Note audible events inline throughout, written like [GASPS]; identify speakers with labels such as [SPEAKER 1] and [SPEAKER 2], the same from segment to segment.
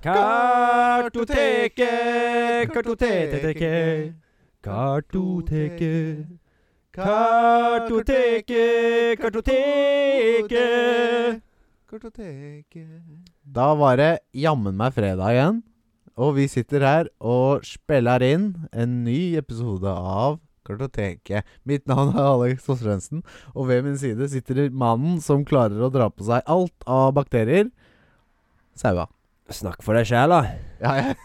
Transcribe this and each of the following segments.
[SPEAKER 1] Kartoteket.
[SPEAKER 2] Kartoteket, kartoteket, kartoteket. Kartoteket, kartoteket.
[SPEAKER 1] Kartoteket.
[SPEAKER 3] Da var det jammen meg fredag igjen. Og vi sitter her og spiller inn en ny episode av Kartoteket. Mitt navn er Alex Osrensen, og ved min side sitter mannen som klarer å dra på seg alt av bakterier. Saua.
[SPEAKER 2] Snakk for deg sjæl, da.
[SPEAKER 3] Ja, jeg,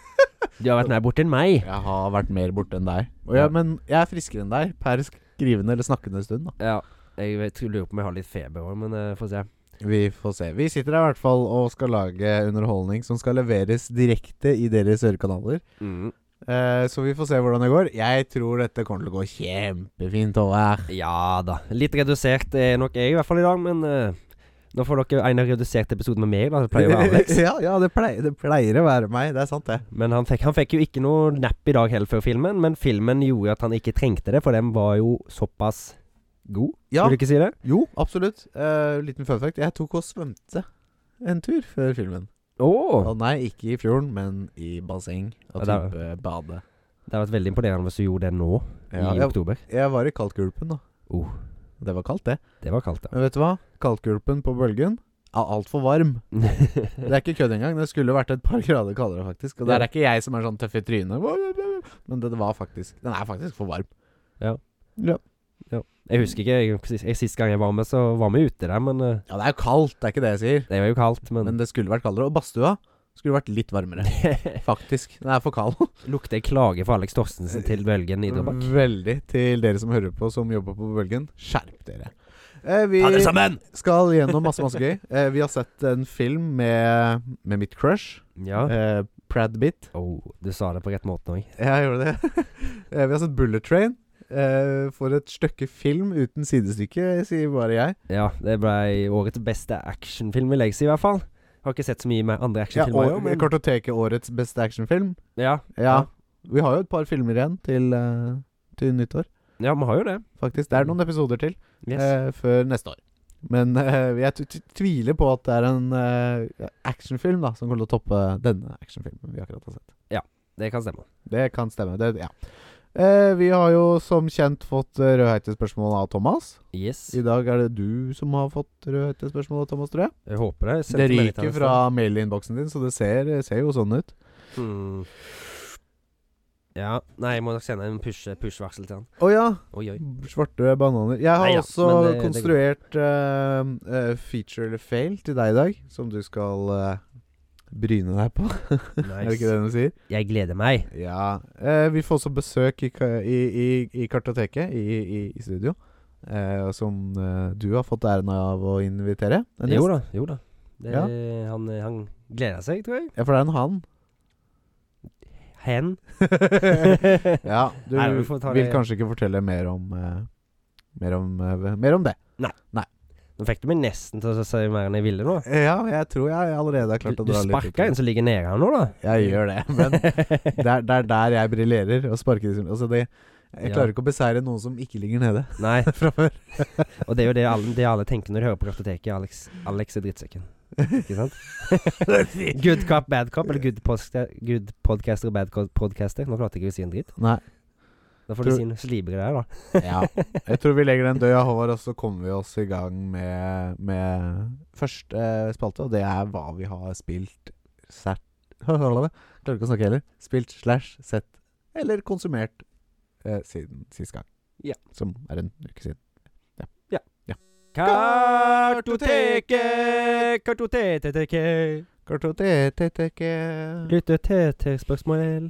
[SPEAKER 2] Du har vært nær borti enn meg.
[SPEAKER 3] jeg har vært mer borte enn deg. Og ja, men jeg er friskere enn deg per skrivende eller snakkende stund. da.
[SPEAKER 2] Ja, jeg vet, lurer på om jeg har litt feber òg, men uh, få se.
[SPEAKER 3] Vi får se. Vi sitter her i hvert fall og skal lage underholdning som skal leveres direkte i deres ørekanaler.
[SPEAKER 2] Mm.
[SPEAKER 3] Eh, så vi får se hvordan det går. Jeg tror dette kommer til å gå kjempefint over.
[SPEAKER 2] Ja da. Litt redusert er nok jeg, i hvert fall i dag, men eh, nå får dere en redusert episode med meg, da. Det pleier å være Alex.
[SPEAKER 3] [LAUGHS] ja, ja det, pleier, det pleier å være meg. Det er sant, det.
[SPEAKER 2] Men han fikk, han fikk jo ikke noe napp i dag heller før filmen, men filmen gjorde at han ikke trengte det, for den var jo såpass god.
[SPEAKER 3] Ja,
[SPEAKER 2] Vil du ikke si det?
[SPEAKER 3] jo, absolutt. Eh, liten fun fact. Jeg tok og svømte en tur før filmen.
[SPEAKER 2] Å!
[SPEAKER 3] Og nei, ikke i fjorden, men i basseng.
[SPEAKER 2] Ja,
[SPEAKER 3] Og
[SPEAKER 2] det
[SPEAKER 3] type bade.
[SPEAKER 2] Det hadde vært veldig imponerende hvis du gjorde det nå,
[SPEAKER 3] Ja,
[SPEAKER 2] i
[SPEAKER 3] jeg,
[SPEAKER 2] oktober.
[SPEAKER 3] jeg var i kaldtgulpen, da.
[SPEAKER 2] Oh.
[SPEAKER 3] Det var kaldt, det.
[SPEAKER 2] Det var
[SPEAKER 3] [LAUGHS]
[SPEAKER 2] kaldt, da. [LAUGHS]
[SPEAKER 3] Men vet du hva? Kaldtgulpen på bølgen er altfor varm. Det er ikke kødd engang. Det skulle vært et par grader kaldere, faktisk. Og det er ikke jeg som er sånn tøff i trynet. Men det var faktisk Den er faktisk for varm.
[SPEAKER 2] Jeg husker ikke. Jeg, sist, jeg, sist gang jeg var med, så var vi ute der, men eh,
[SPEAKER 3] Ja, det er jo kaldt, det er ikke det jeg sier.
[SPEAKER 2] det var jo kaldt. Men,
[SPEAKER 3] Men det skulle vært kaldere. Og badstua skulle vært litt varmere. Faktisk. Den er for kald.
[SPEAKER 2] [LAUGHS] lukter jeg klage for Alex Torstensen til Bølgen Nidrobakk.
[SPEAKER 3] Veldig til dere som hører på, som jobber på Bølgen. Skjerp dere. Eh, vi
[SPEAKER 2] sammen!
[SPEAKER 3] skal gjennom masse, masse gøy. Eh, vi har sett en film med, med mitt crush.
[SPEAKER 2] Ja.
[SPEAKER 3] Eh, Prad Bitt.
[SPEAKER 2] Oh, du sa det på rett måte òg.
[SPEAKER 3] Jeg gjorde det. [LAUGHS] Eh, Vi har sett Bullet Train. Eh, for et stykke film uten sidestykke, sier bare jeg.
[SPEAKER 2] Ja, det ble årets beste actionfilm, vil jeg si, i hvert fall. Har ikke sett så mye med andre
[SPEAKER 3] Ja,
[SPEAKER 2] actionfilmer. i år,
[SPEAKER 3] og
[SPEAKER 2] men-
[SPEAKER 3] Kartoteket årets beste actionfilm.
[SPEAKER 2] ja,
[SPEAKER 3] Ja. Vi har jo et par filmer igjen til, eh, til nyttår,
[SPEAKER 2] ja, vi har jo det.
[SPEAKER 3] faktisk. Det er noen episoder til
[SPEAKER 2] Yes.
[SPEAKER 3] eh, før neste år. Men eh, jeg t t tviler på at det er en eh, actionfilm da som kommer til å toppe denne actionfilmen vi akkurat har sett.
[SPEAKER 2] det kan stemme.
[SPEAKER 3] Det kan stemme. Det, ja. Eh, vi har jo som kjent fått eh, rødheite spørsmål av Thomas.
[SPEAKER 2] Yes.
[SPEAKER 3] I dag er det du som har fått rødhette spørsmål, Thomas, tror jeg.
[SPEAKER 2] Jeg håper det.
[SPEAKER 3] Det ryker fra mailinnboksen din, så det ser, ser jo sånn ut.
[SPEAKER 2] hmm. Ja. Nei, jeg må nok sende en push- push-varsel til han.
[SPEAKER 3] Å ja,
[SPEAKER 2] Oi,
[SPEAKER 3] [LAUGHS]
[SPEAKER 2] oi.
[SPEAKER 3] svarte bananer. Jeg har
[SPEAKER 2] Nei, ja,
[SPEAKER 3] også
[SPEAKER 2] men det- det
[SPEAKER 3] konstruert eh, eh, feature eller fail til deg i dag, som du skal eh, bryne deg på. Er det ikke
[SPEAKER 2] Nice.
[SPEAKER 3] det du sier?
[SPEAKER 2] Jeg gleder meg.
[SPEAKER 3] Ja. Eh, vi får også besøk i, ka- i, i, i Kartoteket, i, i, i studio, eh, som eh, du har fått æren av å invitere. En
[SPEAKER 2] Jo
[SPEAKER 3] gjest.
[SPEAKER 2] da. Jo da. Det,
[SPEAKER 3] Ja.
[SPEAKER 2] han, han gleder seg, tror jeg.
[SPEAKER 3] Ja, for det er en han. [LAUGHS]
[SPEAKER 2] Hen.
[SPEAKER 3] Ja, du
[SPEAKER 2] Nei, vi får ta
[SPEAKER 3] vil
[SPEAKER 2] det-
[SPEAKER 3] kanskje ikke fortelle mer om eh, Mer om, eh, mer om det.
[SPEAKER 2] Nå fikk du meg nesten til å si mer enn jeg ville nå.
[SPEAKER 3] Ja, jeg tror jeg allerede har klart
[SPEAKER 2] Du,
[SPEAKER 3] å
[SPEAKER 2] du
[SPEAKER 3] dra litt
[SPEAKER 2] sparka en som ligger nede her nå, da.
[SPEAKER 3] Jeg gjør det,
[SPEAKER 2] [LAUGHS]
[SPEAKER 3] men det er, det er der jeg briljerer. Å sparke liksom Altså, det Jeg
[SPEAKER 2] Ja.
[SPEAKER 3] klarer ikke å beseire noen som ikke ligger nede
[SPEAKER 2] Nei,
[SPEAKER 3] [LAUGHS] fra før.
[SPEAKER 2] og det er jo det alle, det alle tenker når de hører på kartoteket. Alex, Alex er drittsekken. Ikke sant?
[SPEAKER 3] [LAUGHS]
[SPEAKER 2] good cop, bad cop, eller good, posta- good podcaster og bad co- podcaster. Nå klarte jeg ikke å si en dritt.
[SPEAKER 3] Nei.
[SPEAKER 2] Da får
[SPEAKER 3] Tror-
[SPEAKER 2] du si en slibere
[SPEAKER 3] [LAUGHS]
[SPEAKER 2] der, da.
[SPEAKER 3] Ja. Jeg tror vi legger den død av Håvard, og så kommer vi oss i gang med, med første eh, spalte, og det er hva vi har spilt sært [LAUGHS] Klarer ikke å snakke heller. Spilt slash sett eller konsumert eh, siden sist gang.
[SPEAKER 2] Ja.
[SPEAKER 3] Som er en uke siden.
[SPEAKER 2] Kartoteket, kartoteteket.
[SPEAKER 3] Kartoteteteke
[SPEAKER 2] Lytt til til spørsmål.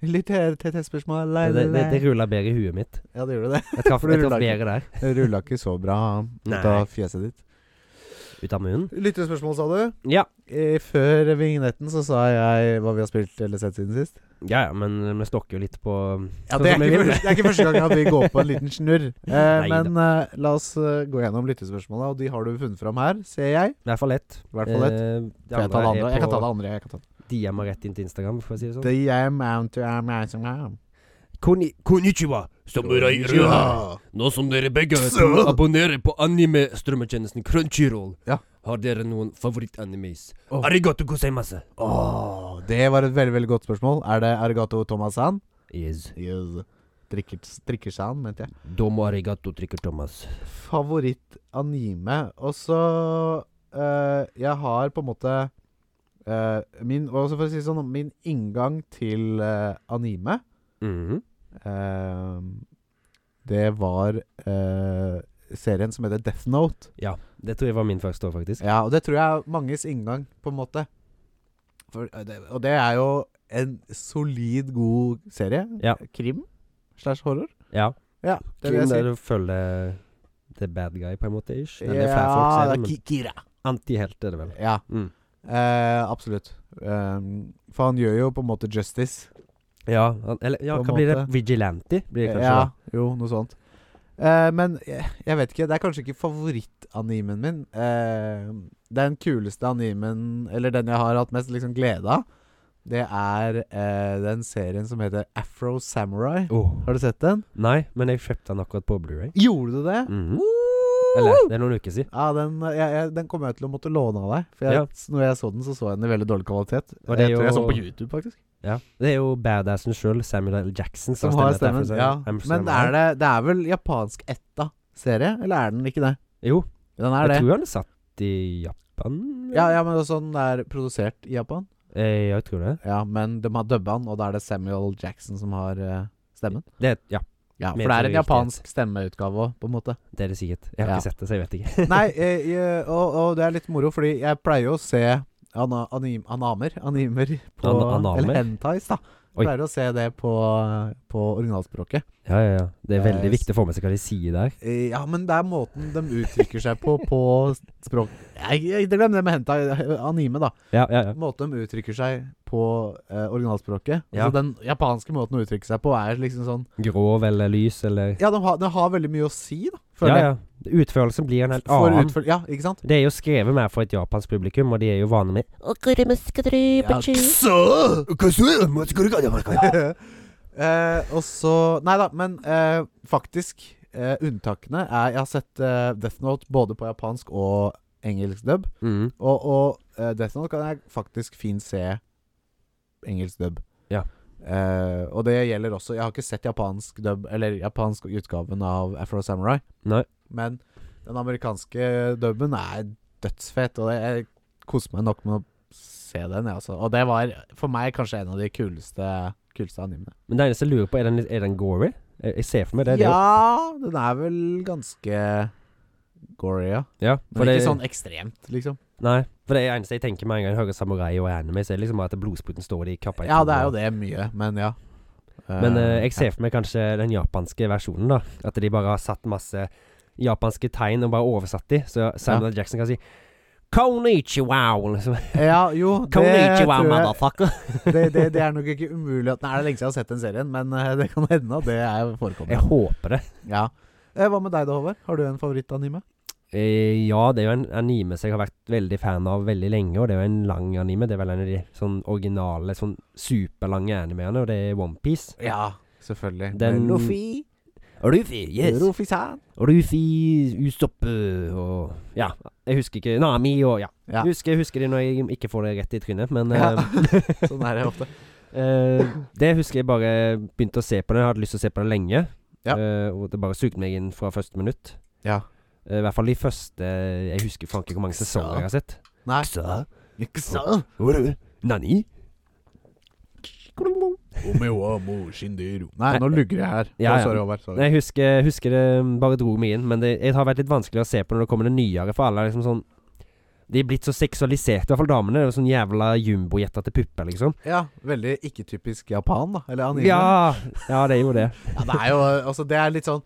[SPEAKER 3] Litt her TT-spørsmål
[SPEAKER 2] Det, det, det, det ruller bedre i huet mitt.
[SPEAKER 3] Ja, det gjorde det.
[SPEAKER 2] Jeg
[SPEAKER 3] [LAUGHS]
[SPEAKER 2] traff
[SPEAKER 3] Det
[SPEAKER 2] jeg traff
[SPEAKER 3] ruller ikke.
[SPEAKER 2] bedre der.
[SPEAKER 3] Det rulla ikke så bra ut
[SPEAKER 2] Nei.
[SPEAKER 3] av fjeset ditt.
[SPEAKER 2] Ut av munnen.
[SPEAKER 3] Lyttespørsmål, sa du?
[SPEAKER 2] Ja.
[SPEAKER 3] Eh, Før vignetten så sa jeg hva vi har spilt eller sett siden sist.
[SPEAKER 2] Ja, ja, men vi stokker jo litt på
[SPEAKER 3] Ja,
[SPEAKER 2] Sånn
[SPEAKER 3] det, er
[SPEAKER 2] som jeg
[SPEAKER 3] ikke,
[SPEAKER 2] vil.
[SPEAKER 3] første- det er ikke første gang at vi går på en liten snurr.
[SPEAKER 2] [LAUGHS]
[SPEAKER 3] Eh,
[SPEAKER 2] Nei da.
[SPEAKER 3] men eh, la oss eh, gå gjennom lyttespørsmålene, og de har du funnet fram her, ser jeg.
[SPEAKER 2] I hvert fall ett.
[SPEAKER 3] I hvert fall ett.
[SPEAKER 2] Eh, det
[SPEAKER 3] Får jeg ta det andre? Jeg kan ta
[SPEAKER 2] er
[SPEAKER 3] det andre. jeg kan ta det
[SPEAKER 2] på DM rett inn til Instagram, for å si det sånn.
[SPEAKER 3] DM out to am, am, am, am.
[SPEAKER 2] Koni
[SPEAKER 4] Konnichiwa, samurai Røa. Nå som dere begge to abonnerer på anime-strømmetjenesten Crunchyroll,
[SPEAKER 3] Ja.
[SPEAKER 4] har dere noen favorittanimes.
[SPEAKER 3] Åh.
[SPEAKER 4] Arigato gozaimasu.
[SPEAKER 3] Åh, Det var et veldig veldig godt spørsmål. Er det Arigato Thomas-san?
[SPEAKER 4] Yes.
[SPEAKER 3] Yes. Drikker-san, mente jeg.
[SPEAKER 4] Domo arigato, trykker Thomas.
[SPEAKER 3] Favoritt-anime. Og så eh, Jeg har på en måte eh, Min og også for å si det sånn, min inngang til eh, anime
[SPEAKER 4] Mhm.
[SPEAKER 3] eh, Det var eh, serien som heter Death Note.
[SPEAKER 2] Ja, det tror jeg var min første år, faktisk.
[SPEAKER 3] Ja, og det tror jeg er manges inngang, på en måte. For, eh, det, og det er jo en solid god serie.
[SPEAKER 2] Ja.
[SPEAKER 3] Krim slash horror.
[SPEAKER 2] Ja.
[SPEAKER 3] Ja, det vil
[SPEAKER 2] Krim
[SPEAKER 3] jeg
[SPEAKER 2] der
[SPEAKER 3] si.
[SPEAKER 2] du følger the bad guy, på en måte, ish. Eller flere folk
[SPEAKER 3] Ja,
[SPEAKER 2] sier
[SPEAKER 3] det
[SPEAKER 2] det,
[SPEAKER 3] er
[SPEAKER 2] men
[SPEAKER 3] Kikira.
[SPEAKER 2] antihelt er det vel.
[SPEAKER 3] Ja,
[SPEAKER 2] Mm.
[SPEAKER 3] eh, absolutt. Um, for han gjør jo på en måte justice.
[SPEAKER 2] Ja, han- eller ja,
[SPEAKER 3] På en
[SPEAKER 2] hva blir det?
[SPEAKER 3] måte.
[SPEAKER 2] Vigilante? Blir det kanskje
[SPEAKER 3] ja,
[SPEAKER 2] da.
[SPEAKER 3] jo, noe sånt. Eh, men jeg, jeg vet ikke. Det er kanskje ikke favorittanimen min. Eh, den kuleste animen, eller den jeg har hatt mest liksom glede av, det er eh, den serien som heter Afro Samurai.
[SPEAKER 2] Åh.
[SPEAKER 3] Har du sett den?
[SPEAKER 2] Nei, men jeg kjøpte den akkurat på Blu-ray
[SPEAKER 3] Gjorde du det?
[SPEAKER 2] Mhm.
[SPEAKER 3] Woo!
[SPEAKER 2] Eller, det er noen uker siden.
[SPEAKER 3] Ja, den, eh, jeg, jeg, den kommer jeg til å måtte låne av deg. For jeg,
[SPEAKER 2] Ja.
[SPEAKER 3] når jeg så den, så så jeg den i veldig dårlig kvalitet.
[SPEAKER 2] Og det er
[SPEAKER 3] jeg tror jeg
[SPEAKER 2] jo-
[SPEAKER 3] så den på YouTube, faktisk.
[SPEAKER 2] Ja. Det er jo badassen sjøl, Samuel L. Jackson,
[SPEAKER 3] Som har stemmen.
[SPEAKER 2] til
[SPEAKER 3] Ja.
[SPEAKER 2] Afro Samurai.
[SPEAKER 3] Men er det, det er vel japansk etta serie, eller er den ikke det?
[SPEAKER 2] Jo,
[SPEAKER 3] Den er det.
[SPEAKER 2] jeg tror han er satt i Japan.
[SPEAKER 3] Ja, ja, men også den er produsert i Japan.
[SPEAKER 2] Eh, jeg tror det.
[SPEAKER 3] Ja, men de har dubba den, og da er det Samuel Jackson som har eh, stemmen.
[SPEAKER 2] det. Ja,
[SPEAKER 3] Ja, For
[SPEAKER 2] Med
[SPEAKER 3] det er en
[SPEAKER 2] riktighet.
[SPEAKER 3] japansk stemmeutgave òg, på en måte.
[SPEAKER 2] det er det sikkert. Jeg har
[SPEAKER 3] Ja.
[SPEAKER 2] ikke sett det, så jeg vet
[SPEAKER 3] [LAUGHS]
[SPEAKER 2] ikke.
[SPEAKER 3] Nei, eh, jeg, og, og det er litt moro, fordi jeg pleier jo å se ana, anim, anamer Animer på
[SPEAKER 2] An- anamer?
[SPEAKER 3] Eller hentais, da.
[SPEAKER 2] Oi.
[SPEAKER 3] Pleier å se det på, på originalspråket.
[SPEAKER 2] Ja, ja, ja. Det er
[SPEAKER 3] Jeg
[SPEAKER 2] veldig
[SPEAKER 3] s-
[SPEAKER 2] viktig å få med seg hva de sier der.
[SPEAKER 3] Eh, Ja, men det er måten de uttrykker seg på på språk... Jeg, jeg, glem det med hentai. Anime, da.
[SPEAKER 2] Ja, ja, ja.
[SPEAKER 3] Måten de uttrykker seg på eh, originalspråket.
[SPEAKER 2] Ja.
[SPEAKER 3] Altså, den japanske måten å uttrykke seg på er liksom sånn
[SPEAKER 2] Grov eller lys eller
[SPEAKER 3] Ja, de har, de har veldig mye å si, da.
[SPEAKER 2] Ja,
[SPEAKER 3] Føler jeg.
[SPEAKER 2] ja. Utførelsen blir en helt
[SPEAKER 3] For
[SPEAKER 2] annen.
[SPEAKER 3] utføl- ja, ikke sant?
[SPEAKER 2] Det er jo skrevet mer for et japansk publikum, og de er jo vane med
[SPEAKER 3] [LAUGHS] Eh, og så Nei da, men eh, faktisk eh, Unntakene er Jeg har sett eh, Death Note både på japansk og engelsk dub.
[SPEAKER 2] Mhm.
[SPEAKER 3] Og, og eh, Death Note kan jeg faktisk fint se engelsk dub.
[SPEAKER 2] Ja.
[SPEAKER 3] Eh, og det gjelder også Jeg har ikke sett japansk dub Eller japansk utgaven av Afro Samurai.
[SPEAKER 2] Nei.
[SPEAKER 3] Men den amerikanske dubben er dødsfet, og jeg koser meg nok med å se den. jeg, Altså. Og det var for meg kanskje en av de kuleste, kuleste animene.
[SPEAKER 2] Men det eneste jeg lurer på, er den, er den gory? Jeg jeg ser for meg det. det er jo-
[SPEAKER 3] ja, den er vel ganske gory, ja.
[SPEAKER 2] ja for
[SPEAKER 3] Men
[SPEAKER 2] det,
[SPEAKER 3] ikke sånn ekstremt, liksom.
[SPEAKER 2] Nei. For det eneste jeg tenker med en gang jeg hører samurai og anime, så er det liksom at blodspruten står i kappa. i
[SPEAKER 3] Ja,
[SPEAKER 2] to,
[SPEAKER 3] det er
[SPEAKER 2] og-
[SPEAKER 3] jo det mye, men ja.
[SPEAKER 2] Men eh, jeg ser for meg kanskje den japanske versjonen, da. At de bare har satt masse japanske tegn og bare oversatt de. Så Samuel Jackson kan si Konichiwa! Liksom. [LAUGHS]
[SPEAKER 3] Ja, jo, det
[SPEAKER 2] Konichiwa,
[SPEAKER 3] tror jeg
[SPEAKER 2] motherfucker.
[SPEAKER 3] [LAUGHS] det, det, det er nok ikke umulig at Nei, det er lenge siden jeg har sett den serien, men eh, det kan hende at det er
[SPEAKER 2] Jeg
[SPEAKER 3] forekommer.
[SPEAKER 2] håper det.
[SPEAKER 3] Ja. Eh, Hva med deg da, Håvard? Har du en favorittanime?
[SPEAKER 2] Eh, ja, det er jo en anime som jeg har vært veldig fan av veldig lenge, og det er jo en lang anime. Det er vel en av de sånn originale, sånn superlange animeene, og det er OnePiece.
[SPEAKER 3] Ja, selvfølgelig.
[SPEAKER 2] Den-
[SPEAKER 3] Luffy.
[SPEAKER 2] Rufi,
[SPEAKER 3] Rufi-san.
[SPEAKER 2] Rufi, Usopp eh, og Ja, jeg husker ikke Nami og ja.
[SPEAKER 3] Ja.
[SPEAKER 2] Husker, jeg husker de når jeg ikke får det rett i trynet, men
[SPEAKER 3] Ja.
[SPEAKER 2] eh,
[SPEAKER 3] Sånn er det ofte.
[SPEAKER 2] Eh, det husker jeg bare begynte å se på den. Jeg hadde lyst til å se på den lenge.
[SPEAKER 3] Ja.
[SPEAKER 2] Eh, og det bare sugde meg inn fra første minutt.
[SPEAKER 3] Ja.
[SPEAKER 2] Eh, I hvert fall de første Jeg husker faen ikke hvor mange sesonger jeg har sett.
[SPEAKER 3] [LAUGHS] Nei.
[SPEAKER 2] Ksa.
[SPEAKER 3] Ikke sant?
[SPEAKER 2] Nani?
[SPEAKER 3] Nei, nå lugger jeg her.
[SPEAKER 2] Ja,
[SPEAKER 3] Å,
[SPEAKER 2] ja.
[SPEAKER 3] Sorry, Håvard. Sorry.
[SPEAKER 2] Nei, Jeg husker, husker det mm, bare dro meg inn, men det jeg har vært litt vanskelig å se på når det kommer det nyere, for alle er liksom sånn De er blitt så seksualiserte, i hvert fall damene. Det er jo Sånn jævla jumbojetter til pupper, liksom.
[SPEAKER 3] Ja, veldig ikke-typisk Japan, da. Eller anime.
[SPEAKER 2] Ja, ja, det er jo det.
[SPEAKER 3] Ja, det er jo Altså, det er litt sånn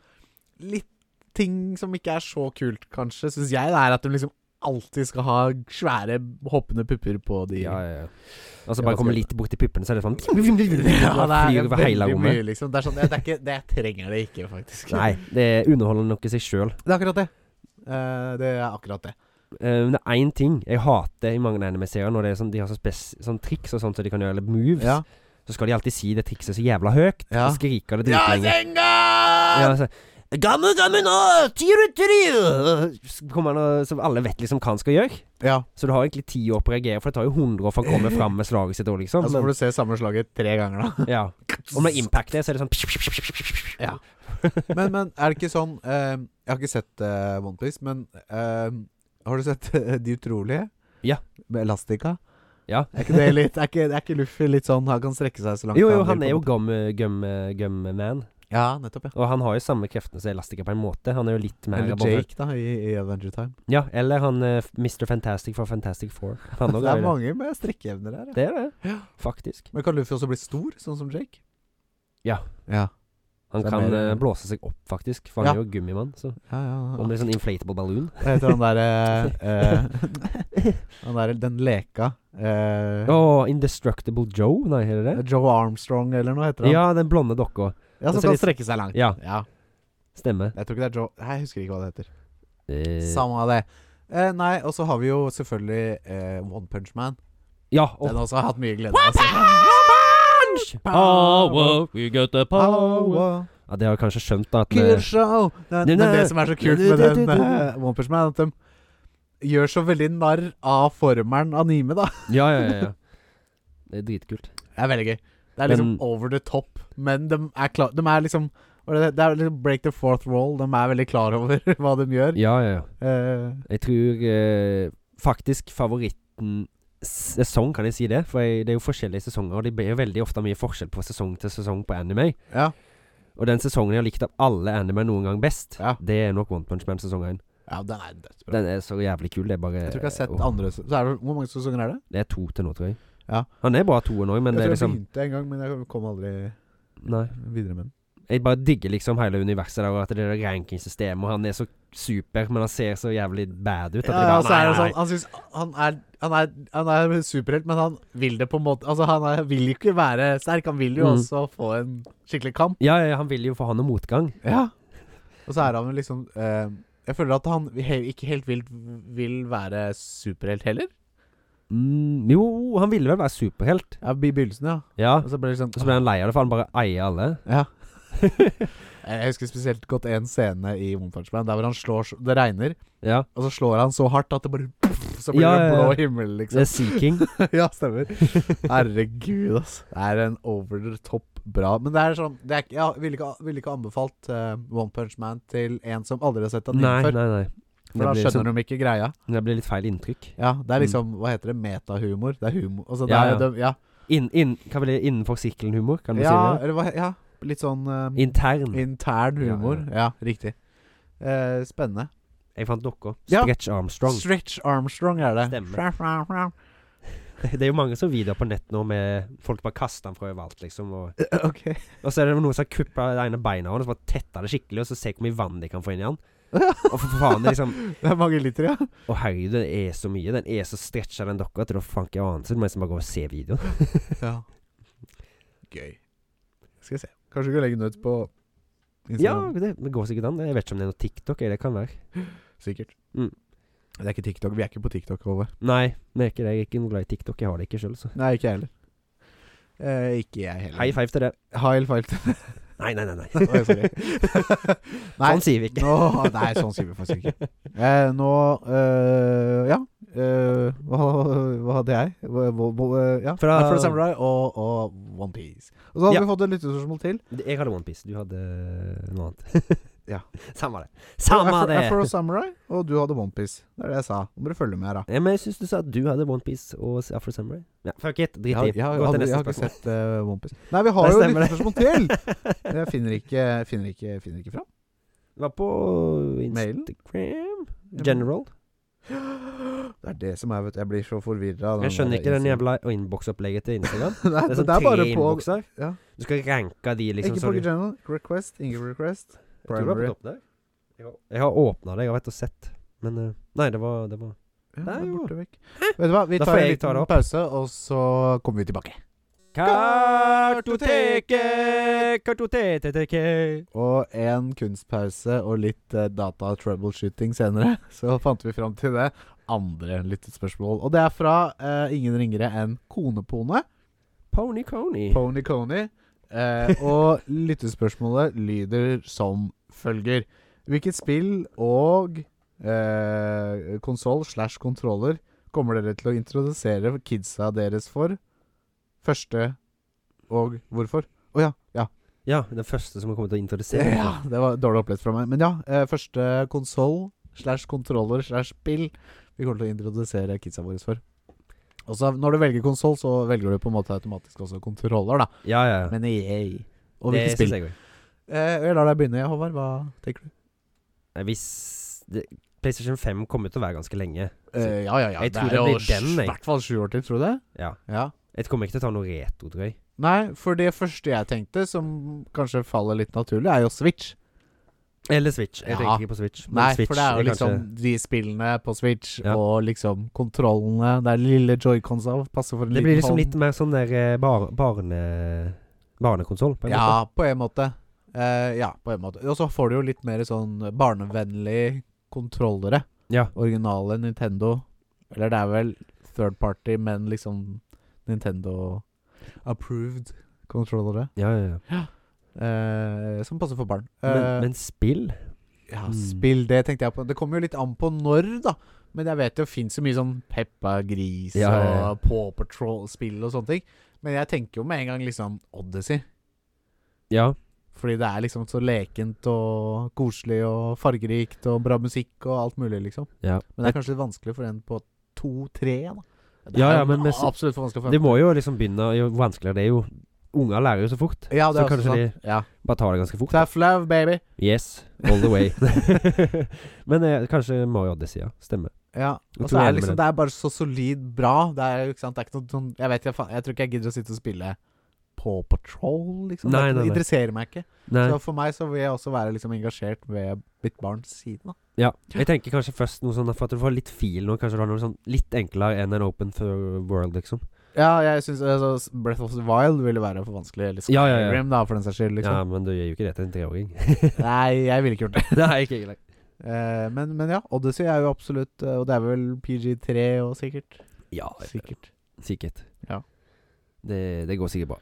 [SPEAKER 3] Litt ting som ikke er så kult, kanskje, syns jeg. Det er at de liksom alltid skal ha svære, hoppende pupper på de
[SPEAKER 2] [LAUGHS] Ja, ja, ja. Og så
[SPEAKER 3] Ja,
[SPEAKER 2] bare
[SPEAKER 3] hva
[SPEAKER 2] kommer
[SPEAKER 3] skal-
[SPEAKER 2] litt bort til puppene, så er det [LAUGHS] sånn
[SPEAKER 3] [LAUGHS] Ja, det
[SPEAKER 2] Flyr
[SPEAKER 3] er
[SPEAKER 2] over hele
[SPEAKER 3] veldig
[SPEAKER 2] rommet.
[SPEAKER 3] mye, liksom. Det er sånn, det, det er ikke, det trenger det ikke, faktisk.
[SPEAKER 2] Nei, det er underholdende nok i seg sjøl.
[SPEAKER 3] [LAUGHS] Det er akkurat det. Eh, det er akkurat det.
[SPEAKER 2] Eh, Men det er én ting jeg hater i mange anime-serier, når det er sånn, de har så spes sånn triks og sånt som de kan gjøre, eller moves.
[SPEAKER 3] Ja.
[SPEAKER 2] Så skal de alltid si det trikset så jævla høyt,
[SPEAKER 3] Ja.
[SPEAKER 2] og skrike det dritlenge.
[SPEAKER 3] Senga!
[SPEAKER 2] Ja, altså, Gamme, gamme nå! Tyru, tyru! Så kommer han og Så alle vet liksom hva han skal gjøre.
[SPEAKER 3] Ja,
[SPEAKER 2] Så du har egentlig ti år på å reagere, for det tar jo 100 år for [LAUGHS] han kommer fram med slaget sitt òg, liksom.
[SPEAKER 3] altså får du se samme slaget tre ganger, da.
[SPEAKER 2] Men, ja. Og med impact det, så er det sånn
[SPEAKER 3] Ja. Men, men er det ikke sånn eh, Jeg har ikke sett eh, One Piece, men eh, har du sett eh, De utrolige?
[SPEAKER 2] Ja.
[SPEAKER 3] Med Elastica?
[SPEAKER 2] Ja.
[SPEAKER 3] Er ikke det litt Er ikke, er ikke Luffy litt sånn Han kan strekke seg så langt
[SPEAKER 2] Jo, jo,
[SPEAKER 3] vil,
[SPEAKER 2] han
[SPEAKER 3] på
[SPEAKER 2] er
[SPEAKER 3] en
[SPEAKER 2] jo
[SPEAKER 3] måte?
[SPEAKER 2] gum, eh, gum, gum man,
[SPEAKER 3] Ja, nettopp, ja.
[SPEAKER 2] og han har jo samme kreftene som Elastica på en måte. Han er jo litt mer
[SPEAKER 3] Eller
[SPEAKER 2] bare-
[SPEAKER 3] Jake, da, i, i Avenger Time.
[SPEAKER 2] Ja, eller han eh, Mr. Fantastic fra Fantastic Four. Han også
[SPEAKER 3] [LAUGHS]
[SPEAKER 2] er
[SPEAKER 3] det er
[SPEAKER 2] jo det.
[SPEAKER 3] mange med strikkeevner her, ja.
[SPEAKER 2] Det er det, faktisk.
[SPEAKER 3] Men kan Luffy også bli stor, sånn som Jake?
[SPEAKER 2] Ja.
[SPEAKER 3] Ja,
[SPEAKER 2] Han
[SPEAKER 3] Det er
[SPEAKER 2] kan
[SPEAKER 3] mer-
[SPEAKER 2] eh, blåse seg opp, faktisk. For han
[SPEAKER 3] Ja. Ah.
[SPEAKER 2] er jo gummimann. Så
[SPEAKER 3] ja, ja,
[SPEAKER 2] Han
[SPEAKER 3] ja.
[SPEAKER 2] blir sånn inflatable balloon.
[SPEAKER 3] Hva heter han derre
[SPEAKER 2] [LAUGHS]
[SPEAKER 3] Han derre Den leka eh,
[SPEAKER 2] Åh, Indestructible Joe, nei, er det det?
[SPEAKER 3] Joe Armstrong, eller noe heter han.
[SPEAKER 2] Ja, den blonde dokka.
[SPEAKER 3] Ja,
[SPEAKER 2] Det
[SPEAKER 3] Som
[SPEAKER 2] ser
[SPEAKER 3] kan
[SPEAKER 2] litt-
[SPEAKER 3] strekke seg langt.
[SPEAKER 2] Ja.
[SPEAKER 3] ja.
[SPEAKER 2] Stemmer.
[SPEAKER 3] Jeg tror ikke det er Joe Nei, Jeg husker ikke hva det heter.
[SPEAKER 2] Eh,
[SPEAKER 3] Samme av det. Eh, nei, og så har vi jo selvfølgelig eh, One Punch Man.
[SPEAKER 2] ja, og
[SPEAKER 3] Den også har jeg hatt mye glede av. altså.
[SPEAKER 4] Power, we got the power.
[SPEAKER 3] Power,
[SPEAKER 2] ja, det har jeg kanskje skjønt, da. At eh,
[SPEAKER 3] Kyrshow. Men men det som er så kult med den eh, One Punch Man, er at de gjør så veldig narr av formeren anime, da. [LAUGHS]
[SPEAKER 2] ja, ja, ja, ja. Det er dritkult.
[SPEAKER 3] Det er veldig gøy. Det er liksom
[SPEAKER 2] Men-
[SPEAKER 3] over the top, men de er, klar, de er liksom hva er det, det er liksom break the fourth roll. De er veldig klar over [LAUGHS] hva de gjør.
[SPEAKER 2] Ja, ja, ja.
[SPEAKER 3] Eh,
[SPEAKER 2] Jeg tror eh, faktisk favoritten sesong, kan jeg si det? For jeg, det er jo forskjellige sesonger, og det blir jo veldig ofte mye forskjell på sesong til sesong på anime.
[SPEAKER 3] ja.
[SPEAKER 2] Og den sesongen jeg har likt av alle anime noen gang best,
[SPEAKER 3] Ja.
[SPEAKER 2] det er nok One Punch Man sesong 1.
[SPEAKER 3] ja, den er dødsbra.
[SPEAKER 2] Den er så jævlig kul. Det er bare
[SPEAKER 3] Jeg tror ikke jeg har sett
[SPEAKER 2] åh,
[SPEAKER 3] andre se- så er det, Hvor mange sesonger er det?
[SPEAKER 2] Det er to til nå, tror jeg.
[SPEAKER 3] Ja.
[SPEAKER 2] Han er bra toen òg, men det
[SPEAKER 3] jeg
[SPEAKER 2] er
[SPEAKER 3] tror jeg
[SPEAKER 2] liksom
[SPEAKER 3] begynte en gang, men jeg kom aldri
[SPEAKER 2] Nei.
[SPEAKER 3] videre med den.
[SPEAKER 2] Jeg bare digger liksom hele universet der, og at det er det rankingsystemet, og han er så super, men han ser så jævlig bad ut. At
[SPEAKER 3] Ja,
[SPEAKER 2] jeg bare,
[SPEAKER 3] og så er det
[SPEAKER 2] nei,
[SPEAKER 3] sånn, han, synes, han er, han er, han er superhelt, men han vil det på en måte Altså, han er, vil jo ikke være sterk, han vil jo
[SPEAKER 2] Mm.
[SPEAKER 3] også få en skikkelig kamp.
[SPEAKER 2] nei. Ja, ja, han vil jo få ha noe motgang.
[SPEAKER 3] Ja. Og så er han jo liksom eh, Jeg føler at han he ikke helt vil, vil være superhelt heller.
[SPEAKER 2] Mm, jo, han ville vel være superhelt.
[SPEAKER 3] Ja, I begynnelsen, ja.
[SPEAKER 2] Ja.
[SPEAKER 3] Og så ble det sånn
[SPEAKER 2] Og så ble han lei av det, for han bare eier alle.
[SPEAKER 3] Ja. [LAUGHS] Jeg husker spesielt godt en scene i One Punch Man der hvor han slår så- Det regner,
[SPEAKER 2] Ja.
[SPEAKER 3] og så slår han så hardt at det bare puff, Så blir
[SPEAKER 2] Ja,
[SPEAKER 3] det
[SPEAKER 2] ja, ja.
[SPEAKER 3] blå himmel, liksom.
[SPEAKER 2] Det er Sea
[SPEAKER 3] [LAUGHS]
[SPEAKER 2] King.
[SPEAKER 3] ja, stemmer. Herregud, altså. Det er en over the top bra. Men det er sånn det er, ikke- Jeg ville ikke, ville ikke anbefalt eh, One Punch Man til en som aldri har sett anime
[SPEAKER 2] nei,
[SPEAKER 3] før.
[SPEAKER 2] nei, nei.
[SPEAKER 3] For da
[SPEAKER 2] blir
[SPEAKER 3] skjønner
[SPEAKER 2] sånn-
[SPEAKER 3] de ikke greia.
[SPEAKER 2] det blir litt feil inntrykk.
[SPEAKER 3] Ja, Det er liksom Hva heter det? Metahumor. Det er humor. Altså, det
[SPEAKER 2] Ja,
[SPEAKER 3] er,
[SPEAKER 2] ja.
[SPEAKER 3] De, ja.
[SPEAKER 2] Inn, inn, hva vil det Innenfor sirkelhumor, kan du
[SPEAKER 3] ja,
[SPEAKER 2] si det?
[SPEAKER 3] eller hva he- Ja, litt sånn eh,
[SPEAKER 2] Intern.
[SPEAKER 3] intern humor.
[SPEAKER 2] Ja,
[SPEAKER 3] Ja, riktig. Eh, spennende.
[SPEAKER 2] Jeg fant dokka.
[SPEAKER 3] Ja.
[SPEAKER 2] Stretch Armstrong.
[SPEAKER 3] Stretch Armstrong er det.
[SPEAKER 2] Stemmer. [LAUGHS] Det er jo mange som videoer på nett nå med folk bare kaster den fra overalt, liksom. Og,
[SPEAKER 3] [LAUGHS] ok.
[SPEAKER 2] og så er det noen som har kuppa det ene beina hans, og så bare tetter det skikkelig, og så ser jeg hvor mye vann de kan få inn i
[SPEAKER 3] [LAUGHS]
[SPEAKER 2] den. Og for faen, det er liksom
[SPEAKER 3] Det er mange liter, ja.
[SPEAKER 2] Å herregud, det er så mye. Den er så stretcha, den dokka, at du har faen ikke anelse. Du må nesten bare gå og se videoen.
[SPEAKER 3] [LAUGHS] Ja. Gøy. Skal vi se. Kanskje vi kan legge den ut på
[SPEAKER 2] Ja,
[SPEAKER 3] Instagram.
[SPEAKER 2] det, det går sikkert an. Jeg vet ikke om det er noe TikTok. eller Det kan være.
[SPEAKER 3] Sikkert.
[SPEAKER 2] Mm.
[SPEAKER 3] Det er ikke TikTok. Vi er ikke på TikTok, Håvard.
[SPEAKER 2] Nei, vi er ikke det. Jeg er ikke noe glad i TikTok. Jeg har det ikke sjøl, så.
[SPEAKER 3] Nei, ikke jeg heller. Eh, ikke jeg heller.
[SPEAKER 2] High five til det.
[SPEAKER 3] High five. [LAUGHS]
[SPEAKER 2] Nei, nei, nei. nei.
[SPEAKER 3] Oi, sorry.
[SPEAKER 2] [LAUGHS]
[SPEAKER 3] Nei,
[SPEAKER 2] Sånn sier vi ikke.
[SPEAKER 3] nå- nei, sånn sier vi faktisk ikke. Eh, nå eh, Ja. Eh, hva, hva hadde jeg? Hva, hva, hva, ja.
[SPEAKER 2] Fra-
[SPEAKER 3] Nei, Fra Samurai og, og OnePiece. Og så har
[SPEAKER 2] Ja.
[SPEAKER 3] vi fått et lyttespørsmål til.
[SPEAKER 2] [LAUGHS] Jeg hadde OnePiece. Du hadde eh, noe annet.
[SPEAKER 3] [LAUGHS] Ja.
[SPEAKER 2] Samme det. Samme
[SPEAKER 3] Afro,
[SPEAKER 2] det!
[SPEAKER 3] Afro Samurai, og du hadde OnePiece. Det er det jeg sa. Nå må du følge med her, da.
[SPEAKER 2] Ja, men jeg syns du sa at du hadde OnePiece og Afro Samurai. Ja, fuck it. Drit i.
[SPEAKER 3] Jeg,
[SPEAKER 2] Gå
[SPEAKER 3] har- jeg,
[SPEAKER 2] til
[SPEAKER 3] har- jeg
[SPEAKER 2] neste
[SPEAKER 3] har ikke
[SPEAKER 2] spørsmål.
[SPEAKER 3] sett uh, OnePiece. Nei, vi har jo et
[SPEAKER 2] stemmer det.
[SPEAKER 3] lyttespørsmål
[SPEAKER 2] [LAUGHS]
[SPEAKER 3] til! Jeg finner ikke, finner ikke, finner ikke fram. [GASPS]
[SPEAKER 2] Det var på
[SPEAKER 3] Mailen?
[SPEAKER 2] Instagram General.
[SPEAKER 3] Det er det som er, vet du. Jeg blir så forvirra.
[SPEAKER 2] Jeg skjønner ikke den jævla innboksopplegget til
[SPEAKER 3] [LAUGHS]
[SPEAKER 2] Instagram.
[SPEAKER 3] Nei,
[SPEAKER 2] Det er sånn
[SPEAKER 3] det er bare
[SPEAKER 2] tre
[SPEAKER 3] på
[SPEAKER 2] innbokser.
[SPEAKER 3] ja.
[SPEAKER 2] Du skal ranke de, liksom.
[SPEAKER 3] Ikke
[SPEAKER 2] så
[SPEAKER 3] på
[SPEAKER 2] du-
[SPEAKER 3] general. Request. Ingen request.
[SPEAKER 2] Jeg tror det var
[SPEAKER 3] Primary.
[SPEAKER 2] på toppen der. Jeg har- Jeg har åpna det, jeg har vært og sett. Men eh, Nei, det var, det var
[SPEAKER 3] Ja,
[SPEAKER 2] Der,
[SPEAKER 3] det er
[SPEAKER 2] jo. Eh.
[SPEAKER 3] borte vekk. Vet du hva, vi
[SPEAKER 2] Da
[SPEAKER 3] tar
[SPEAKER 2] får
[SPEAKER 3] en
[SPEAKER 2] jeg ta det
[SPEAKER 3] liten
[SPEAKER 2] opp.
[SPEAKER 3] pause, og så kommer vi tilbake.
[SPEAKER 2] Kartoteket, kartoteteke
[SPEAKER 3] Og en kunstpause og litt eh, data troubleshooting senere. [LAUGHS] Så fant vi fram til det andre lyttespørsmål. Og det er fra eh, ingen ringere enn Konepone.
[SPEAKER 2] Pony Coney.
[SPEAKER 3] Pony Coney. Eh, og lyttespørsmålet lyder som følger. Hvilket spill og eh, konsoll slash kontroller kommer dere til å introdusere kidsa deres for? Første og hvorfor? Å ja. Ja.
[SPEAKER 2] Ja, den første som kommer til å introdusere.
[SPEAKER 3] ja. Det var dårlig opplevd fra meg. Men ja, eh, første konsoll slash kontroller slash spill vi kommer til å introdusere kidsa våre for. Og så når du velger konsoll, så velger du på en måte automatisk også kontroller, da.
[SPEAKER 2] Ja, ja. ja.
[SPEAKER 3] Men yay. Og
[SPEAKER 2] Det synes
[SPEAKER 3] hvilket spill.
[SPEAKER 2] jeg også.
[SPEAKER 3] Eh, jeg lar deg begynne, Håvard. Hva tenker du?
[SPEAKER 2] Nei, Hvis det, PlayStation 5 kommer til å være ganske lenge.
[SPEAKER 3] Eh, ja, ja, ja.
[SPEAKER 2] Jeg tror
[SPEAKER 3] er
[SPEAKER 2] det
[SPEAKER 3] jo
[SPEAKER 2] blir den,
[SPEAKER 3] sj-
[SPEAKER 2] jeg.
[SPEAKER 3] hvert fall sju år til, tror du det?
[SPEAKER 2] Ja.
[SPEAKER 3] Ja.
[SPEAKER 2] Jeg kommer ikke til å ta noe retro, tror jeg.
[SPEAKER 3] Nei, for det første jeg tenkte, som kanskje faller litt naturlig, er jo Switch.
[SPEAKER 2] Eller Switch. Jeg
[SPEAKER 3] Ja.
[SPEAKER 2] tenker ikke på Switch. men
[SPEAKER 3] Nei,
[SPEAKER 2] Switch
[SPEAKER 3] for det er jo liksom
[SPEAKER 2] kanskje-
[SPEAKER 3] de spillene på Switch,
[SPEAKER 2] Ja.
[SPEAKER 3] og liksom kontrollene Det er lille joyconsa, passer for en
[SPEAKER 2] Det
[SPEAKER 3] liten
[SPEAKER 2] blir liksom
[SPEAKER 3] hånd.
[SPEAKER 2] litt mer sånn der eh, bar, barne... Barnekonsoll, på en måte.
[SPEAKER 3] Ja, på en måte. Eh, ja, på en måte. Og så får du jo litt mer sånn barnevennlig kontrollere.
[SPEAKER 2] Ja.
[SPEAKER 3] Originale Nintendo. Eller det er vel third party, men liksom Nintendo approved kontrollere.
[SPEAKER 2] Ja, ja, ja.
[SPEAKER 3] eh, som passer for barn.
[SPEAKER 2] Men,
[SPEAKER 3] Eh,
[SPEAKER 2] men spill?
[SPEAKER 3] ja,
[SPEAKER 2] Mm.
[SPEAKER 3] spill, det tenkte jeg på. Det kommer jo litt an på når, da. Men jeg vet jo fins så mye sånn Peppa Gris
[SPEAKER 2] Ja, ja, ja.
[SPEAKER 3] og Paw Patrol-spill og sånne ting. Men jeg tenker jo med en gang liksom Odyssey.
[SPEAKER 2] Ja.
[SPEAKER 3] Fordi det er liksom så lekent og koselig og fargerikt og bra musikk og alt mulig, liksom.
[SPEAKER 2] ja.
[SPEAKER 3] Men det er kanskje litt vanskelig for en på to-tre, da. Det
[SPEAKER 2] Ja,
[SPEAKER 3] er
[SPEAKER 2] ja,
[SPEAKER 3] jo
[SPEAKER 2] men med s-
[SPEAKER 3] absolutt for vanskelig for
[SPEAKER 2] Det
[SPEAKER 3] en.
[SPEAKER 2] må jo liksom begynne Jo vanskeligere det er jo Unger lærer jo så fort.
[SPEAKER 3] Ja, det
[SPEAKER 2] så
[SPEAKER 3] er også
[SPEAKER 2] kanskje
[SPEAKER 3] sant. Ja.
[SPEAKER 2] Bare tar det ganske fort.
[SPEAKER 3] Tough love, baby.
[SPEAKER 2] Yes, all the way. [LAUGHS] Men eh, kanskje Mario Odyssey, ja. Stemmer.
[SPEAKER 3] Ja.
[SPEAKER 2] Jeg tror
[SPEAKER 3] Og så
[SPEAKER 2] jeg
[SPEAKER 3] er
[SPEAKER 2] er enig
[SPEAKER 3] det liksom
[SPEAKER 2] med
[SPEAKER 3] Det er bare så solid bra. Det er jo ikke sant Det er ikke noe sånn Jeg vet jeg, fa- jeg tror ikke jeg gidder å sitte og spille på Patrol,
[SPEAKER 2] Nei,
[SPEAKER 3] liksom. det er ikke-
[SPEAKER 2] nei, nei.
[SPEAKER 3] interesserer meg ikke.
[SPEAKER 2] Nei,
[SPEAKER 3] Så for meg så vil jeg også være liksom engasjert ved mitt barns side, da.
[SPEAKER 2] ja. Jeg tenker kanskje først noe sånn for at du får litt feel nå. Kanskje du har noe sånn litt enklere enn en Open for World, liksom.
[SPEAKER 3] Ja, jeg syns altså, Breath of the Wild ville være for vanskelig. Eller Skyrim,
[SPEAKER 2] Ja, ja, ja.
[SPEAKER 3] da, for den saks skyld. Liksom.
[SPEAKER 2] Ja, men du gjør jo ikke det til en treåring.
[SPEAKER 3] Nei, jeg ville ikke gjort
[SPEAKER 2] [LAUGHS]
[SPEAKER 3] det.
[SPEAKER 2] Nei, ikke egentlig.
[SPEAKER 3] Eh, men, men ja, Odyssey er jo absolutt eh, Og det er vel PG3 og sikkert.
[SPEAKER 2] Ja,
[SPEAKER 3] Sikkert.
[SPEAKER 2] sikkert.
[SPEAKER 3] Ja.
[SPEAKER 2] Det, det går sikkert bra.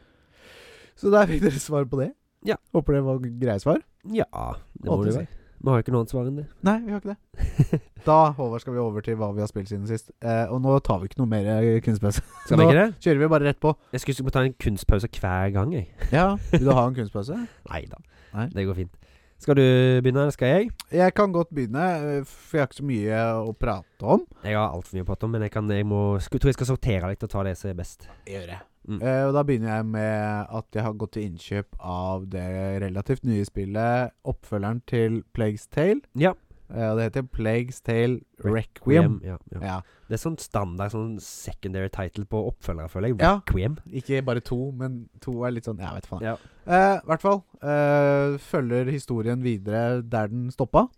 [SPEAKER 3] Så der fikk dere svar på det.
[SPEAKER 2] Ja.
[SPEAKER 3] Håper det var greie svar.
[SPEAKER 2] Ja, det må det
[SPEAKER 3] Odyssey.
[SPEAKER 2] være. Vi har jo ikke noe annet svar
[SPEAKER 3] [LAUGHS]
[SPEAKER 2] enn det.
[SPEAKER 3] Nei, vi har ikke det. Da Håvard, skal vi over til hva vi har spilt siden sist. Eh, og nå tar vi ikke noe mer eh, kunstpause. [LAUGHS]
[SPEAKER 2] Skal vi
[SPEAKER 3] Nå-
[SPEAKER 2] ikke det?
[SPEAKER 3] Kjører vi bare rett på.
[SPEAKER 2] Jeg skulle skulle ta en kunstpause hver gang, jeg.
[SPEAKER 3] Ja, Vil du ha en kunstpause?
[SPEAKER 2] Nei da.
[SPEAKER 3] Nei.
[SPEAKER 2] Det går fint. Skal du begynne, eller skal jeg?
[SPEAKER 3] Jeg kan godt begynne, eh, for jeg har ikke så mye å prate om.
[SPEAKER 2] Jeg har altfor mye å prate om, men jeg, kan, jeg må, sku, tror jeg skal sortere litt og ta det som er best.
[SPEAKER 3] gjør jeg.
[SPEAKER 2] Mm.
[SPEAKER 3] Eh, og da begynner jeg med at jeg har gått til innkjøp av det relativt nye spillet, oppfølgeren til Plagues Tale.
[SPEAKER 2] Ja.
[SPEAKER 3] Eh, og det heter Plagues Tale Requiem.
[SPEAKER 2] Ja, ja.
[SPEAKER 3] Ja.
[SPEAKER 2] Det er sånn standard sånn secondary title på oppfølgere, føler jeg.
[SPEAKER 3] Ja.
[SPEAKER 2] Requiem.
[SPEAKER 3] Ikke bare to, men to er litt sånn Jeg vet faen.
[SPEAKER 2] Ja.
[SPEAKER 3] Eh, I hvert fall. Eh, følger historien videre der den stoppa.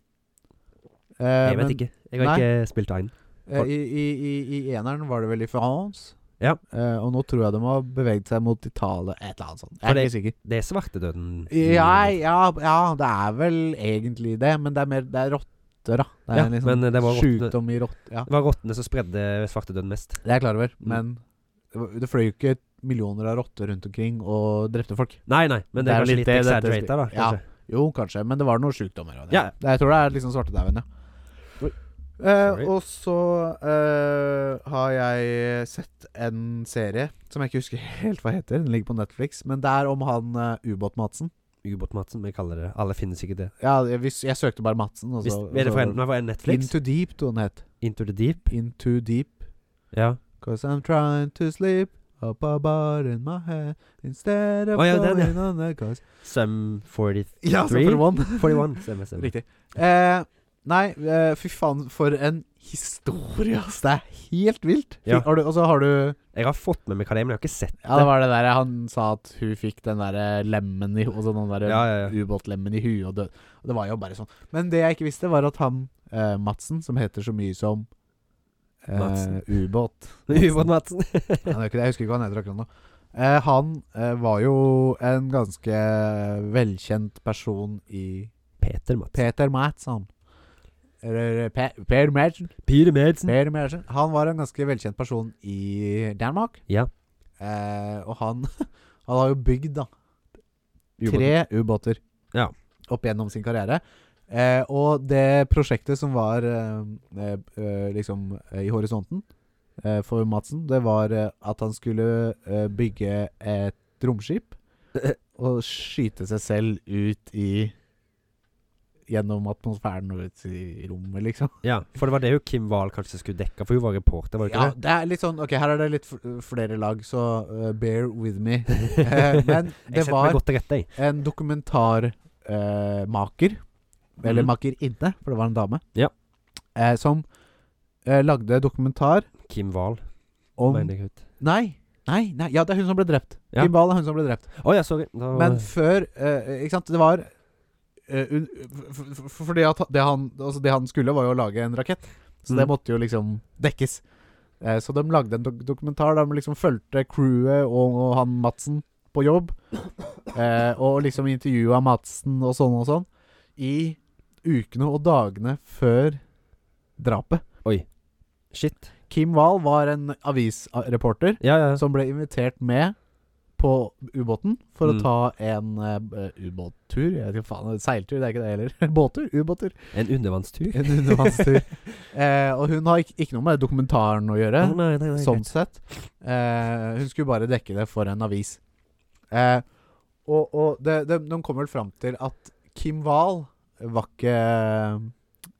[SPEAKER 3] Eh,
[SPEAKER 2] Jeg vet ikke. Jeg har
[SPEAKER 3] Nei.
[SPEAKER 2] ikke spilt Ein.
[SPEAKER 3] Eh, i, i, i, I eneren var det vel i France.
[SPEAKER 2] Ja.
[SPEAKER 3] Eh, og nå tror jeg de har beveget seg mot Italia, et eller annet sånt. Jeg
[SPEAKER 2] For
[SPEAKER 3] er ikke sikker.
[SPEAKER 2] Det er svartedøden.
[SPEAKER 3] Ja,
[SPEAKER 2] Mm.
[SPEAKER 3] ja, ja, det er vel egentlig det, men det er mer Det er rotter, da. Det er
[SPEAKER 2] Ja,
[SPEAKER 3] en litt
[SPEAKER 2] men eh,
[SPEAKER 3] sånn
[SPEAKER 2] det var rottene-
[SPEAKER 3] sjukdom i rotter. Ja.
[SPEAKER 2] Det var rottene som spredde svartedøden mest.
[SPEAKER 3] Det er jeg klar over, men det var- det fløy jo ikke millioner av rotter rundt omkring og drepte folk.
[SPEAKER 2] Nei, nei, men det
[SPEAKER 3] Det er
[SPEAKER 2] er kanskje
[SPEAKER 3] litt
[SPEAKER 2] litt
[SPEAKER 3] det dette
[SPEAKER 2] exaggerated, da.
[SPEAKER 3] spil- ja.
[SPEAKER 2] Kanskje.
[SPEAKER 3] Jo, kanskje, men det var noen sjukdommer. av det.
[SPEAKER 2] Ja.
[SPEAKER 3] Det- Jeg tror det er liksom svartedauden, ja.
[SPEAKER 2] Oi.
[SPEAKER 3] Eh,
[SPEAKER 2] Sorry.
[SPEAKER 3] og så eh, har jeg sett en serie som jeg ikke husker [LAUGHS] helt hva heter. Den ligger på Netflix, men det er om han eh, ubåt-Madsen.
[SPEAKER 2] Ubåt-Madsen, vi kaller det. Alle finner sikkert det.
[SPEAKER 3] Ja, jeg, hvis- jeg søkte bare Madsen. Og så,
[SPEAKER 2] Hvis,
[SPEAKER 3] og
[SPEAKER 2] er det
[SPEAKER 3] så-
[SPEAKER 2] for en, nei, for en Netflix?
[SPEAKER 3] Into Deep, tror jeg den het.
[SPEAKER 2] Altså, Into the Deep?
[SPEAKER 3] Into Deep.
[SPEAKER 2] Ja.
[SPEAKER 3] Cause I'm trying to sleep up a bar in my head Instead of
[SPEAKER 2] Å, ja, den,
[SPEAKER 3] going
[SPEAKER 2] ja.
[SPEAKER 3] on the coast
[SPEAKER 2] Sum 40,
[SPEAKER 3] Ja,
[SPEAKER 2] Three?
[SPEAKER 3] Super
[SPEAKER 2] [LAUGHS]
[SPEAKER 3] One
[SPEAKER 2] 41. Stemmer, stemmer.
[SPEAKER 3] [LAUGHS] Riktig eh, Nei, eh, fy faen for en historie ass Det er helt vilt Fy-
[SPEAKER 2] Ja.
[SPEAKER 3] har du, Og så har du Ja,
[SPEAKER 2] Jeg har fått med meg hva det er, men jeg har ikke sett
[SPEAKER 3] det var det der Han sa at hun fikk den der eh, lemmen i Og så den der eh,
[SPEAKER 2] Ja, [LAUGHS] ja, ja.
[SPEAKER 3] ubåtlemmen i huet og død Og det var jo bare sånn Men det jeg ikke visste var at han eh, Madsen Som heter så mye som eh,
[SPEAKER 2] Madsen.
[SPEAKER 3] Ubåt
[SPEAKER 2] Ubåt-Madsen.
[SPEAKER 3] Han er jo ikke det, jeg husker ikke hva han heter akkurat nå. Eh, han eh, var jo en ganske velkjent person i
[SPEAKER 2] [LAUGHS] Peter Madsen.
[SPEAKER 3] Peter Madsen. Eller eh, Pe Per Madsen.
[SPEAKER 2] Peter Madsen.
[SPEAKER 3] Per Madsen. Han var en ganske velkjent person i Danmark.
[SPEAKER 2] Ja.
[SPEAKER 3] [LAUGHS] Eh, og han, han har jo bygd da tre ubåter.
[SPEAKER 2] Ja.
[SPEAKER 3] opp gjennom sin karriere. Eh, og det prosjektet som var eh, eh, eh, liksom eh, i horisonten eh, for Madsen, det var eh, at han skulle eh, bygge
[SPEAKER 2] [LAUGHS]
[SPEAKER 3] et romskip og skyte seg selv ut i Gjennom atmosfæren og ut i rommet, liksom.
[SPEAKER 2] Ja, for det var det jo Kim Wahl kanskje skulle dekke, for hun var reporter, var det
[SPEAKER 3] Ja,
[SPEAKER 2] ikke
[SPEAKER 3] det er litt sånn Ok, her er det litt fl- flere lag, så eh, bear with me.
[SPEAKER 2] det?
[SPEAKER 3] [LAUGHS] [LAUGHS] Eh, men
[SPEAKER 2] [LAUGHS] jeg
[SPEAKER 3] det
[SPEAKER 2] setter meg
[SPEAKER 3] var
[SPEAKER 2] godt til rette, jeg.
[SPEAKER 3] en dokumentarmaker, eller
[SPEAKER 2] Mhm.
[SPEAKER 3] makerinne, for det var en dame,
[SPEAKER 2] Ja.
[SPEAKER 3] eh, som eh, lagde dokumentar
[SPEAKER 2] Kim Wahl,
[SPEAKER 3] om
[SPEAKER 2] mener jeg ut.
[SPEAKER 3] Nei, nei, nei. Ja, det er hun som ble drept.
[SPEAKER 2] Ja.
[SPEAKER 3] Kim Wahl er hun som ble drept.
[SPEAKER 2] Å ja, sorry. Da,
[SPEAKER 3] Men før eh, Ikke sant, det var eh, un, f, f, f, Fordi at det han, altså det han skulle, var jo å lage en rakett. Så det
[SPEAKER 2] Mm.
[SPEAKER 3] måtte jo liksom dekkes. Eh, så de lagde en dok dokumentar der de liksom fulgte crewet og, og han Madsen på jobb. Eh, og liksom intervjua Madsen og sånn og sånn. I ukene og dagene før drapet.
[SPEAKER 2] Shit.
[SPEAKER 3] Kim Wahl var en avisreporter
[SPEAKER 2] Ja, ja.
[SPEAKER 3] som ble invitert med på ubåten for
[SPEAKER 2] Mm.
[SPEAKER 3] å ta en eh, ubåttur. Jeg vet ikke faen, seiltur, det er ikke det heller. [LAUGHS] Båttur? Ubåttur.
[SPEAKER 2] [LAUGHS] En undervannstur.
[SPEAKER 3] En undervannstur. [LAUGHS] eh, og hun har ikke, ikke noe med dokumentaren å gjøre,
[SPEAKER 2] Å, nei, nei, nei,
[SPEAKER 3] sånn sett. Eh, hun skulle bare dekke det for en avis. Eh, og og det, det, de kom vel fram til at Kim Wahl var ikke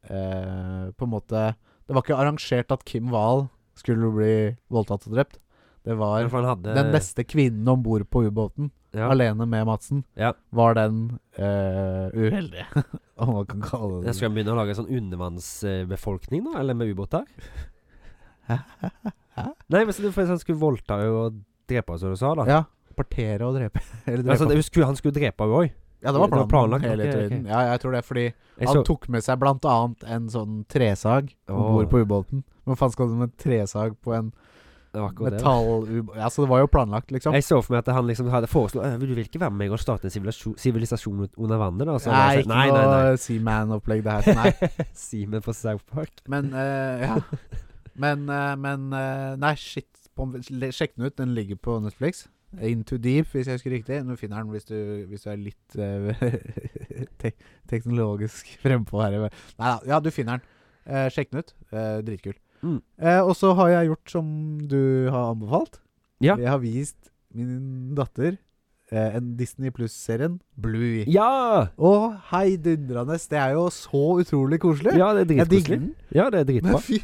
[SPEAKER 3] eh, På en måte Det var ikke arrangert at Kim Wahl skulle bli voldtatt og drept. Det var
[SPEAKER 2] greit. For han hadde
[SPEAKER 3] den beste kvinnen om bord på ubåten,
[SPEAKER 2] ja.
[SPEAKER 3] alene med Madsen,
[SPEAKER 2] Ja.
[SPEAKER 3] var den eh, uheldige, [LAUGHS] om man kan kalle det
[SPEAKER 2] Jeg skal begynne å lage en sånn undervannsbefolkning, da? Eller med ubåter?
[SPEAKER 3] Hæ?
[SPEAKER 2] Nei, men så det for han skulle voldta henne og drepe henne, som du sa, da.
[SPEAKER 3] Ja. Partere og drepe. [LAUGHS] Eller drepe.
[SPEAKER 2] altså, Ah. det, hun skulle, han skulle drepe henne òg.
[SPEAKER 3] ja, det var
[SPEAKER 2] det var
[SPEAKER 3] planen,
[SPEAKER 2] planlagt,
[SPEAKER 3] hele
[SPEAKER 2] ok, ok.
[SPEAKER 3] tiden. Ja, jeg tror det, fordi
[SPEAKER 2] Jeg
[SPEAKER 3] han
[SPEAKER 2] så-
[SPEAKER 3] tok med seg blant annet en sånn tresag om
[SPEAKER 2] Åh.
[SPEAKER 3] bord på ubåten. Hva faen skal du med en tresag på en
[SPEAKER 2] det var akkurat det, da.
[SPEAKER 3] metallubåt Altså, det var jo planlagt, liksom.
[SPEAKER 2] Jeg så for meg at han liksom hadde foreslått «Øh, Vil du ikke være med meg og starte en sivilisasjon- sivilisasjon ut- under vannet, da? Og altså, så
[SPEAKER 3] Nei,
[SPEAKER 2] hadde jeg sagt,
[SPEAKER 3] ikke noe Seaman-opplegg, det her. Nei.
[SPEAKER 2] nei. [LAUGHS] Simen på South Park.
[SPEAKER 3] Men eh, ja. Men, eh, men eh, Nei, shit. På, le- sjekk den ut. Den ligger på Netflix. Into Deep, hvis jeg husker riktig. Du finner den hvis du, hvis du er litt eh, [LAUGHS] te teknologisk frempå her. Nei da. Ja, du finner den. Eh, sjekk den ut. Eh, dritkul.
[SPEAKER 2] Mm.
[SPEAKER 3] Eh, og så har jeg gjort som du har anbefalt.
[SPEAKER 2] Ja.
[SPEAKER 3] Jeg har vist min datter eh, en Disney Pluss-serien Bluey.
[SPEAKER 2] Ja!
[SPEAKER 3] Og heidundrende! Det er jo så utrolig koselig.
[SPEAKER 2] Ja, det er
[SPEAKER 3] jeg digger
[SPEAKER 2] dritkoselig.
[SPEAKER 3] den.
[SPEAKER 2] Ja, det er
[SPEAKER 3] Men
[SPEAKER 2] dritbra.
[SPEAKER 3] fy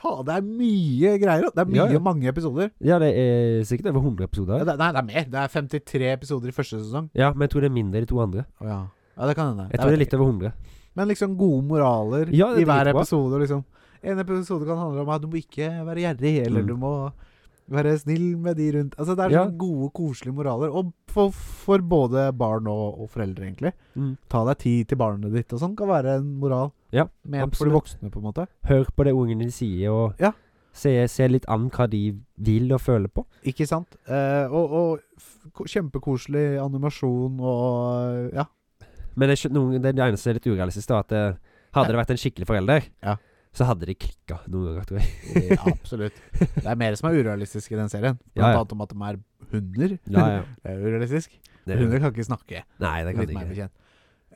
[SPEAKER 3] faen, det er mye greier. da. Det er mye,
[SPEAKER 2] Ja, ja.
[SPEAKER 3] mange episoder.
[SPEAKER 2] Ja, det er sikkert over 100
[SPEAKER 3] Ja,
[SPEAKER 2] episoder.
[SPEAKER 3] det, nei, det er mer. Det er 53 episoder i første sesong.
[SPEAKER 2] Ja, men jeg tror det er mindre i de to andre.
[SPEAKER 3] Å ja. ja, det kan hende.
[SPEAKER 2] Jeg tror det er
[SPEAKER 3] vet
[SPEAKER 2] litt over 100.
[SPEAKER 3] ikke. Men liksom gode moraler
[SPEAKER 2] Ja, det er
[SPEAKER 3] i hver
[SPEAKER 2] dritbra.
[SPEAKER 3] episode. liksom. En episode kan handle om at du må ikke være gjerrig, eller
[SPEAKER 2] Mm.
[SPEAKER 3] du må være snill med de rundt Altså, Det er
[SPEAKER 2] Ja.
[SPEAKER 3] sånne gode, koselige moraler. Og for, for både barn og, og foreldre, egentlig.
[SPEAKER 2] Mm.
[SPEAKER 3] Ta deg tid til barnet ditt og sånn kan være en moral.
[SPEAKER 2] Ja,
[SPEAKER 3] Ment for de
[SPEAKER 2] absolutt.
[SPEAKER 3] voksne, på en måte.
[SPEAKER 2] Hør på det ungene de sier, og
[SPEAKER 3] Ja.
[SPEAKER 2] se, se litt an hva de vil og føler på.
[SPEAKER 3] Ikke sant? Eh, og og f- ko- kjempekoselig animasjon og [LAUGHS] Ja.
[SPEAKER 2] Men det, er ikke noen, det, det eneste som er litt urealistisk, er at eh, hadde det vært en skikkelig forelder,
[SPEAKER 3] Ja.
[SPEAKER 2] så hadde de klikka noen ganger, tror jeg.
[SPEAKER 3] eh, absolutt. Det er mer som er urealistisk i den serien.
[SPEAKER 2] Ja,
[SPEAKER 3] Blant
[SPEAKER 2] ja.
[SPEAKER 3] annet om at de er hunder.
[SPEAKER 2] [LAUGHS] Ja, ja.
[SPEAKER 3] [LAUGHS] Det er urealistisk.
[SPEAKER 2] Det,
[SPEAKER 3] Hunder kan ikke snakke.
[SPEAKER 2] nei, det kan
[SPEAKER 3] Litt
[SPEAKER 2] de
[SPEAKER 3] meg
[SPEAKER 2] ikke.
[SPEAKER 3] bekjent.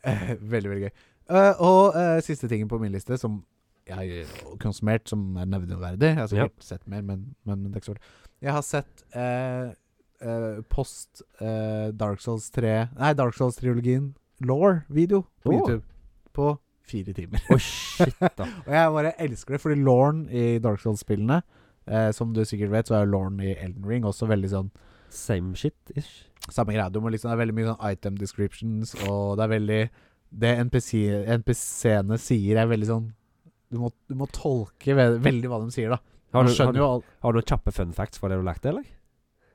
[SPEAKER 3] Eh, veldig, veldig gøy. Eh, og eh, siste tingen på min liste som jeg har konsumert, som er nevneverdig Jeg har
[SPEAKER 2] Ja.
[SPEAKER 3] sikkert sett mer, men, men det er ikke så stort. Jeg har sett eh, eh, post eh, Dark Souls 3 Nei, Dark Souls-trilogien Law-video på
[SPEAKER 2] Åh.
[SPEAKER 3] YouTube på fire timer. [LAUGHS]
[SPEAKER 2] Å, shit, da.
[SPEAKER 3] Og jeg bare elsker det, fordi Lorne i Dark Souls-spillene eh, Som du sikkert vet, så er Lorne i Elden Ring også veldig sånn
[SPEAKER 2] Same shit-ish.
[SPEAKER 3] samme greia. Du må liksom, det er veldig mye sånn item descriptions, og det er veldig Det NPC-ene sier, er veldig sånn Du må, du må tolke ve veldig hva de sier, da.
[SPEAKER 2] Har
[SPEAKER 3] Man
[SPEAKER 2] du, har,
[SPEAKER 3] skjønner
[SPEAKER 2] du,
[SPEAKER 3] jo alt
[SPEAKER 2] har du noen kjappe fun facts fra det du lærte, eller?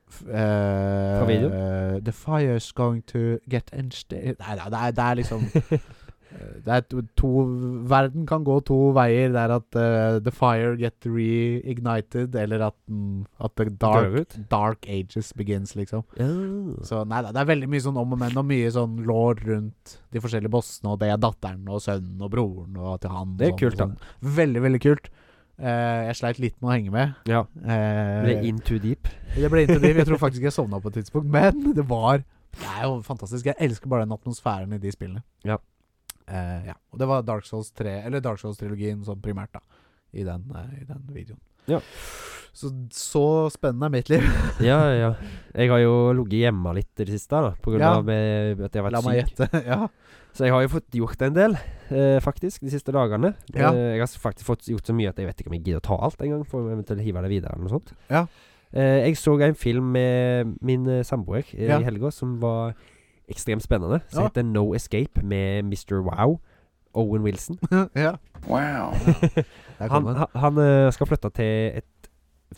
[SPEAKER 3] f- eh,
[SPEAKER 2] Fra videoen?
[SPEAKER 3] eh, the fire's going to get ensta... Nei, nei, det er, det er liksom
[SPEAKER 2] [LAUGHS]
[SPEAKER 3] eh, det er to, to Verden kan gå to veier. Det er at eh, the fire get reignited, eller at, den- at the dark,
[SPEAKER 2] Dør ut?
[SPEAKER 3] dark ages begins, liksom.
[SPEAKER 2] Ja.
[SPEAKER 3] Så nei da, det er veldig mye sånn om og men, og mye sånn lår rundt de forskjellige bossene, og det er datteren og sønnen og broren og til han. og
[SPEAKER 2] Det er
[SPEAKER 3] sånn,
[SPEAKER 2] kult, da.
[SPEAKER 3] og Sånn. Veldig, veldig kult. Eh, jeg sleit litt med å henge med.
[SPEAKER 2] ja.
[SPEAKER 3] Eh,
[SPEAKER 2] Ble in too deep.
[SPEAKER 3] det ble inntil det. Jeg tror faktisk jeg sovna på et tidspunkt, men det var Det er jo fantastisk. Jeg elsker bare den atmosfæren i de spillene.
[SPEAKER 2] Ja.
[SPEAKER 3] Eh, ja. Og det var Dark Souls 3, eller Dark Souls-trilogien sånn primært, da. I den, eh, i den videoen.
[SPEAKER 2] Ja.
[SPEAKER 3] Så, så spennende er mitt liv.
[SPEAKER 2] [LAUGHS] Ja, ja. Jeg har jo ligget hjemme litt i det siste, da, på grunn
[SPEAKER 3] Ja.
[SPEAKER 2] av eh, at jeg har
[SPEAKER 3] [LAUGHS] La
[SPEAKER 2] vært
[SPEAKER 3] meg
[SPEAKER 2] syk.
[SPEAKER 3] gjette. [LAUGHS] ja.
[SPEAKER 2] Så jeg har jo fått gjort en del, eh, faktisk, de siste dagene.
[SPEAKER 3] Ja.
[SPEAKER 2] Eh, jeg har faktisk fått gjort så mye at jeg vet ikke om jeg gidder å ta alt engang, for å eventuelt hive det videre eller noe sånt.
[SPEAKER 3] Ja.
[SPEAKER 2] Eh, jeg så en film med min eh, samboer eh,
[SPEAKER 3] Ja.
[SPEAKER 2] i helga som var ekstremt spennende. Som
[SPEAKER 3] Ja.
[SPEAKER 2] heter No Escape med Mr. Wow. Owen Wilson.
[SPEAKER 3] [LAUGHS] ja.
[SPEAKER 1] Wow.
[SPEAKER 2] Han,
[SPEAKER 3] Der kom den.
[SPEAKER 2] han, han eh, skal flytte til et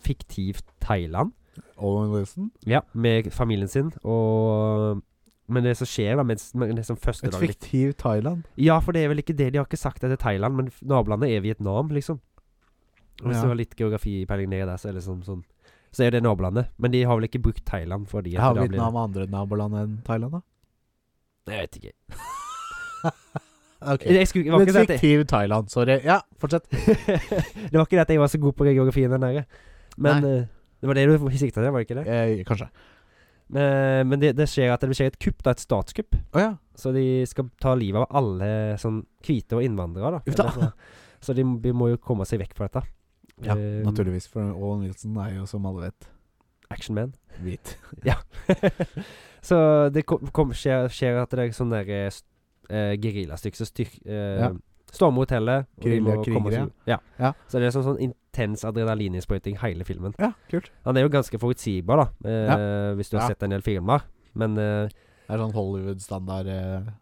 [SPEAKER 2] fiktivt Thailand.
[SPEAKER 3] Owen Wilson.
[SPEAKER 2] Ja, med familien sin og Men det som skjer da mens, men det som første
[SPEAKER 3] Et
[SPEAKER 2] dagen
[SPEAKER 3] fiktiv Thailand.
[SPEAKER 2] Ja, for det er vel ikke det. De har ikke sagt det til Thailand, men f- nabolandet er Vietnam, liksom. Og Hvis
[SPEAKER 3] Ja.
[SPEAKER 2] du har litt geografipeiling nedi der, så er det liksom sånn Så er det nabolandet. Men de har vel ikke brukt Thailand fordi at
[SPEAKER 3] Har
[SPEAKER 2] det da blir-
[SPEAKER 3] Vietnam andre naboland enn Thailand, da?
[SPEAKER 2] Jeg vet ikke.
[SPEAKER 3] Ok.
[SPEAKER 2] Jeg skulle, det, var
[SPEAKER 3] Et
[SPEAKER 2] ikke det, at jeg,
[SPEAKER 3] fiktiv Thailand. Sorry. Ja, fortsett.
[SPEAKER 2] det var ikke det at jeg var så god på geografien der nede. Men eh, det var det du sikta til, var det ikke det?
[SPEAKER 3] Eh, kanskje.
[SPEAKER 2] Men, men det, det skjer at det skjer et kupp, da. Et statskupp.
[SPEAKER 3] Å ja.
[SPEAKER 2] Så de skal ta livet av alle sånn hvite og innvandrere, da.
[SPEAKER 3] Uff da.
[SPEAKER 2] Eller Så, så de, de må jo komme seg vekk fra dette.
[SPEAKER 3] Ja,
[SPEAKER 2] Eh,
[SPEAKER 3] Naturligvis, for Owen Wilson er jo, som alle vet,
[SPEAKER 2] Action man.
[SPEAKER 3] hvit.
[SPEAKER 2] så det kom, kom, skjer, skjer at det er sånn der eh, st- eh, geriljastykke som styr... Eh,
[SPEAKER 3] Ja.
[SPEAKER 2] Stormer hotellet. og de må
[SPEAKER 3] Geriljakrigere.
[SPEAKER 2] komme seg ut. Ja.
[SPEAKER 3] Ja.
[SPEAKER 2] Så det er sånn, sånn intens adrenalininnsprøyting hele filmen.
[SPEAKER 3] Ja, kult.
[SPEAKER 2] Han er jo ganske forutsigbar, da, eh, hvis du har
[SPEAKER 3] Ja.
[SPEAKER 2] sett en del filmer. Men eh,
[SPEAKER 3] Det er sånn Hollywood-standard eh,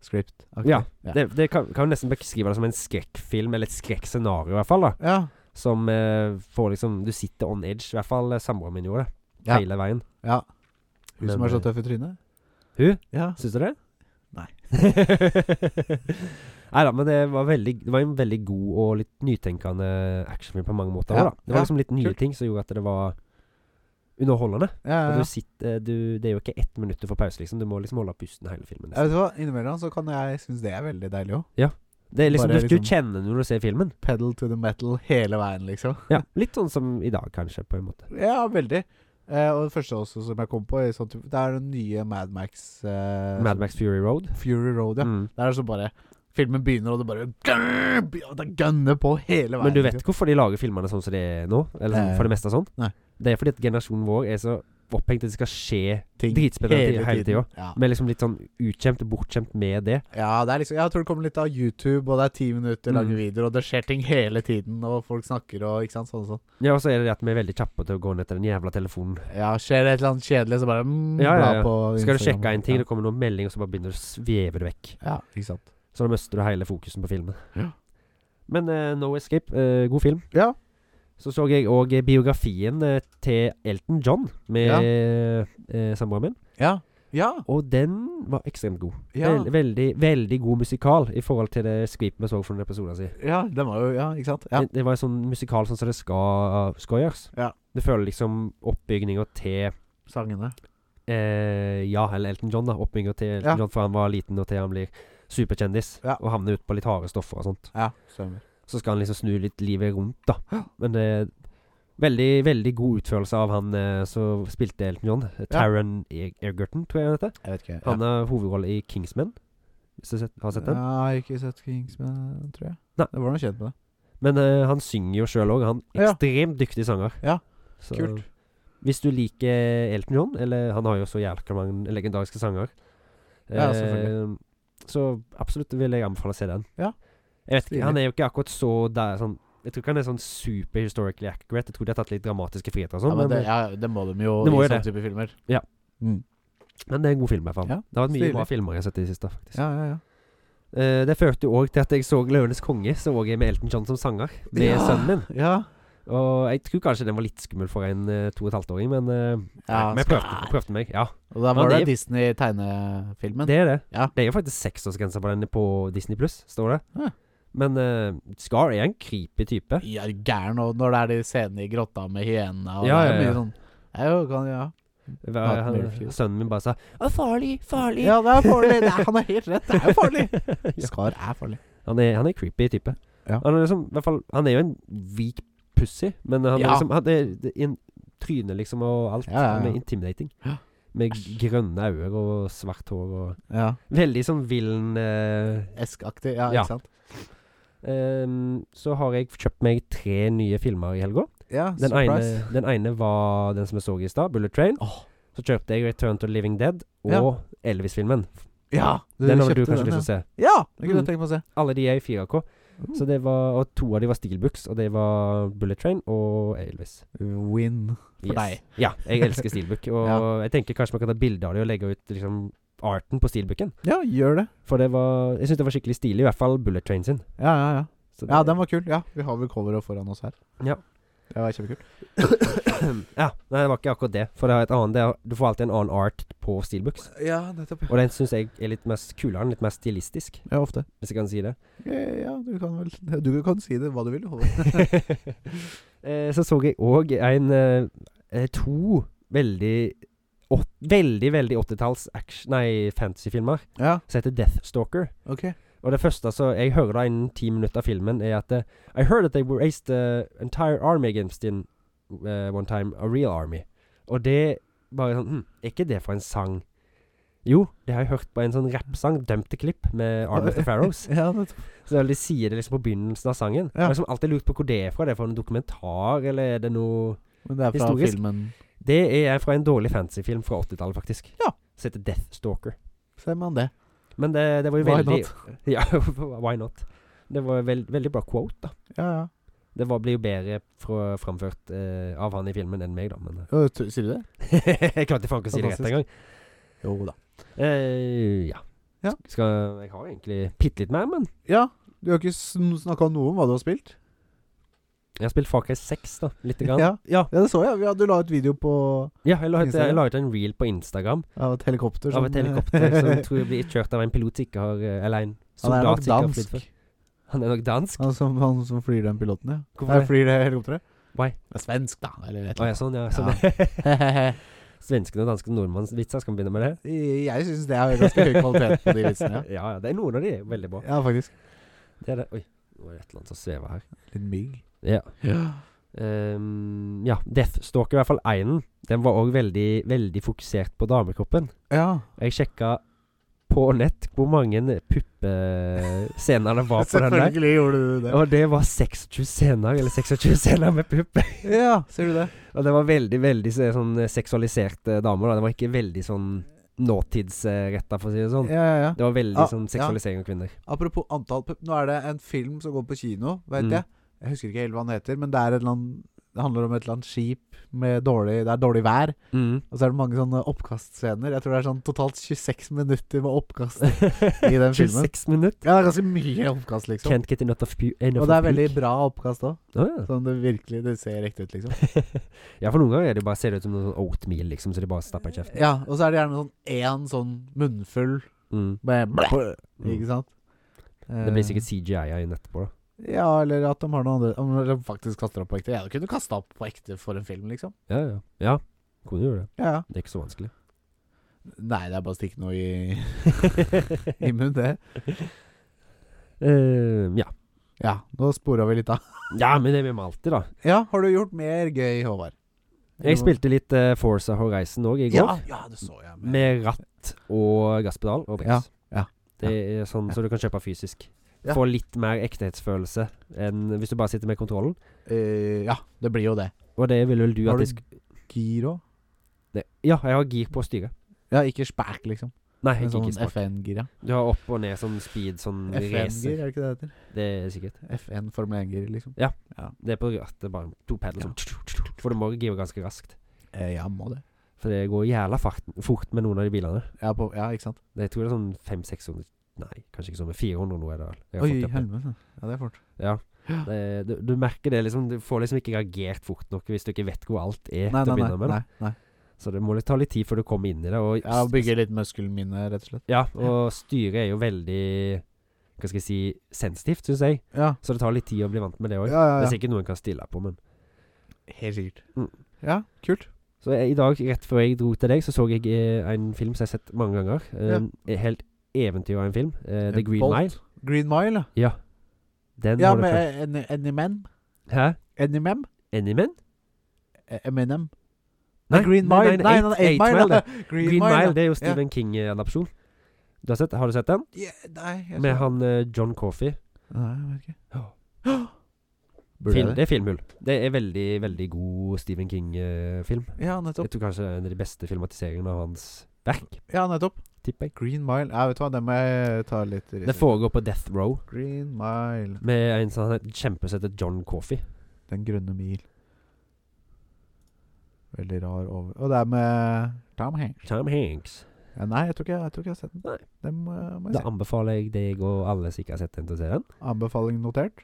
[SPEAKER 3] script. aktig.
[SPEAKER 2] Ja,
[SPEAKER 3] ja.
[SPEAKER 2] det, det kan, kan jo nesten beskrive det som en skrekkfilm, eller et skrekkscenario, i hvert fall. da
[SPEAKER 3] ja.
[SPEAKER 2] Som eh, får liksom Du sitter on edge, i hvert fall eh, samboeren min gjorde det.
[SPEAKER 3] Ja.
[SPEAKER 2] Hele veien.
[SPEAKER 3] ja. Hun som
[SPEAKER 2] Men,
[SPEAKER 3] er så
[SPEAKER 2] eh,
[SPEAKER 3] tøff i trynet?
[SPEAKER 2] Hun?
[SPEAKER 3] Ja.
[SPEAKER 2] Syns du det? [LAUGHS]
[SPEAKER 3] Nei.
[SPEAKER 2] Nei da, men det var, veldig, det var en veldig god og litt nytenkende actionfilm på mange måter.
[SPEAKER 3] Ja.
[SPEAKER 2] Da. Det var
[SPEAKER 3] Ja,
[SPEAKER 2] liksom litt nye
[SPEAKER 3] kult.
[SPEAKER 2] ting som gjorde at det var underholdende.
[SPEAKER 3] Ja, ja,
[SPEAKER 2] Og
[SPEAKER 3] ja.
[SPEAKER 2] du sitter, eh, du, det er jo ikke ett minutt du får pause, liksom. Du må liksom holde av pusten hele filmen.
[SPEAKER 3] Jeg
[SPEAKER 2] Nesten.
[SPEAKER 3] vet du hva, Innimellom så kan jeg synes det er veldig deilig òg.
[SPEAKER 2] Det er liksom,
[SPEAKER 3] bare
[SPEAKER 2] du, du
[SPEAKER 3] liksom-
[SPEAKER 2] kjenner det når du ser filmen.
[SPEAKER 3] Pedal to the metal hele veien, liksom.
[SPEAKER 2] Ja, Litt sånn som i dag, kanskje, på en måte.
[SPEAKER 3] Ja, veldig. Eh, og det første også som jeg kom på, er sånn, typ- det er den nye Mad Max eh,
[SPEAKER 2] Mad Max Fury Road.
[SPEAKER 3] Fury Road, ja.
[SPEAKER 2] Mm.
[SPEAKER 3] Der er det så bare Filmen begynner, og det bare gunner, det gunner på hele veien.
[SPEAKER 2] Men du
[SPEAKER 3] liksom.
[SPEAKER 2] vet hvorfor de lager filmene sånn som det er nå? Eller sånn,
[SPEAKER 3] Nei.
[SPEAKER 2] for det meste sånn?
[SPEAKER 3] Eh, Nei.
[SPEAKER 2] Det er fordi at generasjonen vår er så opphengt at det skal skje
[SPEAKER 3] Ting
[SPEAKER 2] dritspennende hele, hele tida.
[SPEAKER 3] tiden. Ja.
[SPEAKER 2] Men liksom litt sånn utkjempt og bortskjemt med det.
[SPEAKER 3] Ja, det er liksom, jeg tror det kommer litt av YouTube, og det er ti minutter lange
[SPEAKER 2] Mm.
[SPEAKER 3] videoer, og det skjer ting hele tiden, og folk snakker og ikke sant, sånn og sånn.
[SPEAKER 2] Ja, Og så er det det at vi er veldig kjappe til å gå ned til den jævla telefonen.
[SPEAKER 3] Ja, skjer det et eller annet kjedelig, så bare mm,
[SPEAKER 2] Ja, ja, ja.
[SPEAKER 3] bla på
[SPEAKER 2] Skal du
[SPEAKER 3] Instagram.
[SPEAKER 2] sjekke en ting, det kommer noen melding, og så bare begynner du å sveve det vekk.
[SPEAKER 3] Ja. ja, ikke sant.
[SPEAKER 2] Så da mister du hele fokusen på filmen.
[SPEAKER 3] Ja.
[SPEAKER 2] Men eh, No Escape, eh, god film.
[SPEAKER 3] Ja.
[SPEAKER 2] Så så jeg òg biografien eh, til Elton John med
[SPEAKER 3] Ja.
[SPEAKER 2] eh, samboeren min,
[SPEAKER 3] Ja. Ja.
[SPEAKER 2] og den var ekstremt god.
[SPEAKER 3] Ja.
[SPEAKER 2] Vel- veldig, veldig god musikal i forhold til det skvipet vi så fra den episoden sin.
[SPEAKER 3] ja, den var jo Ja, ikke sant. Ja.
[SPEAKER 2] Det, det var en sånn musikal sånn som det skal, skal gjøres.
[SPEAKER 3] Ja.
[SPEAKER 2] Det føler liksom oppbygninga til
[SPEAKER 3] Sangene.
[SPEAKER 2] eh, Ja, eller Elton John, da. Oppbygninga til Elton
[SPEAKER 3] Ja.
[SPEAKER 2] John fra han var liten og til han blir superkjendis
[SPEAKER 3] Ja.
[SPEAKER 2] og havner ut på litt harde stoffer og sånt.
[SPEAKER 3] Ja, stemmer.
[SPEAKER 2] Så skal han liksom snu litt livet rundt, da. Men det er veldig, veldig god utførelse av han eh, som spilte Elton John. Ja. Taron E- Egerton, tror jeg han heter.
[SPEAKER 3] Jeg vet ikke.
[SPEAKER 2] Han har hovedrolle i Kingsman, hvis du sett- har sett den.
[SPEAKER 3] ja. ja, jeg har ikke sett Kingsman, tror jeg.
[SPEAKER 2] Nei.
[SPEAKER 3] Det var noe kjent med det.
[SPEAKER 2] Men eh, han synger jo sjøl òg. Han er
[SPEAKER 3] Ja.
[SPEAKER 2] ekstremt dyktig sanger.
[SPEAKER 3] Ja,
[SPEAKER 2] Så,
[SPEAKER 3] kult.
[SPEAKER 2] Hvis du liker Elton John, eller han har jo så jævla mange legendariske sanger
[SPEAKER 3] Ja,
[SPEAKER 2] eh,
[SPEAKER 3] selvfølgelig.
[SPEAKER 2] Så absolutt vil jeg anbefale å se den.
[SPEAKER 3] Ja.
[SPEAKER 2] Jeg vet
[SPEAKER 3] Stilig.
[SPEAKER 2] ikke, Han er jo ikke akkurat så der, sånn Jeg tror ikke han er sånn super historically accurate. Jeg tror de har tatt litt dramatiske friheter og
[SPEAKER 3] Ja,
[SPEAKER 2] sånn,
[SPEAKER 3] men
[SPEAKER 2] men,
[SPEAKER 3] det, ja, det må de jo
[SPEAKER 2] Det må
[SPEAKER 3] i
[SPEAKER 2] jo det.
[SPEAKER 3] sånne type filmer.
[SPEAKER 2] Ja.
[SPEAKER 3] Mm.
[SPEAKER 2] men det er en god film, i hvert fall.
[SPEAKER 3] Ja,
[SPEAKER 2] det har vært mye
[SPEAKER 3] stilig.
[SPEAKER 2] bra filmer jeg har sett i det siste. faktisk
[SPEAKER 3] Ja, ja, ja.
[SPEAKER 2] Eh, Det førte jo òg til at jeg så 'Løvenes konge', så òg jeg med Elton John som sanger, med
[SPEAKER 3] Ja.
[SPEAKER 2] sønnen min.
[SPEAKER 3] Ja.
[SPEAKER 2] Og jeg tror kanskje den var litt skummel for en eh, to og et halvt åring, men eh,
[SPEAKER 3] Ja,
[SPEAKER 2] Men jeg prøvde, prøvde meg. Ja,
[SPEAKER 3] Og da
[SPEAKER 2] Men
[SPEAKER 3] var det
[SPEAKER 2] det-
[SPEAKER 3] Disney-tegnefilmen.
[SPEAKER 2] det er det.
[SPEAKER 3] Ja.
[SPEAKER 2] Det er jo faktisk seksårsgrense på den på Disney pluss, står det.
[SPEAKER 3] Ja.
[SPEAKER 2] Men eh, Scar er en creepy type.
[SPEAKER 3] Ja, er du gæren, og når det er de scenene i grotta med hyenene og
[SPEAKER 2] Ja,
[SPEAKER 3] det er
[SPEAKER 2] ja, ja.
[SPEAKER 3] mye sånn ja, jo, kan, ja.
[SPEAKER 2] Hva- Han,
[SPEAKER 3] Nightmare Fuel.
[SPEAKER 2] sønnen min bare sa 'Å, farlig, farlig'.
[SPEAKER 3] ja, det er farlig. Det er, han er helt rett. Det er jo farlig.
[SPEAKER 2] [LAUGHS] Ja.
[SPEAKER 3] Skar er farlig.
[SPEAKER 2] Han er, han er creepy type.
[SPEAKER 3] Ja.
[SPEAKER 2] Han, er liksom, i hvert fall, han er jo en weak pussy, men han
[SPEAKER 3] Ja.
[SPEAKER 2] er liksom han er, det, er en, Trynet liksom og alt.
[SPEAKER 3] Ja, ja, ja.
[SPEAKER 2] Han er intimidating.
[SPEAKER 3] Ja.
[SPEAKER 2] Med grønne øyne og svart hår og
[SPEAKER 3] Ja.
[SPEAKER 2] Veldig sånn villen eh,
[SPEAKER 3] Eskaktig. Ja,
[SPEAKER 2] Ja.
[SPEAKER 3] ikke sant?
[SPEAKER 2] ehm, Så har jeg kjøpt meg tre nye filmer i helga.
[SPEAKER 3] Ja,
[SPEAKER 2] Den, ene- den ene var den som jeg så i stad, Bullet Train.
[SPEAKER 3] Åh.
[SPEAKER 2] Så kjøpte jeg Return to the Living Dead og Elvis-filmen.
[SPEAKER 3] Ja,
[SPEAKER 2] Den har vel du
[SPEAKER 3] kjøpte
[SPEAKER 2] kanskje
[SPEAKER 3] den,
[SPEAKER 2] lyst til å se.
[SPEAKER 3] Ja, Mm. det kunne
[SPEAKER 2] Mm.
[SPEAKER 3] jeg tenkt meg å se.
[SPEAKER 2] Alle de er i 4K. Så det var, Og to av de var Steelbooks, og det var Bullet Train og Elvis.
[SPEAKER 3] Win. For deg.
[SPEAKER 2] Ja, jeg elsker steelbook.
[SPEAKER 3] [LAUGHS]
[SPEAKER 2] Og jeg tenker kanskje man kan ta bilde av det og legge ut liksom, arten på steelbooken.
[SPEAKER 3] Ja, gjør det.
[SPEAKER 2] For det var Jeg syns det var skikkelig stilig, i hvert fall Bullet Train sin.
[SPEAKER 3] Ja, ja, ja.
[SPEAKER 2] Så
[SPEAKER 3] Ja, den var kul. Ja, vi har vel coveret foran oss her.
[SPEAKER 2] Ja.
[SPEAKER 3] Det var kjempekult.
[SPEAKER 2] ja, nei, det var ikke akkurat det. For det er et annet, det er, du får alltid en annen art på steelbooks.
[SPEAKER 3] Ja, nettopp.
[SPEAKER 2] Og den syns jeg er litt mer kulere, litt mer stilistisk,
[SPEAKER 3] Ja, ofte.
[SPEAKER 2] hvis jeg kan si det.
[SPEAKER 3] Ja, ja, du kan vel [LAUGHS] Du kan si det hva du vil. Håvard.
[SPEAKER 2] Eh, så så jeg òg en eh, eh, To veldig åt, Veldig, veldig 80-talls action- nei, fantasyfilmer
[SPEAKER 3] Ja,
[SPEAKER 2] som heter Deathstalker.
[SPEAKER 3] ok.
[SPEAKER 2] Og det første så jeg hører da innen ti minutter av filmen, er at eh, I heard that they were raised the entire army against in eh, one time a real army. Og det bare sånn hm, Er ikke det for en sang? Jo, det har jeg hørt på en sånn rappsang, dømt til klipp, med Arm of the Pharaohs.
[SPEAKER 3] [LAUGHS] Ja, nettopp.
[SPEAKER 2] Så de sier det liksom på begynnelsen av sangen.
[SPEAKER 3] Ja.
[SPEAKER 2] Jeg har liksom alltid lurt på hvor det er fra. Er det fra en dokumentar, eller er det noe
[SPEAKER 3] Men det er fra
[SPEAKER 2] Historisk.
[SPEAKER 3] filmen
[SPEAKER 2] Det er fra en dårlig fantasyfilm fra 80-tallet, faktisk.
[SPEAKER 3] Ja.
[SPEAKER 2] Som heter Deathstalker.
[SPEAKER 3] Ser man det.
[SPEAKER 2] Men det, det var jo
[SPEAKER 3] Why
[SPEAKER 2] veldig [LAUGHS] Ja, why not? Det var veld, veldig bra quote, da.
[SPEAKER 3] Ja, ja.
[SPEAKER 2] Det var, blir jo bedre fra, framført eh, av han i filmen enn meg, da. Men eh,
[SPEAKER 3] Ø, t- Sier du det?
[SPEAKER 2] [LAUGHS] jeg klarte faen ikke å si det rett
[SPEAKER 3] Fantastisk.
[SPEAKER 2] engang.
[SPEAKER 3] Jo da.
[SPEAKER 2] Uh, ja.
[SPEAKER 3] Ja.
[SPEAKER 2] Sk- Skal, jeg har egentlig bitte litt mer, men
[SPEAKER 3] Ja, du har ikke snakka noe om hva du har spilt?
[SPEAKER 2] jeg har spilt Far Cry 6, da. Lite grann.
[SPEAKER 3] Ja.
[SPEAKER 2] ja.
[SPEAKER 3] Ja, det så jeg. Ja, du la ut video på
[SPEAKER 2] Ja, jeg, la ut, jeg
[SPEAKER 3] Instagram?
[SPEAKER 2] la ut en reel på Instagram
[SPEAKER 3] av et helikopter.
[SPEAKER 2] av et helikopter
[SPEAKER 3] [LAUGHS]
[SPEAKER 2] som tror jeg blir kjørt av en pilot som ikke har eh, Eller en
[SPEAKER 3] eh, Han er
[SPEAKER 2] soldat
[SPEAKER 3] nok
[SPEAKER 2] som ikke har flydd
[SPEAKER 3] dansk.
[SPEAKER 2] før. Han er nok dansk?
[SPEAKER 3] Han som, han som flyr den piloten, ja.
[SPEAKER 2] Hvorfor
[SPEAKER 3] Nei,
[SPEAKER 2] det?
[SPEAKER 3] flyr det helikopteret?
[SPEAKER 2] Why?
[SPEAKER 3] Det er svensk, da. Eller et
[SPEAKER 2] Å ja, sånn, ja. Sånn. [LAUGHS] Svenskene, danskene og nordmannsvitser, skal vi begynne med det?
[SPEAKER 3] Jeg syns det er ganske høy kvalitet på de vitsene, ja.
[SPEAKER 2] [LAUGHS] ja, ja, det er noen av de er veldig bra.
[SPEAKER 3] Ja, faktisk.
[SPEAKER 2] Det er det. Oi, nå er det et eller annet som svever her.
[SPEAKER 3] Litt mygg.
[SPEAKER 2] Ja. Ehm, ja, Deathstalker, i hvert fall einen, den var òg veldig, veldig fokusert på damekroppen.
[SPEAKER 3] Ja.
[SPEAKER 2] Jeg sjekka på nett hvor mange puppescener det var på den der.
[SPEAKER 3] gjorde du
[SPEAKER 2] Og det var 26 scener, eller 26 scener med pupper.
[SPEAKER 3] Ja, ser du det?
[SPEAKER 2] Og det var veldig, veldig se- sånn eh, seksualiserte damer. da Det var ikke veldig sånn nåtidsretta, for å si det sånn.
[SPEAKER 3] Ja, ja, ja.
[SPEAKER 2] Det var veldig
[SPEAKER 3] Ja,
[SPEAKER 2] sånn
[SPEAKER 3] ja.
[SPEAKER 2] seksualisering av kvinner.
[SPEAKER 3] Apropos antall pupp. Nå er det en film som går på kino, veit
[SPEAKER 2] Mm.
[SPEAKER 3] jeg. Jeg husker ikke helt hva den heter, men det, er et eller annet, det handler om et eller annet skip med dårlig, det er dårlig vær. [LAUGHS]
[SPEAKER 2] Mm. [LAUGHS]
[SPEAKER 3] Og så er det mange sånne oppkastscener. Jeg tror det er sånn totalt 26 minutter med oppkast. I
[SPEAKER 2] [LAUGHS]
[SPEAKER 3] den filmen.
[SPEAKER 2] 26 minutter.
[SPEAKER 3] Ja, det er ganske mye oppkast, liksom.
[SPEAKER 2] Can't get enough of pu- enough
[SPEAKER 3] Og det
[SPEAKER 2] of
[SPEAKER 3] er veldig
[SPEAKER 2] puke.
[SPEAKER 3] bra oppkast òg.
[SPEAKER 2] Å, ja.
[SPEAKER 3] Sånn det virkelig det ser riktig ut, liksom.
[SPEAKER 2] ja, for noen ganger er det jo bare, ser det ut som noe sånn oatmeal, liksom, så de bare stapper i kjeften.
[SPEAKER 3] Ja, og så er det gjerne sånn én sånn munnfull
[SPEAKER 2] Mm.
[SPEAKER 3] med blæ, Ikke sant? Eh,
[SPEAKER 2] Det blir sikkert CGI inn etterpå, da.
[SPEAKER 3] Ja, eller at de har noen andre Om de faktisk kaster opp på ekte. Jeg kunne kasta opp på ekte for en film, liksom.
[SPEAKER 2] Ja, ja. Ja, kunne gjøre det.
[SPEAKER 3] Ja, ja.
[SPEAKER 2] Det er ikke så vanskelig.
[SPEAKER 3] Nei, det er bare å stikke noe i, [LAUGHS] i munnen, det.
[SPEAKER 2] Eh, ja.
[SPEAKER 3] Ja, nå spora vi litt av.
[SPEAKER 2] ja, men det vil vi alltid, da.
[SPEAKER 3] Ja, har du gjort mer gøy, Håvard?
[SPEAKER 2] Jeg spilte litt eh, Forza Horizon òg i går.
[SPEAKER 3] Ja, ja, det så jeg. Med.
[SPEAKER 2] Med ratt og gasspedal og brems.
[SPEAKER 3] ja, ja.
[SPEAKER 2] Det er sånn så du kan kjøpe fysisk.
[SPEAKER 3] Ja.
[SPEAKER 2] Få litt mer ektehetsfølelse enn hvis du bare sitter med kontrollen.
[SPEAKER 3] Eh, ja, det blir jo det.
[SPEAKER 2] Og det vil vel du
[SPEAKER 3] Har
[SPEAKER 2] at
[SPEAKER 3] du
[SPEAKER 2] jeg sk-
[SPEAKER 3] gir òg?
[SPEAKER 2] det- Ja, jeg har gir på styret.
[SPEAKER 3] Ja, ikke spæk, liksom.
[SPEAKER 2] Nei,
[SPEAKER 3] Men
[SPEAKER 2] jeg
[SPEAKER 3] sånn
[SPEAKER 2] ikke smak.
[SPEAKER 3] FN-gir, ja.
[SPEAKER 2] Du har opp og ned sånn speed, sånn
[SPEAKER 3] FN-gir,
[SPEAKER 2] racer.
[SPEAKER 3] er det ikke det det heter?
[SPEAKER 2] Det er sikkert.
[SPEAKER 3] FN Formel 1-gir, liksom.
[SPEAKER 2] Det er på rattet, bare to pedler
[SPEAKER 3] Ja.
[SPEAKER 2] sånn. For du må gire ganske raskt.
[SPEAKER 3] Eh, ja, må det.
[SPEAKER 2] For det går jævla fart, fort med noen av de bilene.
[SPEAKER 3] Ja, på, ja ikke sant?
[SPEAKER 2] Det- Jeg tror det er sånn 500-600 Nei, kanskje ikke sånn, men 400 nå er det vel. Jeg har
[SPEAKER 3] Oi,
[SPEAKER 2] fått det opp.
[SPEAKER 3] helvete. Ja, det er fort.
[SPEAKER 2] Ja. Det, du, du merker det liksom. Du får liksom ikke reagert fort nok hvis du ikke vet hvor alt er
[SPEAKER 3] Nei,
[SPEAKER 2] til å
[SPEAKER 3] nei,
[SPEAKER 2] begynne
[SPEAKER 3] nei.
[SPEAKER 2] med. da.
[SPEAKER 3] nei, nei.
[SPEAKER 2] Så det må litt ta litt tid før du kommer inn i det. Og,
[SPEAKER 3] Ja, Bygge litt muskelminne, rett og slett.
[SPEAKER 2] ja, og styret er jo veldig Hva skal jeg si sensitivt, syns jeg.
[SPEAKER 3] Ja,
[SPEAKER 2] Så det tar litt tid å bli vant med det òg.
[SPEAKER 3] ja, ja.
[SPEAKER 2] Det er
[SPEAKER 3] ja.
[SPEAKER 2] sikkert noen kan stille på, men
[SPEAKER 3] Helt sikkert.
[SPEAKER 2] Mm.
[SPEAKER 3] Ja, kult.
[SPEAKER 2] Så jeg, i dag, rett før jeg dro til deg, så så jeg eh, en film som jeg har sett mange ganger. Eh, en Helt eventyr av en film. Eh, The Green
[SPEAKER 3] Bolt.
[SPEAKER 2] Mile.
[SPEAKER 3] Green Mile, ja.
[SPEAKER 2] Ja. Den
[SPEAKER 3] Ja, eh,
[SPEAKER 2] har du følt.
[SPEAKER 3] med Any- Anymen.
[SPEAKER 2] Hæ?
[SPEAKER 3] Anymen?
[SPEAKER 2] Anymen?
[SPEAKER 3] Eh, Eminem. Nei, Green Mile. Nei, nei, nei, Eight
[SPEAKER 2] det.
[SPEAKER 3] Mile, da.
[SPEAKER 2] Green Mile,
[SPEAKER 3] da.
[SPEAKER 2] det er jo Stephen King-adapsjon. Du har, sett, har du sett den?
[SPEAKER 3] Ja, nei, jeg
[SPEAKER 2] Med
[SPEAKER 3] så-
[SPEAKER 2] han eh, John Coffey.
[SPEAKER 3] Nei, jeg vet ikke.
[SPEAKER 2] Ja.
[SPEAKER 3] Burde
[SPEAKER 2] Film,
[SPEAKER 3] jeg
[SPEAKER 2] det er filmhull. Det er veldig, veldig god Stephen King-film.
[SPEAKER 3] Ja,
[SPEAKER 2] jeg
[SPEAKER 3] nettopp.
[SPEAKER 2] tror kanskje det er en av de beste filmatiseringene av hans verk,
[SPEAKER 3] Ja, nettopp.
[SPEAKER 2] tipper jeg.
[SPEAKER 3] Green Mile. Ja, vet du hva, det må jeg ta litt
[SPEAKER 2] Det foregår på Death Row
[SPEAKER 3] Green Mile.
[SPEAKER 2] med en sånn en kjempe som heter John Coffey.
[SPEAKER 3] Den grønne mil. Veldig rar over... Og det er med Tom Hanks.
[SPEAKER 2] Tom Hanks.
[SPEAKER 3] Ja, nei, jeg tror, ikke, jeg tror ikke jeg har sett den.
[SPEAKER 2] Nei.
[SPEAKER 3] Den må, må
[SPEAKER 2] Da
[SPEAKER 3] jeg se.
[SPEAKER 2] anbefaler jeg deg og alle som ikke har sett den, til å se den.
[SPEAKER 3] Anbefaling notert.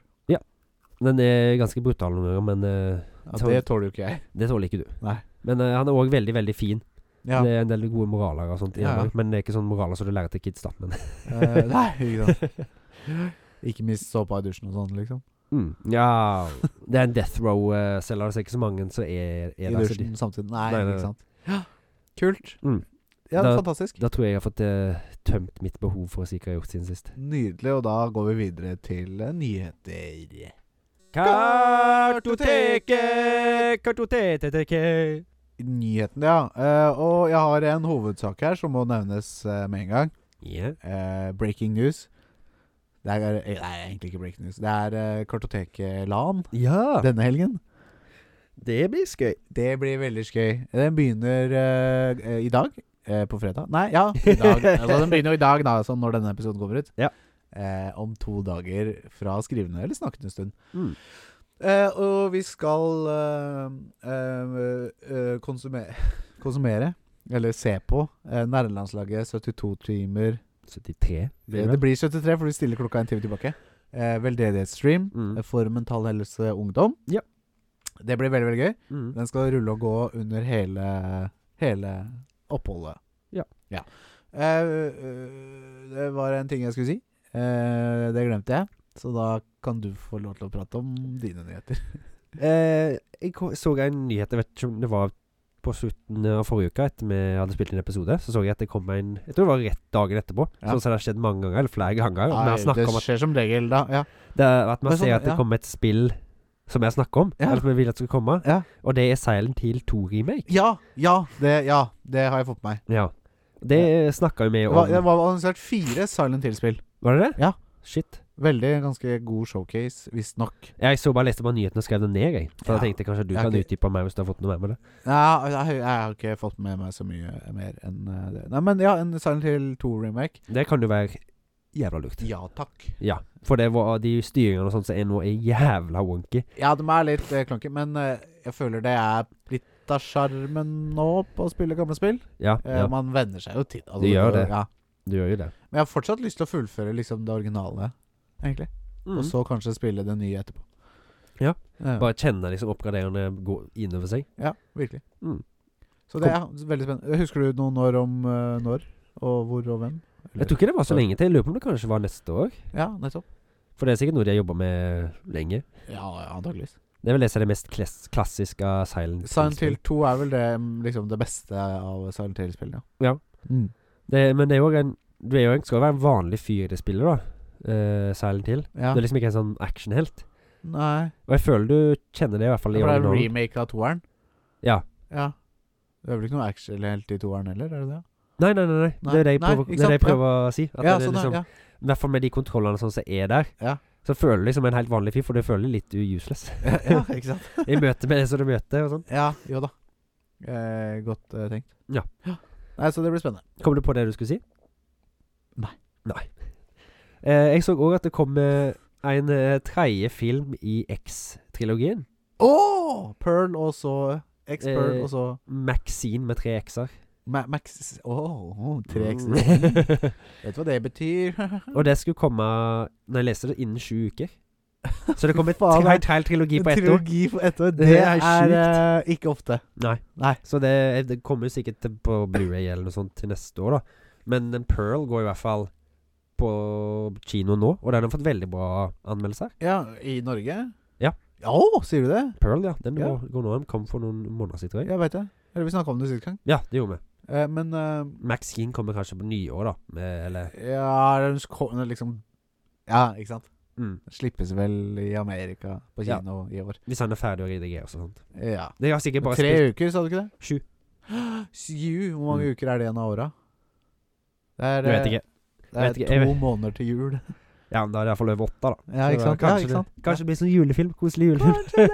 [SPEAKER 2] Den er ganske brutal noen ganger, men eh,
[SPEAKER 3] Ja,
[SPEAKER 2] Tom-
[SPEAKER 3] det tåler jo ikke
[SPEAKER 2] [LAUGHS]
[SPEAKER 3] jeg.
[SPEAKER 2] det tåler ikke du.
[SPEAKER 3] Nei.
[SPEAKER 2] Men eh, han er òg veldig, veldig fin.
[SPEAKER 3] Ja.
[SPEAKER 2] Det er en del gode moraler og sånt. i
[SPEAKER 3] Ja,
[SPEAKER 2] den
[SPEAKER 3] ja.
[SPEAKER 2] også, Men det er ikke sånne moraler som du lærer til kids, da. Men
[SPEAKER 3] Eh, nei, ikke sant. [LAUGHS] Ikke mist såpa i dusjen og sånn, liksom.
[SPEAKER 2] [LAUGHS] mm, ja Det er en Death Row-selger, så altså. det er ikke så mange som er,
[SPEAKER 3] I
[SPEAKER 2] er der. så de-
[SPEAKER 3] dusjen samtidig. Nei,
[SPEAKER 2] Nei, nei, nei.
[SPEAKER 3] ikke sant. [GASPS] Kult.
[SPEAKER 2] Mm.
[SPEAKER 3] Ja,
[SPEAKER 2] Da-
[SPEAKER 3] fantastisk.
[SPEAKER 2] Da tror jeg jeg har fått eh, tømt mitt behov for å si hva jeg har gjort siden sist.
[SPEAKER 3] Nydelig, og da går vi videre til eh, nyheter.
[SPEAKER 2] Kartoteket, kartoteteket
[SPEAKER 3] Nyhetene, ja. Eh, og jeg har en hovedsak her som må nevnes eh, med en gang.
[SPEAKER 2] Ja.
[SPEAKER 3] Eh, breaking news. Det er, eh, nei, egentlig ikke breaking news. Det er eh, Kartoteket-LAN
[SPEAKER 2] ja.
[SPEAKER 3] denne helgen.
[SPEAKER 2] Det blir skøy.
[SPEAKER 3] Det blir veldig skøy. Den begynner eh, eh, i dag. eh, på fredag? Nei, ja. I
[SPEAKER 2] [LAUGHS]
[SPEAKER 3] dag. altså, den begynner jo i dag, da, sånn når denne episoden kommer ut.
[SPEAKER 2] Ja.
[SPEAKER 3] Eh, om to dager fra skrivende eller snakkende stund.
[SPEAKER 2] Mm.
[SPEAKER 3] Eh, og vi skal eh, eh, eh, konsumere, [LAUGHS] konsumere Eller se på eh, nærlandslaget 72 timer
[SPEAKER 2] 73.
[SPEAKER 3] det, Eh, det blir 73, for vi stiller klokka en time tilbake. Eh, veldedighetsstream
[SPEAKER 2] Mm.
[SPEAKER 3] eh, for mental helse ungdom.
[SPEAKER 2] Ja.
[SPEAKER 3] Det blir veldig veldig gøy.
[SPEAKER 2] Mm.
[SPEAKER 3] Den skal rulle og gå under hele, hele oppholdet.
[SPEAKER 2] Ja.
[SPEAKER 3] Eh, øh, det var en ting jeg skulle si. Eh, det glemte jeg. Så da kan du få lov til å prate om dine nyheter.
[SPEAKER 2] Eh, jeg ko- så en nyhet, jeg vet ikke om det var på slutten av forrige uke, etter vi hadde spilt inn episode, så så jeg at det kom en Jeg tror det var rett dagen etterpå,
[SPEAKER 3] Ja.
[SPEAKER 2] sånn som det har skjedd mange ganger, eller flere ganger. Vi har snakket om at,
[SPEAKER 3] skjer som regel, da. Ja.
[SPEAKER 2] det, er at man
[SPEAKER 3] Men
[SPEAKER 2] ser
[SPEAKER 3] sånn,
[SPEAKER 2] at det
[SPEAKER 3] ja.
[SPEAKER 2] kommer et spill som vi har snakket om,
[SPEAKER 3] Ja.
[SPEAKER 2] eller som vi vil at skal komme,
[SPEAKER 3] Ja.
[SPEAKER 2] og det er Silent Hill 2-remake.
[SPEAKER 3] Ja, ja, det, ja, det har jeg fått med meg.
[SPEAKER 2] Ja. Det snakka jo vi
[SPEAKER 3] Det
[SPEAKER 2] om.
[SPEAKER 3] var, det var annonsert fire Silent Hill-spill.
[SPEAKER 2] Var det det?
[SPEAKER 3] Ja.
[SPEAKER 2] Shit.
[SPEAKER 3] Veldig ganske god showcase, visstnok.
[SPEAKER 2] Jeg så bare leste på nyhetene og skrev det ned, jeg. For
[SPEAKER 3] Ja.
[SPEAKER 2] jeg tenkte kanskje du
[SPEAKER 3] Jeg
[SPEAKER 2] kan
[SPEAKER 3] har ikke-
[SPEAKER 2] utdype meg hvis du har fått noe mer med det.
[SPEAKER 3] Ja, jeg, jeg har ikke fått med meg så mye mer enn eh, det. Nei, men ja, en Silent Hill 2-remake.
[SPEAKER 2] Det kan jo være jævla lurt.
[SPEAKER 3] Ja takk.
[SPEAKER 2] Ja. For det var de styringene og sånt som er nå, er jævla wonky.
[SPEAKER 3] Ja, de er litt eh, klonke, men eh, jeg føler det er litt av sjarmen nå på å spille gamle spill.
[SPEAKER 2] Ja,
[SPEAKER 3] Eh,
[SPEAKER 2] ja.
[SPEAKER 3] Man venner seg jo til altså,
[SPEAKER 2] Det gjør det.
[SPEAKER 3] Ja.
[SPEAKER 2] du gjør jo det.
[SPEAKER 3] Men jeg har fortsatt lyst til å fullføre liksom det originale, egentlig. Og så kanskje spille det nye etterpå.
[SPEAKER 2] Mm. Ja.
[SPEAKER 3] Eh,
[SPEAKER 2] Bare kjenne liksom oppgraderende gå innover seg.
[SPEAKER 3] ja virkelig.
[SPEAKER 2] Mm.
[SPEAKER 3] Så det er veldig spennende. Husker du noe når om eh, når? Og hvor og hvem?
[SPEAKER 2] Jeg tror ikke det var så lenge til. Jeg lurer på om det kanskje var neste år.
[SPEAKER 3] Ja, nettopp.
[SPEAKER 2] For det er sikkert noe de har jobba med lenge.
[SPEAKER 3] Ja, ja antakeligvis.
[SPEAKER 2] Det er vel det som er det mest klass klassiske av Silent
[SPEAKER 3] Silent Hill
[SPEAKER 2] Hill-spill.
[SPEAKER 3] 2 er vel det, mm, liksom, det beste av Silent Hill-spillene.
[SPEAKER 2] Ja.
[SPEAKER 3] Mm.
[SPEAKER 2] Det- Men det er jo en Du er jo en, skal jo være en vanlig fyr i det spillet, da. Eh, Silent Hill.
[SPEAKER 3] ja.
[SPEAKER 2] Du er liksom ikke en sånn actionhelt.
[SPEAKER 3] Nei.
[SPEAKER 2] Og jeg føler du kjenner det, i hvert fall. i
[SPEAKER 3] Det ble en
[SPEAKER 2] originalen.
[SPEAKER 3] remake av toeren.
[SPEAKER 2] Ja.
[SPEAKER 3] Ja. Det er vel ikke noe action helt i toeren heller, er det det?
[SPEAKER 2] Nei, nei, nei, nei. Det
[SPEAKER 3] Nei.
[SPEAKER 2] er det jeg
[SPEAKER 3] Nei,
[SPEAKER 2] prøver,
[SPEAKER 3] ikke
[SPEAKER 2] det er det jeg
[SPEAKER 3] sant? Ja.
[SPEAKER 2] prøver å si. At
[SPEAKER 3] ja,
[SPEAKER 2] det er
[SPEAKER 3] sånn,
[SPEAKER 2] liksom, [LAUGHS]
[SPEAKER 3] ja.
[SPEAKER 2] I hvert fall med de kontrollene sånn som er der.
[SPEAKER 3] Ja.
[SPEAKER 2] Så føler du liksom en helt vanlig fyr, for du føler litt useless.
[SPEAKER 3] Ja, [LAUGHS] ja, ikke sant?
[SPEAKER 2] [LAUGHS] I møte med det som du møter, og sånn.
[SPEAKER 3] Ja, jo da. Eh, godt eh, tenkt.
[SPEAKER 2] Ja.
[SPEAKER 3] Nei, Så det blir spennende.
[SPEAKER 2] Kom du på det du skulle si?
[SPEAKER 3] Nei.
[SPEAKER 2] Nei. Eh, jeg så òg at det kom eh, en eh, tredje film i X-trilogien.
[SPEAKER 3] Å! Pearl og så X-Pearl
[SPEAKER 2] Eh.
[SPEAKER 3] og så
[SPEAKER 2] Maxine med tre X-er.
[SPEAKER 3] Ma Max Å, oh, tre X-er.
[SPEAKER 2] Mm.
[SPEAKER 3] Vet du hva det betyr?
[SPEAKER 2] [LAUGHS] og det skulle komme Når jeg leste det, innen sju
[SPEAKER 3] [LAUGHS]
[SPEAKER 2] uker. Så det kom et
[SPEAKER 3] Faen,
[SPEAKER 2] helt hel trilogi på ett år.
[SPEAKER 3] Trilogi for ett år.
[SPEAKER 2] Det
[SPEAKER 3] Det
[SPEAKER 2] er
[SPEAKER 3] er,
[SPEAKER 2] sjukt.
[SPEAKER 3] eh, ikke ofte.
[SPEAKER 2] Nei.
[SPEAKER 3] Nei.
[SPEAKER 2] Så det, det kommer jo sikkert til- på Blu-ray eller noe sånt til neste år, da. Men den Pearl går i hvert fall på kino nå, og den har fått veldig bra anmeldelser.
[SPEAKER 3] Ja, I Norge?
[SPEAKER 2] Ja.
[SPEAKER 3] Å, sier du det?
[SPEAKER 2] Pearl, ja. Den
[SPEAKER 3] Ja.
[SPEAKER 2] Går, går nå. Den kom for noen måneder siden, tror jeg.
[SPEAKER 3] Ja, veit det. Eller vi snakka om det sist gang.
[SPEAKER 2] Ja, det gjorde vi.
[SPEAKER 3] Eh, men eh,
[SPEAKER 2] Max Keen kommer kanskje på nyår, da. Med, eller
[SPEAKER 3] Ja, den kom den liksom Ja, ikke sant?
[SPEAKER 2] mm.
[SPEAKER 3] Den Slippes vel i Amerika på
[SPEAKER 2] Ja.
[SPEAKER 3] kino i år.
[SPEAKER 2] Hvis han er ferdig å redigere og sånt.
[SPEAKER 3] Ja.
[SPEAKER 2] Det har sikkert bare
[SPEAKER 3] Tre
[SPEAKER 2] spilt
[SPEAKER 3] uker, sa du ikke det?
[SPEAKER 2] Sju. Mm.
[SPEAKER 3] Sju, hvor mange uker er det igjen av året? Det er, eh,
[SPEAKER 2] Jeg vet ikke.
[SPEAKER 3] Det er
[SPEAKER 2] vet ikke, jeg
[SPEAKER 3] to
[SPEAKER 2] vet-
[SPEAKER 3] måneder til
[SPEAKER 2] [LAUGHS]
[SPEAKER 3] jul.
[SPEAKER 2] Ja, men da er det iallfall over åtte, da.
[SPEAKER 3] Ja,
[SPEAKER 2] Så
[SPEAKER 3] ikke sant?
[SPEAKER 2] Kanskje,
[SPEAKER 3] ja, ikke sant?
[SPEAKER 2] Det, kanskje det blir sånn julefilm. Koselig [LAUGHS] julefilm.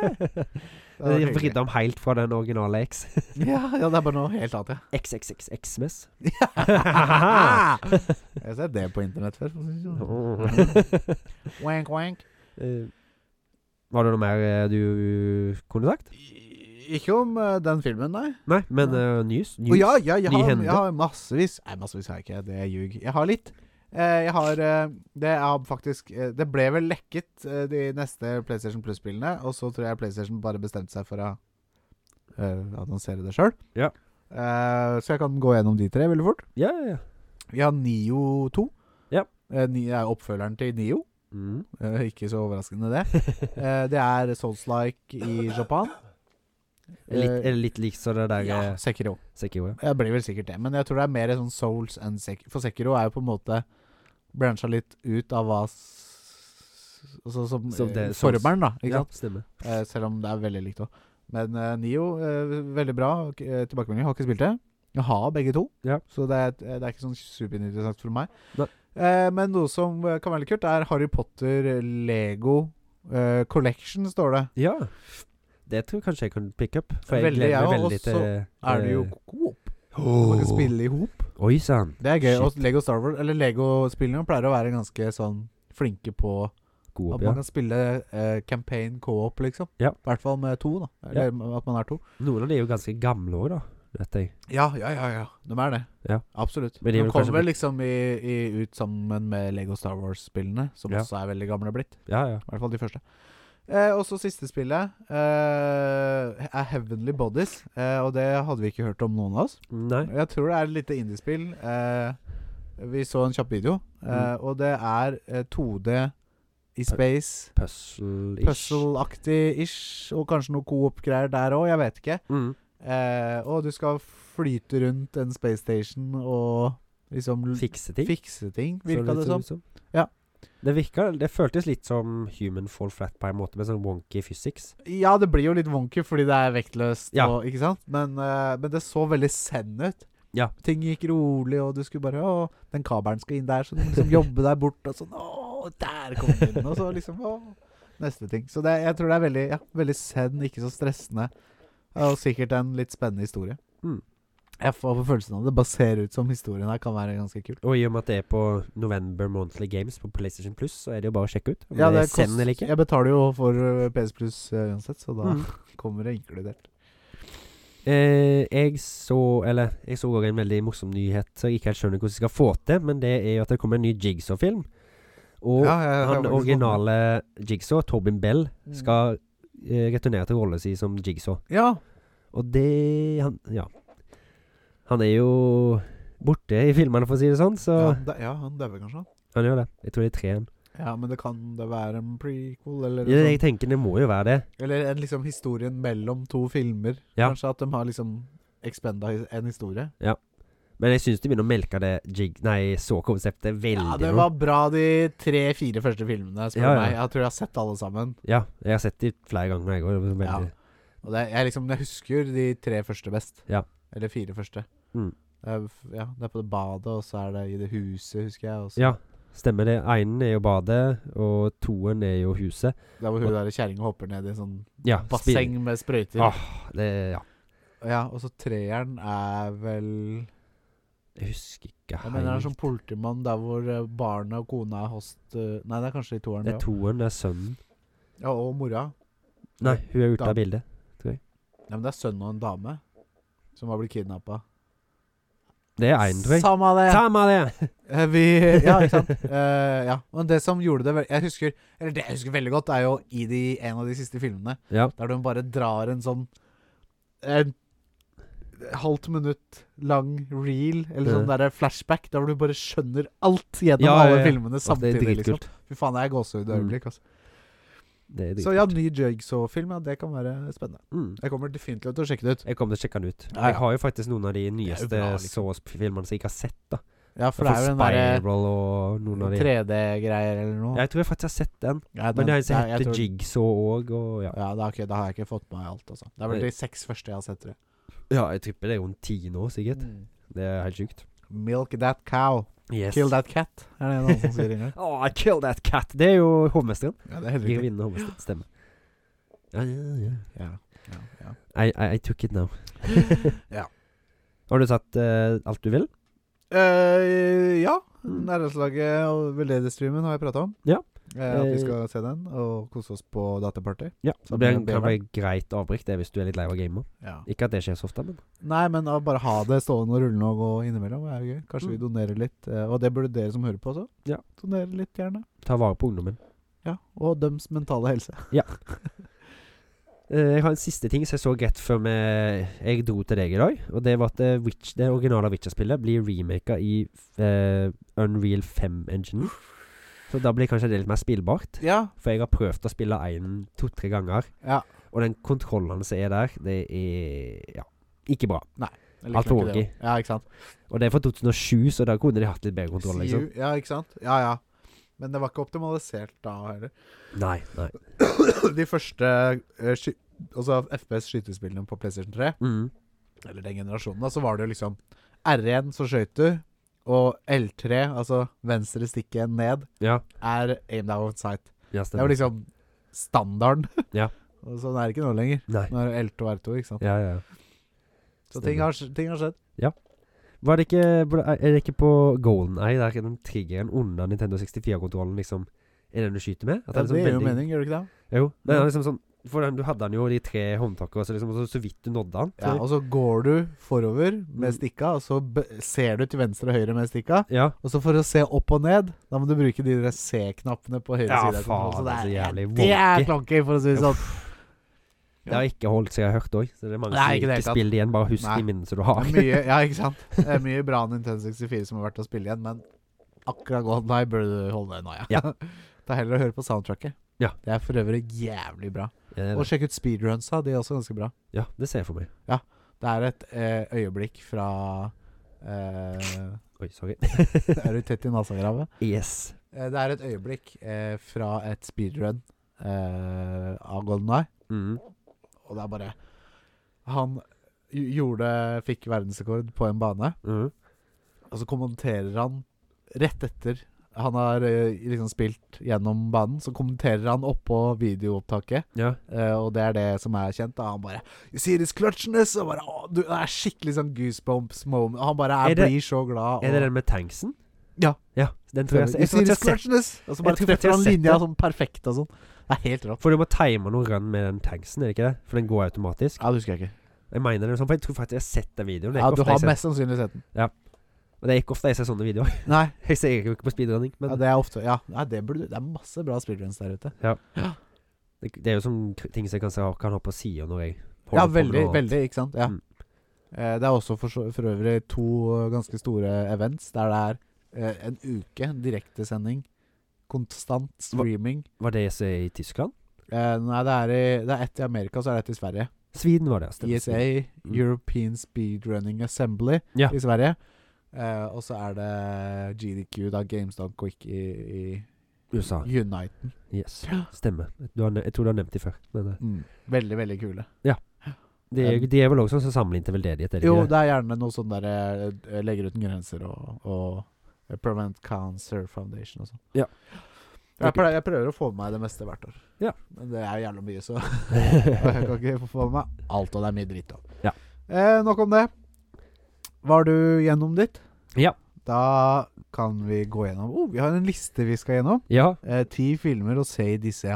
[SPEAKER 3] Ja,
[SPEAKER 2] De
[SPEAKER 3] det er hyggelig.
[SPEAKER 2] vridde om helt fra den originale X. [LAUGHS]
[SPEAKER 3] ja, ja, det er bare noe helt annet, ja. [LAUGHS]
[SPEAKER 2] XXXXMS.
[SPEAKER 3] Jeg har sett det på internett før. for å si det sånn.
[SPEAKER 2] [LAUGHS]
[SPEAKER 3] Wank, wank.
[SPEAKER 2] Eh, Var det noe mer eh, du kunne sagt?
[SPEAKER 3] I- Ikke om eh, den filmen, nei.
[SPEAKER 2] Nei, men eh, news?
[SPEAKER 3] Å
[SPEAKER 2] news.
[SPEAKER 3] ja, ja, jeg, har,
[SPEAKER 2] Nyhende.
[SPEAKER 3] jeg har massevis Nei, massevis har jeg ikke, det er ljug. Jeg har litt. Eh, Jeg har eh, Det er faktisk eh, Det ble vel lekket eh, de neste PlayStation Plus-spillene, og så tror jeg PlayStation bare bestemte seg for å eh, annonsere det sjøl.
[SPEAKER 2] Ja.
[SPEAKER 3] Så jeg kan gå gjennom de tre veldig fort.
[SPEAKER 2] Ja, ja, ja.
[SPEAKER 3] Vi har Nio 2.
[SPEAKER 2] Ja.
[SPEAKER 3] Eh, Ni- er oppfølgeren til Nio. [LAUGHS]
[SPEAKER 2] Mm.
[SPEAKER 3] Eh, ikke så overraskende, det. Eh, det er Souls-like i Japan.
[SPEAKER 2] Litt,
[SPEAKER 3] Eh,
[SPEAKER 2] er eh, det litt lik så det der
[SPEAKER 3] ja,
[SPEAKER 2] ja.
[SPEAKER 3] Sekiro.
[SPEAKER 2] Sekiro, ja.
[SPEAKER 3] Det blir vel sikkert det. Men jeg tror det er mer sånn Souls enn Sekiro. For Sekiro er jo på en måte brancha litt ut av hva s- Altså som,
[SPEAKER 2] Som det-
[SPEAKER 3] eh,
[SPEAKER 2] Souls.
[SPEAKER 3] formelen, da. Ikke
[SPEAKER 2] ja
[SPEAKER 3] sant?
[SPEAKER 2] stemmer.
[SPEAKER 3] Eh, selv om det er veldig likt òg. Men eh, Nio, eh, veldig bra. og, Eh, tilbakemelding. Har ikke spilt det. Jeg har begge to,
[SPEAKER 2] Ja.
[SPEAKER 3] så det er, det er ikke sånn superinteressant for meg.
[SPEAKER 2] Nei.
[SPEAKER 3] Eh, men noe som eh, kan være litt kult, er Harry Potter Lego eh, Collection, står det.
[SPEAKER 2] Ja. Det tror jeg kanskje jeg kan picke up. For jeg
[SPEAKER 3] Veldig,
[SPEAKER 2] gleder
[SPEAKER 3] ja,
[SPEAKER 2] meg
[SPEAKER 3] og
[SPEAKER 2] veldig til
[SPEAKER 3] så Er det jo
[SPEAKER 2] eh,
[SPEAKER 3] coop? Man kan
[SPEAKER 2] oh.
[SPEAKER 3] spille i hop.
[SPEAKER 2] Oi sann.
[SPEAKER 3] Det er gøy.
[SPEAKER 2] Shit.
[SPEAKER 3] Og Lego Star Wars, eller Lego-spillene pleier å være ganske sånn flinke på
[SPEAKER 2] God
[SPEAKER 3] at
[SPEAKER 2] opp, ja.
[SPEAKER 3] man kan spille eh, campaign co-op, liksom.
[SPEAKER 2] Ja.
[SPEAKER 3] I hvert fall med to, da. Eller at man er to.
[SPEAKER 2] Noen av de er jo ganske gamle òg, da. Vet jeg.
[SPEAKER 3] Ja, ja, ja. ja. De er det.
[SPEAKER 2] Ja.
[SPEAKER 3] Absolutt.
[SPEAKER 2] Men
[SPEAKER 3] Men
[SPEAKER 2] de
[SPEAKER 3] de,
[SPEAKER 2] vil kanskje
[SPEAKER 3] kommer vel liksom i, i, ut sammen med Lego Star Wars-spillene, som
[SPEAKER 2] Ja.
[SPEAKER 3] også er veldig gamle blitt.
[SPEAKER 2] Ja, ja.
[SPEAKER 3] I hvert fall de første. Eh, og så siste spillet eh, er Heavenly Bodies. Eh, og det hadde vi ikke hørt om noen av oss.
[SPEAKER 2] Nei.
[SPEAKER 3] Jeg tror det er et lite indiespill. Eh, vi så en kjapp video,
[SPEAKER 2] Mm.
[SPEAKER 3] eh, og det er eh, 2D i space.
[SPEAKER 2] Puzzle-ish.
[SPEAKER 3] Puzzle-aktig ish, og kanskje noe coop-greier der òg. Jeg vet ikke.
[SPEAKER 2] Mm.
[SPEAKER 3] Eh, og du skal flyte rundt en space station og liksom l-
[SPEAKER 2] Fikse ting.
[SPEAKER 3] fikse ting,
[SPEAKER 2] så
[SPEAKER 3] virka det
[SPEAKER 2] ser
[SPEAKER 3] som.
[SPEAKER 2] ut
[SPEAKER 3] Ja.
[SPEAKER 2] Det virka Det føltes litt som Human Fall Flat på en måte, med sånn wonky physics.
[SPEAKER 3] Ja, det blir jo litt wonky fordi det er vektløst,
[SPEAKER 2] Ja.
[SPEAKER 3] og, ikke sant? Men, eh, men det så veldig zen ut.
[SPEAKER 2] Ja.
[SPEAKER 3] Ting gikk rolig, og du skulle bare Å, den kabelen skal inn der, så du må liksom jobbe der bort, og sånn Å, der kom den inn! Og så liksom Å, neste ting. Så det, jeg tror det er veldig, ja, veldig zen, ikke så stressende. Ja, Og sikkert en litt spennende historie.
[SPEAKER 2] Mm.
[SPEAKER 3] Jeg får på følelsen av det bare ser ut som historien her kan være ganske kul.
[SPEAKER 2] Og i og med at det er på November Monthly Games på PlayStation Plus, så er det jo bare å sjekke ut. Om
[SPEAKER 3] Ja,
[SPEAKER 2] det er
[SPEAKER 3] det
[SPEAKER 2] Zen eller
[SPEAKER 3] kost,
[SPEAKER 2] ikke.
[SPEAKER 3] jeg betaler jo for eh, PS Plus eh, uansett, så da
[SPEAKER 2] Mm.
[SPEAKER 3] kommer det inkludert.
[SPEAKER 2] Eh, jeg så Eller jeg så òg en veldig morsom nyhet som jeg ikke helt skjønner hvordan jeg skal få til, men det er jo at det kommer en ny Jigsaw-film. Og
[SPEAKER 3] Ja, jeg- jeg har
[SPEAKER 2] han
[SPEAKER 3] faktisk Mm. fått med.
[SPEAKER 2] originale Jigsaw, Tobin Bell, skal eh, returnere til rollen sin som Jigsaw.
[SPEAKER 3] Ja,
[SPEAKER 2] Og det han, Ja. Han er jo borte i filmene, for å si det sånn, så
[SPEAKER 3] Ja, han dø- ja, han dauer kanskje, han.
[SPEAKER 2] han gjør det. Jeg tror det er treeren.
[SPEAKER 3] Ja, men det kan det være en prequel, eller,
[SPEAKER 2] Ja, jeg
[SPEAKER 3] en
[SPEAKER 2] tenker det må jo være det.
[SPEAKER 3] sånn- eller en liksom historien mellom to filmer.
[SPEAKER 2] Ja.
[SPEAKER 3] Kanskje at de har liksom expenda his- en historie.
[SPEAKER 2] Men jeg syns de begynner å melke det jig... Nei, så-konseptet veldig
[SPEAKER 3] Ja,
[SPEAKER 2] nå.
[SPEAKER 3] det var bra de tre-fire første filmene, spør du
[SPEAKER 2] Ja, ja.
[SPEAKER 3] meg. Jeg tror jeg har sett alle sammen.
[SPEAKER 2] Ja, jeg har sett de flere ganger, jeg òg.
[SPEAKER 3] Ja.
[SPEAKER 2] Veldig...
[SPEAKER 3] Og det, jeg, liksom, jeg husker de tre første best.
[SPEAKER 2] Ja.
[SPEAKER 3] Eller fire første.
[SPEAKER 2] Mm.
[SPEAKER 3] Det er f- Ja, det er på det badet, og så er det i det huset, husker jeg. Og så-
[SPEAKER 2] Ja. Stemmer det. Einen er jo badet, og toen er jo huset.
[SPEAKER 3] Der hvor hun der kjerringa hopper ned i en sånn
[SPEAKER 2] Ja,
[SPEAKER 3] basseng med sprøyter.
[SPEAKER 2] Åh. spill- Det, ja.
[SPEAKER 3] Ja, og så treeren er vel
[SPEAKER 2] Jeg husker ikke
[SPEAKER 3] Jeg mener det er
[SPEAKER 2] helt.
[SPEAKER 3] sånn politimann der hvor eh, barnet og kona er host eh, Nei, det er kanskje i toeren.
[SPEAKER 2] Det er
[SPEAKER 3] det også.
[SPEAKER 2] toen, det er sønnen.
[SPEAKER 3] Ja, og mora.
[SPEAKER 2] Nei, hun er ute
[SPEAKER 3] Da-
[SPEAKER 2] av bildet.
[SPEAKER 3] Ja, men det er sønnen og en dame som har blitt kidnappa.
[SPEAKER 2] Det er einen, tror jeg.
[SPEAKER 3] Samme av det!
[SPEAKER 2] Samme det!
[SPEAKER 3] Eh, Vi Ja, ikke sant. [LAUGHS] Eh, ja. Men det som gjorde det vel- Jeg husker Eller det jeg husker veldig godt, er jo i de, en av de siste filmene
[SPEAKER 2] Ja.
[SPEAKER 3] der de bare drar en sånn En halvt minutt lang reel, eller sånn
[SPEAKER 2] Ja.
[SPEAKER 3] derre flashback, der hvor du bare skjønner alt gjennom
[SPEAKER 2] Ja, ja,
[SPEAKER 3] alle
[SPEAKER 2] ja.
[SPEAKER 3] filmene
[SPEAKER 2] Åh, Det er
[SPEAKER 3] samtidig. Liksom.
[SPEAKER 2] dritkult. Mm.
[SPEAKER 3] Fy faen, det er gåsehudøyeblikk, altså.
[SPEAKER 2] Det er dritkult.
[SPEAKER 3] Så ja, ny Jigsaw-film, ja, det kan være spennende.
[SPEAKER 2] Mm.
[SPEAKER 3] Jeg kommer definitivt til å sjekke det ut.
[SPEAKER 2] Jeg kommer til å sjekke den ut.
[SPEAKER 3] Ja, ja.
[SPEAKER 2] Jeg har jo faktisk noen av de nyeste
[SPEAKER 3] bra, liksom.
[SPEAKER 2] Saw-filmene som jeg ikke har sett. da
[SPEAKER 3] Ja, for det er jo den derre
[SPEAKER 2] Spiral og noen av de
[SPEAKER 3] 3D-greier eller noe.
[SPEAKER 2] Jeg tror jeg faktisk har sett den.
[SPEAKER 3] Ja, den-
[SPEAKER 2] Men det er en som
[SPEAKER 3] nei, jeg
[SPEAKER 2] heter
[SPEAKER 3] tror-
[SPEAKER 2] Jigsaw òg, og ja.
[SPEAKER 3] Ja, da, har ikke- da har jeg ikke fått med meg alt, altså. Det er vel
[SPEAKER 2] Nei.
[SPEAKER 3] de seks første jeg har sett, tror jeg.
[SPEAKER 2] Ja, jeg tipper det er rundt ti nå, sikkert.
[SPEAKER 3] Mm.
[SPEAKER 2] Det er helt sjukt.
[SPEAKER 3] Milk that cow.
[SPEAKER 2] Yes.
[SPEAKER 3] Kill that cat, er det en annen som sier en gang.
[SPEAKER 2] Åh, kill that cat! Det er jo hovmesteren.
[SPEAKER 3] [LAUGHS] Ja, det er helt riktig.
[SPEAKER 2] Grevinnen og hovmesteren. Stemmer. Ja, ja, ja.
[SPEAKER 3] Ja, ja, ja.
[SPEAKER 2] I, I, I took it now.
[SPEAKER 3] [LAUGHS]
[SPEAKER 2] [LAUGHS]
[SPEAKER 3] Ja.
[SPEAKER 2] Har du satt eh, alt du vil?
[SPEAKER 3] Eh, ja.
[SPEAKER 2] Mm.
[SPEAKER 3] Nærlandslaget og veldedighetsstreamen har jeg prata om.
[SPEAKER 2] Ja.
[SPEAKER 3] Eh, at vi
[SPEAKER 2] Eh,
[SPEAKER 3] skal se den og kose oss på dataparty.
[SPEAKER 2] Ja.
[SPEAKER 3] Så
[SPEAKER 2] Så det
[SPEAKER 3] blir det
[SPEAKER 2] kan
[SPEAKER 3] bedre.
[SPEAKER 2] bli greit avbrekk det hvis du er litt lei av å game.
[SPEAKER 3] Ja.
[SPEAKER 2] Ikke at det skjer så ofte, men
[SPEAKER 3] Nei, men å bare ha det stående og rullende og gå innimellom er jo gøy. Kanskje vi
[SPEAKER 2] Mm.
[SPEAKER 3] donerer litt. eh, Og det burde dere som hører på også.
[SPEAKER 2] Ja.
[SPEAKER 3] Donere litt, gjerne.
[SPEAKER 2] ta vare på ungdommen.
[SPEAKER 3] Ja. Og døms mentale helse.
[SPEAKER 2] Eh, jeg har en siste ting som jeg så rett før vi, jeg dro til deg i dag. Og det var at eh, Witch, det originale Witcher-spillet blir remaka i eh, Unreal 5-enginen. Så da blir kanskje det litt mer spillbart.
[SPEAKER 3] Ja.
[SPEAKER 2] For jeg har prøvd å spille én to-tre ganger,
[SPEAKER 3] Ja.
[SPEAKER 2] og den kontrollen som er der, det er ja, ikke bra.
[SPEAKER 3] Jeg liker
[SPEAKER 2] Alt var
[SPEAKER 3] ikke det,
[SPEAKER 2] ok.
[SPEAKER 3] da. Ja, ikke sant.
[SPEAKER 2] Og det er fra 2007, så da kunne de hatt litt bedre kontroll. liksom
[SPEAKER 3] Siu- Ja, ikke sant. Ja, ja. Men det var ikke optimalisert da heller.
[SPEAKER 2] Nei, nei.
[SPEAKER 3] De første eh, sky altså FPS-skytespillene på PlayStation 3
[SPEAKER 2] Mm.
[SPEAKER 3] eller den generasjonen, da, så var det jo liksom R1 som skøyter, og L3, altså venstre stikke ned,
[SPEAKER 2] Ja,
[SPEAKER 3] er aimed out of sight.
[SPEAKER 2] ja
[SPEAKER 3] Det var
[SPEAKER 2] stemmer.
[SPEAKER 3] liksom standarden.
[SPEAKER 2] eh,
[SPEAKER 3] [LAUGHS]
[SPEAKER 2] Ja.
[SPEAKER 3] og sånn er det ikke nå lenger.
[SPEAKER 2] Nei.
[SPEAKER 3] Nå er det L2 og R2, ikke sant.
[SPEAKER 2] Ja, ja.
[SPEAKER 3] Så ting har, sk- ting har skjedd.
[SPEAKER 2] Var det ikke ble- Er det ikke på Golden Eye der den triggeren under Nintendo 64-kontrollen liksom er den du skyter med? At
[SPEAKER 3] Ja,
[SPEAKER 2] den
[SPEAKER 3] det
[SPEAKER 2] liksom
[SPEAKER 3] gir jo
[SPEAKER 2] veldig-
[SPEAKER 3] mening, gjør det ikke det?
[SPEAKER 2] Jo. Men det er liksom sånn For den, du hadde den jo, de tre håndtakene, og så liksom så, så vidt du nådde den.
[SPEAKER 3] Ja,
[SPEAKER 2] Så,
[SPEAKER 3] og så går du forover med
[SPEAKER 2] Mm.
[SPEAKER 3] stikka, og så b ser du til venstre og høyre med stikka.
[SPEAKER 2] ja.
[SPEAKER 3] Og så for å se opp og ned, da må du bruke de der C-knappene på høyre
[SPEAKER 2] Ja,
[SPEAKER 3] side. av
[SPEAKER 2] faen,
[SPEAKER 3] kontrollen,
[SPEAKER 2] det er så jævlig
[SPEAKER 3] Det er
[SPEAKER 2] wonky.
[SPEAKER 3] klonky, for å si det sånn.
[SPEAKER 2] Det har ikke holdt seg jeg har hørt òg, så det er mange
[SPEAKER 3] Nei,
[SPEAKER 2] som
[SPEAKER 3] ikke det
[SPEAKER 2] ikke
[SPEAKER 3] hele tatt.
[SPEAKER 2] spiller det igjen. Bare husk
[SPEAKER 3] Nei.
[SPEAKER 2] de minnene som du
[SPEAKER 3] Det
[SPEAKER 2] har.
[SPEAKER 3] er mye, ja, ikke sant? Det er mye bra Nintendo 64 som er verdt å spille igjen, men akkurat Golden Eye burde du holde deg nå, ja. [LAUGHS] Ta heller å høre på soundtracket.
[SPEAKER 2] Ja.
[SPEAKER 3] Det er for øvrig jævlig bra.
[SPEAKER 2] [LAUGHS] Ja, det er
[SPEAKER 3] Og
[SPEAKER 2] det.
[SPEAKER 3] sjekk ut speedrunsa, de er også ganske bra.
[SPEAKER 2] ja, det ser jeg for meg.
[SPEAKER 3] Det er et eh, øyeblikk fra eh,
[SPEAKER 2] Oi, sorry. [LAUGHS]
[SPEAKER 3] Er du tett i nasagravet? [LAUGHS]
[SPEAKER 2] Yes.
[SPEAKER 3] Eh, det er et øyeblikk eh, fra et speedrun eh, av Golden Eye,
[SPEAKER 2] Mm.
[SPEAKER 3] og det er bare Han gj- gjorde Fikk verdensrekord på en bane.
[SPEAKER 2] Mm.
[SPEAKER 3] Og så kommenterer han rett etter han har eh, liksom spilt gjennom banen, så kommenterer han oppå videoopptaket,
[SPEAKER 2] Ja.
[SPEAKER 3] eh, og det er det som er kjent. Da. Han bare 'You see this clutchness?' Og bare, «Å, du, det er skikkelig sånn goosebumps moment. Han bare er,
[SPEAKER 2] Er det-
[SPEAKER 3] blir så glad. Og,
[SPEAKER 2] Er det den med tanksen?
[SPEAKER 3] Ja.
[SPEAKER 2] ja den tror jeg,
[SPEAKER 3] You
[SPEAKER 2] jeg, tror
[SPEAKER 3] see
[SPEAKER 2] at jeg
[SPEAKER 3] this
[SPEAKER 2] har sett
[SPEAKER 3] clutchness? Og så bare
[SPEAKER 2] tror faktisk jeg
[SPEAKER 3] treffer
[SPEAKER 2] har
[SPEAKER 3] han
[SPEAKER 2] sett
[SPEAKER 3] linja
[SPEAKER 2] det.
[SPEAKER 3] sånn perfekt og sånn. Det er helt rått.
[SPEAKER 2] For du må time noen run med den tanksen, er det ikke det? For den går automatisk.
[SPEAKER 3] Ja, det husker jeg ikke.
[SPEAKER 2] Jeg mener det sånn, for jeg tror faktisk jeg har sett den videoen. Det er
[SPEAKER 3] Ja,
[SPEAKER 2] ikke
[SPEAKER 3] Du
[SPEAKER 2] ofte jeg
[SPEAKER 3] har
[SPEAKER 2] ser-
[SPEAKER 3] mest sannsynlig sett den.
[SPEAKER 2] Og det er ikke ofte jeg ser sånne videoer. [LAUGHS]
[SPEAKER 3] Nei,
[SPEAKER 2] Jeg ser jo ikke på speedrunning, men
[SPEAKER 3] ja,
[SPEAKER 2] det,
[SPEAKER 3] det er ofte Ja, nei, det, burde, det er masse bra speedruns der ute.
[SPEAKER 2] det, er jo sånne k- ting som jeg kan, se- kan ha på sida når jeg holder
[SPEAKER 3] Ja,
[SPEAKER 2] på med
[SPEAKER 3] veldig,
[SPEAKER 2] noe annet.
[SPEAKER 3] veldig, ikke sant? Ja.
[SPEAKER 2] Mm.
[SPEAKER 3] Eh, det er også for, så- for øvrig to eh, ganske store events der det er eh, en uke direktesending, konstant streaming.
[SPEAKER 2] Var det som er i Tyskland?
[SPEAKER 3] Eh, nei, det er, i, det er ett i Amerika, så er det ett i Sverige.
[SPEAKER 2] Sweden var det, ja, stemmer.
[SPEAKER 3] ESA, European Speedrunning Assembly
[SPEAKER 2] Ja.
[SPEAKER 3] i Sverige. Eh, og så er det GDQ, da GameStop Quick i, i
[SPEAKER 2] USA.
[SPEAKER 3] Uniten.
[SPEAKER 2] Yes. Stemmer. Du har, ne- jeg tror du har nevnt de før. Men eh,
[SPEAKER 3] Mm. Veldig, veldig kule.
[SPEAKER 2] de, er, de er vel også sånn som samler inn til veldedighet, er det
[SPEAKER 3] Jo,
[SPEAKER 2] ikke det?
[SPEAKER 3] det er gjerne noe sånn der eh, Legger uten grenser og, og Prevent Cancer Foundation og sånn.
[SPEAKER 2] Ja.
[SPEAKER 3] Jeg prøver, jeg prøver å få med meg det meste hvert år.
[SPEAKER 2] Ja.
[SPEAKER 3] Men det er jævla
[SPEAKER 2] [LAUGHS]
[SPEAKER 3] mye, så jeg kan ikke få- få med meg alt, og det er mye dritt òg.
[SPEAKER 2] Ja.
[SPEAKER 3] Eh, nok om det. Var du gjennom ditt?
[SPEAKER 2] Ja.
[SPEAKER 3] Da kan vi gå gjennom oh, Vi har en liste vi skal gjennom.
[SPEAKER 2] Ja.
[SPEAKER 3] Eh, ti filmer å se i disse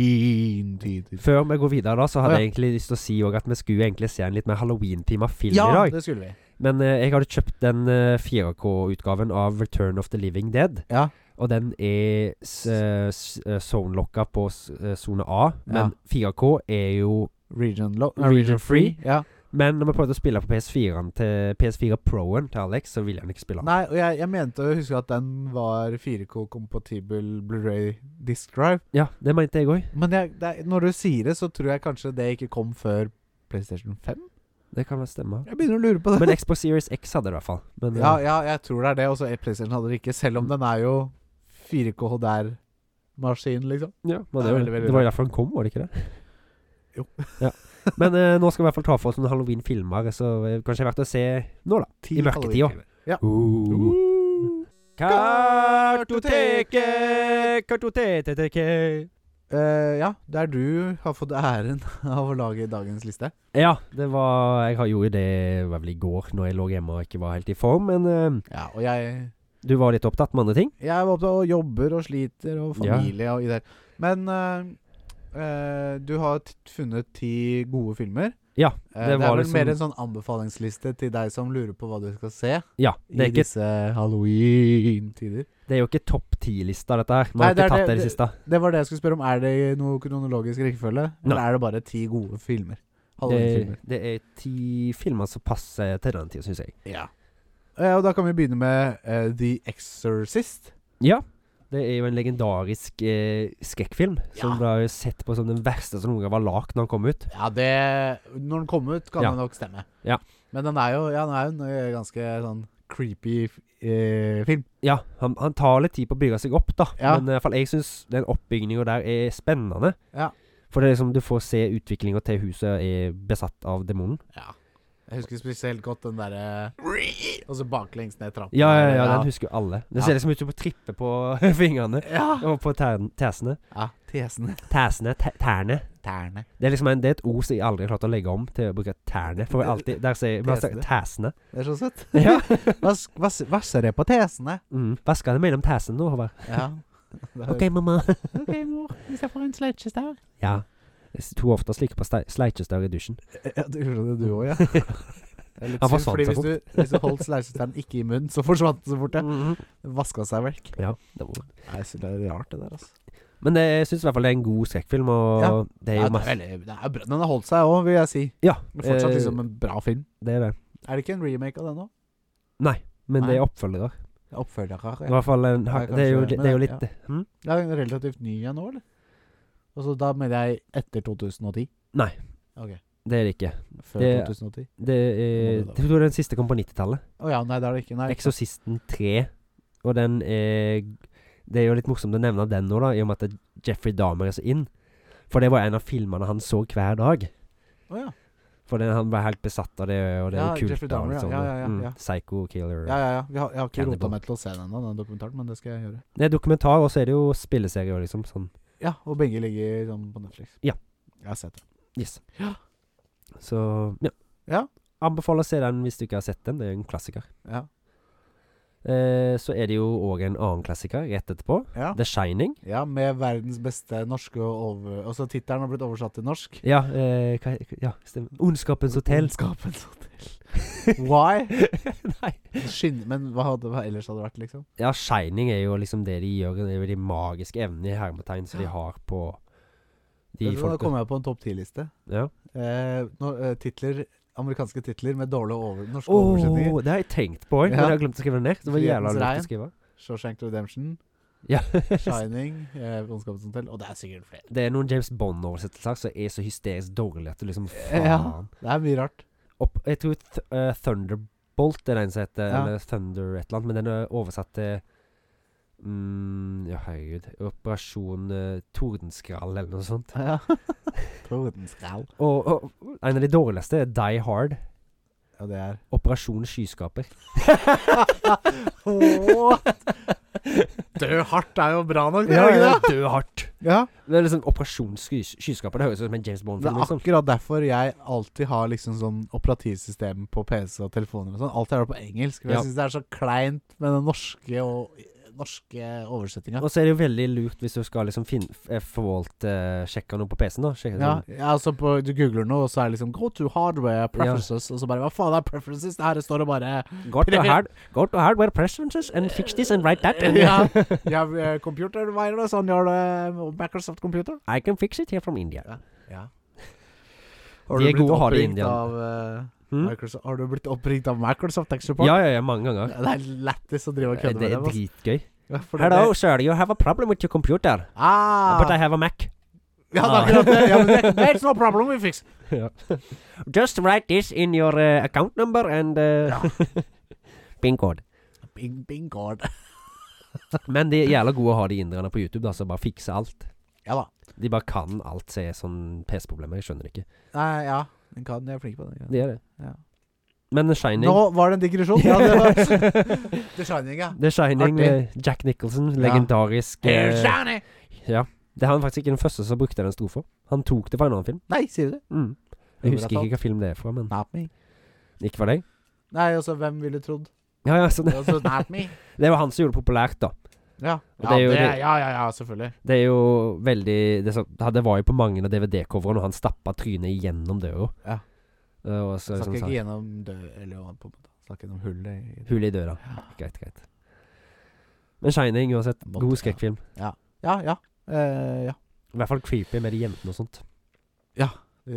[SPEAKER 3] halloween-tider.
[SPEAKER 2] Før vi går videre, da, så hadde
[SPEAKER 3] Å, ja.
[SPEAKER 2] jeg egentlig lyst til å si også at vi skulle egentlig se en litt mer halloween-tema film
[SPEAKER 3] Ja,
[SPEAKER 2] i dag.
[SPEAKER 3] det skulle vi.
[SPEAKER 2] Men eh, jeg hadde kjøpt den eh, 4K-utgaven av Return of the Living Dead.
[SPEAKER 3] Ja.
[SPEAKER 2] Og den er s- eh, s- eh, zone-locka på s- eh, sone A, men 4K er jo
[SPEAKER 3] Region, lo eh,
[SPEAKER 2] Region free.
[SPEAKER 3] Ja.
[SPEAKER 2] Men når vi prøvde å spille på PS4-en til PS4 Pro-en til Alex, så ville han ikke spille den.
[SPEAKER 3] Nei, og jeg, jeg mente å huske at den var 4K-kompatibel Blu-ray disk drive.
[SPEAKER 2] Ja, det mente jeg òg.
[SPEAKER 3] Men jeg, det er, når du sier det, så tror jeg kanskje det ikke kom før PlayStation 5?
[SPEAKER 2] Det kan vel stemme.
[SPEAKER 3] Jeg begynner å lure på det.
[SPEAKER 2] Men Xbox Series X hadde det i hvert fall. Men, eh,
[SPEAKER 3] ja, ja, Mm. jeg tror det er det. Og så PlayStation hadde det ikke, selv om den er jo 4K der-maskin, liksom.
[SPEAKER 2] ja, men
[SPEAKER 3] det
[SPEAKER 2] det, var-
[SPEAKER 3] er veldig, veldig
[SPEAKER 2] det var jo derfor han kom, var det ikke det?
[SPEAKER 3] Jo.
[SPEAKER 2] Ja. Men eh, nå skal vi i hvert fall ta for oss noen halloween-filmer, så eh, kanskje det er verdt å se nå, da. I mørketida. Uh. Kartoteket, kartoteket
[SPEAKER 3] Eh, ja, der du har fått æren av å lage dagens liste.
[SPEAKER 2] Ja, det var Jeg har gjorde det var vel i går, når jeg lå hjemme og ikke var helt i form. Men eh,
[SPEAKER 3] Ja, og jeg
[SPEAKER 2] du var litt opptatt med andre ting.
[SPEAKER 3] Jeg var opptatt av jobber og sliter og
[SPEAKER 2] Ja.
[SPEAKER 3] familie og ideer. Men eh, eh, du har t funnet ti gode filmer.
[SPEAKER 2] Ja,
[SPEAKER 3] Eh,
[SPEAKER 2] det
[SPEAKER 3] det,
[SPEAKER 2] var
[SPEAKER 3] er vel
[SPEAKER 2] liksom-
[SPEAKER 3] mer en sånn anbefalingsliste til deg som lurer på hva du skal se
[SPEAKER 2] Ja, det
[SPEAKER 3] i
[SPEAKER 2] er, ikke,
[SPEAKER 3] disse halloween-tider.
[SPEAKER 2] det er jo ikke topp ti-lista, dette her. Vi
[SPEAKER 3] Nei,
[SPEAKER 2] har
[SPEAKER 3] det
[SPEAKER 2] ikke
[SPEAKER 3] er
[SPEAKER 2] tatt
[SPEAKER 3] det-
[SPEAKER 2] det i det siste.
[SPEAKER 3] Det var det jeg skulle spørre om. Er det i noe kronologisk rekkefølge? Eller
[SPEAKER 2] Nei.
[SPEAKER 3] er det bare ti gode filmer?
[SPEAKER 2] Det,
[SPEAKER 3] Halloween-filmer.
[SPEAKER 2] det er ti filmer som passer til den tida, syns jeg.
[SPEAKER 3] Ja. Eh, og da kan vi begynne med eh, The Exorcist.
[SPEAKER 2] Ja. Det er jo en legendarisk eh, skrekkfilm som
[SPEAKER 3] Ja.
[SPEAKER 2] ble sett på som den verste som noen gang var lagd når den kom ut.
[SPEAKER 3] Ja, det Når den kom ut, kan
[SPEAKER 2] Ja.
[SPEAKER 3] det nok stemme.
[SPEAKER 2] Ja.
[SPEAKER 3] Men den er jo, ja, den er jo en eh, ganske sånn creepy eh, film.
[SPEAKER 2] Ja, han, han tar litt tid på å bygge seg opp, da.
[SPEAKER 3] Ja.
[SPEAKER 2] Men i hvert fall jeg syns den oppbygninga der er spennende.
[SPEAKER 3] Ja.
[SPEAKER 2] For det er liksom du får se utviklinga til huset er besatt av demonen.
[SPEAKER 3] Ja. Jeg husker spesielt godt den derre Og så baklengs ned trappa.
[SPEAKER 2] Ja, ja, ja, den husker jo alle. Det
[SPEAKER 3] Ja.
[SPEAKER 2] ser liksom ut som å trippe på [LAUGHS] fingrene
[SPEAKER 3] Ja.
[SPEAKER 2] og på tærn- tæsene.
[SPEAKER 3] ja. Tesene.
[SPEAKER 2] Tæsene? tæ- Tærne?
[SPEAKER 3] Tærne.
[SPEAKER 2] Det er liksom en, det er et ord som jeg aldri har klart å legge om til å bruke tærne. For jeg alltid, der sier jeg bare sier tæsene.
[SPEAKER 3] Det er så søtt.
[SPEAKER 2] [LAUGHS] Ja.
[SPEAKER 3] [LAUGHS] Vas- vas- Vasser det på tesene?
[SPEAKER 2] Mm. Vasker det mellom tæsene nå, Håvard.
[SPEAKER 3] Ja. [LAUGHS]
[SPEAKER 2] OK, mamma.
[SPEAKER 3] OK, mor. Hvis jeg får en
[SPEAKER 2] [LAUGHS]
[SPEAKER 3] sleikjestaur.
[SPEAKER 2] Ja. Jeg tok ofte og slikker på stei- sleikjestør i dusjen.
[SPEAKER 3] Ja, du gjorde det, du òg, ja. [LAUGHS] Det er litt
[SPEAKER 2] Han
[SPEAKER 3] synd,
[SPEAKER 2] forsvant
[SPEAKER 3] fordi
[SPEAKER 2] så
[SPEAKER 3] hvis du, hvis du holdt sleikjestauren ikke i munnen, så forsvant den så fort, ja.
[SPEAKER 2] Mhm.
[SPEAKER 3] Vaska seg vekk.
[SPEAKER 2] Ja, det var
[SPEAKER 3] Nei, så det er rart, det der, altså.
[SPEAKER 2] Men det, jeg syns i hvert fall det er en god skrekkfilm, og
[SPEAKER 3] Ja.
[SPEAKER 2] det er
[SPEAKER 3] Ja,
[SPEAKER 2] jo masse
[SPEAKER 3] det er veldig, det er bra. Den har holdt seg òg, vil jeg si.
[SPEAKER 2] Ja,
[SPEAKER 3] Men fortsatt
[SPEAKER 2] eh,
[SPEAKER 3] liksom en bra film.
[SPEAKER 2] det er det.
[SPEAKER 3] Er det ikke en remake av den nå?
[SPEAKER 2] Men det
[SPEAKER 3] Nei.
[SPEAKER 2] er oppfølgere.
[SPEAKER 3] Oppfølgere.
[SPEAKER 2] I hvert fall en,
[SPEAKER 3] Nei,
[SPEAKER 2] det, er jo,
[SPEAKER 3] kanskje,
[SPEAKER 2] det,
[SPEAKER 3] men
[SPEAKER 2] det er jo
[SPEAKER 3] det-
[SPEAKER 2] litt hm?
[SPEAKER 3] Det er en relativt ny en nå, eller? Og så da mener jeg etter 2010?
[SPEAKER 2] Nei.
[SPEAKER 3] Ok,
[SPEAKER 2] Det er det ikke.
[SPEAKER 3] Før
[SPEAKER 2] Det-
[SPEAKER 3] 2010?
[SPEAKER 2] Det er,
[SPEAKER 3] Må det da
[SPEAKER 2] jeg tror den siste kom på 90-tallet.
[SPEAKER 3] Å ja, nei, det er det ikke. Nei.
[SPEAKER 2] 'Eksorsisten 3'. Og den er Det er jo litt morsomt å nevne den nå, da, i og med at Jeffrey Dahmer er så inn. For det var en av filmene han så hver dag.
[SPEAKER 3] Å ja.
[SPEAKER 2] For den, han var helt besatt av det, og det er
[SPEAKER 3] Ja,
[SPEAKER 2] jo kult.
[SPEAKER 3] Jeffrey
[SPEAKER 2] da,
[SPEAKER 3] Dahmer, ja,
[SPEAKER 2] liksom.
[SPEAKER 3] ja, ja, ja, ja.
[SPEAKER 2] Psycho killer.
[SPEAKER 3] ja, ja, ja. Vi har, jeg har ikke
[SPEAKER 2] Cannibal.
[SPEAKER 3] rota meg til å se den ennå, den dokumentaren, men det skal jeg gjøre.
[SPEAKER 2] Det er dokumentar, og så er det jo spilleserie og liksom. Sånn.
[SPEAKER 3] Ja, og begge ligger sånn på Netflix.
[SPEAKER 2] Ja.
[SPEAKER 3] Jeg har sett det.
[SPEAKER 2] Yes.
[SPEAKER 3] Ja.
[SPEAKER 2] Så ja.
[SPEAKER 3] Ja.
[SPEAKER 2] Anbefaler å se den hvis du ikke har sett den. Det er jo en klassiker.
[SPEAKER 3] Ja.
[SPEAKER 2] Eh, så er det jo òg en annen klassiker rett etterpå.
[SPEAKER 3] Ja.
[SPEAKER 2] The Shining.
[SPEAKER 3] ja, med verdens beste norske og over... Også tittelen har blitt oversatt til norsk.
[SPEAKER 2] Ja, eh, hva, ja stemmer. Ondskapens hotell. [LAUGHS]
[SPEAKER 3] Ondskapens [LAUGHS] hotell. Why?
[SPEAKER 2] Nei.
[SPEAKER 3] Skinn... Men hva, hadde, hva ellers hadde det vært, liksom?
[SPEAKER 2] Ja, Shining er jo liksom det de gjør. Det er jo de magiske evnene i hermetegn som de har på de
[SPEAKER 3] Vet du hva, Da
[SPEAKER 2] folka.
[SPEAKER 3] kom jeg på en topp ti-liste.
[SPEAKER 2] Ja.
[SPEAKER 3] Eh, nå- eh, titler, amerikanske titler med dårlige over, norske
[SPEAKER 2] Åh,
[SPEAKER 3] oversetninger.
[SPEAKER 2] det har jeg tenkt på òg, men
[SPEAKER 3] Ja.
[SPEAKER 2] jeg har glemt å skrive det ned. Det var jævla
[SPEAKER 3] Frihetens
[SPEAKER 2] lurt
[SPEAKER 3] regn.
[SPEAKER 2] å skrive.
[SPEAKER 3] Shawshank Redemption,
[SPEAKER 2] [LAUGHS] Ja.
[SPEAKER 3] Shining, eh, Ondskapens hotell. Og det er sikkert flere.
[SPEAKER 2] Det er noen James Bond-oversettelser som er så hysterisk dårlige at du liksom faen
[SPEAKER 3] Ja. Det er mye rart.
[SPEAKER 2] opp, Jeg tror th eh, Thunderbolt er den som heter,
[SPEAKER 3] Ja.
[SPEAKER 2] eller Thunder et eller annet, men den er oversatt til mm, Ja, herregud. Operasjon eh, Tordenskrall eller noe sånt.
[SPEAKER 3] [LAUGHS] Ja. Tordenskrall.
[SPEAKER 2] Og, og en av de dårligste er Die Hard.
[SPEAKER 3] Ja, det er
[SPEAKER 2] Operasjon
[SPEAKER 3] [LAUGHS]
[SPEAKER 2] Skyskaper.
[SPEAKER 3] Dø hardt er jo bra nok, det
[SPEAKER 2] Ja,
[SPEAKER 3] er ikke
[SPEAKER 2] ja,
[SPEAKER 3] det?
[SPEAKER 2] dø hardt.
[SPEAKER 3] Ja.
[SPEAKER 2] Det er liksom Operasjon sky Skyskaper. Det høres ut som en James
[SPEAKER 3] Det er
[SPEAKER 2] Bond-film. Liksom.
[SPEAKER 3] akkurat derfor jeg alltid har liksom sånn operativsystem på PC og telefoner og sånn. Alt jeg har på engelsk. For
[SPEAKER 2] Ja.
[SPEAKER 3] jeg syns det er så kleint med den norske og norske oversettinga.
[SPEAKER 2] Og så er det jo veldig lurt hvis du skal liksom fin eh, forvalte eh, Sjekke noe på PC-en. da Sjekke
[SPEAKER 3] Ja,
[SPEAKER 2] sånn-
[SPEAKER 3] ja, altså på, du googler noe, og så er det liksom Go to hardware preferences, og så bare Hva faen er preferences? Det her står det bare
[SPEAKER 2] [LAUGHS] Go to, sånn, hard, go to hardware preferences and fix this and write that. And
[SPEAKER 3] [LAUGHS] Ja, you have uh, computer virus on your uh, Microsoft computer.
[SPEAKER 2] I can fix it here from India.
[SPEAKER 3] Ja.
[SPEAKER 2] De er gode å ha det i India.
[SPEAKER 3] Av, uh,
[SPEAKER 2] Hm?
[SPEAKER 3] Microsoft, har du blitt oppringt av Microsoft Tech Support?
[SPEAKER 2] Ja, ja, ja, mange ganger.
[SPEAKER 3] Det er lættis å drive og
[SPEAKER 2] Eh,
[SPEAKER 3] kødde
[SPEAKER 2] Det er
[SPEAKER 3] med dem. altså.
[SPEAKER 2] dritgøy.
[SPEAKER 3] Ja, for det-
[SPEAKER 2] Hello, sir, you have a problem with your computer.
[SPEAKER 3] Ah,
[SPEAKER 2] But I have a Mac.
[SPEAKER 3] ja, det er akkurat det. Ja, men det there's no problem we fix.
[SPEAKER 2] Just write this in your uh, account number and uh, [LAUGHS] pin code.
[SPEAKER 3] Bing, bing, god.
[SPEAKER 2] Men det er jævla gode å ha de inderne på YouTube, da, som bare fikser alt.
[SPEAKER 3] Ja da.
[SPEAKER 2] De bare kan alt som er sånn PC-problemer. Jeg skjønner ikke.
[SPEAKER 3] Nei, ja. Den kan, jeg er flink på den.
[SPEAKER 2] De er det.
[SPEAKER 3] Ja.
[SPEAKER 2] Men The Shining [LAUGHS]
[SPEAKER 3] Nå var det en digresjon. Ja, det var [LAUGHS] The Shining, ja.
[SPEAKER 2] The Shining
[SPEAKER 3] Artig.
[SPEAKER 2] med Jack Nicholson. Legendarisk. eh, ja. Det er han faktisk ikke den første som brukte den strofa. Han tok det fra en annen film.
[SPEAKER 3] Nei, sier du det?
[SPEAKER 2] Mm. Jeg husker
[SPEAKER 3] Overraskende.
[SPEAKER 2] ikke hva film det er fra, men
[SPEAKER 3] Not me.
[SPEAKER 2] ikke for deg.
[SPEAKER 3] Nei, altså, hvem ville trodd?
[SPEAKER 2] Ja, ja, så det,
[SPEAKER 3] Altså, not me.
[SPEAKER 2] det var han som gjorde det populært, da.
[SPEAKER 3] [LAUGHS] Ja,
[SPEAKER 2] Og
[SPEAKER 3] ja,
[SPEAKER 2] det er jo
[SPEAKER 3] det,
[SPEAKER 2] det-
[SPEAKER 3] ja, ja, ja selvfølgelig.
[SPEAKER 2] Det er jo veldig Det, så, det var jo på mange av DVD-coverene, og han stappa trynet gjennom døra.
[SPEAKER 3] Ja.
[SPEAKER 2] Eh, Og så, liksom,
[SPEAKER 3] Jeg snakker
[SPEAKER 2] sa,
[SPEAKER 3] ikke gjennom død, eller jo, på en måte. Jeg Snakker gjennom hullet i
[SPEAKER 2] Hull i døra.
[SPEAKER 3] Ja.
[SPEAKER 2] Greit, greit. Men Shining, uansett.
[SPEAKER 3] Måtte,
[SPEAKER 2] God
[SPEAKER 3] ja.
[SPEAKER 2] skrekkfilm.
[SPEAKER 3] Ja, ja. Eh, ja.
[SPEAKER 2] I hvert fall creepy med de jentene og sånt.
[SPEAKER 3] Eh,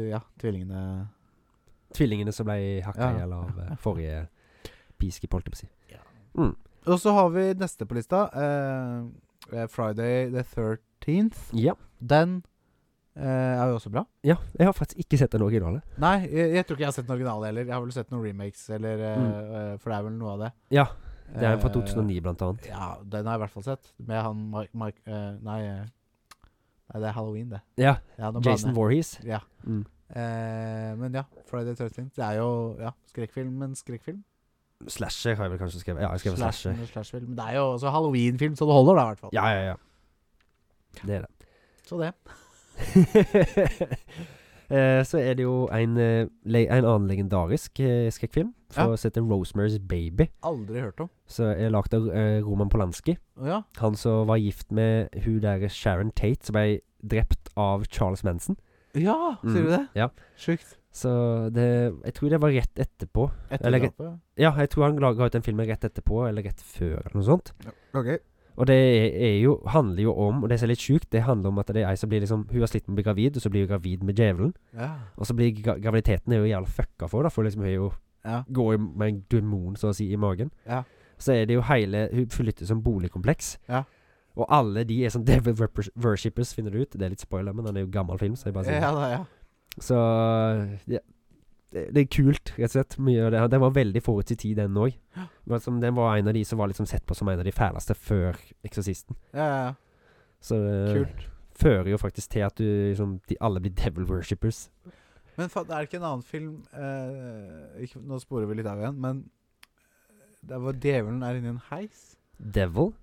[SPEAKER 3] ja, tvillingene
[SPEAKER 2] Tvillingene som ble hakka
[SPEAKER 3] Ja,
[SPEAKER 2] i hjel av
[SPEAKER 3] ja,
[SPEAKER 2] eh,
[SPEAKER 3] [LAUGHS] ja.
[SPEAKER 2] forrige piskip, holdt jeg på å si.
[SPEAKER 3] Og så har vi neste på lista. eh, eh, Friday the 13th.
[SPEAKER 2] Ja.
[SPEAKER 3] Den eh, er jo også bra.
[SPEAKER 2] ja. Jeg har faktisk ikke sett den originale.
[SPEAKER 3] Nei, jeg, jeg tror ikke jeg har sett den originale heller. Jeg har vel sett noen remakes, eller, eh, eh, for det er vel noe av det.
[SPEAKER 2] Mm. Ja, Det er fra
[SPEAKER 3] Eh,
[SPEAKER 2] 2009, blant annet.
[SPEAKER 3] Ja, den har jeg i hvert fall sett. Med han Mike, Mike eh, nei, eh, nei, det er Halloween, det.
[SPEAKER 2] Ja.
[SPEAKER 3] Ja, nå
[SPEAKER 2] Jason
[SPEAKER 3] blander jeg.
[SPEAKER 2] Voorhees.
[SPEAKER 3] Ja.
[SPEAKER 2] Mm.
[SPEAKER 3] Eh, men ja, Friday 13. Det er jo ja, skrekkfilm, men skrekkfilm.
[SPEAKER 2] Slasher har jeg vel kanskje skrevet. Ja, jeg har skrevet slasher.
[SPEAKER 3] Slash- slashfilm. Men det er jo også halloweenfilm, så det holder, da, i hvert fall.
[SPEAKER 2] Ja, ja, ja. Det [LAUGHS] er det.
[SPEAKER 3] Så det.
[SPEAKER 2] Eh, Så er det jo en, eh, le- en annen legendarisk eh, skrekkfilm,
[SPEAKER 3] Ja.
[SPEAKER 2] som heter Rosemary's Baby.
[SPEAKER 3] Aldri hørt om.
[SPEAKER 2] Som er lagd av eh, Roman Polanski.
[SPEAKER 3] Å ja.
[SPEAKER 2] Han som var gift med hun der Sharon Tate, som ble drept av Charles Manson.
[SPEAKER 3] Ja, sier
[SPEAKER 2] Mm,
[SPEAKER 3] du det?
[SPEAKER 2] ja.
[SPEAKER 3] Sjukt.
[SPEAKER 2] Så det Jeg tror det var rett etterpå.
[SPEAKER 3] Etter
[SPEAKER 2] Eller-
[SPEAKER 3] drapet.
[SPEAKER 2] Ja, jeg tror han la ga ut den filmen rett etterpå, eller rett før, eller noe sånt.
[SPEAKER 3] Ok.
[SPEAKER 2] Og det er, er jo, handler jo om, og det som er litt sjukt, det handler om at det er ei som blir liksom Hun har slitt med å bli gravid, og så blir hun gravid med djevelen.
[SPEAKER 3] Ja.
[SPEAKER 2] Og så blir gra graviditeten er jo jævla fucka for, da, for liksom hun er jo
[SPEAKER 3] Ja.
[SPEAKER 2] går jo med en demon, så å si, i magen.
[SPEAKER 3] Ja.
[SPEAKER 2] Så er det jo hele Hun flytter som boligkompleks.
[SPEAKER 3] Ja.
[SPEAKER 2] Og alle de er sånn [LAUGHS] devil wor- worshippers, finner du ut. Det er litt spoiler, men den er jo gammel film, så jeg bare sier
[SPEAKER 3] Ja, da, ja.
[SPEAKER 2] Så ja. det, det er kult, rett og slett. Mye av det. Den var veldig forut sin tid, den òg. Den var en av de som var liksom sett på som en av de fæleste før 'Eksorsisten'.
[SPEAKER 3] Ja, ja, ja.
[SPEAKER 2] Så det
[SPEAKER 3] Kult.
[SPEAKER 2] fører jo faktisk til at du, liksom, de alle blir devil worshippers.
[SPEAKER 3] Men faen, det er ikke en annen film eh, ikke, Nå sporer vi litt av igjen, men det var 'Djevelen er inni en heis'.
[SPEAKER 2] Devil?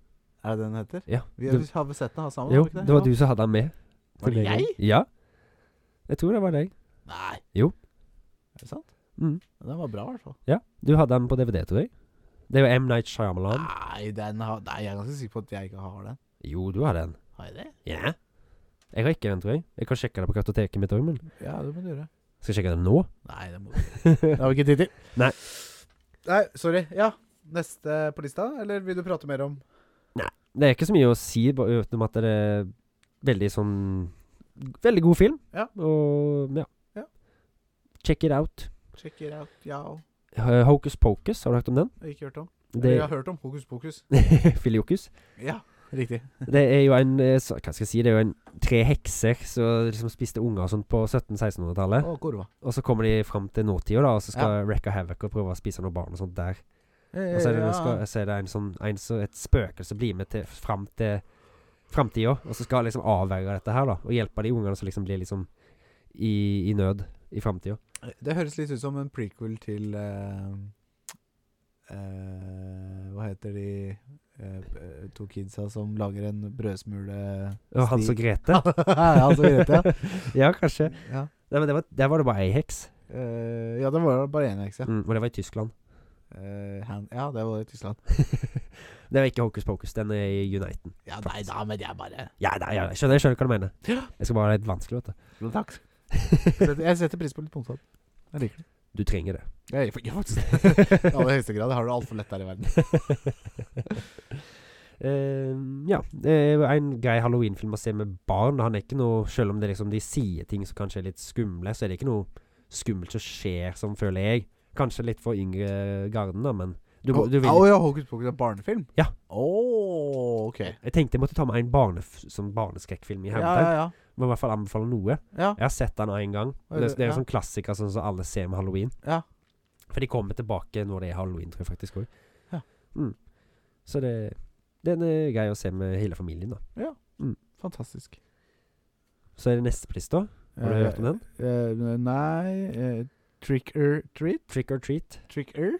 [SPEAKER 3] Er det den heter?
[SPEAKER 2] Ja.
[SPEAKER 3] Vi
[SPEAKER 2] Du-
[SPEAKER 3] har, har vi sett den her sammen?
[SPEAKER 2] Jo,
[SPEAKER 3] har vi ikke
[SPEAKER 2] det var
[SPEAKER 3] Ja.
[SPEAKER 2] du som hadde han med.
[SPEAKER 3] Var det jeg?
[SPEAKER 2] Ja. Jeg tror det var deg.
[SPEAKER 3] Nei.
[SPEAKER 2] Jo.
[SPEAKER 3] Er det sant?
[SPEAKER 2] Mm.
[SPEAKER 3] Den var bra, i hvert fall.
[SPEAKER 2] Ja. Du hadde han på DVD, tror jeg. Det er jo M. Night Shyamalan.
[SPEAKER 3] Nei, den har, nei, jeg er ganske sikker på at jeg ikke har den.
[SPEAKER 2] Jo, du hadde den.
[SPEAKER 3] Har jeg det?
[SPEAKER 2] Ja. Jeg har ikke den, tror jeg. Jeg kan sjekke det på kartoteket mitt òg, men
[SPEAKER 3] Ja, det må du gjøre.
[SPEAKER 2] skal jeg sjekke den
[SPEAKER 3] [LAUGHS]
[SPEAKER 2] nå?
[SPEAKER 3] Nei, det må du ikke. Det har vi ikke tid til.
[SPEAKER 2] Nei.
[SPEAKER 3] Nei, sorry. Ja. Neste på lista, eller vil du prate mer om
[SPEAKER 2] Det er ikke så mye å si ba- utenom at det er veldig sånn Veldig god film.
[SPEAKER 3] Ja.
[SPEAKER 2] Og ja.
[SPEAKER 3] Ja.
[SPEAKER 2] Check it out.
[SPEAKER 3] Check it out, ja
[SPEAKER 2] Eh, Hocus Pocus, har du hørt om den?
[SPEAKER 3] Jeg har ikke hørt om.
[SPEAKER 2] Det
[SPEAKER 3] Eller Jeg har hørt om Hokus pokus.
[SPEAKER 2] [LAUGHS] Filiokus.
[SPEAKER 3] Ja, riktig.
[SPEAKER 2] Det er jo en eh, så- Hva skal jeg si Det er jo en tre hekser som liksom spiste unger og sånt på 1700-1600-tallet.
[SPEAKER 3] Og korva.
[SPEAKER 2] Og så kommer de fram til nåtida, da, og så skal Wreck a Havoc og prøve å spise noen barn og sånt der. Og så er det, skal, så er det en sånn en, så et spøkelse blir med til, fram til framtida, og så skal liksom avverge dette her, da. Og hjelpe de ungene som liksom blir liksom i, i nød i framtida.
[SPEAKER 3] Det høres litt ut som en prequel til eh, eh, Hva heter de eh, eh, to kidsa som lager en brødsmule
[SPEAKER 2] Og Hans og Grete.
[SPEAKER 3] [LAUGHS] ja, altså, Grete, ja.
[SPEAKER 2] [LAUGHS] ja, kanskje.
[SPEAKER 3] [LAUGHS] Ja.
[SPEAKER 2] Nei, men det var, der var det bare ei heks,
[SPEAKER 3] Eh, ja, det var bare én heks, ja.
[SPEAKER 2] mm, og det var i Tyskland.
[SPEAKER 3] Eh, han, ja, det var i Tyskland.
[SPEAKER 2] Det var ikke Hokus Pokus, den er i Uniten.
[SPEAKER 3] Ja, nei da, men jeg bare
[SPEAKER 2] Ja, nei, ja, jeg skjønner, jeg skjønner hva du mener.
[SPEAKER 3] Ja.
[SPEAKER 2] Jeg skal bare ha det litt vanskelig, vet du.
[SPEAKER 3] Takk.
[SPEAKER 2] [LAUGHS]
[SPEAKER 3] Setter- Jeg setter pris på litt punkthopp. Jeg liker det.
[SPEAKER 2] Du trenger det.
[SPEAKER 3] Jeg gjør [LAUGHS] faktisk det. I aller høyeste grad. Jeg har det altfor lett her i verden.
[SPEAKER 2] Eh, ja. Det er jo en grei halloweenfilm å se med barn. Han er ikke noe Selv om det liksom de sier ting som kanskje er litt skumle, så er det ikke noe skummelt som skjer, som føler jeg. Kanskje litt for yngre garden, da, men du, må- du
[SPEAKER 3] Å
[SPEAKER 2] vil
[SPEAKER 3] ja, Hokus pokus er barnefilm?
[SPEAKER 2] Ja.
[SPEAKER 3] Å, ok.
[SPEAKER 2] Jeg tenkte jeg måtte ta med en barnef sånn barneskrekkfilm i
[SPEAKER 3] Ja,
[SPEAKER 2] hodet.
[SPEAKER 3] ja, ja.
[SPEAKER 2] Må i hvert fall anbefale noe.
[SPEAKER 3] ja.
[SPEAKER 2] Jeg har sett den en gang.
[SPEAKER 3] Hva er
[SPEAKER 2] Det,
[SPEAKER 3] det-
[SPEAKER 2] det er jo
[SPEAKER 3] ja.
[SPEAKER 2] sånn klassiker sånn som alle ser med halloween.
[SPEAKER 3] Ja.
[SPEAKER 2] For de kommer tilbake når det er halloween, tror jeg faktisk også.
[SPEAKER 3] Ja.
[SPEAKER 2] Mm. Så eh, det den er grei å se med hele familien, da.
[SPEAKER 3] Fantastisk.
[SPEAKER 2] Så er det neste på lista. Har du hørt om den?
[SPEAKER 3] Eh, nei eh, Trick or treat?
[SPEAKER 2] Trick or treat.
[SPEAKER 3] Trick or?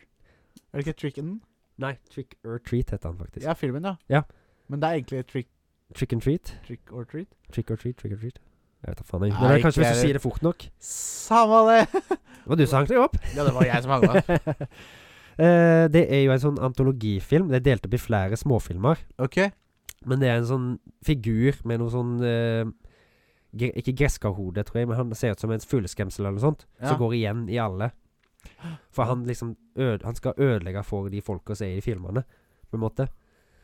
[SPEAKER 3] Er det ikke Trick and?
[SPEAKER 2] Nei, Trick or treat heter den faktisk.
[SPEAKER 3] Ja, filmen, ja.
[SPEAKER 2] Ja.
[SPEAKER 3] Men det er egentlig Trick,
[SPEAKER 2] Trick and treat.
[SPEAKER 3] trick or treat.
[SPEAKER 2] Trick or treat, trick or treat. Jeg vet da faen. jeg.
[SPEAKER 3] Nei,
[SPEAKER 2] Men det er kanskje
[SPEAKER 3] ikke
[SPEAKER 2] hvis du
[SPEAKER 3] jeg.
[SPEAKER 2] sier det fort nok.
[SPEAKER 3] Samme det! [LAUGHS]
[SPEAKER 2] Det var du som hang deg opp.
[SPEAKER 3] ja, det var jeg som hang opp.
[SPEAKER 2] [LAUGHS] Eh, det er jo en sånn antologifilm. Det er delt opp i flere småfilmer. [LAUGHS]
[SPEAKER 3] Ok.
[SPEAKER 2] Men det er en sånn figur med noe sånn eh, gre Ikke gresskarhode, tror jeg, men han ser ut som en fugleskremsel eller noe sånt.
[SPEAKER 3] Ja.
[SPEAKER 2] Som går liksom. igjen i alle. For han liksom øde, Han skal ødelegge for de folka som er i de filmene, på en måte.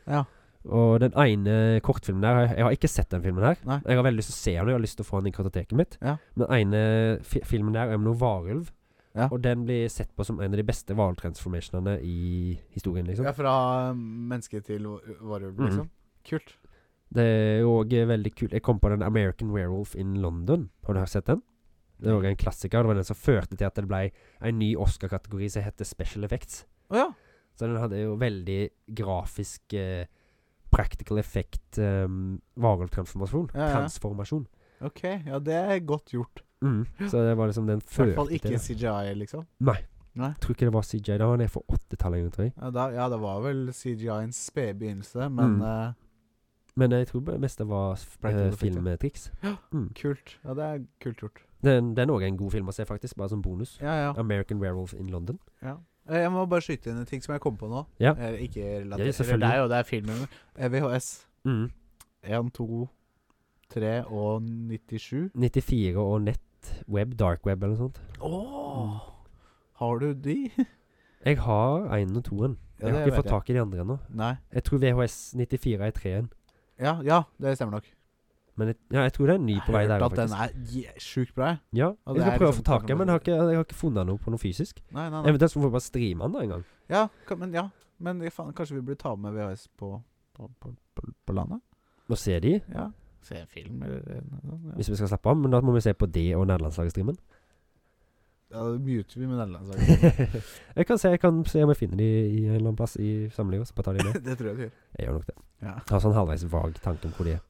[SPEAKER 3] Ja.
[SPEAKER 2] Og den ene kortfilmen der Jeg har ikke sett den filmen her.
[SPEAKER 3] Nei.
[SPEAKER 2] Jeg har veldig lyst til å se den, jeg har lyst til å få den i kartoteket mitt.
[SPEAKER 3] Ja.
[SPEAKER 2] Men den ene fi filmen der er om noe varulv.
[SPEAKER 3] Ja.
[SPEAKER 2] Og den blir sett på som en av de beste hvaltransformasjonene i historien, liksom.
[SPEAKER 3] Ja, fra menneske til varulv,
[SPEAKER 2] Mhm.
[SPEAKER 3] liksom. Kult.
[SPEAKER 2] Det er jo òg veldig kult. Jeg kom på den American Werewolf in London. Har du sett den? Det er òg en klassiker. Det var den som førte til at det ble en ny Oscar-kategori som heter Special Effects.
[SPEAKER 3] Å ja.
[SPEAKER 2] Så den hadde jo veldig grafisk eh, practical effect um, varulvtransformasjon.
[SPEAKER 3] Ja, ja, ja.
[SPEAKER 2] Transformasjon.
[SPEAKER 3] Ok, ja, det er godt gjort.
[SPEAKER 2] Mm. Så det var liksom den
[SPEAKER 3] I hvert
[SPEAKER 2] førte
[SPEAKER 3] fall
[SPEAKER 2] til
[SPEAKER 3] ikke
[SPEAKER 2] det.
[SPEAKER 3] CGI, liksom.
[SPEAKER 2] Jeg tror ikke det var CJ. Det var ned for 80-tallet, egentlig, tror jeg.
[SPEAKER 3] Ja, da, ja det var vel CGI-ens spede begynnelse, men
[SPEAKER 2] Mhm.
[SPEAKER 3] eh,
[SPEAKER 2] Men jeg tror det meste var eh,
[SPEAKER 3] Practical effect, ja.
[SPEAKER 2] filmtriks. Mm.
[SPEAKER 3] kult. Ja, det er kult gjort.
[SPEAKER 2] Den den er òg en god film å se, faktisk. Bare som bonus.
[SPEAKER 3] Ja, ja.
[SPEAKER 2] American Werewolf in London.
[SPEAKER 3] ja. Eh, Jeg må bare skyte inn en ting som jeg kom på nå.
[SPEAKER 2] Ja.
[SPEAKER 3] Eh, ikke relatert
[SPEAKER 2] Ja, selvfølgelig.
[SPEAKER 3] eller Det er jo det er filmen. Eh, VHS
[SPEAKER 2] Mm.
[SPEAKER 3] 1, 2, 3 og 97.
[SPEAKER 2] 94 og nett, web, dark web eller noe sånt.
[SPEAKER 3] Har du de?
[SPEAKER 2] Jeg har én og toen. Jeg
[SPEAKER 3] Ja, [LAUGHS] det
[SPEAKER 2] har ikke
[SPEAKER 3] vet
[SPEAKER 2] fått tak i de andre ennå.
[SPEAKER 3] Nei.
[SPEAKER 2] Jeg tror VHS 94 er treeren.
[SPEAKER 3] Ja, ja, det stemmer nok.
[SPEAKER 2] Men jeg, ja, jeg tror det er en ny på vei der.
[SPEAKER 3] Hørt at den
[SPEAKER 2] faktisk
[SPEAKER 3] er je- sjukt bra. jeg.
[SPEAKER 2] Ja, Jeg
[SPEAKER 3] Og det er
[SPEAKER 2] skal prøve å
[SPEAKER 3] liksom
[SPEAKER 2] få tak i den, men jeg har,
[SPEAKER 3] kanskje-
[SPEAKER 2] ikke, jeg har ikke funnet noe på noe fysisk.
[SPEAKER 3] Nei, nei, nei.
[SPEAKER 2] Eventuelt så får vi bare streame den da en gang.
[SPEAKER 3] Ja, ka- men, ja. men ja, faen, kanskje vi burde ta med VHS på, på, på, på, på landet?
[SPEAKER 2] Og se de,
[SPEAKER 3] Ja. Se en film eller noe sånt. Ja.
[SPEAKER 2] hvis vi skal slappe av. Men da må vi se på det og
[SPEAKER 3] [LAUGHS]
[SPEAKER 2] nederlandslagstreamen.
[SPEAKER 3] Ja, da muter vi med nederlandslaget. [LAUGHS]
[SPEAKER 2] jeg kan se jeg kan se om jeg finner de i en eller annen plass i samlivet. Så bare tar de med.
[SPEAKER 3] det tror jeg du gjør.
[SPEAKER 2] Jeg gjør nok det.
[SPEAKER 3] Ja.
[SPEAKER 2] Jeg har sånn halvveis vag tanke om hvor
[SPEAKER 3] [LAUGHS]
[SPEAKER 2] de er.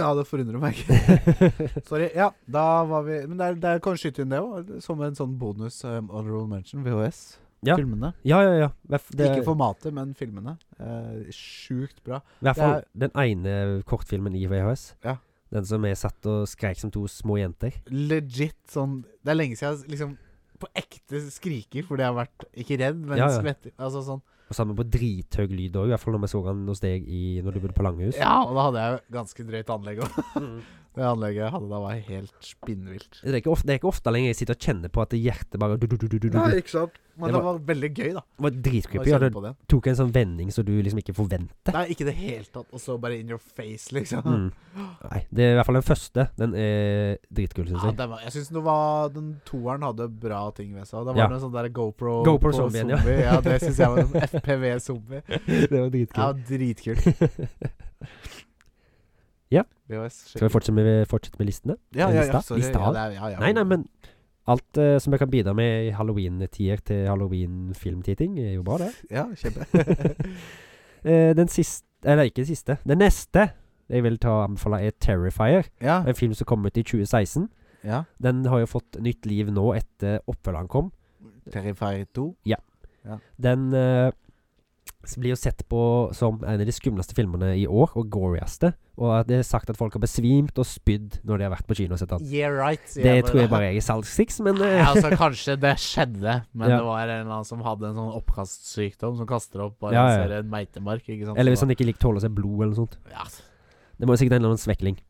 [SPEAKER 3] ja, det forundrer meg ikke. Sorry. Ja, da var vi Men der, der kan vi skyte inn det òg, som en sånn bonus um, honorable mention. VHS.
[SPEAKER 2] Ja.
[SPEAKER 3] Filmene.
[SPEAKER 2] Ja, ja, ja. Hver- Det,
[SPEAKER 3] Ikke formatet, men filmene. Eh, sjukt bra.
[SPEAKER 2] I hvert
[SPEAKER 3] Det
[SPEAKER 2] fall
[SPEAKER 3] er-
[SPEAKER 2] den ene kortfilmen i VHS.
[SPEAKER 3] Ja.
[SPEAKER 2] Den som er satt og skreik som to små jenter.
[SPEAKER 3] Legit sånn Det er lenge siden jeg liksom på ekte skriker fordi jeg har vært Ikke redd, men
[SPEAKER 2] Ja, ja.
[SPEAKER 3] skvetter. Altså sånn
[SPEAKER 2] Og sammen på drithøy lyd òg, i hvert fall når vi så han hos deg i, når du bodde på Langhus.
[SPEAKER 3] Ja, og da hadde jeg ganske drøyt anlegg òg.
[SPEAKER 2] Mm.
[SPEAKER 3] Det anlegget jeg hadde da, var helt spinnvilt.
[SPEAKER 2] Det, er ikke ofte, det er ikke ofte lenger jeg sitter og kjenner på at hjertet bare du, du, du, du, du, du. Det
[SPEAKER 3] ikke sant. Men
[SPEAKER 2] Det
[SPEAKER 3] det var, veldig gøy, da.
[SPEAKER 2] var
[SPEAKER 3] å
[SPEAKER 2] dritcreepy. Ja,
[SPEAKER 3] kjenne
[SPEAKER 2] det
[SPEAKER 3] på den.
[SPEAKER 2] tok en sånn vending som du liksom ikke forventer.
[SPEAKER 3] Nei, ikke i det hele tatt. Og så bare in your face, liksom.
[SPEAKER 2] Mm. Nei, det er i hvert fall den første. Den er dritkul, syns
[SPEAKER 3] Ja,
[SPEAKER 2] jeg.
[SPEAKER 3] den var, jeg syns den, var- den toeren hadde bra ting ved seg. Det var
[SPEAKER 2] Ja.
[SPEAKER 3] noe sånn der GoPro
[SPEAKER 2] GoPro
[SPEAKER 3] på
[SPEAKER 2] zombien, ja.
[SPEAKER 3] zombie. Ja, det
[SPEAKER 2] [LAUGHS]
[SPEAKER 3] syns jeg var en FPV-zombie.
[SPEAKER 2] Det var
[SPEAKER 3] Ja,
[SPEAKER 2] dritkult.
[SPEAKER 3] dritkult. VHS.
[SPEAKER 2] [LAUGHS] Skal vi fortsette med, fortsette med listene?
[SPEAKER 3] Ja, ja, ja.
[SPEAKER 2] lista?
[SPEAKER 3] Sorry,
[SPEAKER 2] Lista
[SPEAKER 3] ja,
[SPEAKER 2] har?
[SPEAKER 3] det er, ja, ja.
[SPEAKER 2] Nei, nei, men alt eh, som jeg kan bidra med i halloween-tier til halloween-filmtitting, er jo bra, det.
[SPEAKER 3] Ja, kjempe.
[SPEAKER 2] [LAUGHS] Eh, den siste Eller ikke den siste. Den neste jeg vil ta og anbefale, er 'Terrifier'.
[SPEAKER 3] Ja.
[SPEAKER 2] En film som kom ut i 2016.
[SPEAKER 3] ja.
[SPEAKER 2] Den har jo fått nytt liv nå etter oppfølgeren kom.
[SPEAKER 3] Terrifier 2.
[SPEAKER 2] Den eh, s- blir jo sett på som en av de skumleste filmene i år, og gorieste. Og at det er sagt at folk har besvimt og spydd når de har vært på kino og sett den.
[SPEAKER 3] Yeah right. sier
[SPEAKER 2] Det tror jeg
[SPEAKER 3] da.
[SPEAKER 2] bare jeg er salgstriks, men eh,
[SPEAKER 3] Ja, altså Kanskje det skjedde, men
[SPEAKER 2] Ja.
[SPEAKER 3] det var en eller annen som hadde en sånn oppkastsykdom som kaster opp bare
[SPEAKER 2] Ja, ja.
[SPEAKER 3] ser en meitemark. ikke
[SPEAKER 2] [LAUGHS]
[SPEAKER 3] sant?
[SPEAKER 2] Eller hvis
[SPEAKER 3] Så
[SPEAKER 2] han ikke liker tåler seg blod eller noe sånt.
[SPEAKER 3] da- ja,
[SPEAKER 2] Det må jo sikkert være en eller annen svekling.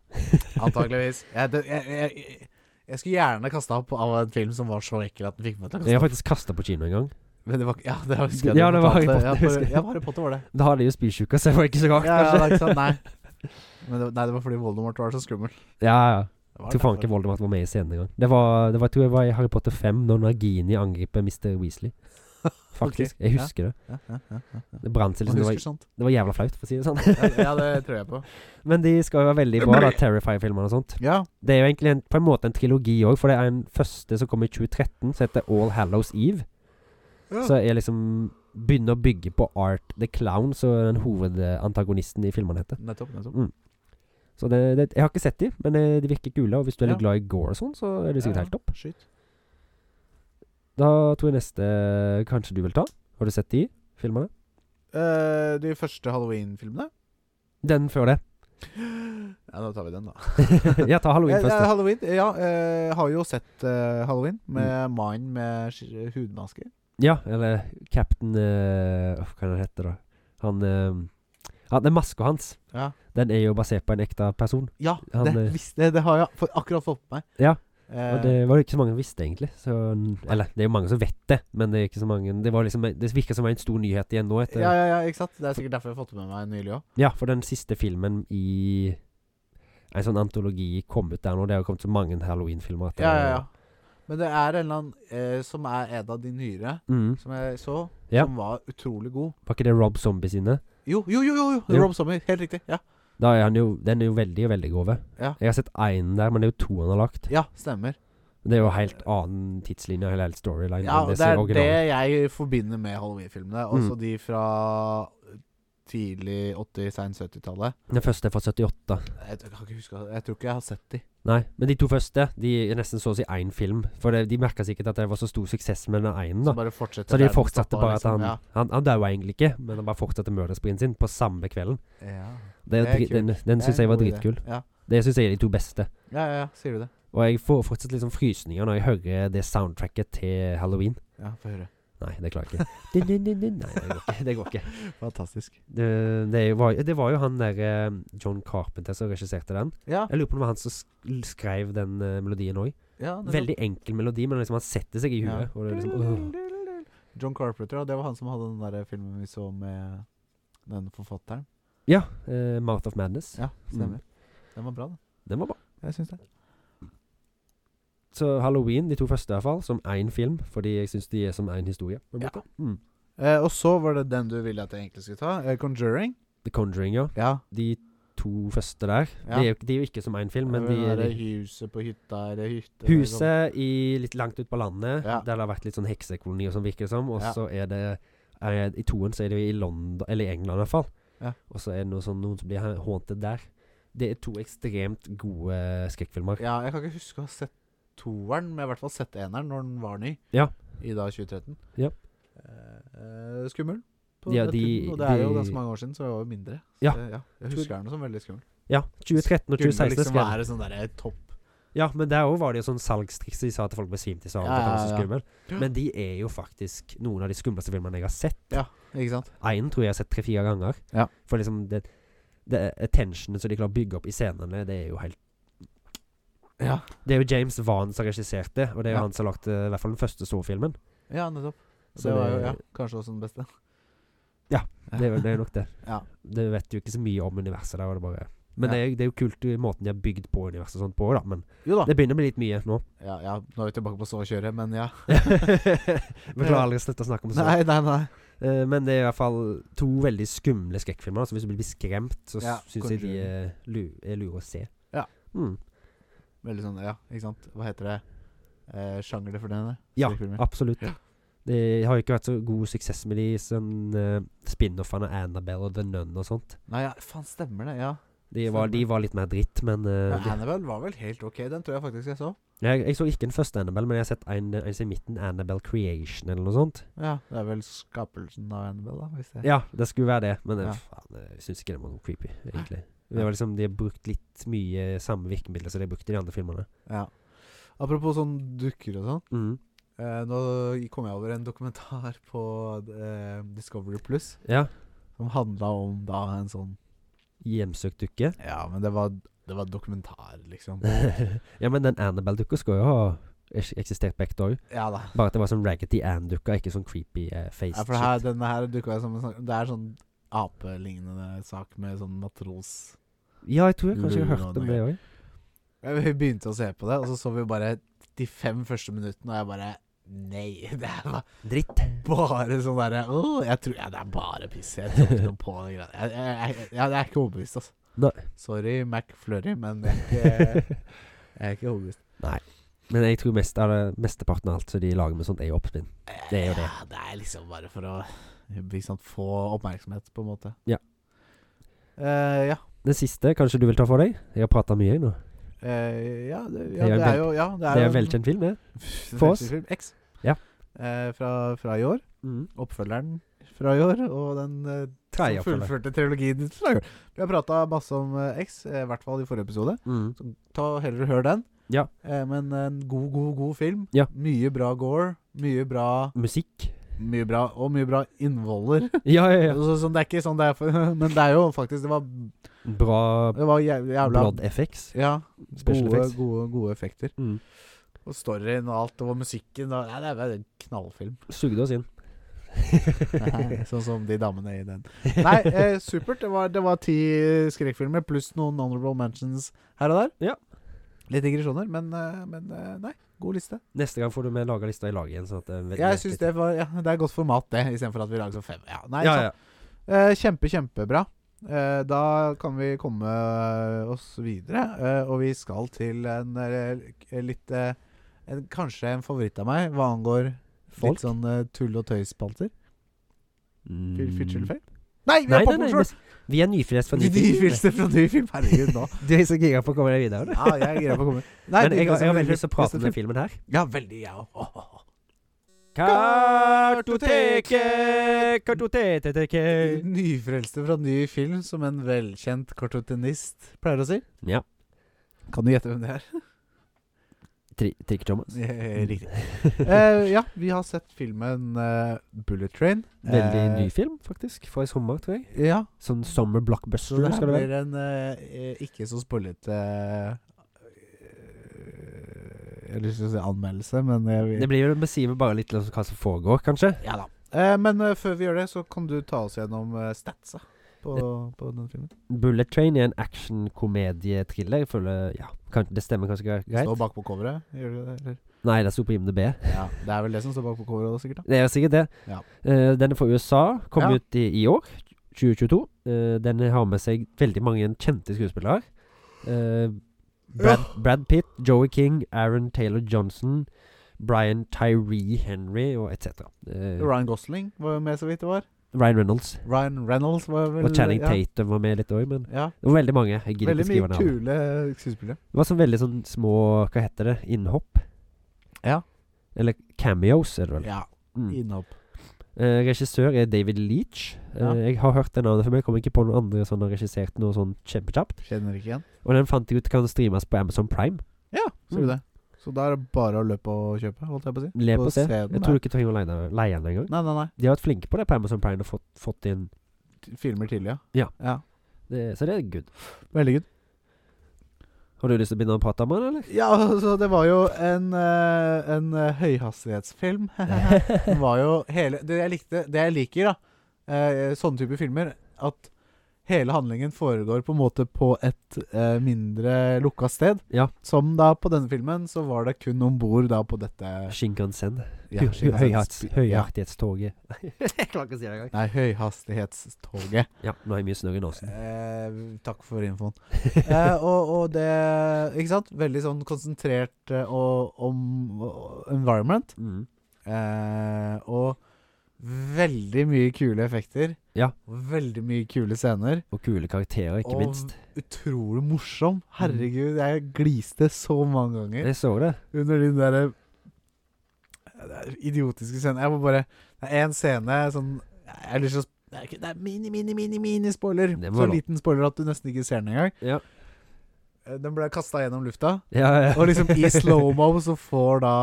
[SPEAKER 3] Antakeligvis. Jeg, det- jeg, jeg, jeg, jeg skulle gjerne kasta opp av en film som var så ekkel at den fikk meg til å
[SPEAKER 2] Jeg har
[SPEAKER 3] kaste opp.
[SPEAKER 2] faktisk kasta på kino en gang.
[SPEAKER 3] Men det var, ja, det var, husker jeg
[SPEAKER 2] Ja,
[SPEAKER 3] du
[SPEAKER 2] det var Harry Potter,
[SPEAKER 3] fortalte. Ja,
[SPEAKER 2] husker
[SPEAKER 3] for,
[SPEAKER 2] jeg.
[SPEAKER 3] ja, Harry Potter var det.
[SPEAKER 2] Da hadde jeg jo spysjuke, så det var ikke så
[SPEAKER 3] Ja,
[SPEAKER 2] rart,
[SPEAKER 3] ja, det er
[SPEAKER 2] kanskje.
[SPEAKER 3] ikke sant, nei. [LAUGHS] Men det, nei, det var fordi Voldemort var så skummel.
[SPEAKER 2] Ja, [LAUGHS] ja.
[SPEAKER 3] Det var
[SPEAKER 2] Jeg tror faen
[SPEAKER 3] derfor.
[SPEAKER 2] ikke Voldemort var med i scenen engang. Det var, det var, jeg tror jeg var i Harry Potter 5, når Nagini angriper Mr.
[SPEAKER 3] [LAUGHS]
[SPEAKER 2] Weasley. Faktisk. Jeg husker det.
[SPEAKER 3] Ja, ja, ja, ja.
[SPEAKER 2] Det brant seg liksom.
[SPEAKER 3] Man
[SPEAKER 2] Det
[SPEAKER 3] husker
[SPEAKER 2] var,
[SPEAKER 3] sånt.
[SPEAKER 2] det var jævla flaut, for å si det sånn.
[SPEAKER 3] Ja, ja, det tror jeg på.
[SPEAKER 2] [LAUGHS] Men de skal jo være veldig bra, da. Terrify-filmene og sånt.
[SPEAKER 3] Ja,
[SPEAKER 2] Det er jo egentlig en, på en måte en trilogi òg, for det er en første som kom i 2013, som heter All Hallows Eve.
[SPEAKER 3] Ja.
[SPEAKER 2] Så jeg liksom begynner å bygge på Art the Clown, som den hovedantagonisten i filmene heter.
[SPEAKER 3] nettopp. nettopp.
[SPEAKER 2] Så det, det, jeg har ikke sett de, men det, de virker kule. Og hvis du er litt
[SPEAKER 3] Ja.
[SPEAKER 2] glad i gore og sånn, så er det sikkert helt topp.
[SPEAKER 3] Skyt.
[SPEAKER 2] Da tror jeg neste kanskje du vil ta. Har du sett de filmene?
[SPEAKER 3] Eh, de første Halloween-filmene?
[SPEAKER 2] Den [LAUGHS] før det.
[SPEAKER 3] Ja, da tar vi den, da.
[SPEAKER 2] jeg tar Halloween
[SPEAKER 3] Eh, eh,
[SPEAKER 2] først.
[SPEAKER 3] Halloween, ja. eh, har jo sett eh, Halloween med
[SPEAKER 2] Mm.
[SPEAKER 3] mannen med sk- eh, hudmaske.
[SPEAKER 2] Ja, eller Captain eh, Hva kan han hete, da? Han eh, Han Den maska hans,
[SPEAKER 3] Ja.
[SPEAKER 2] den er jo basert på en ekte person.
[SPEAKER 3] Ja,
[SPEAKER 2] Han,
[SPEAKER 3] det,
[SPEAKER 2] eh,
[SPEAKER 3] visste, det har jeg for, akkurat fått med meg.
[SPEAKER 2] Ja,
[SPEAKER 3] Eh,
[SPEAKER 2] Og det var det ikke så mange som visste, egentlig. Så, eller, det er jo mange som vet det, men det er ikke så mange Det, var liksom, det virka som en stor nyhet igjen nå. Etter,
[SPEAKER 3] ja, ja, ja, ikke sant? Det er sikkert derfor jeg har fått det med meg nylig òg.
[SPEAKER 2] Ja, for den siste filmen i En sånn antologi kom ut der nå. Det har kommet så mange Halloween-filmer etter
[SPEAKER 3] Ja, ja,
[SPEAKER 2] det.
[SPEAKER 3] ja. Eh, Men det er en eller annen eh, som er en av de nyere,
[SPEAKER 2] Mm.
[SPEAKER 3] som jeg så,
[SPEAKER 2] Ja.
[SPEAKER 3] som var utrolig god.
[SPEAKER 2] Var ikke det Rob Zombie sine?
[SPEAKER 3] Jo, jo, jo! jo, jo.
[SPEAKER 2] Jo.
[SPEAKER 3] Rob Zombie. Helt riktig. Ja,
[SPEAKER 2] Da er han jo, den er jo veldig, veldig grove.
[SPEAKER 3] Ja.
[SPEAKER 2] Jeg har sett én der, men det er jo to han har lagt.
[SPEAKER 3] ja stemmer.
[SPEAKER 2] Det er jo helt annen tidslinje, hele, hele storyline.
[SPEAKER 3] Ja,
[SPEAKER 2] enn
[SPEAKER 3] det
[SPEAKER 2] som
[SPEAKER 3] er det
[SPEAKER 2] originalen.
[SPEAKER 3] jeg forbinder med Halloween-filmene. Også
[SPEAKER 2] Mm.
[SPEAKER 3] de fra tidlig 80-, sein 70-tallet.
[SPEAKER 2] Den første er fra 78.
[SPEAKER 3] Jeg, t- kan ikke huske Jeg tror ikke jeg har sett de.
[SPEAKER 2] Nei, men de to første De er nesten så å si én film. For det, de merka sikkert at det var så stor suksess med den ene.
[SPEAKER 3] Som
[SPEAKER 2] da
[SPEAKER 3] bare fortsetter
[SPEAKER 2] Så de
[SPEAKER 3] der den
[SPEAKER 2] fortsatte
[SPEAKER 3] stoppa,
[SPEAKER 2] bare at
[SPEAKER 3] liksom.
[SPEAKER 2] han Han, han daua egentlig ikke, men han bare fortsatte mørdersprien sin på samme kvelden.
[SPEAKER 3] Ja. Ja.
[SPEAKER 2] Det, er
[SPEAKER 3] Det er
[SPEAKER 2] dri-
[SPEAKER 3] kult.
[SPEAKER 2] den den
[SPEAKER 3] Det er
[SPEAKER 2] syns
[SPEAKER 3] en
[SPEAKER 2] jeg var
[SPEAKER 3] god idé.
[SPEAKER 2] dritkul.
[SPEAKER 3] Ja.
[SPEAKER 2] Det syns jeg er de to beste.
[SPEAKER 3] ja, ja, ja. Sier du det?
[SPEAKER 2] Og jeg får fortsatt liksom frysninger når jeg hører det soundtracket til halloween.
[SPEAKER 3] Ja, få høre.
[SPEAKER 2] Nei, det klarer
[SPEAKER 3] [LAUGHS]
[SPEAKER 2] jeg ikke. Din, din, din, din. Nei, det går ikke. Det, går ikke.
[SPEAKER 3] Fantastisk.
[SPEAKER 2] Det, det, var, jo- det var jo han der eh, John Carpenter som regisserte den.
[SPEAKER 3] Ja.
[SPEAKER 2] Jeg lurer på om det var han som sk- skrev den eh, melodien òg.
[SPEAKER 3] ja nettopp.
[SPEAKER 2] Veldig enkel melodi, men liksom han setter seg i
[SPEAKER 3] Ja.
[SPEAKER 2] huet. Og det er liksom, åh.
[SPEAKER 3] John Carpenter, ja, det var han som hadde den der filmen vi så med den forfatteren.
[SPEAKER 2] Ja. eh, Mouth of Madness.
[SPEAKER 3] Ja, stemmer.
[SPEAKER 2] Mm.
[SPEAKER 3] Den var bra, den.
[SPEAKER 2] Den var bra.
[SPEAKER 3] Jeg syns det.
[SPEAKER 2] Så Halloween, de to første i hvert fall, som én film, fordi jeg syns de er som én historie. på en
[SPEAKER 3] Ja.
[SPEAKER 2] måte. Mm.
[SPEAKER 3] Eh, og så var det den du ville at jeg egentlig skulle ta. Eh, Conjuring.
[SPEAKER 2] The Conjuring, ja.
[SPEAKER 3] Ja.
[SPEAKER 2] De to første der.
[SPEAKER 3] Ja.
[SPEAKER 2] De, er jo, de er jo ikke som én film, men
[SPEAKER 3] det
[SPEAKER 2] de,
[SPEAKER 3] derre
[SPEAKER 2] de
[SPEAKER 3] huset på hytta eller hytte eller sånn.
[SPEAKER 2] Huset i litt langt ut på landet,
[SPEAKER 3] Ja.
[SPEAKER 2] der det har vært litt sånn heksekoloni og sånn, virker det som. Og
[SPEAKER 3] Ja.
[SPEAKER 2] så er det er, I toen så er det jo i London, eller i England i hvert fall.
[SPEAKER 3] Ja.
[SPEAKER 2] Og så er det noe sånn, noen som blir ha- haunted der. Det er to ekstremt gode skrekkfilmer.
[SPEAKER 3] Ja, jeg kan ikke huske å ha sett toeren, men jeg har i hvert fall sett eneren når den var ny.
[SPEAKER 2] Ja.
[SPEAKER 3] I da 2013.
[SPEAKER 2] Ja.
[SPEAKER 3] Eh, eh, skummel. På
[SPEAKER 2] Ja,
[SPEAKER 3] den
[SPEAKER 2] de-
[SPEAKER 3] tiden, og det er jo
[SPEAKER 2] de-
[SPEAKER 3] ganske mange år siden, så jeg var jo mindre. Så
[SPEAKER 2] Ja.
[SPEAKER 3] det- ja. Jeg husker den som veldig skummel.
[SPEAKER 2] Ja. 2013 og 2016
[SPEAKER 3] Skulle liksom
[SPEAKER 2] skrev
[SPEAKER 3] være sånn derre topp
[SPEAKER 2] Ja, men der òg var det jo sånn salgstriks de sa at folk besvimte i salen.
[SPEAKER 3] Ja,
[SPEAKER 2] for at det
[SPEAKER 3] ja,
[SPEAKER 2] var så
[SPEAKER 3] ja.
[SPEAKER 2] skummel. Men de er jo faktisk noen av de skumleste filmene jeg har sett.
[SPEAKER 3] Ikke sant?
[SPEAKER 2] Einen tror jeg jeg har sett tre-fire ganger.
[SPEAKER 3] Ja.
[SPEAKER 2] For liksom det, det attentionen som de klarer å bygge opp i scenene, det er jo helt
[SPEAKER 3] Ja.
[SPEAKER 2] Det er jo James Van som regisserte, og det er jo
[SPEAKER 3] Ja.
[SPEAKER 2] han som har lagt eh, i hvert fall den første storfilmen.
[SPEAKER 3] Ja, nettopp.
[SPEAKER 2] Så
[SPEAKER 3] det var jo
[SPEAKER 2] det-
[SPEAKER 3] ja, kanskje også den beste. Ja.
[SPEAKER 2] Det, er jo- det er jo nok det.
[SPEAKER 3] [LAUGHS] Ja.
[SPEAKER 2] Du vet jo ikke så mye om universet der. Og det bare. Men
[SPEAKER 3] Ja.
[SPEAKER 2] det, er, det er jo kult i måten de har bygd på universet og sånt på, da. Men
[SPEAKER 3] Jo da.
[SPEAKER 2] det begynner å bli litt
[SPEAKER 3] [LAUGHS]
[SPEAKER 2] mye nå. [LAUGHS]
[SPEAKER 3] Ja, ja, nå er vi tilbake på sovekjøret, men ja.
[SPEAKER 2] Beklager aldri å slutte å snakke om sånt.
[SPEAKER 3] Nei, nei, nei.
[SPEAKER 2] Eh, men det er i hvert fall to veldig skumle skrekkfilmer. da, Så hvis du blir skremt, så ja,
[SPEAKER 3] Ja,
[SPEAKER 2] syns jeg de
[SPEAKER 3] Conjuring.
[SPEAKER 2] er, lu er lure å se.
[SPEAKER 3] Ja.
[SPEAKER 2] Mm.
[SPEAKER 3] Veldig sånn, ja, ikke sant. Hva heter det? Eh, sjanger det for den?
[SPEAKER 2] Ja,
[SPEAKER 3] Skrekkfilmer.
[SPEAKER 2] absolutt.
[SPEAKER 3] Ja.
[SPEAKER 2] Det har jo ikke vært så god suksess med de sånn, eh, spin-offene Annabelle og The Nun og sånt.
[SPEAKER 3] Nei, ja, faen, stemmer det. Ja.
[SPEAKER 2] De var, de
[SPEAKER 3] Stemmer.
[SPEAKER 2] var litt mer dritt, men eh,
[SPEAKER 3] Men Annabelle var vel helt ok. Den tror jeg faktisk jeg så.
[SPEAKER 2] de, jeg, jeg så ikke den første Annabelle, men jeg har sett en, en som i midten, Annabelle Creation eller noe sånt.
[SPEAKER 3] Ja, Det er vel skapelsen av Annabelle, da. Hvis jeg.
[SPEAKER 2] Ja, det skulle være det, men eh,
[SPEAKER 3] Ja.
[SPEAKER 2] faen, jeg syns ikke det var noe creepy, egentlig. Det var liksom, De har brukt litt mye samme virkemidler som de har brukt i de andre filmene.
[SPEAKER 3] Ja. Apropos sånn dukker og sånn.
[SPEAKER 2] Mm.
[SPEAKER 3] Eh, nå kom jeg over en dokumentar på eh, Discovery Plus
[SPEAKER 2] Ja.
[SPEAKER 3] som handla om da en sånn
[SPEAKER 2] Hjemsøkt dukke.
[SPEAKER 3] Ja, men det var, det var dokumentar, liksom.
[SPEAKER 2] ja, men den Annabelle-dukka skal jo ha eks- eksistert på ekte òg.
[SPEAKER 3] Ja da.
[SPEAKER 2] Bare at det var sånn Raggedy Ann-dukka, ikke sånn creepy eh, face
[SPEAKER 3] Ja, for det her, denne her dukka jo som en sånn Det er sånn apelignende sak med sånn matros
[SPEAKER 2] Ja, jeg tror jeg kanskje jeg har
[SPEAKER 3] Lurer
[SPEAKER 2] hørt om
[SPEAKER 3] noe.
[SPEAKER 2] det òg.
[SPEAKER 3] Ja, Vi begynte å se på det, og så så vi bare de fem første minuttene, og jeg bare Nei, [LAUGHS] det her var
[SPEAKER 2] Dritt.
[SPEAKER 3] bare sånn derre «Åh, Jeg tror ja, Det er bare piss. Jeg tror ikke noe på det greiene. Jeg, jeg, jeg, jeg er ikke overbevist, altså.
[SPEAKER 2] Nei. [LAUGHS]
[SPEAKER 3] Sorry, McFlurry, men jeg er ikke, jeg er ikke overbevist.
[SPEAKER 2] Men jeg tror mest av det, mesteparten av alt som de lager med sånt, er jo oppspinn. Det er jo det.
[SPEAKER 3] Ja, det er liksom sånn, bare for å ikke sant, få oppmerksomhet, på en måte.
[SPEAKER 2] Ja.
[SPEAKER 3] Eh, ja.
[SPEAKER 2] det siste kanskje du vil ta for deg? Jeg har prata mye jeg, nå.
[SPEAKER 3] Eh, ja, det,
[SPEAKER 2] Det
[SPEAKER 3] ja,
[SPEAKER 2] er
[SPEAKER 3] det er
[SPEAKER 2] vel-
[SPEAKER 3] jo ja, det
[SPEAKER 2] Det er
[SPEAKER 3] jo-
[SPEAKER 2] en
[SPEAKER 3] [LAUGHS]
[SPEAKER 2] velkjent film, det. for oss.
[SPEAKER 3] Film X.
[SPEAKER 2] Ja.
[SPEAKER 3] Eh, fra, fra i år.
[SPEAKER 2] Mm.
[SPEAKER 3] Oppfølgeren fra i år, og den eh, som
[SPEAKER 2] Tredjeoppfølger.
[SPEAKER 3] fullførte trilogien fra i år. Vi har prata masse om eh, X, eh, i hvert fall i forrige episode.
[SPEAKER 2] Mm.
[SPEAKER 3] Så ta og heller hør den.
[SPEAKER 2] Ja.
[SPEAKER 3] Eh, men en god, god, god film.
[SPEAKER 2] Ja.
[SPEAKER 3] Mye bra gore. Mye bra,
[SPEAKER 2] Musikk. [LAUGHS]
[SPEAKER 3] mye bra Og mye bra innvoller.
[SPEAKER 2] Ja, ja, ja.
[SPEAKER 3] Så, sånn, det er ikke sånn det er for, [LAUGHS] Men det er jo faktisk Det var,
[SPEAKER 2] Bra
[SPEAKER 3] det var jæv- jævla
[SPEAKER 2] blood effects.
[SPEAKER 3] Ja.
[SPEAKER 2] Special
[SPEAKER 3] Gode,
[SPEAKER 2] effects.
[SPEAKER 3] gode, gode effekter.
[SPEAKER 2] Mm.
[SPEAKER 3] Og storyen og alt, og musikken og, Nei, det er bare en [LAUGHS] knallfilm.
[SPEAKER 2] Sugde oss inn.
[SPEAKER 3] sånn som de damene i den. Nei, eh, supert. Det var, det var ti skrekkfilmer pluss noen honorable mentions her og der.
[SPEAKER 2] Ja.
[SPEAKER 3] Litt digresjoner, men, eh, men eh, nei. God liste.
[SPEAKER 2] [LAUGHS] Neste gang får du med laga lista i lag igjen. Sånn at det
[SPEAKER 3] Jeg synes det, var, ja, det er godt format, det, istedenfor at vi lager sånn fem. Ja, nei,
[SPEAKER 2] Ja,
[SPEAKER 3] sant.
[SPEAKER 2] ja.
[SPEAKER 3] Eh, kjempe, kjempebra. Eh, da kan vi komme oss videre, eh, og vi skal til en eh, k- litt eh, en, Kanskje en favoritt av meg hva angår
[SPEAKER 2] Folk.
[SPEAKER 3] litt sånn eh, tull- og tøysspalter.
[SPEAKER 2] Mm.
[SPEAKER 3] Fyr- Fyrtskjellfeil? Nei, vi
[SPEAKER 2] Nei,
[SPEAKER 3] har
[SPEAKER 2] nei, nei,
[SPEAKER 3] popkorn!
[SPEAKER 2] men vi er nyfrelst fra
[SPEAKER 3] [LAUGHS]
[SPEAKER 2] ny film.
[SPEAKER 3] Nyfilster fra ny film. Herregud, nå.
[SPEAKER 2] [LAUGHS] Du er så gira på å komme deg videre. du.
[SPEAKER 3] Ja, jeg er gira på å komme.
[SPEAKER 2] [LAUGHS]
[SPEAKER 3] Nei,
[SPEAKER 2] Men
[SPEAKER 3] altså,
[SPEAKER 2] jeg,
[SPEAKER 3] nyfrelst
[SPEAKER 2] har- jeg har
[SPEAKER 3] fra ny
[SPEAKER 2] veldig lyst til å
[SPEAKER 3] film.
[SPEAKER 2] prate
[SPEAKER 3] Neste
[SPEAKER 2] om
[SPEAKER 3] [LAUGHS]
[SPEAKER 2] den filmen her.
[SPEAKER 3] film. Ja, veldig, jeg ja. òg.
[SPEAKER 2] Kartoteket, kartoteteket.
[SPEAKER 3] Nyfrelste fra ny film, som en velkjent kartotenist pleier å si.
[SPEAKER 2] Ja.
[SPEAKER 3] Kan du gjette hvem det er?
[SPEAKER 2] Tri Trikk-Thomas.
[SPEAKER 3] [LAUGHS] Eh, Riktig. [LAUGHS] Eh, ja, vi har sett filmen eh, Bullet Train.
[SPEAKER 2] Veldig
[SPEAKER 3] Eh,
[SPEAKER 2] ny film, faktisk. Fra i sommer, tror jeg.
[SPEAKER 3] Ja.
[SPEAKER 2] Sånn summer
[SPEAKER 3] Så
[SPEAKER 2] blockbuster.
[SPEAKER 3] det her
[SPEAKER 2] skal det være.
[SPEAKER 3] blir en eh, eh, ikke så spoilete eh, Jeg har lyst til å si anmeldelse, men jeg vil
[SPEAKER 2] Det blir jo beskriver bare litt om hva som foregår, kanskje.
[SPEAKER 3] Ja da. Eh, men eh, før vi gjør det, så kan du ta oss gjennom eh, statsa på, på den filmen.
[SPEAKER 2] Bullet Train er en action-komedie-thriller. Jeg føler Ja, kan, det stemmer kanskje gre- greit?
[SPEAKER 3] Står bak på coveret, gjør du det? Eller?
[SPEAKER 2] Nei, det sto på IMDb.
[SPEAKER 3] Ja, det er vel det som står bak på coveret også, sikkert. da
[SPEAKER 2] Det er jo sikkert det.
[SPEAKER 3] Ja.
[SPEAKER 2] Eh, den er fra USA. Kom
[SPEAKER 3] Ja.
[SPEAKER 2] ut i, i år, 2022. Eh, den har med seg veldig mange kjente skuespillere. Eh, Brad, Brad Pitt, Joey King, Aaron Taylor Johnson, Brian Tyree Henry og etc. Uh,
[SPEAKER 3] Ryan Gosling var jo med, så vidt det var.
[SPEAKER 2] Ryan Reynolds
[SPEAKER 3] Ryan Reynolds var vel
[SPEAKER 2] og Channing
[SPEAKER 3] ja.
[SPEAKER 2] Tatum var med litt òg, men
[SPEAKER 3] Ja.
[SPEAKER 2] det var veldig mange. Jeg gidder
[SPEAKER 3] Veldig
[SPEAKER 2] ikke skrive
[SPEAKER 3] mye
[SPEAKER 2] ned alle.
[SPEAKER 3] kule skuespillere.
[SPEAKER 2] Det var sånn veldig sånn små Hva heter det? Innhopp?
[SPEAKER 3] Ja.
[SPEAKER 2] Eller cameos, er det vel.
[SPEAKER 3] Ja,
[SPEAKER 2] Mm.
[SPEAKER 3] innhopp.
[SPEAKER 2] Eh, regissør er David Leach. Eh,
[SPEAKER 3] Ja.
[SPEAKER 2] Jeg har hørt det navnet før, men jeg kommer ikke på noen andre som har regissert noe sånn kjempekjapt.
[SPEAKER 3] Kjenner ikke igjen.
[SPEAKER 2] Og den fant jeg ut kan streames på Amazon Prime.
[SPEAKER 3] Ja, ser du
[SPEAKER 2] Mm.
[SPEAKER 3] det. Så da er det bare å løpe og kjøpe, holdt jeg på å si.
[SPEAKER 2] Le på se.
[SPEAKER 3] den,
[SPEAKER 2] Jeg tror du ikke trenger å leie den- leie den engang.
[SPEAKER 3] ja. Nei, nei, nei.
[SPEAKER 2] De har vært flinke på det på Amazon Prime og fått, fått inn
[SPEAKER 3] T- Filmer tidlig,
[SPEAKER 2] Ja.
[SPEAKER 3] ja.
[SPEAKER 2] det, Så det er good.
[SPEAKER 3] Veldig good.
[SPEAKER 2] Har du lyst til å begynne å prate om den,
[SPEAKER 3] [LAUGHS]
[SPEAKER 2] eller?
[SPEAKER 3] Ja, altså, det var jo en, eh, en eh, høyhastighetsfilm. [LAUGHS] det var jo hele Det jeg likte, det jeg liker, da, eh, sånne type filmer, at hele handlingen foregår på en måte på et eh, mindre lukka sted.
[SPEAKER 2] Ja.
[SPEAKER 3] Som da på denne filmen, så var det kun om bord da på dette
[SPEAKER 2] Shinkansen.
[SPEAKER 3] ja,
[SPEAKER 2] Hø- høyhats-
[SPEAKER 3] Ja. [LAUGHS]
[SPEAKER 2] Høyhastighetstoget. jeg klarer ikke å si det engang.
[SPEAKER 3] Nei, høyhastighetstoget.
[SPEAKER 2] Ja, nå er jeg mye snørr i nåsen.
[SPEAKER 3] Eh, takk for infoen. Eh, og, og det Ikke sant? Veldig sånn konsentrert eh, og, om og environment.
[SPEAKER 2] Mm.
[SPEAKER 3] Eh, og veldig mye kule effekter.
[SPEAKER 2] Ja.
[SPEAKER 3] Veldig mye kule scener.
[SPEAKER 2] Og kule karakterer, ikke
[SPEAKER 3] Og-
[SPEAKER 2] minst.
[SPEAKER 3] Utrolig morsom. Herregud, jeg gliste så mange ganger
[SPEAKER 2] Jeg så det.
[SPEAKER 3] under de derre idiotiske scenene. Jeg må bare Det er én scene sånn Jeg har lyst til å sp- det er ikke- Det er mini, mini, mini, mini spoiler.
[SPEAKER 2] Det må
[SPEAKER 3] Så
[SPEAKER 2] være lov.
[SPEAKER 3] liten spoiler at du nesten ikke ser den engang.
[SPEAKER 2] Ja.
[SPEAKER 3] Eh, Den ble kasta gjennom lufta,
[SPEAKER 2] Ja, ja.
[SPEAKER 3] og liksom i slow-mo [LAUGHS] så får da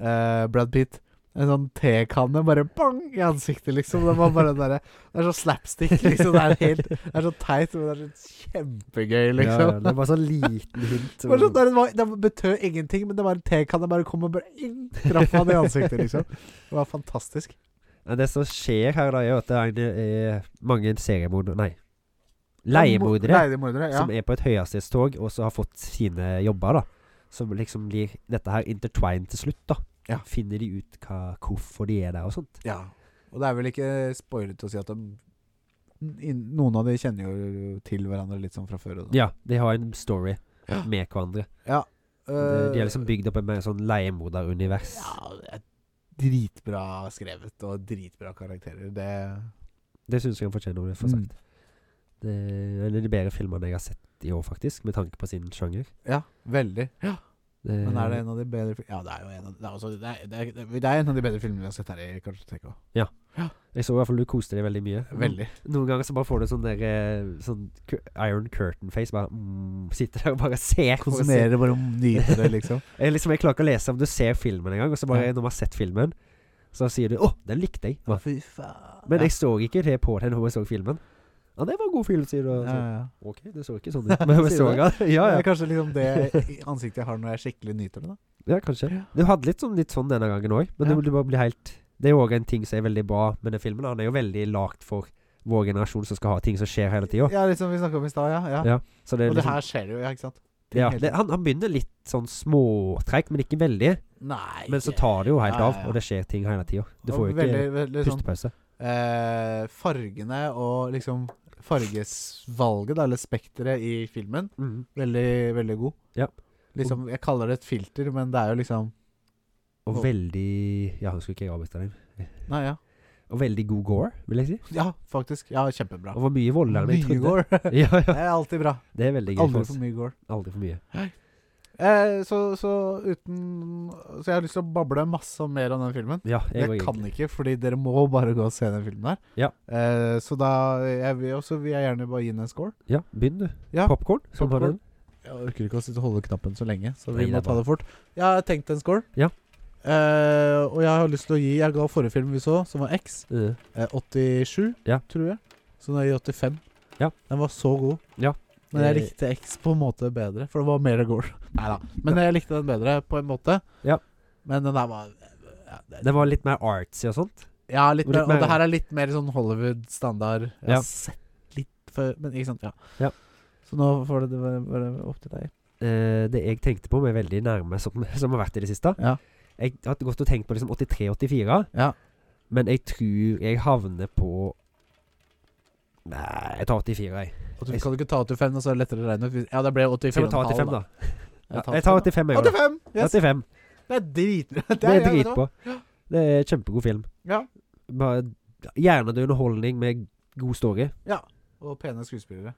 [SPEAKER 3] eh, Brad Pitt en sånn tekanne bare bang i ansiktet, liksom. Det var bare den derre Det er så slapstick, liksom. Det er, helt, det er så teit, men det er så kjempegøy,
[SPEAKER 2] Ja, ja,
[SPEAKER 3] [LAUGHS] liksom.
[SPEAKER 2] det var sånn liten hint.
[SPEAKER 3] [LAUGHS] Det, var sånn, der, det, var, det betød ingenting, men det var en tekanne bare kom og bare ing, traff han i ansiktet, liksom. Det var fantastisk.
[SPEAKER 2] Men det som skjer her, da, er jo at det er, en- er mange seriemordere Nei. [LAUGHS] Leiemordere
[SPEAKER 3] Leiemordere, ja.
[SPEAKER 2] som er på et høyhastighetstog, og så har fått sine jobber, da. Som liksom blir dette her intertwined til slutt, da.
[SPEAKER 3] Ja.
[SPEAKER 2] Finner de ut hva, hvorfor de er der og sånt.
[SPEAKER 3] ja. Og det er vel ikke spoilet å si at de, in- noen av de kjenner jo til hverandre litt sånn fra før. Og sånn.
[SPEAKER 2] Ja, de har en story
[SPEAKER 3] Ja.
[SPEAKER 2] med hverandre. De,
[SPEAKER 3] Eh,
[SPEAKER 2] de er liksom bygd opp et mer sånn leiemorderunivers.
[SPEAKER 3] Ja, det er dritbra skrevet og dritbra karakterer. Det Mm.
[SPEAKER 2] Det syns jeg han fortjener å få sagt. Det er en av de bedre filmene jeg har sett i år, faktisk, med tanke på sin sjanger.
[SPEAKER 3] Ja, veldig.
[SPEAKER 2] Det,
[SPEAKER 3] Men er det en av de bedre fil- Ja, det er jo en av, det er altså, det er, det er, det er en av de bedre filmene vi har sett her i Kartoteket òg.
[SPEAKER 2] Jeg så i hvert fall du koste deg veldig mye.
[SPEAKER 3] Mm. Veldig.
[SPEAKER 2] Noen ganger så bare får du sånn der eh, Sånn cu- Iron Curtain-face. Bare mm, Sitter der og bare ser. for å se.
[SPEAKER 3] Konsumerer bare og nyter det, liksom.
[SPEAKER 2] Jeg, liksom, jeg klarer ikke å lese om du ser filmen engang. Og så bare
[SPEAKER 3] Ja.
[SPEAKER 2] når man har sett filmen, så sier du 'Å, den likte jeg'. Bare,
[SPEAKER 3] fy faen.
[SPEAKER 2] Men jeg så ikke det på den når jeg så filmen. Ja, det var en god film, sier du.
[SPEAKER 3] ja,
[SPEAKER 2] Og
[SPEAKER 3] ja,
[SPEAKER 2] så,
[SPEAKER 3] ja.
[SPEAKER 2] OK, det så ikke
[SPEAKER 3] [LAUGHS]
[SPEAKER 2] sånn ut. Men jeg
[SPEAKER 3] Sier
[SPEAKER 2] så den.
[SPEAKER 3] du
[SPEAKER 2] Ja,
[SPEAKER 3] Det
[SPEAKER 2] ja.
[SPEAKER 3] er kanskje liksom det ansiktet jeg har når jeg skikkelig nyter det, da.
[SPEAKER 2] ja, kanskje.
[SPEAKER 3] Ja.
[SPEAKER 2] Du hadde litt sånn, litt sånn denne gangen òg, men
[SPEAKER 3] Ja.
[SPEAKER 2] det, det bare blir helt Det er jo òg en ting som er veldig bra med den filmen. da. Den er jo veldig lagd for vår generasjon som skal ha ting som skjer hele tida.
[SPEAKER 3] Ja, liksom vi snakka om i stad, ja. ja.
[SPEAKER 2] Ja, Så det er
[SPEAKER 3] Og det
[SPEAKER 2] liksom
[SPEAKER 3] her skjer jo, ja, ikke sant?
[SPEAKER 2] ja,
[SPEAKER 3] helt-
[SPEAKER 2] det, han, han begynner litt sånn småtrekk, men ikke veldig.
[SPEAKER 3] Nei
[SPEAKER 2] Men så tar det jo helt
[SPEAKER 3] Ja, ja,
[SPEAKER 2] av,
[SPEAKER 3] ja.
[SPEAKER 2] og det skjer ting hele tida. Du
[SPEAKER 3] Og
[SPEAKER 2] får jo
[SPEAKER 3] veldig,
[SPEAKER 2] ikke
[SPEAKER 3] veldig sånn,
[SPEAKER 2] pustepause.
[SPEAKER 3] eh, Fargene og liksom fargesvalget, da, eller spekteret i filmen,
[SPEAKER 2] Mhm.
[SPEAKER 3] veldig, veldig god.
[SPEAKER 2] Ja.
[SPEAKER 3] Liksom, jeg kaller det et filter, men det er jo liksom
[SPEAKER 2] Og
[SPEAKER 3] Og-
[SPEAKER 2] veldig Ja, nå skulle ikke jeg avbryte deg.
[SPEAKER 3] Nei, ja.
[SPEAKER 2] Og veldig god gore, vil jeg si.
[SPEAKER 3] Ja, faktisk. Ja, kjempebra.
[SPEAKER 2] Og var mye voldeligere enn jeg
[SPEAKER 3] Mye
[SPEAKER 2] trodde.
[SPEAKER 3] gore.
[SPEAKER 2] [LAUGHS] ja,
[SPEAKER 3] [LAUGHS] Det
[SPEAKER 2] ja.
[SPEAKER 3] er alltid bra.
[SPEAKER 2] Det er veldig gøy.
[SPEAKER 3] Aldri
[SPEAKER 2] for
[SPEAKER 3] for
[SPEAKER 2] oss.
[SPEAKER 3] mye gore.
[SPEAKER 2] Aldri for mye.
[SPEAKER 3] Eh, så, så uten Så jeg har lyst til å bable masse om mer om den filmen.
[SPEAKER 2] Ja, jeg
[SPEAKER 3] Jeg
[SPEAKER 2] òg.
[SPEAKER 3] kan ikke, fordi dere må [LAUGHS] bare gå og se den filmen her.
[SPEAKER 2] Ja.
[SPEAKER 3] Eh, så da jeg vil, også, vil jeg gjerne bare gi den en score.
[SPEAKER 2] Ja, begynn, du.
[SPEAKER 3] Ja,
[SPEAKER 2] Popkorn. Som var
[SPEAKER 3] popcorn.
[SPEAKER 2] den.
[SPEAKER 3] Jeg orker ikke å sitte og holde knappen så lenge, så
[SPEAKER 2] Nei,
[SPEAKER 3] vi
[SPEAKER 2] det
[SPEAKER 3] må
[SPEAKER 2] er
[SPEAKER 3] ta
[SPEAKER 2] bra.
[SPEAKER 3] det fort. Jeg har tenkt en score.
[SPEAKER 2] Ja.
[SPEAKER 3] Eh, og jeg har lyst til å gi Jeg ga forrige film vi så, som var X,
[SPEAKER 2] Eh,
[SPEAKER 3] eh, 87,
[SPEAKER 2] Ja.
[SPEAKER 3] tror jeg. Så nå gir jeg 85.
[SPEAKER 2] Ja.
[SPEAKER 3] Den var så god.
[SPEAKER 2] Ja.
[SPEAKER 3] Men jeg
[SPEAKER 2] Eh.
[SPEAKER 3] likte X på en måte bedre, for det var mer gore. Nei da. Men jeg likte den bedre på en måte.
[SPEAKER 2] Ja.
[SPEAKER 3] Men den der var ja, det-
[SPEAKER 2] Det var litt mer artsy og sånt.
[SPEAKER 3] ja, litt
[SPEAKER 2] Og
[SPEAKER 3] mer,
[SPEAKER 2] litt mer-
[SPEAKER 3] og det her er litt mer sånn Hollywood-standard. Jeg
[SPEAKER 2] Ja.
[SPEAKER 3] har sett litt før, men ikke sant. Ja.
[SPEAKER 2] Ja.
[SPEAKER 3] Så nå får det det være, være opp til deg.
[SPEAKER 2] Eh, det jeg tenkte på, med veldig nærme som, som har vært i det siste.
[SPEAKER 3] Ja.
[SPEAKER 2] Jeg har gått og tenkt på liksom 83-84,
[SPEAKER 3] Ja.
[SPEAKER 2] men jeg tror jeg havner på Nei, jeg tar 84, jeg.
[SPEAKER 3] Og du kan du ikke ta 85, og så er det lettere å regne ut? hvis- Ja, det ble
[SPEAKER 2] Skal vi ta 85, da?
[SPEAKER 3] 84,5. da.
[SPEAKER 2] Ja, jeg tar 85, jeg. 85!
[SPEAKER 3] 85! Yes.
[SPEAKER 2] 85.
[SPEAKER 3] [LAUGHS] Det er dritbra.
[SPEAKER 2] Det er
[SPEAKER 3] ja, vet du hva?
[SPEAKER 2] dritbra. Det er en kjempegod film.
[SPEAKER 3] Ja.
[SPEAKER 2] Bare Hjernedød underholdning med god story.
[SPEAKER 3] Og pene skuespillere.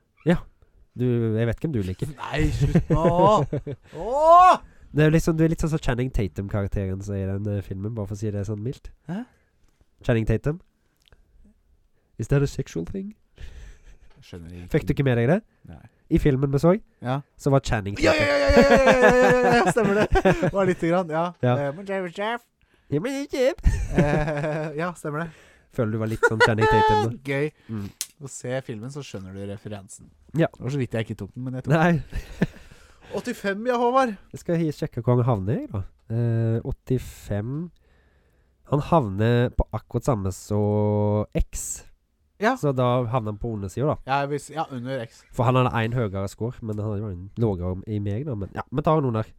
[SPEAKER 2] Du, jeg vet hvem du liker.
[SPEAKER 3] Nei, slutt nå! Åh!
[SPEAKER 2] Det er liksom, du er litt sånn som Channing Tatum-karakteren som er i den eh, filmen, bare for å si det sånn mildt.
[SPEAKER 3] Hæ?
[SPEAKER 2] Channing Tatum. Is that a sexual thing?
[SPEAKER 3] Skjønner ikke.
[SPEAKER 2] Fikk du ikke med deg det?
[SPEAKER 3] Nei.
[SPEAKER 2] I filmen vi så,
[SPEAKER 3] Ja.
[SPEAKER 2] så var Channing
[SPEAKER 3] Ja, ja, ja, ja, ja, ja, ja, ja, ja, ja, stemmer
[SPEAKER 2] [LAUGHS]
[SPEAKER 3] det. Bare lite grann, ja.
[SPEAKER 2] Ja.
[SPEAKER 3] Eh, men Jerry Jeff.
[SPEAKER 2] Ja, men ikke-
[SPEAKER 3] Eh, ja, stemmer det.
[SPEAKER 2] Føler du var litt sånn Channing Tatum? da.
[SPEAKER 3] Gøy. [LAUGHS]
[SPEAKER 2] Mm.
[SPEAKER 3] Å se filmen, så skjønner du referansen.
[SPEAKER 2] Ja.
[SPEAKER 3] Det var så vidt jeg ikke tok den, men jeg tok den.
[SPEAKER 2] Nei,
[SPEAKER 3] 85, ja, Håvard.
[SPEAKER 2] jeg skal hi- sjekke hvor han havner, jeg, da. Eh, 85 Han havner på akkurat samme som X.
[SPEAKER 3] Ja.
[SPEAKER 2] Så da havner han på undersida, da.
[SPEAKER 3] Ja, jeg vis, ja under X.
[SPEAKER 2] For han hadde én høyere score, men han hadde jo en lavere i meg, da. Men ja, vi tar noen her.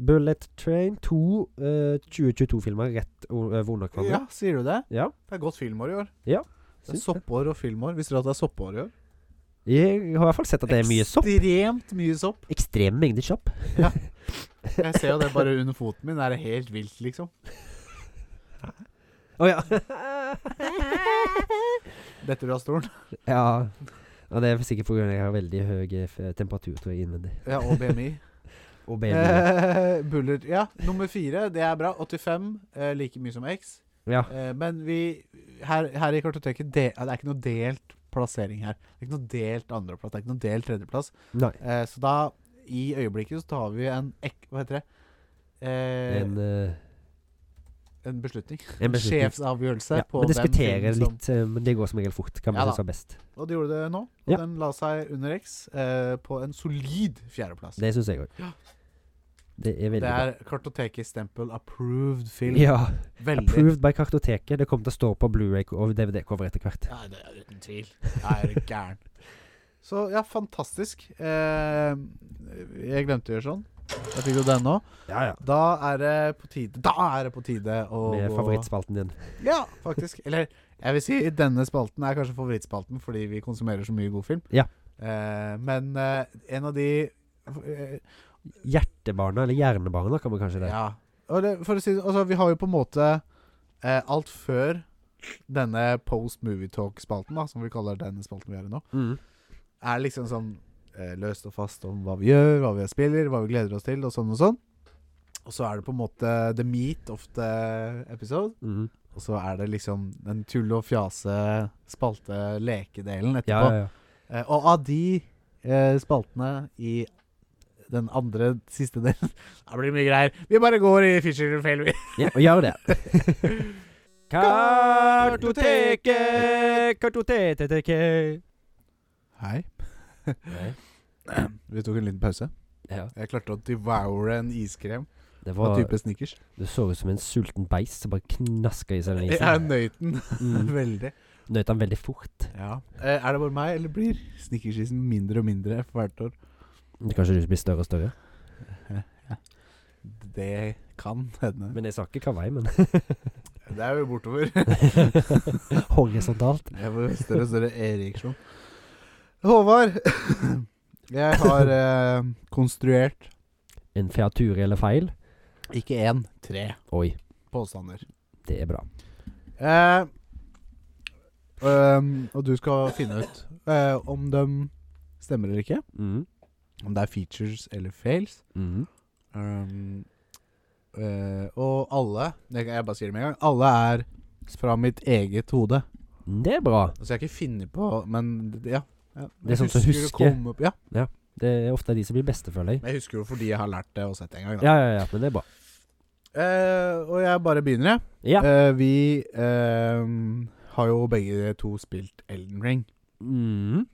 [SPEAKER 2] Bullet Train, to eh, 2022-filmer rett o- over under hverandre.
[SPEAKER 3] Ja, sier du det?
[SPEAKER 2] Ja.
[SPEAKER 3] Det er godt filmår i år. Det er
[SPEAKER 2] syns det.
[SPEAKER 3] soppår og filmår. Visste du at det er soppår i år?
[SPEAKER 2] Jeg har i hvert fall sett at det er mye sopp.
[SPEAKER 3] Ekstremt mye sopp.
[SPEAKER 2] Ekstreme mengder sopp.
[SPEAKER 3] Jeg ser jo det bare under foten min. Det er helt vilt, liksom.
[SPEAKER 2] Å ja.
[SPEAKER 3] Detter du av stolen?
[SPEAKER 2] ja. Ja, Det er sikkert fordi jeg har veldig høy eh, f- temperatur tror jeg, innvendig.
[SPEAKER 3] Ja, og BMI.
[SPEAKER 2] Og baby.
[SPEAKER 3] Eh, Buller Ja, nummer fire. Det er bra. 85. Eh, like mye som X.
[SPEAKER 2] Ja.
[SPEAKER 3] Eh, men vi Her, her i kartoteket de, ja, Det er ikke noe delt plassering her. Det er ikke noe delt andreplass. Det er ikke noe delt tredjeplass.
[SPEAKER 2] Nei.
[SPEAKER 3] Eh, så da, i øyeblikket, så tar vi en ek... Hva heter det? Eh,
[SPEAKER 2] En,
[SPEAKER 3] en,
[SPEAKER 2] eh,
[SPEAKER 3] beslutning.
[SPEAKER 2] en beslutning.
[SPEAKER 3] Sjefsavgjørelse
[SPEAKER 2] Ja,
[SPEAKER 3] på
[SPEAKER 2] vi
[SPEAKER 3] den
[SPEAKER 2] diskuterer
[SPEAKER 3] filmen som-
[SPEAKER 2] litt, eh, men det går som regel fort. Kan
[SPEAKER 3] Ja
[SPEAKER 2] man
[SPEAKER 3] da.
[SPEAKER 2] synes er best.
[SPEAKER 3] Og det gjorde det nå. Og
[SPEAKER 2] Ja.
[SPEAKER 3] den la seg under X eh, på en solid fjerdeplass.
[SPEAKER 2] Det
[SPEAKER 3] Det,
[SPEAKER 2] syns jeg òg. Det er veldig bra.
[SPEAKER 3] er kartotekets stempel approved film.
[SPEAKER 2] Ja.
[SPEAKER 3] Veldig
[SPEAKER 2] Approved by Kartoteket. Det kommer til å stå på Blu-ray og DVD-cover etter hvert.
[SPEAKER 3] Ja, det er uten tvil. Jeg er gæren. [LAUGHS] Så ja, fantastisk. Eh, jeg glemte å gjøre sånn. Jeg fikk jo den nå.
[SPEAKER 2] Ja, ja.
[SPEAKER 3] Da er det på tide Da er det på tide å
[SPEAKER 2] Med
[SPEAKER 3] gå-
[SPEAKER 2] favorittspalten din.
[SPEAKER 3] Ja, faktisk. Eller jeg vil si denne spalten er kanskje favorittspalten fordi vi konsumerer så mye god film.
[SPEAKER 2] Ja.
[SPEAKER 3] Eh, men eh, en av de eh,
[SPEAKER 2] Hjertebarna, eller Hjernebarna, kan man kanskje det.
[SPEAKER 3] Ja. Og det, for å si det altså, Vi har jo på en måte eh, alt før denne Post Movie Talk-spalten, da, som vi kaller denne spalten vi er i nå.
[SPEAKER 2] Mm.
[SPEAKER 3] er liksom sånn eh, løst og fast om hva vi gjør, hva vi spiller, hva vi gleder oss til, og sånn og sånn. Og så er det på en måte the meat of the episode.
[SPEAKER 2] Mhm.
[SPEAKER 3] Og så er det liksom den tull og fjase spalte lekedelen etterpå.
[SPEAKER 2] Ja, ja, ja.
[SPEAKER 3] Eh, og av de eh, spaltene i den andre siste delen [LAUGHS] Det blir mye greier. Vi bare går i Fisher and Fail, vi.
[SPEAKER 2] ja og gjør det.
[SPEAKER 3] Kartoteket,
[SPEAKER 2] kartoteket
[SPEAKER 3] Hei. [CLEARS THROAT] Vi tok en liten pause.
[SPEAKER 2] Ja,
[SPEAKER 3] Jeg klarte å devoure en iskrem
[SPEAKER 2] det
[SPEAKER 3] av
[SPEAKER 2] var
[SPEAKER 3] type Snickers.
[SPEAKER 2] Du så ut som en sulten beist som bare knaska i seg den
[SPEAKER 3] Jeg
[SPEAKER 2] isen.
[SPEAKER 3] nøyt den [LAUGHS]
[SPEAKER 2] Mm.
[SPEAKER 3] veldig.
[SPEAKER 2] Nøt den veldig fort.
[SPEAKER 3] Ja. Eh, er det bare meg, eller blir Snickersisen mindre og mindre for hvert år?
[SPEAKER 2] Kanskje du blir større og større.
[SPEAKER 3] Det kan hende.
[SPEAKER 2] Men jeg sa ikke hva vei, men
[SPEAKER 3] Det er jo [LAUGHS] bortover. [LAUGHS]
[SPEAKER 2] Horisontalt.
[SPEAKER 3] Jeg får større og større ereksjon. Håvard, jeg har eh, konstruert
[SPEAKER 2] En featur eller feil?
[SPEAKER 3] ikke én, tre
[SPEAKER 2] Oi,
[SPEAKER 3] påstander.
[SPEAKER 2] det er bra.
[SPEAKER 3] Eh, ehm, og du skal finne ut eh, om de stemmer eller ikke.
[SPEAKER 2] Mm.
[SPEAKER 3] Om det er features eller fails.
[SPEAKER 2] Mm.
[SPEAKER 3] Ehm, eh, og alle det kan Jeg bare sier det med en gang. Alle er fra mitt eget hode.
[SPEAKER 2] Det er bra.
[SPEAKER 3] Altså, jeg har ikke funnet på Men ja. ja.
[SPEAKER 2] Det er sånn som
[SPEAKER 3] det
[SPEAKER 2] husker.
[SPEAKER 3] kom opp- Ja,
[SPEAKER 2] Det er ofte de som blir beste, føler jeg.
[SPEAKER 3] men jeg husker jo fordi jeg har lært det og sett det en gang. Da.
[SPEAKER 2] Ja, ja, ja, men det er bra.
[SPEAKER 3] Eh, og jeg bare begynner, jeg.
[SPEAKER 2] Ja.
[SPEAKER 3] Eh, vi ehm, har jo begge to spilt Elden Ring. Mm-hmm.
[SPEAKER 2] Mm.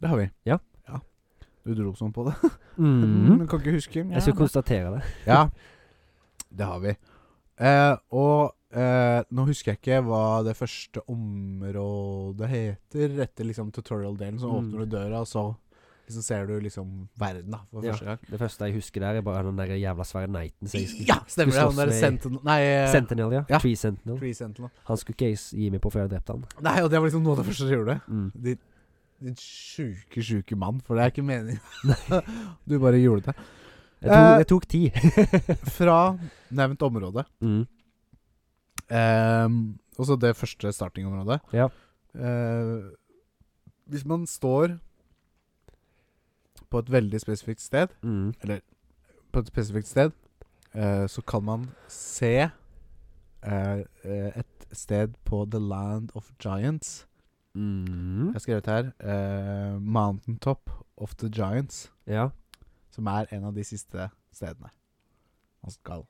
[SPEAKER 3] Det har vi.
[SPEAKER 2] Ja.
[SPEAKER 3] Du dro sånn på det.
[SPEAKER 2] Mm.
[SPEAKER 3] [LAUGHS] Mm-hmm. Men kan ikke huske.
[SPEAKER 2] Jeg skal konstatere det.
[SPEAKER 3] [LAUGHS] Ja. Det har vi. Eh, og eh, nå husker jeg ikke hva det første området heter, etter liksom tutorial-delen. Så
[SPEAKER 2] Mm.
[SPEAKER 3] åpner du døra, og så liksom ser du liksom verden da for
[SPEAKER 2] Ja.
[SPEAKER 3] første gang.
[SPEAKER 2] Det første jeg husker der, er bare den der jævla svære neiten som jeg skulle
[SPEAKER 3] Ja, stemmer det.
[SPEAKER 2] Du
[SPEAKER 3] Han
[SPEAKER 2] slåss
[SPEAKER 3] der
[SPEAKER 2] med-
[SPEAKER 3] Sentinel Nei, eh,
[SPEAKER 2] Sentinel, ja.
[SPEAKER 3] Ja.
[SPEAKER 2] Tree Sentinel.
[SPEAKER 3] Tree Sentinel.
[SPEAKER 2] Han skulle ikke jeg s- gi meg på før jeg drepte han.
[SPEAKER 3] Nei, og det var liksom noe av det første du gjorde.
[SPEAKER 2] Mm.
[SPEAKER 3] Din, din sjuke, sjuke mann, for det er ikke meningen. [LAUGHS] du bare gjorde det.
[SPEAKER 2] Jeg tok,
[SPEAKER 3] Eh.
[SPEAKER 2] jeg tok
[SPEAKER 3] [LAUGHS]
[SPEAKER 2] ti.
[SPEAKER 3] Fra nevnt område
[SPEAKER 2] mm.
[SPEAKER 3] Ehm, Også det første startingområdet.
[SPEAKER 2] Ja.
[SPEAKER 3] Eh, hvis man står på et veldig spesifikt sted,
[SPEAKER 2] Mm.
[SPEAKER 3] på et spesifikt sted, eh, så kan man se eh, eh, et sted på The Land of Giants.
[SPEAKER 2] Mm.
[SPEAKER 3] Jeg har skrevet her eh, Mountain Top of the Giants.
[SPEAKER 2] Ja.
[SPEAKER 3] som er en av de siste stedene man skal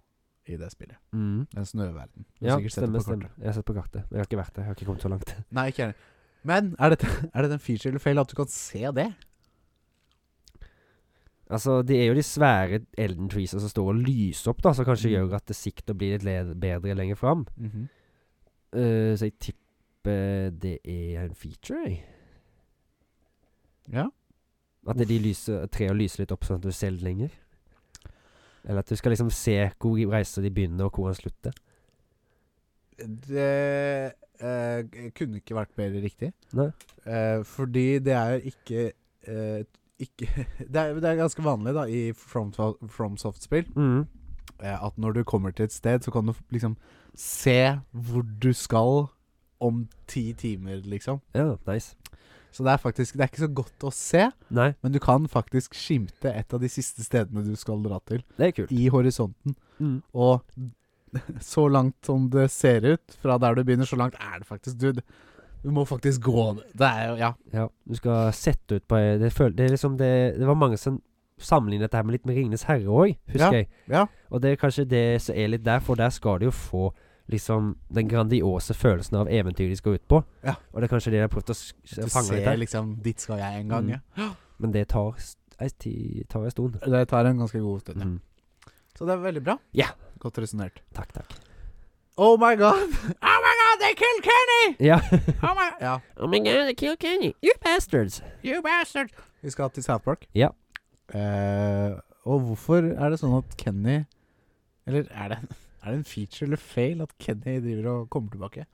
[SPEAKER 3] i det spillet.
[SPEAKER 2] Mm.
[SPEAKER 3] Den snøverden. Du har
[SPEAKER 2] Ja,
[SPEAKER 3] Mm-hmm. sikkert sett
[SPEAKER 2] stemmer,
[SPEAKER 3] det på kartet.
[SPEAKER 2] stemmer. Jeg har sett på kartet. Men jeg har ikke vært der. Jeg har ikke kommet så langt.
[SPEAKER 3] Nei, ikke gjerne. Men er dette, [LAUGHS] er dette en feature eller fail at du kan se det?
[SPEAKER 2] Altså, det er jo de svære Elden Trees som står og lyser opp, da, som kanskje
[SPEAKER 3] Mm.
[SPEAKER 2] gjør at det sikter blir litt le- bedre lenger fram.
[SPEAKER 3] Mhm.
[SPEAKER 2] Eh, så jeg tipper det er en feature, jeg.
[SPEAKER 3] Ja.
[SPEAKER 2] At de lyser, trærne lyser litt opp sånn at du ser litt lenger. Eller at du skal liksom se hvor reisa de begynner, og hvor han slutter.
[SPEAKER 3] Det eh, kunne ikke vært mer riktig.
[SPEAKER 2] Nei.
[SPEAKER 3] Eh, fordi det er ikke, eh, ikke [LAUGHS] det, er, det er ganske vanlig da i From, FromSoft-spill
[SPEAKER 2] Mm.
[SPEAKER 3] eh, at når du kommer til et sted, så kan du liksom se hvor du skal om ti timer, liksom.
[SPEAKER 2] Ja, nice.
[SPEAKER 3] Så det er faktisk Det er ikke så godt å se.
[SPEAKER 2] Nei,
[SPEAKER 3] Men du kan faktisk skimte et av de siste stedene du skal dra til,
[SPEAKER 2] det er kult.
[SPEAKER 3] i horisonten.
[SPEAKER 2] Mm.
[SPEAKER 3] Og så langt som det ser ut fra der du begynner, så langt er det faktisk Du, du må faktisk gå Det er jo Ja.
[SPEAKER 2] Ja, du skal sette ut på Det, føl, det er liksom det Det var mange som sammenlignet dette her med litt med Ringenes herre òg, husker jeg.
[SPEAKER 3] ja.
[SPEAKER 2] Og det er kanskje det som er litt der, for der skal du jo få liksom den grandiose følelsen av eventyret de skal ut på.
[SPEAKER 3] Ja.
[SPEAKER 2] Og det er kanskje det de har prøvd å s- s-
[SPEAKER 3] Du
[SPEAKER 2] fange litt
[SPEAKER 3] ser
[SPEAKER 2] der.
[SPEAKER 3] liksom Dit skal jeg en gang,
[SPEAKER 2] Mm.
[SPEAKER 3] ja.
[SPEAKER 2] Men det tar s- ei ti- tar en stund.
[SPEAKER 3] Det tar en ganske god stund. ja.
[SPEAKER 2] Mm.
[SPEAKER 3] Så det er veldig bra.
[SPEAKER 2] Ja.
[SPEAKER 3] Godt resonnert.
[SPEAKER 2] Takk, takk.
[SPEAKER 3] Oh my god! [LAUGHS] Oh my god, they killed Kenny!
[SPEAKER 2] Ja. [LAUGHS]
[SPEAKER 3] Oh my Ja.
[SPEAKER 2] oh my god, I killed Kenny. You bastards.
[SPEAKER 3] You bastard! Vi skal til South Park.
[SPEAKER 2] Ja.
[SPEAKER 3] Eh, og hvorfor er det sånn at Kenny Eller er det, er det en feature eller fail at Kenny driver og kommer tilbake?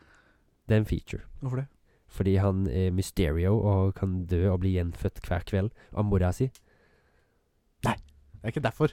[SPEAKER 2] Det er en feature.
[SPEAKER 3] Hvorfor det?
[SPEAKER 2] Fordi han er Mysterio og kan dø og bli gjenfødt hver kveld av mora si.
[SPEAKER 3] Det er ikke derfor.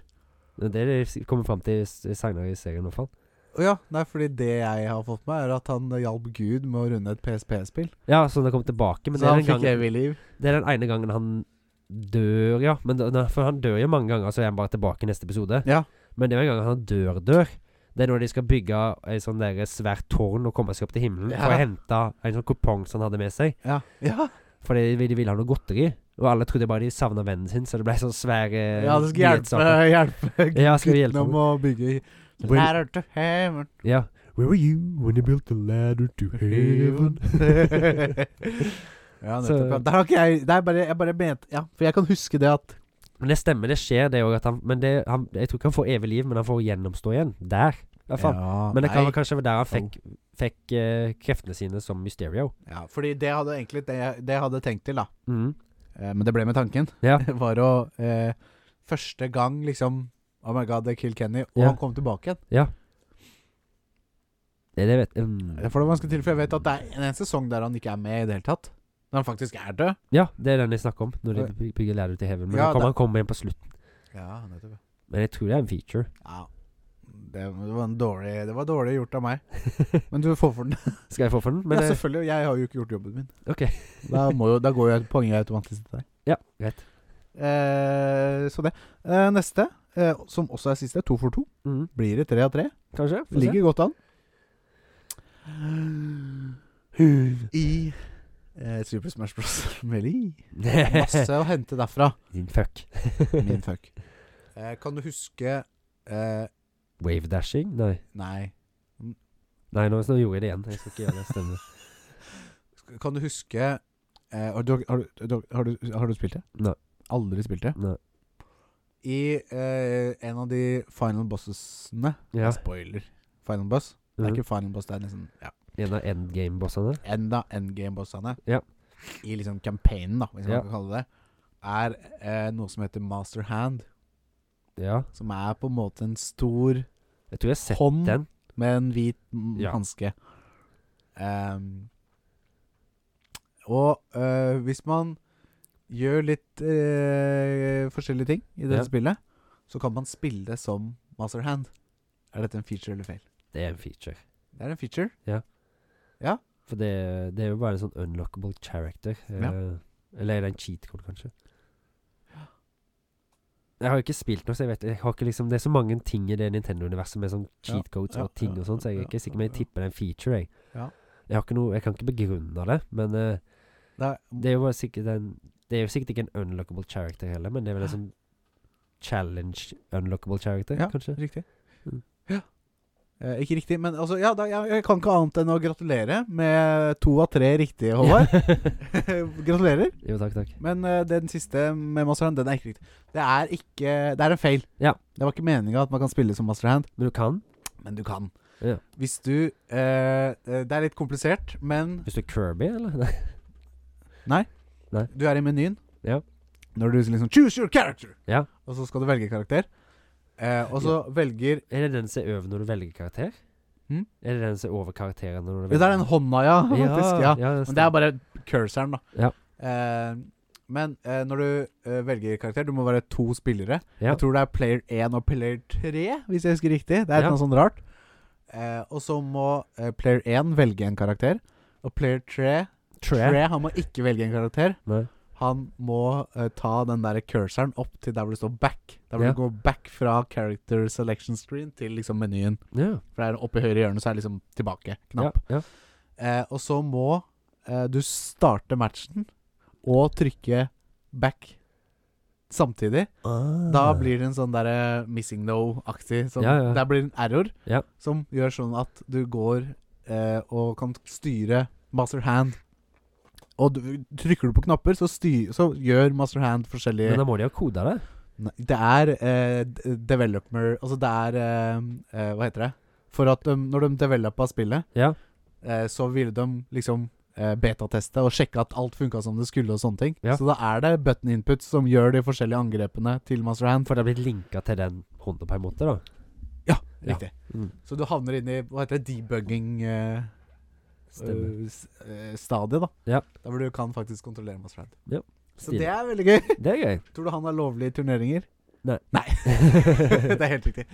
[SPEAKER 2] Det er det de s- kommer fram til s- senere i serien, i hvert fall.
[SPEAKER 3] Å ja, nei, fordi det jeg har fått med, er at han hjalp Gud med å runde et PSP-spill.
[SPEAKER 2] Ja, så han kom tilbake. Men det
[SPEAKER 3] Så
[SPEAKER 2] er,
[SPEAKER 3] han
[SPEAKER 2] den
[SPEAKER 3] fikk
[SPEAKER 2] gangen,
[SPEAKER 3] evig liv.
[SPEAKER 2] det er den ene gangen han dør, ja. Men, da- da- for han dør jo mange ganger, så er han bare tilbake i neste episode.
[SPEAKER 3] Ja.
[SPEAKER 2] Men det er jo en gang han dør, dør. Det er når de skal bygge ei sånn der svært tårn og komme seg opp til himmelen.
[SPEAKER 3] Ja.
[SPEAKER 2] For å hente en sånn kupong som han hadde med seg.
[SPEAKER 3] Ja. ja.
[SPEAKER 2] Fordi de ville ha noe godteri. Og alle trodde bare de savna vennen sin, så det ble sånn svære
[SPEAKER 3] Ja, det skal hjelpe,
[SPEAKER 2] nyhetssaker.
[SPEAKER 3] [LAUGHS] hjelpe
[SPEAKER 2] Ja, skal vi hjelpe
[SPEAKER 3] guttene om å bygge
[SPEAKER 2] Hvor-
[SPEAKER 3] Ladder to heaven.
[SPEAKER 2] Ja. Where were you when you built the ladder to
[SPEAKER 3] [LAUGHS]
[SPEAKER 2] heaven?
[SPEAKER 3] ja,
[SPEAKER 2] Så-
[SPEAKER 3] nettopp. ja. Der har ikke jeg Det er bare Jeg bare mente Ja, for jeg kan huske det at
[SPEAKER 2] Men det stemmer, det skjer det òg. Men det, han, jeg tror ikke han får evig liv, men han får gjennomstå igjen. Der, i hvert fall.
[SPEAKER 3] Ja,
[SPEAKER 2] men det kan
[SPEAKER 3] nei.
[SPEAKER 2] vel kanskje være der han fikk, fikk eh, kreftene sine som Mysterio.
[SPEAKER 3] ja, Fordi det hadde egentlig det, jeg- det jeg hadde tenkt til, da.
[SPEAKER 2] Mhm.
[SPEAKER 3] Eh, men det ble med tanken.
[SPEAKER 2] Ja.
[SPEAKER 3] [LAUGHS] Var å eh, Første gang, liksom Oh my god, they killed Kenny. Og
[SPEAKER 2] Ja.
[SPEAKER 3] han kom tilbake igjen.
[SPEAKER 2] Det, det vet mm.
[SPEAKER 3] Det får det vanskelig til, for jeg vet at det er en, en sesong der han ikke er med i det hele tatt. Når han faktisk er død.
[SPEAKER 2] Ja, det er den jeg snakker om, når de by- bygger ladder til heaven. Men
[SPEAKER 3] Ja,
[SPEAKER 2] han kommer
[SPEAKER 3] da-
[SPEAKER 2] han kommer igjen på slutten.
[SPEAKER 3] Ja, nettopp.
[SPEAKER 2] Men jeg tror det er en feature. [LAUGHS]
[SPEAKER 3] Ja. Det, det, var en dårlig, det var dårlig gjort av meg. Men du får for den. [LAUGHS]
[SPEAKER 2] Skal jeg få for den? Men,
[SPEAKER 3] ja,
[SPEAKER 2] eh,
[SPEAKER 3] selvfølgelig. Jeg har jo ikke gjort jobben min.
[SPEAKER 2] Ok.
[SPEAKER 3] da, må jo, da går jo et poeng automatisk til deg.
[SPEAKER 2] ja, greit.
[SPEAKER 3] Eh, så det. Eh, neste, eh, som også er siste, to for to,
[SPEAKER 2] Mhm.
[SPEAKER 3] blir det tre av tre.
[SPEAKER 2] Kanskje? Få se. [LAUGHS]
[SPEAKER 3] Ligger godt an. I eh, Super Smash Bros. [LAUGHS] Melee. Masse å hente derfra.
[SPEAKER 2] Din fuck.
[SPEAKER 3] Min fuck. [LAUGHS] Eh, kan du huske eh,
[SPEAKER 2] [LAUGHS] Wave dashing? Nei.
[SPEAKER 3] Nei.
[SPEAKER 2] Nei, nå, nå gjorde jeg det igjen. Jeg skal ikke gjøre det.
[SPEAKER 3] [LAUGHS]
[SPEAKER 2] Stemmer.
[SPEAKER 3] Kan du huske eh, har, du, har, du- har, du- har, du, har du spilt det?
[SPEAKER 2] Nei.
[SPEAKER 3] Aldri spilt det?
[SPEAKER 2] Nei.
[SPEAKER 3] I eh, en av de final bossene
[SPEAKER 2] Ja.
[SPEAKER 3] Spoiler. Final boss. Det
[SPEAKER 2] Mhm.
[SPEAKER 3] er ikke final boss, det er nesten ja,
[SPEAKER 2] Mm. En av endgame-bossene.
[SPEAKER 3] enda endgame-bossene.
[SPEAKER 2] Ja.
[SPEAKER 3] I liksom campaignen, da, hvis
[SPEAKER 2] Ja.
[SPEAKER 3] man kan kalle det. Er eh, noe som heter master hand.
[SPEAKER 2] Ja.
[SPEAKER 3] Som er på en måte en stor
[SPEAKER 2] Jeg tror jeg har sett
[SPEAKER 3] hånd
[SPEAKER 2] den.
[SPEAKER 3] med en hvit mm,
[SPEAKER 2] Ja.
[SPEAKER 3] hanske. Ehm, og eh, hvis man gjør litt eh, forskjellige ting i dette
[SPEAKER 2] Ja.
[SPEAKER 3] spillet, så kan man spille det som master hand. Er dette en feature eller feil?
[SPEAKER 2] Det er en feature.
[SPEAKER 3] Det er en feature.
[SPEAKER 2] For det, det er jo bare en sånn unlockable character. Eh, Eller er det en cheat code, kanskje? Jeg har jo ikke spilt noe, så jeg vet jeg har ikke liksom, Det er så mange ting i det Nintendo-universet med sånn
[SPEAKER 3] Ja,
[SPEAKER 2] cheat codes
[SPEAKER 3] ja,
[SPEAKER 2] og ting
[SPEAKER 3] ja,
[SPEAKER 2] og sånn, så jeg
[SPEAKER 3] ja,
[SPEAKER 2] er ikke sikker, men jeg
[SPEAKER 3] ja.
[SPEAKER 2] tipper det er en feature, jeg.
[SPEAKER 3] Ja.
[SPEAKER 2] Jeg har ikke noe Jeg kan ikke begrunne det, men eh,
[SPEAKER 3] Det er,
[SPEAKER 2] det er jo bare sikkert en Det er jo sikkert ikke en unlockable character heller, men det er vel en sånn challenge unlockable character,
[SPEAKER 3] Ja.
[SPEAKER 2] kanskje?
[SPEAKER 3] Riktig.
[SPEAKER 2] Mm.
[SPEAKER 3] Ja. Eh, ikke riktig, men altså, ja, da, jeg, jeg kan ikke annet enn å gratulere med to av tre riktige, Håvard. Gratulerer.
[SPEAKER 2] [LAUGHS] Jo, takk, takk.
[SPEAKER 3] Men eh, den siste med Master Hand, den er ikke riktig. Det er ikke Det er en feil.
[SPEAKER 2] Ja.
[SPEAKER 3] Det var ikke meninga at man kan spille som Master Hand,
[SPEAKER 2] Men du kan,
[SPEAKER 3] men du kan.
[SPEAKER 2] Ja.
[SPEAKER 3] Hvis du eh, eh, Det er litt komplisert, men
[SPEAKER 2] hvis du er Kirby, eller? Nei.
[SPEAKER 3] du er i menyen.
[SPEAKER 2] Ja.
[SPEAKER 3] Når du liksom Choose your character!
[SPEAKER 2] Ja.
[SPEAKER 3] Og så skal du velge karakter. Eh, og så velger
[SPEAKER 2] Er det den som er over når du velger karakter?
[SPEAKER 3] Hm?
[SPEAKER 2] Er det den som er over karakteren når du
[SPEAKER 3] Det
[SPEAKER 2] velger
[SPEAKER 3] er den hånda, ja. Faktisk, ja. Men det er
[SPEAKER 2] bare
[SPEAKER 3] bare cursoren, da.
[SPEAKER 2] Ja.
[SPEAKER 3] Eh, men eh, når du eh, velger karakter Du må være to spillere.
[SPEAKER 2] ja.
[SPEAKER 3] Jeg tror det er player 1 og player 3, hvis jeg husker riktig. Det er
[SPEAKER 2] Ja.
[SPEAKER 3] noe sånn rart. Eh, og så må eh, player 1 velge en karakter. Og player 3,
[SPEAKER 2] Tre.
[SPEAKER 3] han må ikke velge en karakter.
[SPEAKER 2] Nei.
[SPEAKER 3] Han må eh, ta den der cursoren opp til der hvor det står back. Der hvor
[SPEAKER 2] Ja.
[SPEAKER 3] du går back fra character selection screen til liksom menyen.
[SPEAKER 2] Ja.
[SPEAKER 3] For der oppe i høyre hjørne så er det liksom tilbake.
[SPEAKER 2] Ja.
[SPEAKER 3] Knapp.
[SPEAKER 2] ja.
[SPEAKER 3] Eh, og så må eh, du starte matchen og trykke back samtidig. Da blir det en sånn der eh, missing no-aktig. Sånn,
[SPEAKER 2] Ja, ja.
[SPEAKER 3] Der blir det en error
[SPEAKER 2] Ja.
[SPEAKER 3] som gjør sånn at du går eh, og kan styre master hand. Og du, trykker du på knapper, så, styr, så gjør master hand forskjellige
[SPEAKER 2] Ah. Men da må de ha koda det.
[SPEAKER 3] Nei, Det er eh, d- developer Altså det er eh, eh, Hva heter det? For at de, når de developa spillet,
[SPEAKER 2] Ja.
[SPEAKER 3] eh, så ville de liksom eh, betateste og sjekke at alt funka som det skulle og sånne ting.
[SPEAKER 2] Ja.
[SPEAKER 3] Så da er det button inputs som gjør de forskjellige angrepene til master hand.
[SPEAKER 2] For det har blitt linka til den hånda på en måte, da.
[SPEAKER 3] Ja,
[SPEAKER 2] Ja.
[SPEAKER 3] riktig.
[SPEAKER 2] Mm.
[SPEAKER 3] Så du havner inn i hva heter det, debugging eh,
[SPEAKER 2] Stemmer.
[SPEAKER 3] eh, s- eh, stadiet, da.
[SPEAKER 2] Ja.
[SPEAKER 3] Der hvor du kan faktisk kontrollere Mass Rand. Så
[SPEAKER 2] Stilig.
[SPEAKER 3] det er veldig gøy. [LAUGHS]
[SPEAKER 2] det er gøy.
[SPEAKER 3] Tror du han har lovlige turneringer?
[SPEAKER 2] Nei.
[SPEAKER 3] Nei. det er helt riktig.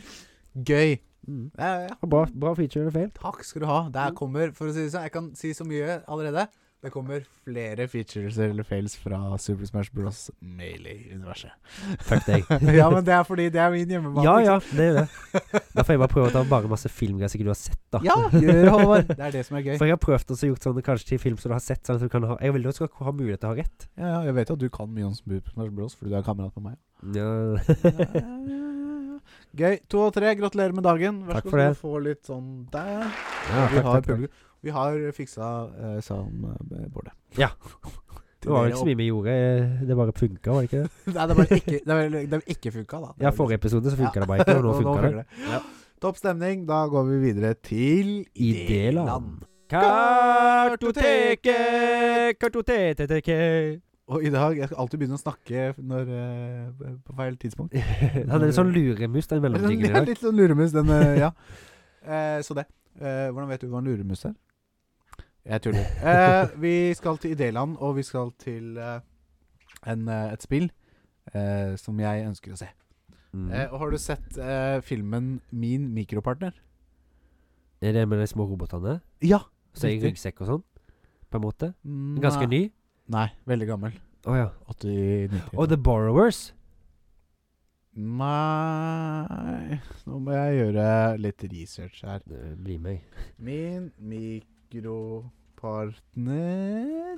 [SPEAKER 3] Gøy. Mm. Ja, ja, ja.
[SPEAKER 2] Bra, bra feature eller feil?
[SPEAKER 3] Takk skal du ha. Der kommer, for å si det sånn, jeg kan si så mye allerede. Det kommer flere features eller fails fra Super Smash Bros. Melee-universet. [LAUGHS]
[SPEAKER 2] Fuck deg.
[SPEAKER 3] ja, men det er fordi det er min hjemmebane.
[SPEAKER 2] Ja,
[SPEAKER 3] ikke
[SPEAKER 2] ja,
[SPEAKER 3] sant?
[SPEAKER 2] det er det. Da får jeg bare prøve å ta bare masse filmgreier som ikke du har sett, da.
[SPEAKER 3] Ja, gjør Håvard. Det er det som er gøy.
[SPEAKER 2] For jeg har prøvd også gjort sånne kanskje til film som du har sett, sånn at du kan ha Jeg vil jo at du skal ha mulighet til å ha rett.
[SPEAKER 3] Ja, ja, jeg vet jo at du kan mye om Super Smash Bros. fordi du er kamerat med meg.
[SPEAKER 2] Ja.
[SPEAKER 3] Ja, ja, ja, ja, ja. Gøy. To og tre, gratulerer med dagen. Vær
[SPEAKER 2] Takk
[SPEAKER 3] så
[SPEAKER 2] for
[SPEAKER 3] god,
[SPEAKER 2] det.
[SPEAKER 3] du får litt sånn der.
[SPEAKER 2] Ja,
[SPEAKER 3] vi,
[SPEAKER 2] takk, takk,
[SPEAKER 3] har
[SPEAKER 2] takk.
[SPEAKER 3] publikum. vi har fiksa uh, soundboardet. [LAUGHS]
[SPEAKER 2] Ja. Det
[SPEAKER 3] Til
[SPEAKER 2] var
[SPEAKER 3] dere
[SPEAKER 2] vel ikke så mye vi gjorde, eh, det bare funka, var det ikke det?
[SPEAKER 3] Nei, det var ikke, det var, det var ikke funka, da. Det
[SPEAKER 2] Ja,
[SPEAKER 3] var
[SPEAKER 2] forrige episode så funka
[SPEAKER 3] Ja.
[SPEAKER 2] det bare ikke,
[SPEAKER 3] [LAUGHS]
[SPEAKER 2] og nå
[SPEAKER 3] Og
[SPEAKER 2] funka det.
[SPEAKER 3] det. Topp stemning. Da går vi videre til
[SPEAKER 2] Idéland.
[SPEAKER 3] Idéland.
[SPEAKER 2] Kartoteket, kartoteteket
[SPEAKER 3] Og i dag Jeg skal alltid begynne å snakke når, eh, på feil
[SPEAKER 2] [LAUGHS]
[SPEAKER 3] tidspunkt.
[SPEAKER 2] Han er litt sånn luremus, den mellomtingen i
[SPEAKER 3] [LAUGHS] Det er
[SPEAKER 2] dag.
[SPEAKER 3] litt sånn luremus, den eh, Ja. [LAUGHS] Eh, så det. Eh, hvordan vet du hva en luremus er? Jeg tuller.
[SPEAKER 2] [LAUGHS]
[SPEAKER 3] Eh, vi skal til Idéland, og vi skal til eh, en, eh, et spill eh, som jeg ønsker å se.
[SPEAKER 2] Mm.
[SPEAKER 3] Eh, og har du sett eh, filmen Min mikropartner?
[SPEAKER 2] Er det med de små robotene?
[SPEAKER 3] Ja.
[SPEAKER 2] Så i
[SPEAKER 3] Riktig.
[SPEAKER 2] ryggsekk og sånn? På en måte?
[SPEAKER 3] Mm, Nei.
[SPEAKER 2] Ganske ny?
[SPEAKER 3] Nei, veldig gammel.
[SPEAKER 2] Å ja.
[SPEAKER 3] 80-90.
[SPEAKER 2] Og The Borrowers?
[SPEAKER 3] Nei Nå må jeg gjøre litt research her.
[SPEAKER 2] Det blir meg.
[SPEAKER 3] Min mikropartner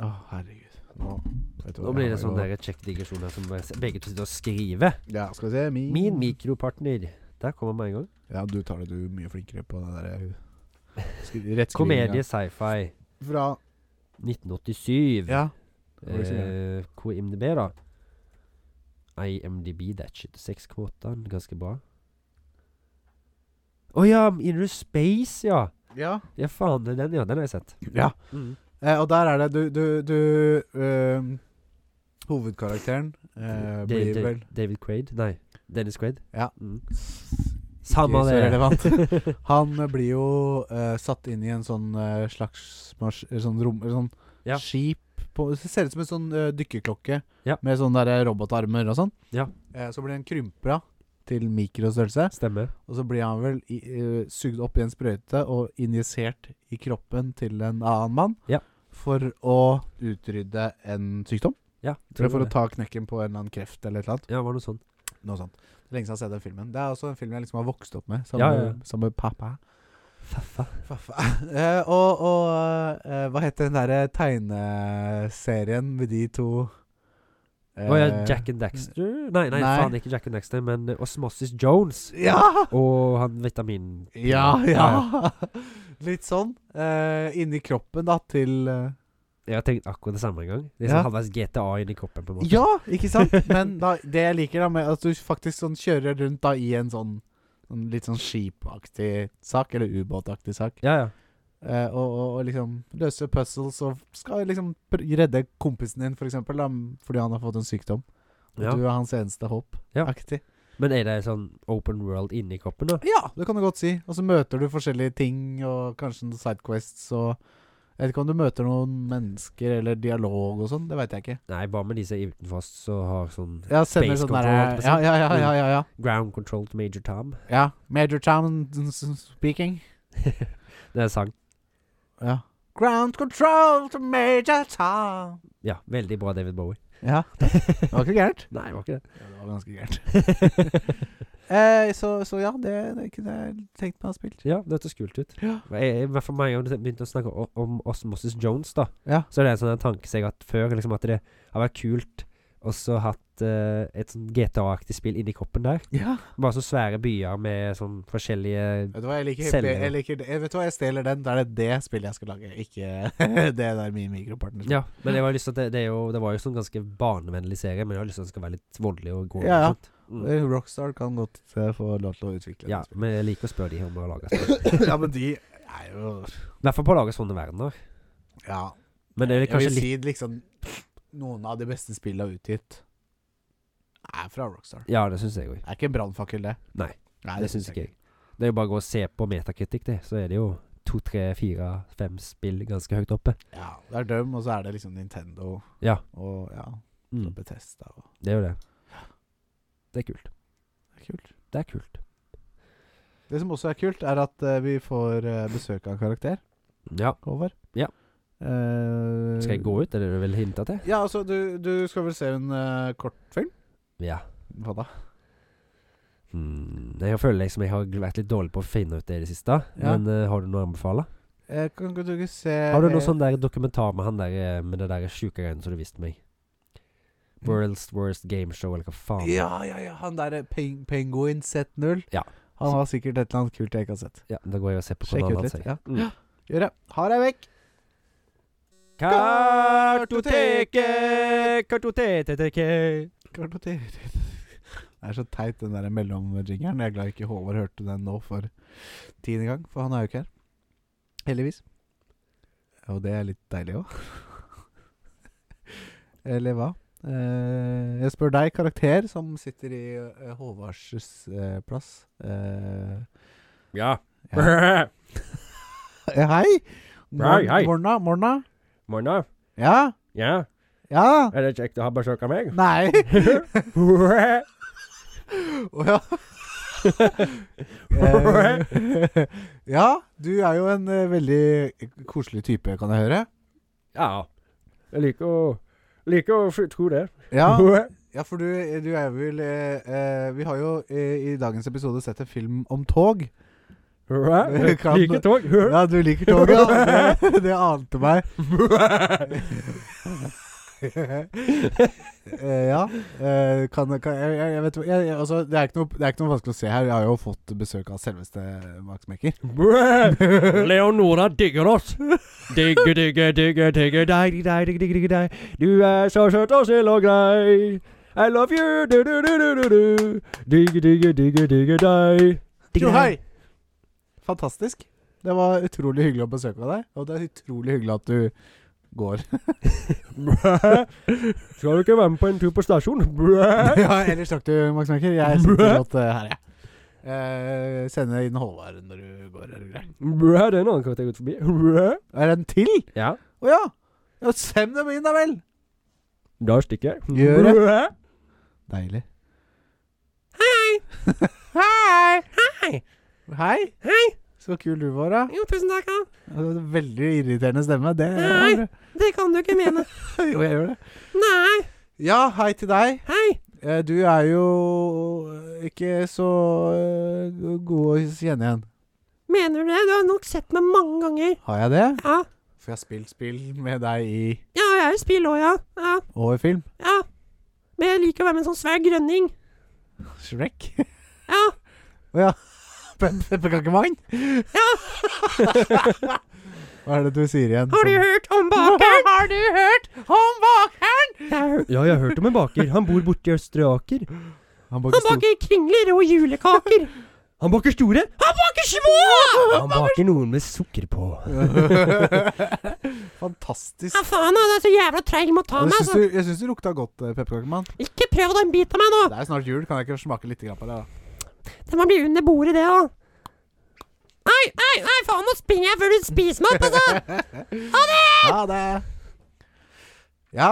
[SPEAKER 3] Å, herregud. Nå, vet du hva
[SPEAKER 2] Nå
[SPEAKER 3] jeg
[SPEAKER 2] blir det
[SPEAKER 3] har
[SPEAKER 2] sånn
[SPEAKER 3] jo-
[SPEAKER 2] der check-digresjon her som begge to sitter og skriver.
[SPEAKER 3] Ja, skal vi se. Min,
[SPEAKER 2] Min mikropartner. Der kommer man med en gang.
[SPEAKER 3] Ja, du tar det. Du er mye flinkere på den
[SPEAKER 2] [LAUGHS]
[SPEAKER 3] derre rettskrivinga.
[SPEAKER 2] Komedie sci-fi.
[SPEAKER 3] Fra
[SPEAKER 2] 1987.
[SPEAKER 3] Ja. hva vil du si
[SPEAKER 2] Eh, KMDB, da. IMDb, that shit. 6,8. Ganske bra. Å ja! Inner Space, ja.
[SPEAKER 3] Ja.
[SPEAKER 2] Ja, faen. det er Den, ja. Den har jeg sett.
[SPEAKER 3] ja. Eh, og der er det Du, du, du øhm, Hovedkarakteren eh,
[SPEAKER 2] Da-
[SPEAKER 3] blir
[SPEAKER 2] Da-
[SPEAKER 3] vel
[SPEAKER 2] David Quaid? Nei. Dennis Quaid?
[SPEAKER 3] Ja.
[SPEAKER 2] Mm.
[SPEAKER 3] Ikke
[SPEAKER 2] Samme
[SPEAKER 3] så
[SPEAKER 2] det.
[SPEAKER 3] relevant. [LAUGHS] Han eh, blir jo eh, satt inn i en sånn eh, slags mars, eh, sånn rom, eh, sånn
[SPEAKER 2] Ja.
[SPEAKER 3] skip på, Det ser ut som en sånn eh, dykkerklokke
[SPEAKER 2] Ja.
[SPEAKER 3] med sånne der eh, robotarmer og sånn.
[SPEAKER 2] Ja.
[SPEAKER 3] Eh, så blir han krympra til mikrostørrelse,
[SPEAKER 2] [LAUGHS] Stemmer.
[SPEAKER 3] og så blir han vel i, eh, sugd opp i en sprøyte og injisert i kroppen til en annen mann
[SPEAKER 2] Ja.
[SPEAKER 3] for å utrydde en sykdom.
[SPEAKER 2] Ja. tror
[SPEAKER 3] Eller for
[SPEAKER 2] det.
[SPEAKER 3] å ta knekken på en eller annen kreft eller et eller annet.
[SPEAKER 2] Ja, det var noe sånn.
[SPEAKER 3] Noe sånt. Det er lenge siden jeg har sett den filmen. Det er også en film jeg liksom har vokst opp med. Sammen,
[SPEAKER 2] Ja, ja, ja.
[SPEAKER 3] sammen med pappa.
[SPEAKER 2] Faffa.
[SPEAKER 3] Faffa. [LAUGHS] Eh, og og eh, hva heter den derre tegneserien med de to
[SPEAKER 2] Å
[SPEAKER 3] eh,
[SPEAKER 2] ja, Jack and Daxter? Nei, nei,
[SPEAKER 3] nei.
[SPEAKER 2] faen ikke Jack and Daxter, men eh, Osmosis Jones.
[SPEAKER 3] Ja!
[SPEAKER 2] Og han vitamin...
[SPEAKER 3] Ja, ja. [LAUGHS] Litt sånn. Eh, inni kroppen, da, til eh,
[SPEAKER 2] Jeg har tenkt akkurat det samme en gang. Det er
[SPEAKER 3] Ja.
[SPEAKER 2] sånn halvveis GTA inni kroppen, på en måte.
[SPEAKER 3] Ja, ikke sant? Men da, det jeg liker, da, med at du faktisk sånn kjører rundt da i en sånn, sånn litt sånn skipaktig sak, eller ubåtaktig sak.
[SPEAKER 2] Ja, ja.
[SPEAKER 3] Eh, og, og, og liksom løse puzzles og skal liksom pr- redde kompisen din, for eksempel, da, m- fordi han har fått en sykdom. Og
[SPEAKER 2] Ja.
[SPEAKER 3] du er hans eneste håp.
[SPEAKER 2] Ja.
[SPEAKER 3] Aktig.
[SPEAKER 2] Men er det sånn open world inni kroppen, da?
[SPEAKER 3] Ja, det kan du godt si. Og så møter du forskjellige ting, og kanskje noen sidequests og Jeg vet ikke om du møter noen mennesker eller dialog og sånn, det veit jeg ikke.
[SPEAKER 2] Nei, bare med de som er utenfor oss og har sånn
[SPEAKER 3] Ja, sender
[SPEAKER 2] Space
[SPEAKER 3] sånn
[SPEAKER 2] control,
[SPEAKER 3] derre-
[SPEAKER 2] alt på
[SPEAKER 3] ja,
[SPEAKER 2] seg.
[SPEAKER 3] ja, ja, ja, ja, ja.
[SPEAKER 2] ground control til Major Tom.
[SPEAKER 3] ja. Major Town speaking.
[SPEAKER 2] Det er sang.
[SPEAKER 3] Ja. Ground control to Major Town.
[SPEAKER 2] Ja, veldig bra David Bowie.
[SPEAKER 3] Ja. Det var ikke gærent.
[SPEAKER 2] Nei, det var ikke det.
[SPEAKER 3] Ja, det var ganske
[SPEAKER 2] [LAUGHS]
[SPEAKER 3] gærent. eh, så, så ja, det, det kunne jeg tenkt meg å ha spilt.
[SPEAKER 2] Ja, det hørtes kult ut.
[SPEAKER 3] Ja.
[SPEAKER 2] Men jeg- jeg- I hvert fall meg og du begynte å snakke o- om Osmosis Jones, da.
[SPEAKER 3] Ja.
[SPEAKER 2] Så er det en sånn tanke seg at før liksom at det har vært kult og så hatt eh, et sånn GTA-aktig spill inni kroppen der. Bare så svære byer med sånn forskjellige
[SPEAKER 3] Vet du hva, jeg liker,
[SPEAKER 2] Selger.
[SPEAKER 3] jeg liker det. Vet du hva, jeg stjeler den. Da er det det spillet jeg skal lage, ikke [LAUGHS] det der min mikropartner.
[SPEAKER 2] Ja, men jeg har lyst til at det, det, er jo, det var jo sånn ganske barnevennlig serie, men jeg har lyst til at den skal være litt voldelig og gå
[SPEAKER 3] Ja, ja.
[SPEAKER 2] Mm.
[SPEAKER 3] Eh, Rockstar kan godt eh, få lov til å utvikle det
[SPEAKER 2] Ja,
[SPEAKER 3] spillet.
[SPEAKER 2] men jeg liker å spørre de om å lage spill.
[SPEAKER 3] [LAUGHS] ja, men de er jo
[SPEAKER 2] I hvert fall på å lage sånne verdener.
[SPEAKER 3] Ja.
[SPEAKER 2] Men det er
[SPEAKER 3] Jeg
[SPEAKER 2] kanskje
[SPEAKER 3] vil
[SPEAKER 2] litt
[SPEAKER 3] si liksom noen av de beste spillene utgitt er fra Rockstar.
[SPEAKER 2] Ja, det syns jeg òg.
[SPEAKER 3] Det er ikke en brannfakkel, det.
[SPEAKER 2] Nei,
[SPEAKER 3] Nei
[SPEAKER 2] Det syns ikke jeg. Det er jo bare å gå og se på metakritikk, det. Så er det jo to, tre, fire, fem spill ganske høyt oppe.
[SPEAKER 3] Ja, det er dem, og så er det liksom Nintendo
[SPEAKER 2] Ja.
[SPEAKER 3] og ja,
[SPEAKER 2] Mm.
[SPEAKER 3] Bethesda og
[SPEAKER 2] Det er jo det. Det er kult.
[SPEAKER 3] Det er kult.
[SPEAKER 2] Det er kult.
[SPEAKER 3] Det som også er kult, er at eh, vi får eh, besøk av en karakter.
[SPEAKER 2] Ja.
[SPEAKER 3] Håvard.
[SPEAKER 2] Ja.
[SPEAKER 3] Eh,
[SPEAKER 2] Skal jeg gå ut, er det du vil hinte til?
[SPEAKER 3] Ja, altså, du, du skal vel se en eh, kortfilm?
[SPEAKER 2] Ja.
[SPEAKER 3] Hva da?
[SPEAKER 2] Hmm, jeg føler liksom jeg har vært litt dårlig på å finne ut det i det siste.
[SPEAKER 3] Ja.
[SPEAKER 2] Men eh, har du noe å anbefale?
[SPEAKER 3] Eh, kan ikke du ikke se eh,
[SPEAKER 2] Har du noe sånn der dokumentar med han der eh, med det der sjuke greiene som du viste meg? World's Worst Game Show, eller hva faen?
[SPEAKER 3] Ja, ja, ja. Han derre peng Penguin Z0.
[SPEAKER 2] Ja.
[SPEAKER 3] Han har sikkert et eller annet kult jeg ikke har sett.
[SPEAKER 2] Ja, da går jeg og ser på
[SPEAKER 3] Sjekk
[SPEAKER 2] hvordan
[SPEAKER 3] ut
[SPEAKER 2] han
[SPEAKER 3] litt.
[SPEAKER 2] sier.
[SPEAKER 3] Ja.
[SPEAKER 2] Mm.
[SPEAKER 3] Gjør det. Ha deg vekk!
[SPEAKER 2] Mm. [GASPS] Kartoteket, kartoteteket.
[SPEAKER 3] Kartoterer. Det er så teit, den der mellomjingeren. Jeg er glad ikke Håvard hørte den nå for tiende gang, for han er jo ikke her. Heldigvis. Og det er litt deilig òg. [LAUGHS] Eller hva? Eh, jeg spør deg, karakter, som sitter i eh, Håvards eh, plass. Eh, [LAUGHS]
[SPEAKER 2] Ja.
[SPEAKER 3] eh, hei!
[SPEAKER 2] Hei, hei.
[SPEAKER 3] Morna, morna.
[SPEAKER 2] [LAUGHS] Morna.
[SPEAKER 3] Ja?
[SPEAKER 2] Ja.
[SPEAKER 3] Ja?
[SPEAKER 2] Er det kjekt å ha besøk av [LAUGHS] meg?
[SPEAKER 3] Nei! [LAUGHS]
[SPEAKER 2] Eh.
[SPEAKER 3] Å ja. Eh, [LAUGHS] ja, du er jo en eh, veldig koselig type, kan jeg høre.
[SPEAKER 2] ja. Jeg liker å Liker å tro det.
[SPEAKER 3] Ja, ja for du, du er vel eh, eh, Vi har jo eh, i dagens episode sett en film om tog. Kan-
[SPEAKER 2] [LAUGHS] Liker tog.
[SPEAKER 3] Ja, du liker tog, ja. Det, det ante meg.
[SPEAKER 2] [LAUGHS]
[SPEAKER 3] Eh, ja. eh, kan, kan jeg, jeg, jeg vet hva- jeg, jeg, altså, det, er ikke noe, det er ikke noe vanskelig å se her. Jeg har jo fått besøk av selveste Max Mekker.
[SPEAKER 2] Leonora digger oss. Digge, digge, digge, digge deg, digge deg, digge, digge, digge deg. Du er så søt og snill og grei. I love you, du, du, du, du, du, du. Digge, digge, digge, digge deg.
[SPEAKER 3] Jo,
[SPEAKER 2] Digge
[SPEAKER 3] hei! Fantastisk. Det var utrolig hyggelig å besøke deg, og det er utrolig hyggelig at du
[SPEAKER 2] [LAUGHS]
[SPEAKER 3] går. [LAUGHS]
[SPEAKER 2] Skal du ikke være med på en tur på stasjon?
[SPEAKER 3] ja, ellers takk du, Max Mekker. Jeg sitter godt eh, her, jeg. Eh, sende inn Håvard når du går. Er det greit?
[SPEAKER 2] Brø, det er en annen karakter jeg har gått forbi.
[SPEAKER 3] Er det en til?
[SPEAKER 2] Ja,
[SPEAKER 3] Å ja! ja! Send dem inn, da vel!
[SPEAKER 2] da stikker jeg.
[SPEAKER 3] Gjør det. Deilig. [LAUGHS]
[SPEAKER 2] Hei! Hei!
[SPEAKER 3] Hei!
[SPEAKER 2] Hei!
[SPEAKER 3] Så kul du var, da.
[SPEAKER 2] Jo, tusen takk. ja.
[SPEAKER 3] Ja, det var en Veldig irriterende stemme. Det
[SPEAKER 2] Nei. Det kan du ikke mene.
[SPEAKER 3] Jo, jeg gjør det.
[SPEAKER 2] Nei.
[SPEAKER 3] Ja, hei til deg.
[SPEAKER 2] Hei.
[SPEAKER 3] Eh, Du er jo ikke så eh, god å kjenne igjen.
[SPEAKER 2] Mener du det? Du har nok sett meg mange ganger.
[SPEAKER 3] Har jeg det?
[SPEAKER 2] Ja.
[SPEAKER 3] For jeg har spilt spill med deg i
[SPEAKER 2] Ja, jeg er i spill òg, ja. ja.
[SPEAKER 3] og i film.
[SPEAKER 2] Ja. Men jeg liker å være med en sånn svær grønning.
[SPEAKER 3] Shrek.
[SPEAKER 2] Ja.
[SPEAKER 3] [LAUGHS] Pepperkakemann. [LAUGHS] Hva er det du sier igjen?
[SPEAKER 2] Har du
[SPEAKER 3] som-
[SPEAKER 2] hørt om [LAUGHS] bakeren?
[SPEAKER 3] Har du hørt om bakeren?
[SPEAKER 2] Ja, jeg har hørt om en baker. Han bor borti Østre Aker. Han
[SPEAKER 3] Han baker
[SPEAKER 2] baker kringler og julekaker. Han baker store. [LAUGHS] Han baker små! Han baker noen med sukker på.
[SPEAKER 3] stor [LAUGHS] Fantastisk.
[SPEAKER 2] Ja, faen, han er så jævla treig med å ta
[SPEAKER 3] Jeg
[SPEAKER 2] meg,
[SPEAKER 3] syns
[SPEAKER 2] altså.
[SPEAKER 3] du, jeg syns du lukta godt, eh, pepperkakemann.
[SPEAKER 2] Ikke prøv å ta en bit av meg nå.
[SPEAKER 3] Det er snart jul, kan jeg ikke smake litt grann på det? da?
[SPEAKER 2] Det må bli under bordet, det òg. Nei, nei, nei, faen, nå springer jeg før du spiser meg opp, [LAUGHS] altså.
[SPEAKER 3] Ha det! Ja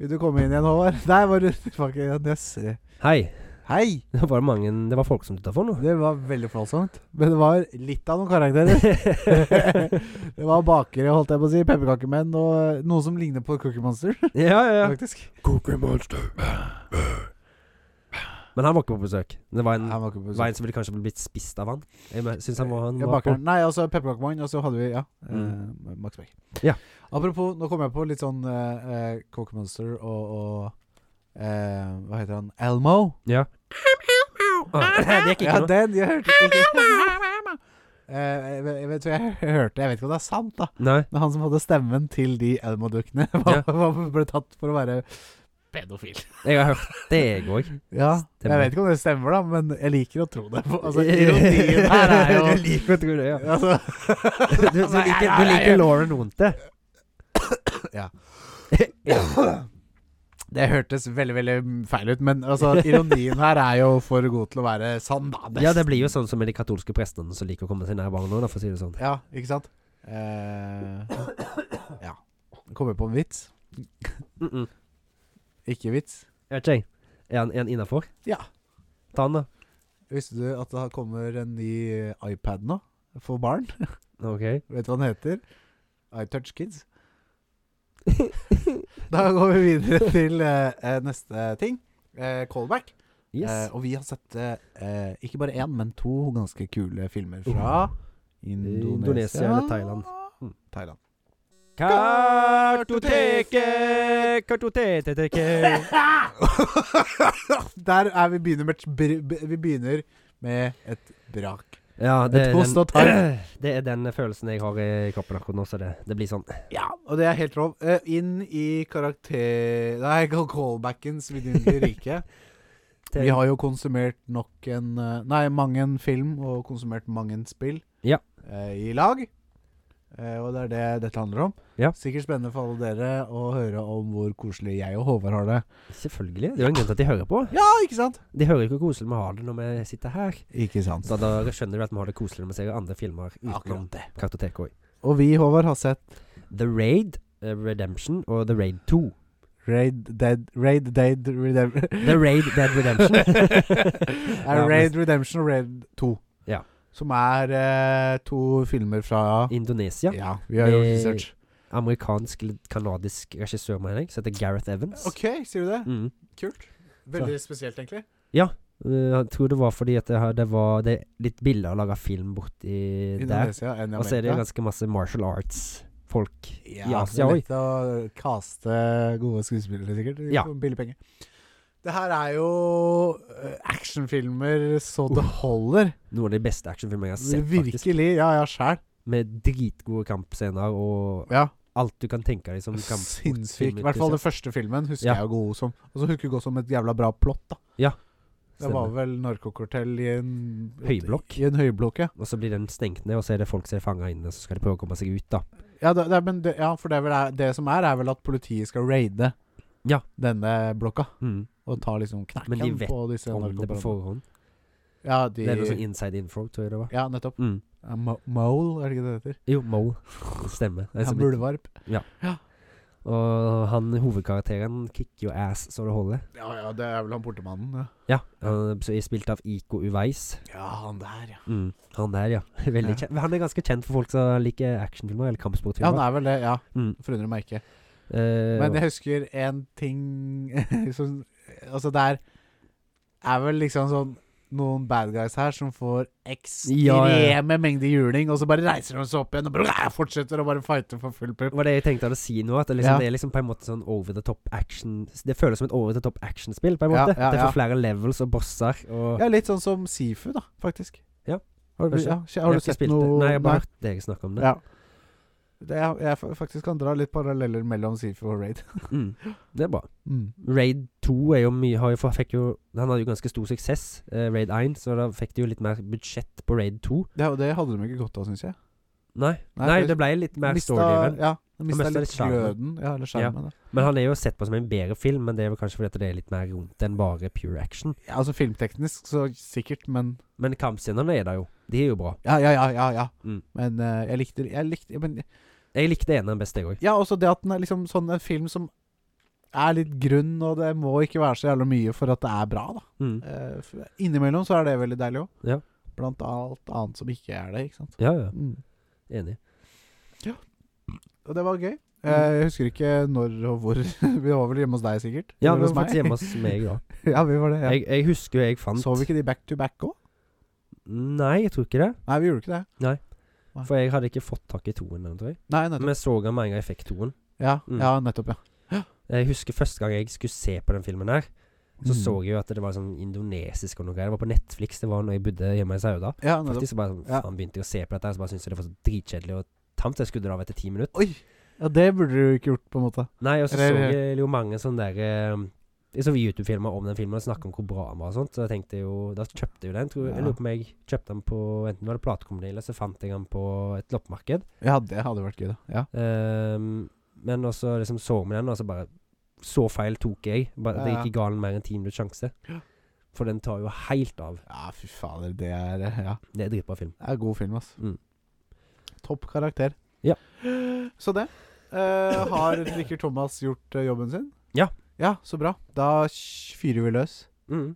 [SPEAKER 3] Vil du komme inn igjen, Håvard? Der var du tilbake igjen. Jeg ser-
[SPEAKER 2] Hei.
[SPEAKER 3] Hei!
[SPEAKER 2] Det var mange Det var folk som tutta for [LAUGHS]
[SPEAKER 3] Det var veldig flåsomt. Men det var litt av noen karakterer. det var bakere, holdt jeg på å si. Pepperkakemenn og noe som ligner på Cookie Monster,
[SPEAKER 2] Ja, ja, ja.
[SPEAKER 3] faktisk.
[SPEAKER 4] Cookie Monster.
[SPEAKER 2] Men han var ikke på besøk. Det var en,
[SPEAKER 3] Han var ikke på
[SPEAKER 2] var en
[SPEAKER 3] besøk.
[SPEAKER 2] som ville kanskje blitt spist av han. Jeg men- syns han var han
[SPEAKER 3] Ja,
[SPEAKER 2] var
[SPEAKER 3] bakeren. Nei, altså pepperkakemann, og så hadde vi ja,
[SPEAKER 2] Mm.
[SPEAKER 3] eh, Max Beck.
[SPEAKER 2] Ja.
[SPEAKER 3] Apropos, nå kom jeg på litt sånn eh, eh, Cookie Monster og, og eh, Hva heter han? Elmo.
[SPEAKER 2] Ja. [LAUGHS] Ah, det gikk
[SPEAKER 3] Ja,
[SPEAKER 2] ikke noe.
[SPEAKER 3] den jeg hørte ikke. Eh, jeg vet- jeg vet hva jeg [LAUGHS] hørte, jeg vet ikke om det er sant, da.
[SPEAKER 2] Nei.
[SPEAKER 3] Men han som hadde stemmen til de Elmo-dukkene, [LAUGHS]
[SPEAKER 2] Ja.
[SPEAKER 3] var- var- ble tatt for å være pedofil.
[SPEAKER 2] Jeg har hørt det, jeg òg.
[SPEAKER 3] Ja,
[SPEAKER 2] Stemmer.
[SPEAKER 3] Jeg vet ikke om det stemmer, da, men jeg liker å tro
[SPEAKER 2] [LAUGHS]
[SPEAKER 3] det. Altså, ironien her er jo
[SPEAKER 2] Du liker å tro det, ja.
[SPEAKER 3] [LAUGHS] altså,
[SPEAKER 2] [LAUGHS]
[SPEAKER 3] [LAUGHS]
[SPEAKER 2] Du, du, liker, du liker Lauren Wonte.
[SPEAKER 3] Ja. Det hørtes veldig veldig feil ut, men altså, ironien her er jo for god til å være sann, da. nesten.
[SPEAKER 2] Ja, det blir jo sånn som med de katolske prestene som liker å komme seg nær barna, da, for å si det sånn.
[SPEAKER 3] Ja, ikke sant? Eh, ja. Kommer på en vits.
[SPEAKER 2] Mm -mm.
[SPEAKER 3] Ikke vits.
[SPEAKER 2] Jeg vet ikke, jeg. Er han, er han innafor?
[SPEAKER 3] Ja.
[SPEAKER 2] Ta han, da.
[SPEAKER 3] Visste du at det kommer en ny eh, iPad nå? For barn?
[SPEAKER 2] Ok.
[SPEAKER 3] Vet du hva den heter? iTouch Kids. [LAUGHS] Da går vi videre til eh, eh, neste ting. Eh, callback.
[SPEAKER 2] Yes.
[SPEAKER 3] Eh, og vi har sett eh, eh, ikke bare én, men to ganske kule filmer fra Indonesia,
[SPEAKER 2] Indonesia eller Thailand. Mm.
[SPEAKER 3] Thailand.
[SPEAKER 2] Kartoteket, eh, kartoteteket.
[SPEAKER 3] [LAUGHS] Der er vi begynner med, et br- b- vi begynner med et brak.
[SPEAKER 2] Ja, det er,
[SPEAKER 3] Et host og tarm.
[SPEAKER 2] den, [CLEARS THROAT] det er den følelsen jeg har i kroppen akkurat nå, så det, det blir sånn.
[SPEAKER 3] Ja, og det er helt rov. Eh, inn i karakter... Nei, callbackens vidunderlige rike.
[SPEAKER 2] [LAUGHS]
[SPEAKER 3] Vi har jo konsumert nok en eh, Nei, mange en film og konsumert mange en spill
[SPEAKER 2] Ja.
[SPEAKER 3] eh, i lag. Eh, og det er det dette handler om.
[SPEAKER 2] Ja.
[SPEAKER 3] Sikkert spennende for alle dere å høre om hvor koselig jeg og Håvard har det.
[SPEAKER 2] Selvfølgelig. Det er jo en grunn til at de hører på.
[SPEAKER 3] Ja, ikke sant?
[SPEAKER 2] De hører jo ikke hvor koselig vi har det når vi sitter her.
[SPEAKER 3] Ikke sant.
[SPEAKER 2] Så da skjønner du at vi har det koselig når vi ser andre filmer utenom
[SPEAKER 3] Akkurat det.
[SPEAKER 2] kartoteket òg.
[SPEAKER 3] Og vi, Håvard, har sett
[SPEAKER 2] The Raid, eh, Redemption og The Raid 2.
[SPEAKER 3] Raid Dead Raid Dead Redemption.
[SPEAKER 2] [LAUGHS]
[SPEAKER 3] [LAUGHS]
[SPEAKER 2] The Raid Dead Redemption.
[SPEAKER 3] Det
[SPEAKER 2] Ja,
[SPEAKER 3] er
[SPEAKER 2] men-
[SPEAKER 3] Raid Redemption og Raid 2.
[SPEAKER 2] Ja.
[SPEAKER 3] Som er eh, to filmer fra
[SPEAKER 2] Indonesia.
[SPEAKER 3] ja, vi har gjort
[SPEAKER 2] Eh,
[SPEAKER 3] research.
[SPEAKER 2] Amerikansk eller kanadisk regissør, mener jeg, som heter Gareth Evans.
[SPEAKER 3] OK, sier du det?
[SPEAKER 2] Mm.
[SPEAKER 3] Kult. Veldig spesielt, egentlig.
[SPEAKER 2] Eh, jeg tror det var fordi at det, her- det var det er litt billigere å lage film borti der.
[SPEAKER 3] Indonesia enn i
[SPEAKER 2] Og så er det jo
[SPEAKER 3] Amerika.
[SPEAKER 2] ganske masse martial arts-folk
[SPEAKER 3] Ja,
[SPEAKER 2] i
[SPEAKER 3] det
[SPEAKER 2] Asia
[SPEAKER 3] er
[SPEAKER 2] òg.
[SPEAKER 3] lett å kaste gode skuespillere, sikkert.
[SPEAKER 2] Ja.
[SPEAKER 3] For Billig penge. Det her er jo eh, actionfilmer så det holder.
[SPEAKER 2] Noen av de beste actionfilmene jeg har sett, Uh. faktisk.
[SPEAKER 3] Virkelig. Ja, ja, sjæl.
[SPEAKER 2] Med dritgode kampscener og
[SPEAKER 3] Ja.
[SPEAKER 2] alt du kan tenke deg som kamp.
[SPEAKER 3] Sinnssyk. I hvert fall den første filmen husker
[SPEAKER 2] Ja.
[SPEAKER 3] jeg jo god som. Og så husker jeg godt som et jævla bra plott, da. Det var
[SPEAKER 2] Stemmer.
[SPEAKER 3] vel narkokartell i en
[SPEAKER 2] Høyblokk.
[SPEAKER 3] I en høyblokk, ja.
[SPEAKER 2] Og så blir den stengt ned, og så er det folk som er fanga inne, og så skal de prøve å komme seg ut, da.
[SPEAKER 3] Ja, det, det, er- men det, ja for det, er vel, er- det som er, er vel at politiet skal raide
[SPEAKER 2] Ja.
[SPEAKER 3] denne blokka.
[SPEAKER 2] Mm.
[SPEAKER 3] Og ta liksom
[SPEAKER 2] Men de
[SPEAKER 3] knekken
[SPEAKER 2] vet
[SPEAKER 3] på disse
[SPEAKER 2] Om det på
[SPEAKER 3] narkobarona.
[SPEAKER 2] forhånd.
[SPEAKER 3] Ja, de
[SPEAKER 2] Det er noe sånn inside info, tror jeg det var.
[SPEAKER 3] Ja, nettopp.
[SPEAKER 2] Mm.
[SPEAKER 3] Ja, Mo- Mole, er det ikke det det heter?
[SPEAKER 2] Jo, Mole. Stemmer. Det er
[SPEAKER 3] Ja,
[SPEAKER 2] så blitt-
[SPEAKER 3] Muldvarp.
[SPEAKER 2] og han hovedkarakteren kicker jo ass så det holder.
[SPEAKER 3] Ja, ja, det er vel han portemannen.
[SPEAKER 2] Ja.
[SPEAKER 3] Ja,
[SPEAKER 2] han- Så jeg spilte av Iko Uveis.
[SPEAKER 3] ja han der, ja.
[SPEAKER 2] Mm. Han der, ja. [LAUGHS] Veldig
[SPEAKER 3] Ja.
[SPEAKER 2] kjent. Han er ganske kjent for folk som liker actionfilmer eller
[SPEAKER 3] Ja, han
[SPEAKER 2] kampsportfilmer.
[SPEAKER 3] er vel det, ja.
[SPEAKER 2] Mm.
[SPEAKER 3] Forundrer meg ikke.
[SPEAKER 2] Eh,
[SPEAKER 3] Men jeg husker en ting [LAUGHS] som Altså, det er Er vel liksom sånn noen bad guys her som får ekstreme
[SPEAKER 2] Ja, ja,
[SPEAKER 3] mengder juling, og så bare reiser de seg opp igjen og bare [LAUGHS] fortsetter å bare fighte for full pupp.
[SPEAKER 2] Det var det jeg tenkte å si nå. At det, liksom,
[SPEAKER 3] Ja.
[SPEAKER 2] det er liksom på en måte sånn over the top action Det føles som et over the top action-spill, på en
[SPEAKER 3] Ja,
[SPEAKER 2] måte.
[SPEAKER 3] ja,
[SPEAKER 2] det
[SPEAKER 3] ja.
[SPEAKER 2] får flere levels og bosser og
[SPEAKER 3] Ja, litt sånn som Sifu, da, faktisk.
[SPEAKER 2] Ja.
[SPEAKER 3] Har du,
[SPEAKER 2] Kanskje.
[SPEAKER 3] ja, har
[SPEAKER 2] Jeg
[SPEAKER 3] du
[SPEAKER 2] ikke
[SPEAKER 3] sett
[SPEAKER 2] spilt
[SPEAKER 3] noe
[SPEAKER 2] det. Nei, jeg har bare hørt deg snakke om det.
[SPEAKER 3] Ja. Det er, jeg fa- faktisk kan dra litt paralleller mellom Sifu og Raid.
[SPEAKER 2] [LAUGHS]
[SPEAKER 3] [LAUGHS]
[SPEAKER 2] Mm. Det er bra.
[SPEAKER 3] Mm.
[SPEAKER 2] Raid 2 er jo mye har jo, fa- fikk jo, Han hadde jo ganske stor suksess, eh, Raid 1, så da fikk de jo litt mer budsjett på Raid 2.
[SPEAKER 3] Det, og det hadde de ikke godt av, syns jeg.
[SPEAKER 2] Nei,
[SPEAKER 3] Nei,
[SPEAKER 2] Nei,
[SPEAKER 3] for-
[SPEAKER 2] det ble litt mer
[SPEAKER 3] Mista-
[SPEAKER 2] story-driven.
[SPEAKER 3] Ja, de mista
[SPEAKER 2] mista
[SPEAKER 3] litt
[SPEAKER 2] litt sjarmen.
[SPEAKER 3] gløden. Ja, eller skjermen. Ja.
[SPEAKER 2] Men han er jo sett på som en bedre film, men det er vel kanskje fordi at det er litt mer rundt enn bare pure action.
[SPEAKER 3] Ja, altså filmteknisk, så sikkert, men
[SPEAKER 2] Men kampscenene er der jo. De er jo bra.
[SPEAKER 3] Ja, ja, ja. ja, ja.
[SPEAKER 2] Mm.
[SPEAKER 3] Men eh, jeg likte Jeg likte men,
[SPEAKER 2] Jeg likte eneren best, jeg òg.
[SPEAKER 3] Ja, også det at den er liksom sånn en film som er litt grunn, og det må ikke være så jævla mye for at det er bra, da.
[SPEAKER 2] Mm.
[SPEAKER 3] Eh, for innimellom så er det veldig deilig òg.
[SPEAKER 2] Ja.
[SPEAKER 3] Blant alt annet som ikke er det, ikke sant.
[SPEAKER 2] Ja, ja.
[SPEAKER 3] Mm.
[SPEAKER 2] Enig.
[SPEAKER 3] Og det var gøy.
[SPEAKER 2] Mm.
[SPEAKER 3] Eh, Jeg husker ikke når og hvor. [LAUGHS] Vi var vel hjemme hos deg, sikkert?
[SPEAKER 2] Ja,
[SPEAKER 3] Eller
[SPEAKER 2] vi var faktisk hjemme hos meg, da.
[SPEAKER 3] ja, vi var det. [LAUGHS] Ja.
[SPEAKER 2] Jeg, jeg husker jo jeg fant
[SPEAKER 3] Så vi ikke de back to back òg?
[SPEAKER 2] Nei, jeg tror ikke det.
[SPEAKER 3] Nei, vi gjorde ikke det.
[SPEAKER 2] For jeg hadde ikke fått tak i toen. den, tror jeg.
[SPEAKER 3] Nei, nettopp.
[SPEAKER 2] Vi så den med en gang jeg fikk toen.
[SPEAKER 3] Ja,
[SPEAKER 2] Mm.
[SPEAKER 3] ja, nettopp, ja.
[SPEAKER 2] Jeg husker første gang jeg skulle se på den filmen her, så
[SPEAKER 3] Mm.
[SPEAKER 2] så jeg jo at det var sånn indonesisk og noe greier. Det var på Netflix, det var når jeg bodde hjemme i Sauda.
[SPEAKER 3] Ja, nettopp.
[SPEAKER 2] Faktisk så bare sånn,
[SPEAKER 3] Ja.
[SPEAKER 2] faen begynte jeg å se på dette, her, så bare syntes jeg det var så dritkjedelig og tamt. Jeg skrudde det av etter ti minutter.
[SPEAKER 3] Oi! Ja, det burde du ikke gjort, på en måte.
[SPEAKER 2] Nei, og så
[SPEAKER 3] Eller-
[SPEAKER 2] så jeg jo mange sånne der eh, Jeg så YouTube-filmer om den filmen og snakket om hvor bra den var og sånt, så jeg tenkte jo Da kjøpte jeg jo den. Tror,
[SPEAKER 3] Ja.
[SPEAKER 2] Jeg lurer på om jeg kjøpte den på enten var det platekompani, eller så fant jeg den på et loppemarked.
[SPEAKER 3] Ja, det hadde vært gøy, da. Ja.
[SPEAKER 2] Ehm, men også liksom så vi den, og så bare Så feil tok jeg. Bare, det
[SPEAKER 3] Ja, ja.
[SPEAKER 2] gikk ikke galt mer enn ti minutters sjanse. For den tar jo helt av.
[SPEAKER 3] Ja, fy fader, det er eh, Ja,
[SPEAKER 2] Det er dritbra film.
[SPEAKER 3] det er god film, ass.
[SPEAKER 2] Mm.
[SPEAKER 3] Topp karakter.
[SPEAKER 2] Ja.
[SPEAKER 3] [GASPS] Så det. Eh, har Rikker Thomas gjort eh, jobben sin?
[SPEAKER 2] Ja.
[SPEAKER 3] Ja, Så bra. Da sh- fyrer vi løs.
[SPEAKER 2] Mm.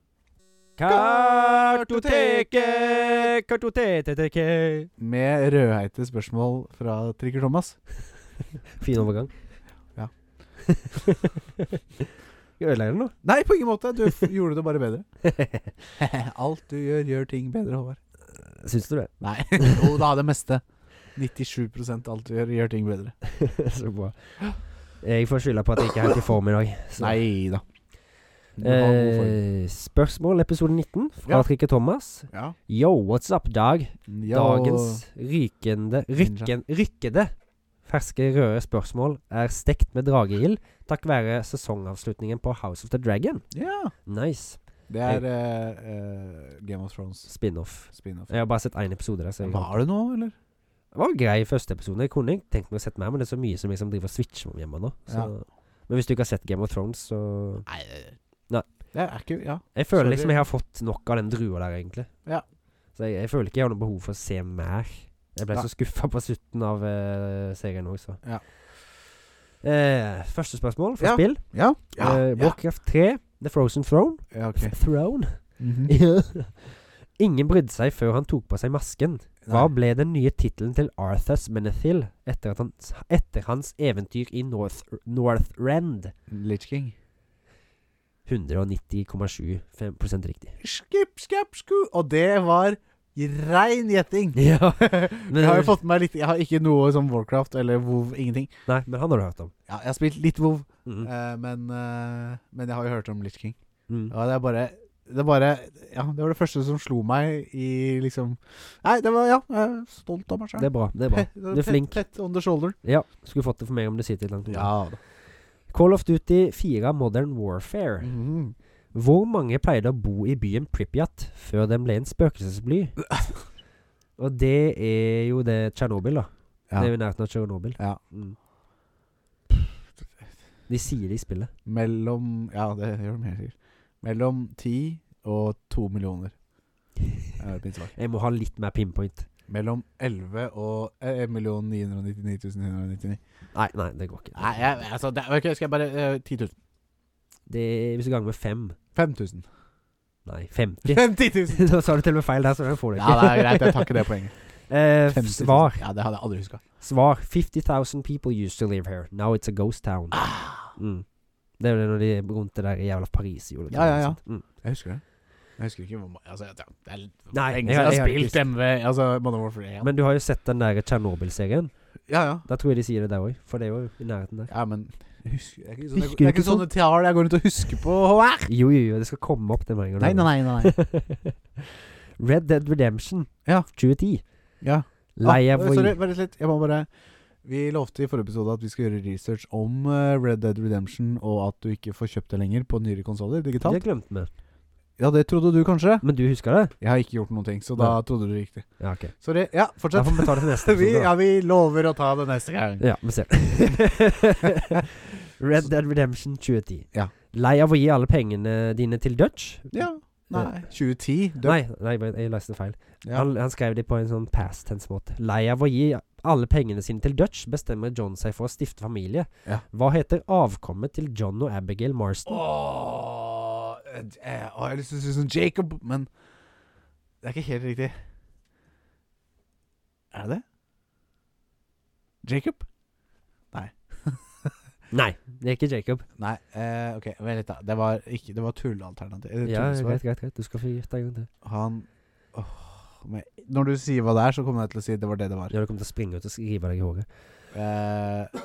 [SPEAKER 2] Kartoteket, kartoteteket
[SPEAKER 3] Med rødheite spørsmål fra Trikker Thomas.
[SPEAKER 2] Fin overgang.
[SPEAKER 3] Ja.
[SPEAKER 2] Jeg [LAUGHS] ødelegger den nå.
[SPEAKER 3] Nei, på ingen måte. Du f-
[SPEAKER 2] [LAUGHS]
[SPEAKER 3] gjorde det bare bedre. Alt du gjør, gjør ting bedre, Håvard.
[SPEAKER 2] Syns du det?
[SPEAKER 3] Nei. Jo da, det meste. 97 alt du gjør, gjør ting bedre.
[SPEAKER 2] [LAUGHS] Så bra. Jeg får skylda på at jeg ikke er helt i form i dag. så-
[SPEAKER 3] Nei da. Du har god form.
[SPEAKER 2] Eh, spørsmål episode 19 fra
[SPEAKER 3] Ja.
[SPEAKER 2] Trikke Thomas.
[SPEAKER 3] Ja.
[SPEAKER 2] Yo, what's up, Dag?
[SPEAKER 3] Ja,
[SPEAKER 2] Dagens rykende rykken, Rykkede ferske røde spørsmål er stekt med drageild takk være sesongavslutningen på House of the Dragon.
[SPEAKER 3] Ja.
[SPEAKER 2] Nice.
[SPEAKER 3] Det er eh, eh, Game of Thrones
[SPEAKER 2] Spin-off.
[SPEAKER 3] spin-off.
[SPEAKER 2] Jeg har bare sett én episode der. Så jeg,
[SPEAKER 3] Var det noe, eller?
[SPEAKER 2] det var en grei første episode. Jeg kunne ikke tenkt meg å sette mer, men det er så mye som liksom driver og switcher om hjemme nå. Så.
[SPEAKER 3] Ja.
[SPEAKER 2] Men hvis du ikke har sett Game of Thrones, så
[SPEAKER 3] Nei.
[SPEAKER 2] Nei.
[SPEAKER 3] Det er ikke Ja.
[SPEAKER 2] Jeg føler
[SPEAKER 3] Sorry.
[SPEAKER 2] liksom jeg har fått nok av den drua der, egentlig.
[SPEAKER 3] Ja.
[SPEAKER 2] Så jeg, jeg føler ikke jeg har noe behov for å se mer. Jeg ble
[SPEAKER 3] Nei.
[SPEAKER 2] så skuffa på slutten av eh, serien òg, så.
[SPEAKER 3] Ja.
[SPEAKER 2] Eh, første spørsmål fra
[SPEAKER 3] Ja.
[SPEAKER 2] spill.
[SPEAKER 3] Ja.
[SPEAKER 2] Eh, Warcraft 3, The Frozen Throne.
[SPEAKER 3] ja ok.
[SPEAKER 2] Throne. [LAUGHS]
[SPEAKER 3] Mhm.
[SPEAKER 2] Ingen brydde seg før han tok på seg masken. Hva
[SPEAKER 3] Nei.
[SPEAKER 2] ble den nye tittelen til Arthas Menethil etter, at hans, etter hans eventyr i North, Northrend?
[SPEAKER 3] Litch King.
[SPEAKER 2] 190,75 riktig.
[SPEAKER 3] Skip, skip, sku. Og det var rein gjetting.
[SPEAKER 2] [LAUGHS] Ja, men,
[SPEAKER 3] Jeg har jo fått med meg litt Jeg har ikke noe som Warcraft eller WoW, ingenting.
[SPEAKER 2] Nei, men han har du hørt om.
[SPEAKER 3] Ja, jeg har spilt litt WoW,
[SPEAKER 2] Mm.
[SPEAKER 3] eh, men, eh, men jeg har jo hørt om Litch King.
[SPEAKER 2] Mm.
[SPEAKER 3] Ja, det er bare det er bare, ja, det var det første som slo meg i liksom Nei, det var Ja, jeg er stolt av meg sjøl.
[SPEAKER 2] Det er bra. det er
[SPEAKER 3] [LAUGHS]
[SPEAKER 2] bra Du er flink.
[SPEAKER 3] Tett on the shoulder.
[SPEAKER 2] Ja, Skulle fått det for meg om det sitter litt langt unna.
[SPEAKER 3] da.
[SPEAKER 2] Call of Duty 4 Modern Warfare.
[SPEAKER 3] Mhm.
[SPEAKER 2] Hvor mange pleide å bo i byen Pripyat før den ble en spøkelsesby?
[SPEAKER 3] [LAUGHS]
[SPEAKER 2] Og det er jo det Tsjernobyl, da.
[SPEAKER 3] Ja.
[SPEAKER 2] Det er jo i nærheten av Tsjernobyl.
[SPEAKER 3] Ja.
[SPEAKER 2] Mm. De sier det i spillet.
[SPEAKER 3] Mellom Ja, det gjør de helt sikkert. Mellom ti og to millioner. Er mitt svar.
[SPEAKER 2] Eh, Jeg må ha litt mer pinpoint.
[SPEAKER 3] Mellom 11 og eh, 1 999 999.
[SPEAKER 2] Nei, nei, det går ikke.
[SPEAKER 3] Nei, jeg, altså det, Ok, skal jeg bare eh, 10 000.
[SPEAKER 2] Det er, hvis du ganger med fem
[SPEAKER 3] 5000.
[SPEAKER 2] Nei, 50.
[SPEAKER 3] 50 000!
[SPEAKER 2] [LAUGHS] da sa du til og med feil der, så den får du
[SPEAKER 3] Ja,
[SPEAKER 2] ikke.
[SPEAKER 3] det er greit. Jeg tar ikke det poenget.
[SPEAKER 2] [LAUGHS] eh,
[SPEAKER 3] 50 000.
[SPEAKER 2] svar.
[SPEAKER 3] Ja, Det hadde jeg aldri huska.
[SPEAKER 2] Svar. 50,000 people used to live here. Now it's a ghost town. Mm. Det er jo det når de er rundt det der i jævla Paris gjorde det.
[SPEAKER 3] Ah. Ja, ja, ja.
[SPEAKER 2] Mm.
[SPEAKER 3] Jeg husker det. Jeg husker ikke hvor ma- altså, det er- Det er litt
[SPEAKER 2] Nei,
[SPEAKER 3] lenge
[SPEAKER 2] jeg-
[SPEAKER 3] siden jeg
[SPEAKER 2] jeg
[SPEAKER 3] har
[SPEAKER 2] har ikke
[SPEAKER 3] spilt MV Altså Modern Warfare 1.
[SPEAKER 2] Men du har jo sett den der Tsjernobyl-serien.
[SPEAKER 3] ja, ja.
[SPEAKER 2] Da tror jeg de sier det der òg, for det er jo i nærheten der.
[SPEAKER 3] Ja, men jeg husker, det er ikke sånn- sånne,
[SPEAKER 2] Husker du
[SPEAKER 3] det er ikke
[SPEAKER 2] ikke
[SPEAKER 3] sånne tall jeg går rundt og husker på. Håvard.
[SPEAKER 2] Jo, jo, jo, det skal komme opp den gangen.
[SPEAKER 3] Nei, nei, nei. nei.
[SPEAKER 2] [LAUGHS] Red Dead Redemption
[SPEAKER 3] Ja.
[SPEAKER 2] 2010.
[SPEAKER 3] Ja.
[SPEAKER 2] Lei av
[SPEAKER 3] ah,
[SPEAKER 2] å
[SPEAKER 3] Sorry,
[SPEAKER 2] gi
[SPEAKER 3] bare litt. Jeg må bare Vi lovte i forrige episode at vi skal gjøre research om eh, Red Dead Redemption, og at du ikke får kjøpt det lenger på nyere konsoller digitalt.
[SPEAKER 2] Det glemte vi.
[SPEAKER 3] Ja, det trodde du kanskje?
[SPEAKER 2] Men du husker det?
[SPEAKER 3] Jeg har ikke gjort noen ting, så da trodde du riktig.
[SPEAKER 2] Ja, ok.
[SPEAKER 3] Sorry. Ja,
[SPEAKER 2] Da
[SPEAKER 3] [LAUGHS] fortsett.
[SPEAKER 2] får vi ta det til neste
[SPEAKER 3] Vi,
[SPEAKER 2] episode.
[SPEAKER 3] ja,
[SPEAKER 2] da.
[SPEAKER 3] vi lover å ta det neste gang.
[SPEAKER 2] Ja, vi ser.
[SPEAKER 3] [LAUGHS]
[SPEAKER 2] Red Dead Redemption 2010.
[SPEAKER 3] Ja.
[SPEAKER 2] Lei av å gi alle pengene dine til Dutch?
[SPEAKER 3] Ja. Nei. 2010. Død.
[SPEAKER 2] Nei, nei, jeg leste feil.
[SPEAKER 3] Ja.
[SPEAKER 2] Han, han skrev det på en sånn past tense-måte. Lei av å gi alle pengene sine til Dutch, bestemmer John seg for å stifte familie.
[SPEAKER 3] Ja.
[SPEAKER 2] Hva heter avkommet til John og Abigail Marston?
[SPEAKER 3] Åh, eh, eh, åh, jeg har lyst til å si sånn Jacob, men det er ikke helt riktig. Er det det? Jacob?
[SPEAKER 2] Nei, det er ikke Jacob.
[SPEAKER 3] Nei, eh, ok, vent litt da. Det var, ikke, det var tullealternativ. eh,
[SPEAKER 2] Ja,
[SPEAKER 3] tullesvar.
[SPEAKER 2] greit, greit, greit. Du skal få gjette en gang til.
[SPEAKER 3] Han åh, men Når du sier hva det er, så kommer jeg til å si det var det det var.
[SPEAKER 2] Ja, du kommer til å springe ut og rive deg i håret.
[SPEAKER 3] Eh,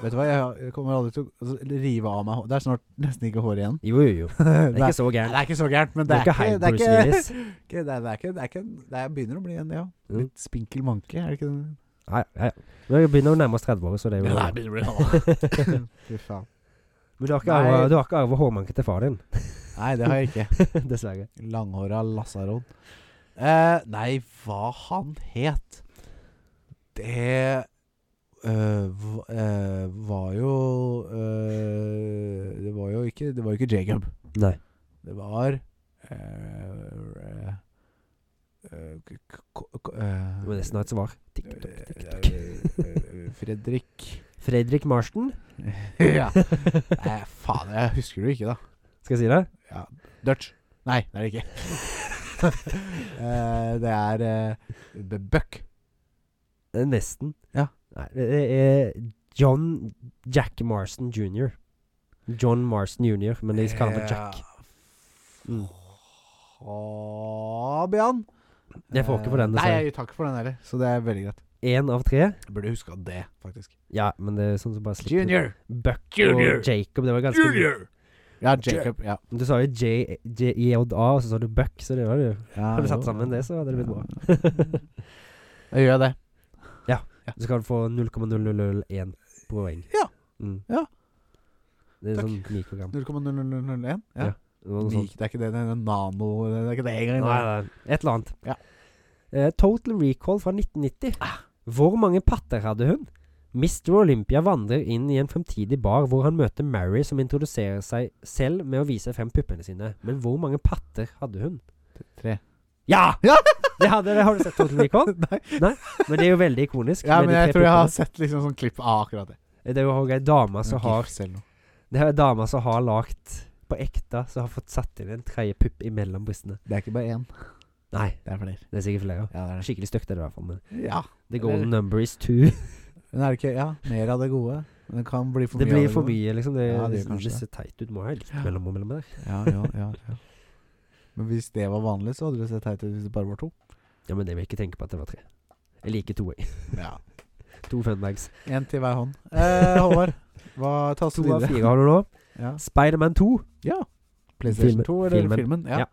[SPEAKER 3] vet du hva, jeg, har- jeg kommer aldri til å altså, rive av meg hår. Det er snart nesten ikke hår igjen.
[SPEAKER 2] Jo,
[SPEAKER 3] [LAUGHS]
[SPEAKER 2] jo, jo.
[SPEAKER 3] det,
[SPEAKER 2] Det er ikke så
[SPEAKER 3] det
[SPEAKER 2] gærent.
[SPEAKER 3] er ikke så gærent, men
[SPEAKER 2] Det er ikke
[SPEAKER 3] ikke
[SPEAKER 2] helt
[SPEAKER 3] det er
[SPEAKER 2] Bruce
[SPEAKER 3] ikke-
[SPEAKER 2] Willis.
[SPEAKER 3] Ikke, det, er, det, er ikke, det, er ikke, det er begynner å bli en ja.
[SPEAKER 2] Mm.
[SPEAKER 3] litt spinkel manke, er det ikke det?
[SPEAKER 2] Nei, nei. Nå begynner vi å nærme oss 30 år, så det er jo
[SPEAKER 3] Nei, begynner å bli gammel.
[SPEAKER 2] [LAUGHS]
[SPEAKER 3] Fy faen.
[SPEAKER 2] Men du har ikke
[SPEAKER 3] Nei.
[SPEAKER 2] arvet- du har ikke arva hårmanken til far din.
[SPEAKER 3] Nei, det har jeg ikke.
[SPEAKER 2] Dessverre.
[SPEAKER 3] Langhåra lasaron. Eh, nei, hva han het Det eh, v- eh, var jo eh, Det var jo ikke Det var jo ikke Jacob.
[SPEAKER 2] Nei.
[SPEAKER 3] Det var eh, eh, eh, k- k- k- eh,
[SPEAKER 2] Det var nesten et svar. Tikk,
[SPEAKER 3] eh,
[SPEAKER 2] tikk, tikk,
[SPEAKER 3] eh,
[SPEAKER 2] tikk.
[SPEAKER 3] eh, Fredrik [LAUGHS]
[SPEAKER 2] Fredrik Marston.
[SPEAKER 3] Ja. Nei, faen, jeg husker det jo ikke, da.
[SPEAKER 2] Skal jeg si det?
[SPEAKER 3] Dutch. Nei, det er det ikke. [LAUGHS] Eh, det er eh, The Buck.
[SPEAKER 2] Eh, Nesten.
[SPEAKER 3] Ja.
[SPEAKER 2] Nei, det er John Jack Marston jr. John Marston jr., men de kaller ham for Jack.
[SPEAKER 3] Eh,
[SPEAKER 2] Mm.
[SPEAKER 3] Fabian!
[SPEAKER 2] Jeg får ikke på den,
[SPEAKER 3] dessverre. Nei,
[SPEAKER 2] dessverre.
[SPEAKER 3] jeg tar ikke for den heller, så det er veldig greit.
[SPEAKER 2] Én av tre.
[SPEAKER 3] Jeg burde huska det, faktisk.
[SPEAKER 2] Ja, men det er sånn som bare slipper
[SPEAKER 3] Junior!
[SPEAKER 2] Buck
[SPEAKER 4] Junior.
[SPEAKER 2] og Jacob. Det var ganske
[SPEAKER 4] Junior!
[SPEAKER 3] Ja, Jacob. Ja.
[SPEAKER 2] Men Du sa jo J- J- JA, og så sa du Buck, så det var det jo.
[SPEAKER 3] ja
[SPEAKER 2] Hadde du
[SPEAKER 3] jo.
[SPEAKER 2] satt sammen det, så hadde det blitt bra.
[SPEAKER 3] Da gjør jeg det.
[SPEAKER 2] Så kan du få 0,0001 poeng.
[SPEAKER 3] Ja.
[SPEAKER 2] Mm.
[SPEAKER 3] Ja.
[SPEAKER 2] Det er
[SPEAKER 3] Takk.
[SPEAKER 2] sånn mikrogram.
[SPEAKER 3] 0,0001?
[SPEAKER 2] Ja.
[SPEAKER 3] Ja.
[SPEAKER 2] Det var noe sånt.
[SPEAKER 3] Mik, det er ikke det, det er nano Det er ikke det engang.
[SPEAKER 2] Nei, nei. Et eller annet.
[SPEAKER 3] Ja.
[SPEAKER 2] Eh, Total Recall fra 1990. Hvor mange patter hadde hun? Mr. Olympia vandrer inn i en fremtidig bar hvor han møter Mary, som introduserer seg selv med å vise frem puppene sine. Men hvor mange patter hadde hun?
[SPEAKER 3] Tre.
[SPEAKER 2] Ja!
[SPEAKER 3] Ja!
[SPEAKER 2] Det hadde, har du sett Total Recall?
[SPEAKER 3] [LAUGHS] Nei.
[SPEAKER 2] Men det er jo veldig ikonisk.
[SPEAKER 3] Ja,
[SPEAKER 2] med
[SPEAKER 3] men
[SPEAKER 2] de
[SPEAKER 3] jeg
[SPEAKER 2] tre
[SPEAKER 3] tror jeg har
[SPEAKER 2] puppene.
[SPEAKER 3] sett liksom sånn klipp av akkurat det.
[SPEAKER 2] Det er jo også ei dame som har
[SPEAKER 3] Gifs eller noe.
[SPEAKER 2] Det er ei dame som har lagt på ekte, som har fått satt inn en tredje pupp imellom brystene.
[SPEAKER 3] Det er ikke bare én.
[SPEAKER 2] Nei,
[SPEAKER 3] Det er flere.
[SPEAKER 2] det er sikkert flere.
[SPEAKER 3] Ja, det er det.
[SPEAKER 2] Skikkelig stygt er det i hvert fall. Men
[SPEAKER 3] Ja.
[SPEAKER 2] the
[SPEAKER 3] Eller-
[SPEAKER 2] golden number is two.
[SPEAKER 3] Men er det ikke Ja, mer av det gode. Men det kan bli
[SPEAKER 2] [LAUGHS]
[SPEAKER 3] for
[SPEAKER 2] Det
[SPEAKER 3] mye. av
[SPEAKER 2] blir for
[SPEAKER 3] gode.
[SPEAKER 2] mye, liksom. Det,
[SPEAKER 3] Ja, det gjør
[SPEAKER 2] det,
[SPEAKER 3] kanskje det.
[SPEAKER 2] ser teit ut. Må ha litt
[SPEAKER 3] Ja.
[SPEAKER 2] mellom og mellom der.
[SPEAKER 3] Ja, ja, ja, ja. Men hvis det var vanlig, så hadde det sett teit ut hvis det bare var to.
[SPEAKER 2] Ja, men det vil jeg ikke tenke på at det var tre. Jeg liker to, jeg. [LAUGHS]
[SPEAKER 3] Ja.
[SPEAKER 2] To funbags.
[SPEAKER 3] Én til hver hånd. Eh, Håvard, hva ta oss
[SPEAKER 2] To av
[SPEAKER 3] videre?
[SPEAKER 2] fire har du nå.
[SPEAKER 3] Ja.
[SPEAKER 2] Spiderman 2.
[SPEAKER 3] ja. PlayStation
[SPEAKER 2] Filmen-
[SPEAKER 3] 2, eller
[SPEAKER 2] filmen.
[SPEAKER 3] filmen? Ja.
[SPEAKER 2] Ja.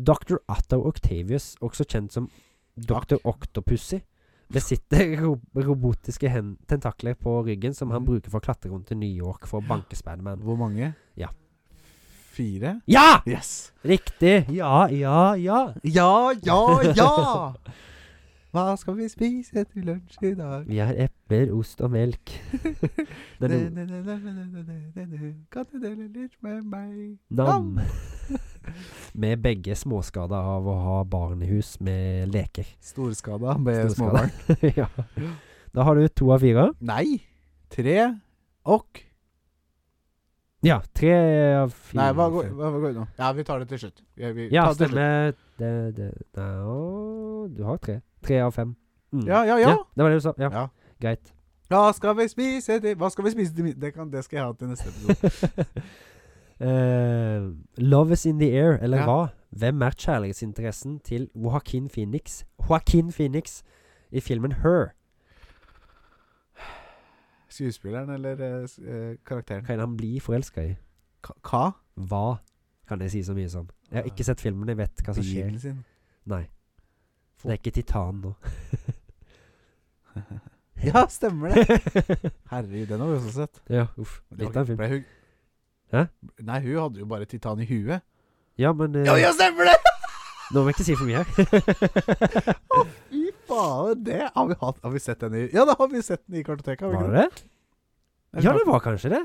[SPEAKER 2] Dr. Otto Octavius, også kjent som Dr. Octopussy, besitter [LAUGHS] ro robotiske hen tentakler på ryggen som
[SPEAKER 3] Mhm.
[SPEAKER 2] han bruker for å klatre rundt til New York for å banke Spiderman.
[SPEAKER 3] Hvor mange?
[SPEAKER 2] Ja.
[SPEAKER 3] Fire?
[SPEAKER 2] Ja!
[SPEAKER 3] Yes.
[SPEAKER 2] Riktig! Ja, ja, ja.
[SPEAKER 3] Ja, ja, ja! Hva skal vi spise til lunsj i dag?
[SPEAKER 2] Vi har epler, ost og melk.
[SPEAKER 3] [LAUGHS]
[SPEAKER 2] Den er
[SPEAKER 3] Kan du dele litt med meg?
[SPEAKER 2] nam. [LAUGHS] Med begge småskada av å ha barn i hus med leker.
[SPEAKER 3] Storskada med
[SPEAKER 2] Storskada.
[SPEAKER 3] småbarn.
[SPEAKER 2] [LAUGHS] ja. Da har du to av fire.
[SPEAKER 3] Nei. Tre og
[SPEAKER 2] Ja, tre av fire.
[SPEAKER 3] Nei, hva går, hva går nå? Ja, vi tar det til slutt. Vi, vi,
[SPEAKER 2] Ja,
[SPEAKER 3] ta det til slutt.
[SPEAKER 2] stemmer. Det, det, nei, å, du har tre. Tre av fem. Mm.
[SPEAKER 3] Ja, ja, ja.
[SPEAKER 2] Det var det du sa. Ja,
[SPEAKER 3] Ja.
[SPEAKER 2] greit.
[SPEAKER 3] Hva skal vi spise til Hva skal vi spise til middag? Det, kan- det skal jeg ha til neste episode.
[SPEAKER 2] [LAUGHS] Eh, love is in the air, eller
[SPEAKER 3] Ja.
[SPEAKER 2] hva? Hvem er kjærlighetsinteressen til Joaquin Phoenix Joaquin Phoenix i filmen Her?
[SPEAKER 3] Skuespilleren eller eh, s- eh, karakteren?
[SPEAKER 2] Hva kan han bli forelska i?
[SPEAKER 3] Ka- Hva?
[SPEAKER 2] Hva? Kan jeg si så mye sånn? Jeg har ikke sett filmen, jeg vet hva som skjer.
[SPEAKER 3] Bilen sin. [LAUGHS]
[SPEAKER 2] Nei. Det er ikke Titan nå.
[SPEAKER 3] Ja, stemmer det. Herregud, den har vi også sett.
[SPEAKER 2] [LAUGHS] ja, uff.
[SPEAKER 3] Men det
[SPEAKER 2] Litt av en
[SPEAKER 3] var ikke-
[SPEAKER 2] film.
[SPEAKER 3] ble hun-
[SPEAKER 2] Hæ?
[SPEAKER 3] Nei, hun hadde jo bare titan i huet.
[SPEAKER 2] Ja, men eh,
[SPEAKER 3] Ja, ja, stemmer det!
[SPEAKER 2] Nå må jeg ikke si for mye
[SPEAKER 3] [LAUGHS]
[SPEAKER 2] her.
[SPEAKER 3] Fy faen, det har vi hatt. Har vi sett den i Ja, da har vi sett den i kartoteket. Har vi
[SPEAKER 2] var
[SPEAKER 3] ikke
[SPEAKER 2] det det?
[SPEAKER 3] det?
[SPEAKER 2] Ja, det var kanskje det.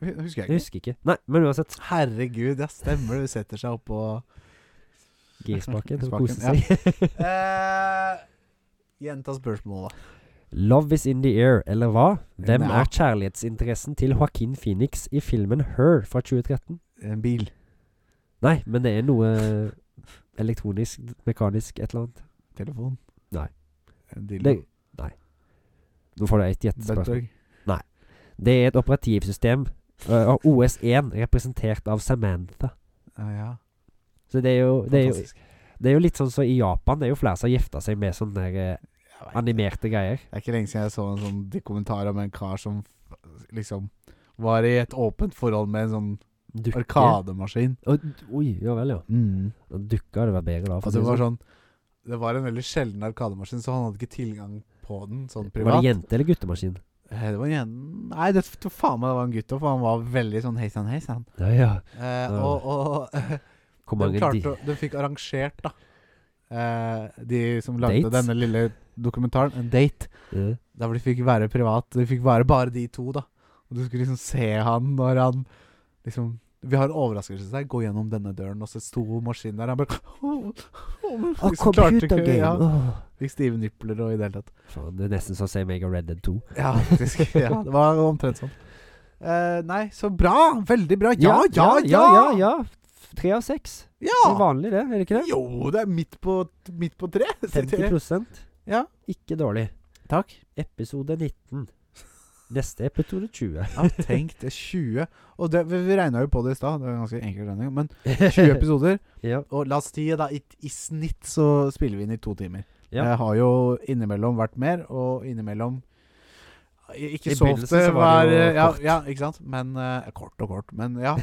[SPEAKER 3] Hu- Husker jeg
[SPEAKER 2] Jeg
[SPEAKER 3] ikke.
[SPEAKER 2] husker ikke. Nei, men uansett.
[SPEAKER 3] Herregud, ja, stemmer det. Hun setter seg oppå
[SPEAKER 2] G-spaken. og
[SPEAKER 3] Spaken,
[SPEAKER 2] koser
[SPEAKER 3] ja.
[SPEAKER 2] seg.
[SPEAKER 3] eh, Gjenta spørsmålet, da.
[SPEAKER 2] [LAUGHS] Love is in the air, eller hva? Hvem
[SPEAKER 3] Nei.
[SPEAKER 2] er kjærlighetsinteressen til Joaquin Phoenix i filmen Her fra 2013?
[SPEAKER 3] En bil.
[SPEAKER 2] Nei, men det er noe elektronisk, mekanisk, et eller annet.
[SPEAKER 3] Telefon.
[SPEAKER 2] Nei.
[SPEAKER 3] En dildo.
[SPEAKER 2] Det, nei. Nå får du et gjettespørsmål.
[SPEAKER 3] Buttplug.
[SPEAKER 2] Det er et operativsystem, øh, og OS1, representert av Samantha.
[SPEAKER 3] Ja, ja.
[SPEAKER 2] Så det er jo, det er jo,
[SPEAKER 3] Fantastisk.
[SPEAKER 2] det er jo litt sånn som i Japan. Det er jo flere som har gifta seg med sånne der, eh,
[SPEAKER 3] Jeg vet ikke.
[SPEAKER 2] animerte greier.
[SPEAKER 3] Det er ikke lenge siden jeg så en sånn de kommentar om en kar som f- liksom var i et åpent forhold med en sånn
[SPEAKER 2] Dukke.
[SPEAKER 3] arkademaskin.
[SPEAKER 2] Og, oi, ja vel, ja. Da dukka hadde vært bedre da. for å
[SPEAKER 3] Og
[SPEAKER 2] si
[SPEAKER 3] det var
[SPEAKER 2] sånn.
[SPEAKER 3] sånn Det var en veldig sjelden arkademaskin, så han hadde ikke tilgang på den sånn
[SPEAKER 2] Var
[SPEAKER 3] privat.
[SPEAKER 2] det jente- eller guttemaskin?
[SPEAKER 3] Eh, det var en jen- Nei, det tror faen meg det var en gutt òg, for han var veldig sånn hei sann, hei sann.
[SPEAKER 2] Ja, ja.
[SPEAKER 3] Eh,
[SPEAKER 2] Ja.
[SPEAKER 3] og og [LAUGHS] eh,
[SPEAKER 2] Hvor
[SPEAKER 3] de
[SPEAKER 2] mange
[SPEAKER 3] klarte
[SPEAKER 2] de
[SPEAKER 3] å De fikk arrangert, da. Eh, de som lagde
[SPEAKER 2] Dates?
[SPEAKER 3] denne lille dokumentaren, en date.
[SPEAKER 2] Ja.
[SPEAKER 3] Der hvor de fikk være privat. De fikk være bare de to, da. Og du skulle liksom se han når han liksom Vi har en overraskelse til deg. Gå gjennom denne døren, og så sto maskinen der. Han bare [LAUGHS] oh, liksom klarte ikke ja,
[SPEAKER 2] Ah, Åh.
[SPEAKER 3] Fikk stive nipler og i det hele tatt.
[SPEAKER 2] Faen, det er nesten som å se meg og Red Dead 2.
[SPEAKER 3] Ja, faktisk. Ja, det var omtrent sånn. Eh, nei, så bra! Veldig bra! Ja, ja, ja!
[SPEAKER 2] ja, ja, ja. Tre av seks. Det er
[SPEAKER 3] Ja!
[SPEAKER 2] vanlig, det. Er det ikke det?
[SPEAKER 3] Jo, det er midt på, midt på tre.
[SPEAKER 2] 50
[SPEAKER 3] Ja.
[SPEAKER 2] Ikke dårlig.
[SPEAKER 3] Takk.
[SPEAKER 2] Episode 19. Neste episode 20.
[SPEAKER 3] Ja, tenk det. 20. Og det, vi vi regna jo på det i stad, det var en ganske enkel regning. [LAUGHS] Men 20 episoder,
[SPEAKER 2] [LAUGHS] ja.
[SPEAKER 3] og la oss si da i, i snitt så spiller vi inn i to timer.
[SPEAKER 2] Ja.
[SPEAKER 3] Jeg har jo innimellom vært mer, og innimellom Ikke
[SPEAKER 2] I
[SPEAKER 3] så
[SPEAKER 2] begynnelsen
[SPEAKER 3] ofte
[SPEAKER 2] så var
[SPEAKER 3] var
[SPEAKER 2] det jo
[SPEAKER 3] ja,
[SPEAKER 2] kort.
[SPEAKER 3] ja, ikke sant? Men eh, Kort og kort, men [LAUGHS] ja.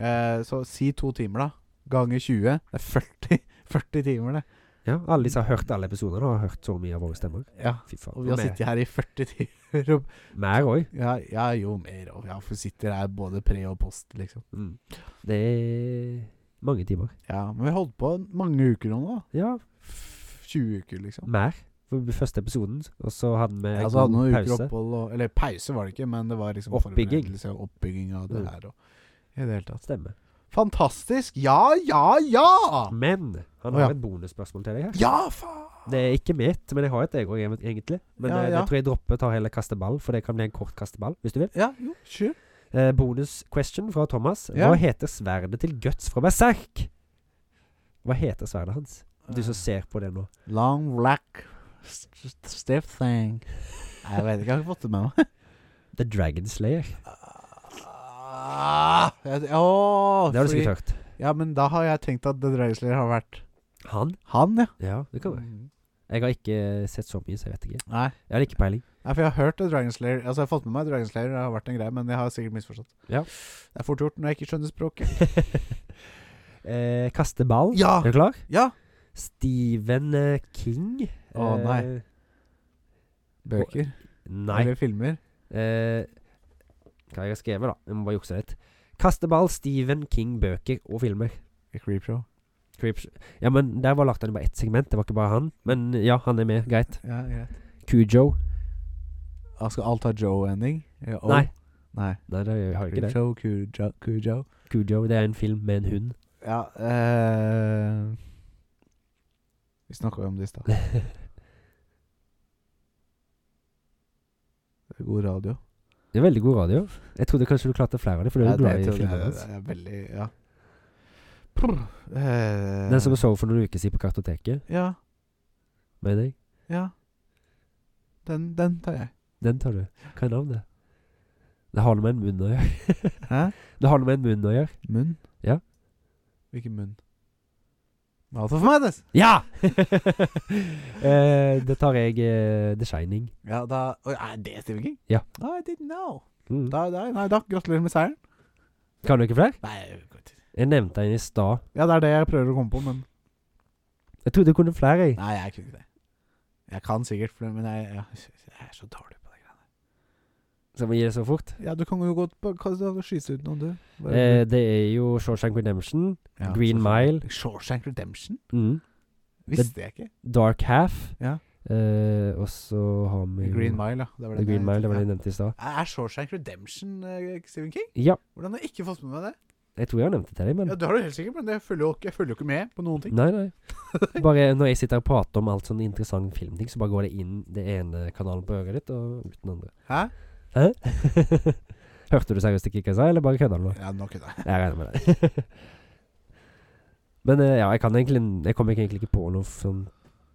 [SPEAKER 3] Eh, så si to timer, da. Ganger 20. Det er [LAUGHS] 40, 40 timer, det.
[SPEAKER 2] [LAUGHS] ja. Alle de som har hørt alle episoder, og har hørt så mye av våre stemmer.
[SPEAKER 3] Ja.
[SPEAKER 2] Fy faen.
[SPEAKER 3] Og vi har
[SPEAKER 2] mer-
[SPEAKER 3] sittet her i 40 timer. og-
[SPEAKER 2] Mer òg.
[SPEAKER 3] Ja, ja jo, mer. Og ja, for sitter her både pre og post, liksom.
[SPEAKER 2] Mm. Det er mange timer.
[SPEAKER 3] Ja, Men vi har holdt på mange uker nå, da.
[SPEAKER 2] Ja,
[SPEAKER 3] F- 20 uker, liksom.
[SPEAKER 2] mer. For den første episoden, og så hadde vi en
[SPEAKER 3] Ja, så hadde vi
[SPEAKER 2] god
[SPEAKER 3] noen uker
[SPEAKER 2] pause.
[SPEAKER 3] opphold og Eller pause var det ikke, men det var liksom
[SPEAKER 2] Oppbygging.
[SPEAKER 3] forberedelse og Oppbygging av det
[SPEAKER 2] Mm.
[SPEAKER 3] her og I det hele tatt.
[SPEAKER 2] Stemmer.
[SPEAKER 3] Fantastisk! Ja, ja, ja!
[SPEAKER 2] Men han
[SPEAKER 3] Å,
[SPEAKER 2] har
[SPEAKER 3] ja.
[SPEAKER 2] et bonusspørsmål til deg her.
[SPEAKER 3] Ja, faen!
[SPEAKER 2] Det er ikke mitt, men jeg har et jeg òg, egentlig. Men
[SPEAKER 3] Ja,
[SPEAKER 2] eh,
[SPEAKER 3] ja.
[SPEAKER 2] det tror jeg dropper ta hele kasteball, for det kan bli en kort kasteball, hvis du vil.
[SPEAKER 3] Ja, jo, sure.
[SPEAKER 2] Eh, bonus question fra Thomas.
[SPEAKER 3] Ja.
[SPEAKER 2] Hva heter sverdet til Guts fra Berserk? Hva heter sverdet hans? Du
[SPEAKER 3] Eh.
[SPEAKER 2] som ser på det nå.
[SPEAKER 3] Long black st- stiff thing. Jeg vet ikke, jeg har ikke fått det med meg.
[SPEAKER 2] The Dragon Slayer.
[SPEAKER 3] Ah, jeg- Åh,
[SPEAKER 2] Det har du
[SPEAKER 3] fordi-
[SPEAKER 2] sikkert hørt.
[SPEAKER 3] Ja, men da har jeg tenkt at The Dreisler har vært
[SPEAKER 2] Han?
[SPEAKER 3] han, ja.
[SPEAKER 2] Ja, det kan være. Jeg har ikke eh, sett så mye, så jeg vet ikke.
[SPEAKER 3] Nei.
[SPEAKER 2] Jeg har ikke
[SPEAKER 3] [LAUGHS]
[SPEAKER 2] peiling.
[SPEAKER 3] Nei, for jeg har hørt The Dragon Slayer Altså, jeg har fått med meg Dragon Slayer, det har vært en greie, men jeg har sikkert misforstått.
[SPEAKER 2] Ja.
[SPEAKER 3] Det er fort gjort når jeg ikke skjønner
[SPEAKER 2] [LAUGHS]
[SPEAKER 3] språket.
[SPEAKER 2] eh, kaste ball.
[SPEAKER 3] Ja!
[SPEAKER 2] Er du klar?
[SPEAKER 3] Ja!
[SPEAKER 2] Stephen eh, King.
[SPEAKER 3] Å,
[SPEAKER 2] Eh,
[SPEAKER 3] nei. Bøker.
[SPEAKER 2] Nei.
[SPEAKER 3] Eller filmer.
[SPEAKER 2] Eh, hva har jeg skrevet, da? Jeg må bare jukse litt. Kasteball, Stephen King, bøker og filmer.
[SPEAKER 3] Creepshow.
[SPEAKER 2] Creeps. Ja, men der var lagt inn bare ett segment, det var ikke bare han. Men ja, han er med. Greit.
[SPEAKER 3] Ja, greit.
[SPEAKER 2] Cujo.
[SPEAKER 3] Ah, Skal alt ha Joe-ending? Ja, oh.
[SPEAKER 2] Nei.
[SPEAKER 3] Nei.
[SPEAKER 2] Nei, det har jeg ikke det.
[SPEAKER 3] Creepshow, Cujo, Cujo.
[SPEAKER 2] Cujo, det er en film med en hund.
[SPEAKER 3] Ja eh, Vi snakka jo om det i
[SPEAKER 2] [LAUGHS]
[SPEAKER 3] stad. Det er God radio.
[SPEAKER 2] Det er veldig god radio. Jeg trodde kanskje du klarte flere av dem, for du er
[SPEAKER 3] Ja,
[SPEAKER 2] jo glad i
[SPEAKER 3] tror jeg-
[SPEAKER 2] filmene hans.
[SPEAKER 3] Det er veldig Ja. Prr. Eh,
[SPEAKER 2] Den som vi så for noen uker siden på Kartoteket,
[SPEAKER 3] Ja.
[SPEAKER 2] mener jeg.
[SPEAKER 3] Ja. Den, den tar jeg.
[SPEAKER 2] Den tar du. Hva er navnet? Det har noe med en munn å gjøre.
[SPEAKER 3] Hæ?
[SPEAKER 2] Det har noe med en munn å gjøre.
[SPEAKER 3] Munn?
[SPEAKER 2] Ja.
[SPEAKER 3] Hvilken munn? Mouth of Madness!
[SPEAKER 2] Ja! [LAUGHS] eh, det tar jeg eh, The Shining.
[SPEAKER 3] Ja, da Oi, Er det Stephen King?
[SPEAKER 2] Ja.
[SPEAKER 3] No, I didn't know.
[SPEAKER 2] Mm.
[SPEAKER 3] Da, da, nei, da gratulerer med seieren.
[SPEAKER 2] Kan du ikke flere?
[SPEAKER 3] Nei, jeg vet ikke.
[SPEAKER 2] Jeg nevnte en i stad.
[SPEAKER 3] Ja, det er det jeg prøver å komme på, men
[SPEAKER 2] Jeg trodde jeg kunne flere. jeg.
[SPEAKER 3] Nei, jeg kunne ikke det. Jeg kan sikkert, for- men jeg, jeg, jeg er så dårlig på det. greiene.
[SPEAKER 2] Så jeg må gi det så fort.
[SPEAKER 3] Ja, du kan jo godt på, hva, da, skyte ut noen, du. Bare-
[SPEAKER 2] Eh, det er jo Shawshank Redemption,
[SPEAKER 3] Ja,
[SPEAKER 2] Green
[SPEAKER 3] så-
[SPEAKER 2] Mile.
[SPEAKER 3] Shawshank Redemption?
[SPEAKER 2] mm,
[SPEAKER 3] Visste jeg ikke.
[SPEAKER 2] Dark Half.
[SPEAKER 3] Ja.
[SPEAKER 2] Eh, og så har vi jo-
[SPEAKER 3] Green Mile, ja. Det var
[SPEAKER 2] The
[SPEAKER 3] den
[SPEAKER 2] Green
[SPEAKER 3] jeg-
[SPEAKER 2] Mile, det var det
[SPEAKER 3] ja.
[SPEAKER 2] jeg nevnte i stad.
[SPEAKER 3] Er Shawshank Redemption eh, Stephen King?
[SPEAKER 2] Ja,
[SPEAKER 3] Hvordan har jeg ikke fått med meg det?
[SPEAKER 2] jeg tror jeg har nevnt det til deg, men
[SPEAKER 3] Ja, Det har du helt sikkert, men jeg følger jo ikke, jeg følger jo ikke med på noen ting.
[SPEAKER 2] Nei, nei. Bare når jeg [LAUGHS] sitter og prater om alt sånn interessant filmting, så bare går det inn det ene kanalen på øret ditt, og ut den andre.
[SPEAKER 3] Hæ?
[SPEAKER 2] Hæ? [LAUGHS] Hørte du seriøst ikke hva jeg sa, eller bare kødda du nå?
[SPEAKER 3] Ja, nå kødder jeg.
[SPEAKER 2] Jeg regner med det. [LAUGHS] men eh, ja, jeg kan egentlig Jeg kommer egentlig ikke på noe sånn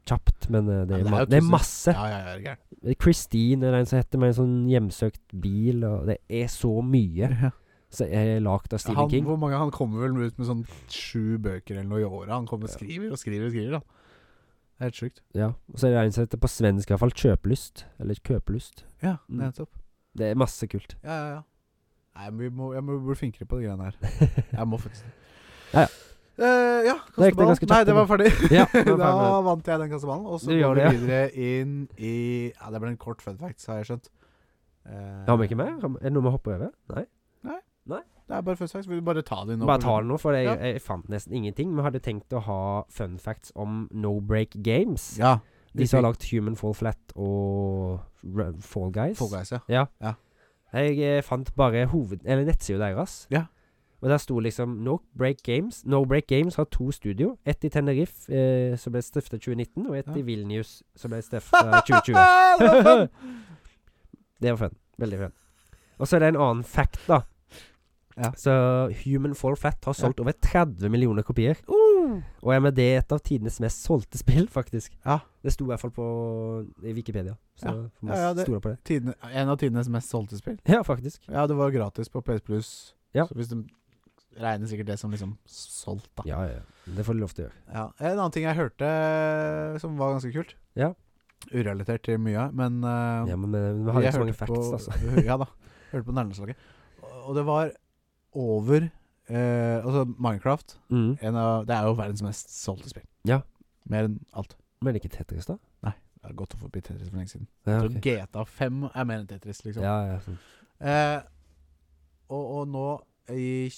[SPEAKER 2] kjapt, men eh, det
[SPEAKER 3] Ja,
[SPEAKER 2] er,
[SPEAKER 3] men det er
[SPEAKER 2] ma
[SPEAKER 3] jo
[SPEAKER 2] det er
[SPEAKER 3] tusen-
[SPEAKER 2] masse.
[SPEAKER 3] Ja, ja, ja, er gæren.
[SPEAKER 2] Christine er en som heter med en sånn hjemsøkt bil, og det er så mye som er lagd av Stephen
[SPEAKER 3] Han,
[SPEAKER 2] King.
[SPEAKER 3] hvor mange, han kommer vel ut med sånn sju bøker eller noe i året. Han kommer og skriver og skriver og skriver. da Det er helt sjukt.
[SPEAKER 2] Ja, og så er det en som heter på svensk iallfall Kjøpelyst, eller Kjøpelyst.
[SPEAKER 3] Ja,
[SPEAKER 2] Mm.
[SPEAKER 3] nettopp.
[SPEAKER 2] Det er masse kult. [LAUGHS]
[SPEAKER 3] Ja, ja, ja. Nei, men vi må, jeg må bli flinkere på de greiene her. Jeg må faktisk
[SPEAKER 2] Ja, ja.
[SPEAKER 3] Eh, ja,
[SPEAKER 2] Da gikk det
[SPEAKER 3] kasteball.
[SPEAKER 2] ganske kjapt,
[SPEAKER 3] Nei, det var ferdig.
[SPEAKER 2] Ja, nå er jeg ferdig med
[SPEAKER 3] da
[SPEAKER 2] [LAUGHS]
[SPEAKER 3] [LAUGHS]
[SPEAKER 2] det.
[SPEAKER 3] vant jeg den kasteballen. Og så
[SPEAKER 2] Du
[SPEAKER 3] går
[SPEAKER 2] gjør
[SPEAKER 3] vi
[SPEAKER 2] det,
[SPEAKER 3] videre inn i Ja, det ble en kort fun fact, har jeg skjønt. Eh,
[SPEAKER 2] Har vi ikke mer? Har vi- Er det noe vi hopper over? Nei?
[SPEAKER 3] Det er bare fun facts. Vil du bare ta det nå?
[SPEAKER 2] Bare ta det nå, for jeg,
[SPEAKER 3] Ja.
[SPEAKER 2] jeg fant nesten ingenting. Vi hadde tenkt å ha fun facts om no break games.
[SPEAKER 3] Ja.
[SPEAKER 2] De som har lagd Human Fall Flat og Ru- Fall Guys.
[SPEAKER 3] Fall
[SPEAKER 2] [LAUGHS]
[SPEAKER 3] Guys, ja.
[SPEAKER 2] Jeg eh, fant bare hoved... Eller nettsida deres.
[SPEAKER 3] Ja.
[SPEAKER 2] Og der sto liksom No Break Games No Break Games har to studio. Ett i Tenerife, eh, som ble stifta 2019, og ett
[SPEAKER 3] Ja.
[SPEAKER 2] i Vilnius, som ble stifta 2020.
[SPEAKER 3] [LAUGHS] det var
[SPEAKER 2] [LAUGHS]
[SPEAKER 3] fun!
[SPEAKER 2] det var fun. Veldig fun. Og så er det en annen fact, da.
[SPEAKER 3] Ja.
[SPEAKER 2] Så Human Fall Flat har solgt over 30 millioner kopier. Og er med det et av tidenes mest solgte spill, faktisk.
[SPEAKER 3] Ja.
[SPEAKER 2] Det sto i hvert fall på i Wikipedia. Så
[SPEAKER 3] Ja.
[SPEAKER 2] får man
[SPEAKER 3] Ja, ja, det-
[SPEAKER 2] stole på det.
[SPEAKER 3] Tidene, en av tidenes mest solgte spill.
[SPEAKER 2] Ja, faktisk.
[SPEAKER 3] Ja, det var gratis på PS Plus.
[SPEAKER 2] Ja.
[SPEAKER 3] Så hvis de regner sikkert det som liksom solgt, da.
[SPEAKER 2] Ja, ja. ja. Det får du lov til å gjøre.
[SPEAKER 3] Ja. En annen ting jeg hørte eh, som var ganske kult.
[SPEAKER 2] Ja.
[SPEAKER 3] Urelatert til mye, men eh,
[SPEAKER 2] Ja, men eh, vi har ikke
[SPEAKER 3] jeg
[SPEAKER 2] så mange
[SPEAKER 3] hørte
[SPEAKER 2] facts,
[SPEAKER 3] på,
[SPEAKER 2] altså.
[SPEAKER 3] [LAUGHS] ja da. Hørte på Nærlandslaget. Og det var over eh, Altså Minecraft
[SPEAKER 2] Mm.
[SPEAKER 3] en av, Det er jo verdens mest solgte spill.
[SPEAKER 2] Ja.
[SPEAKER 3] Mer enn alt.
[SPEAKER 2] Men ikke Tetris, da?
[SPEAKER 3] Det har gått forbi Tetris for lenge siden.
[SPEAKER 2] Ja,
[SPEAKER 3] Så
[SPEAKER 2] ok.
[SPEAKER 3] GTA 5 er mer enn Tetris, liksom.
[SPEAKER 2] ja, ja. sånn.
[SPEAKER 3] Eh, og, og nå i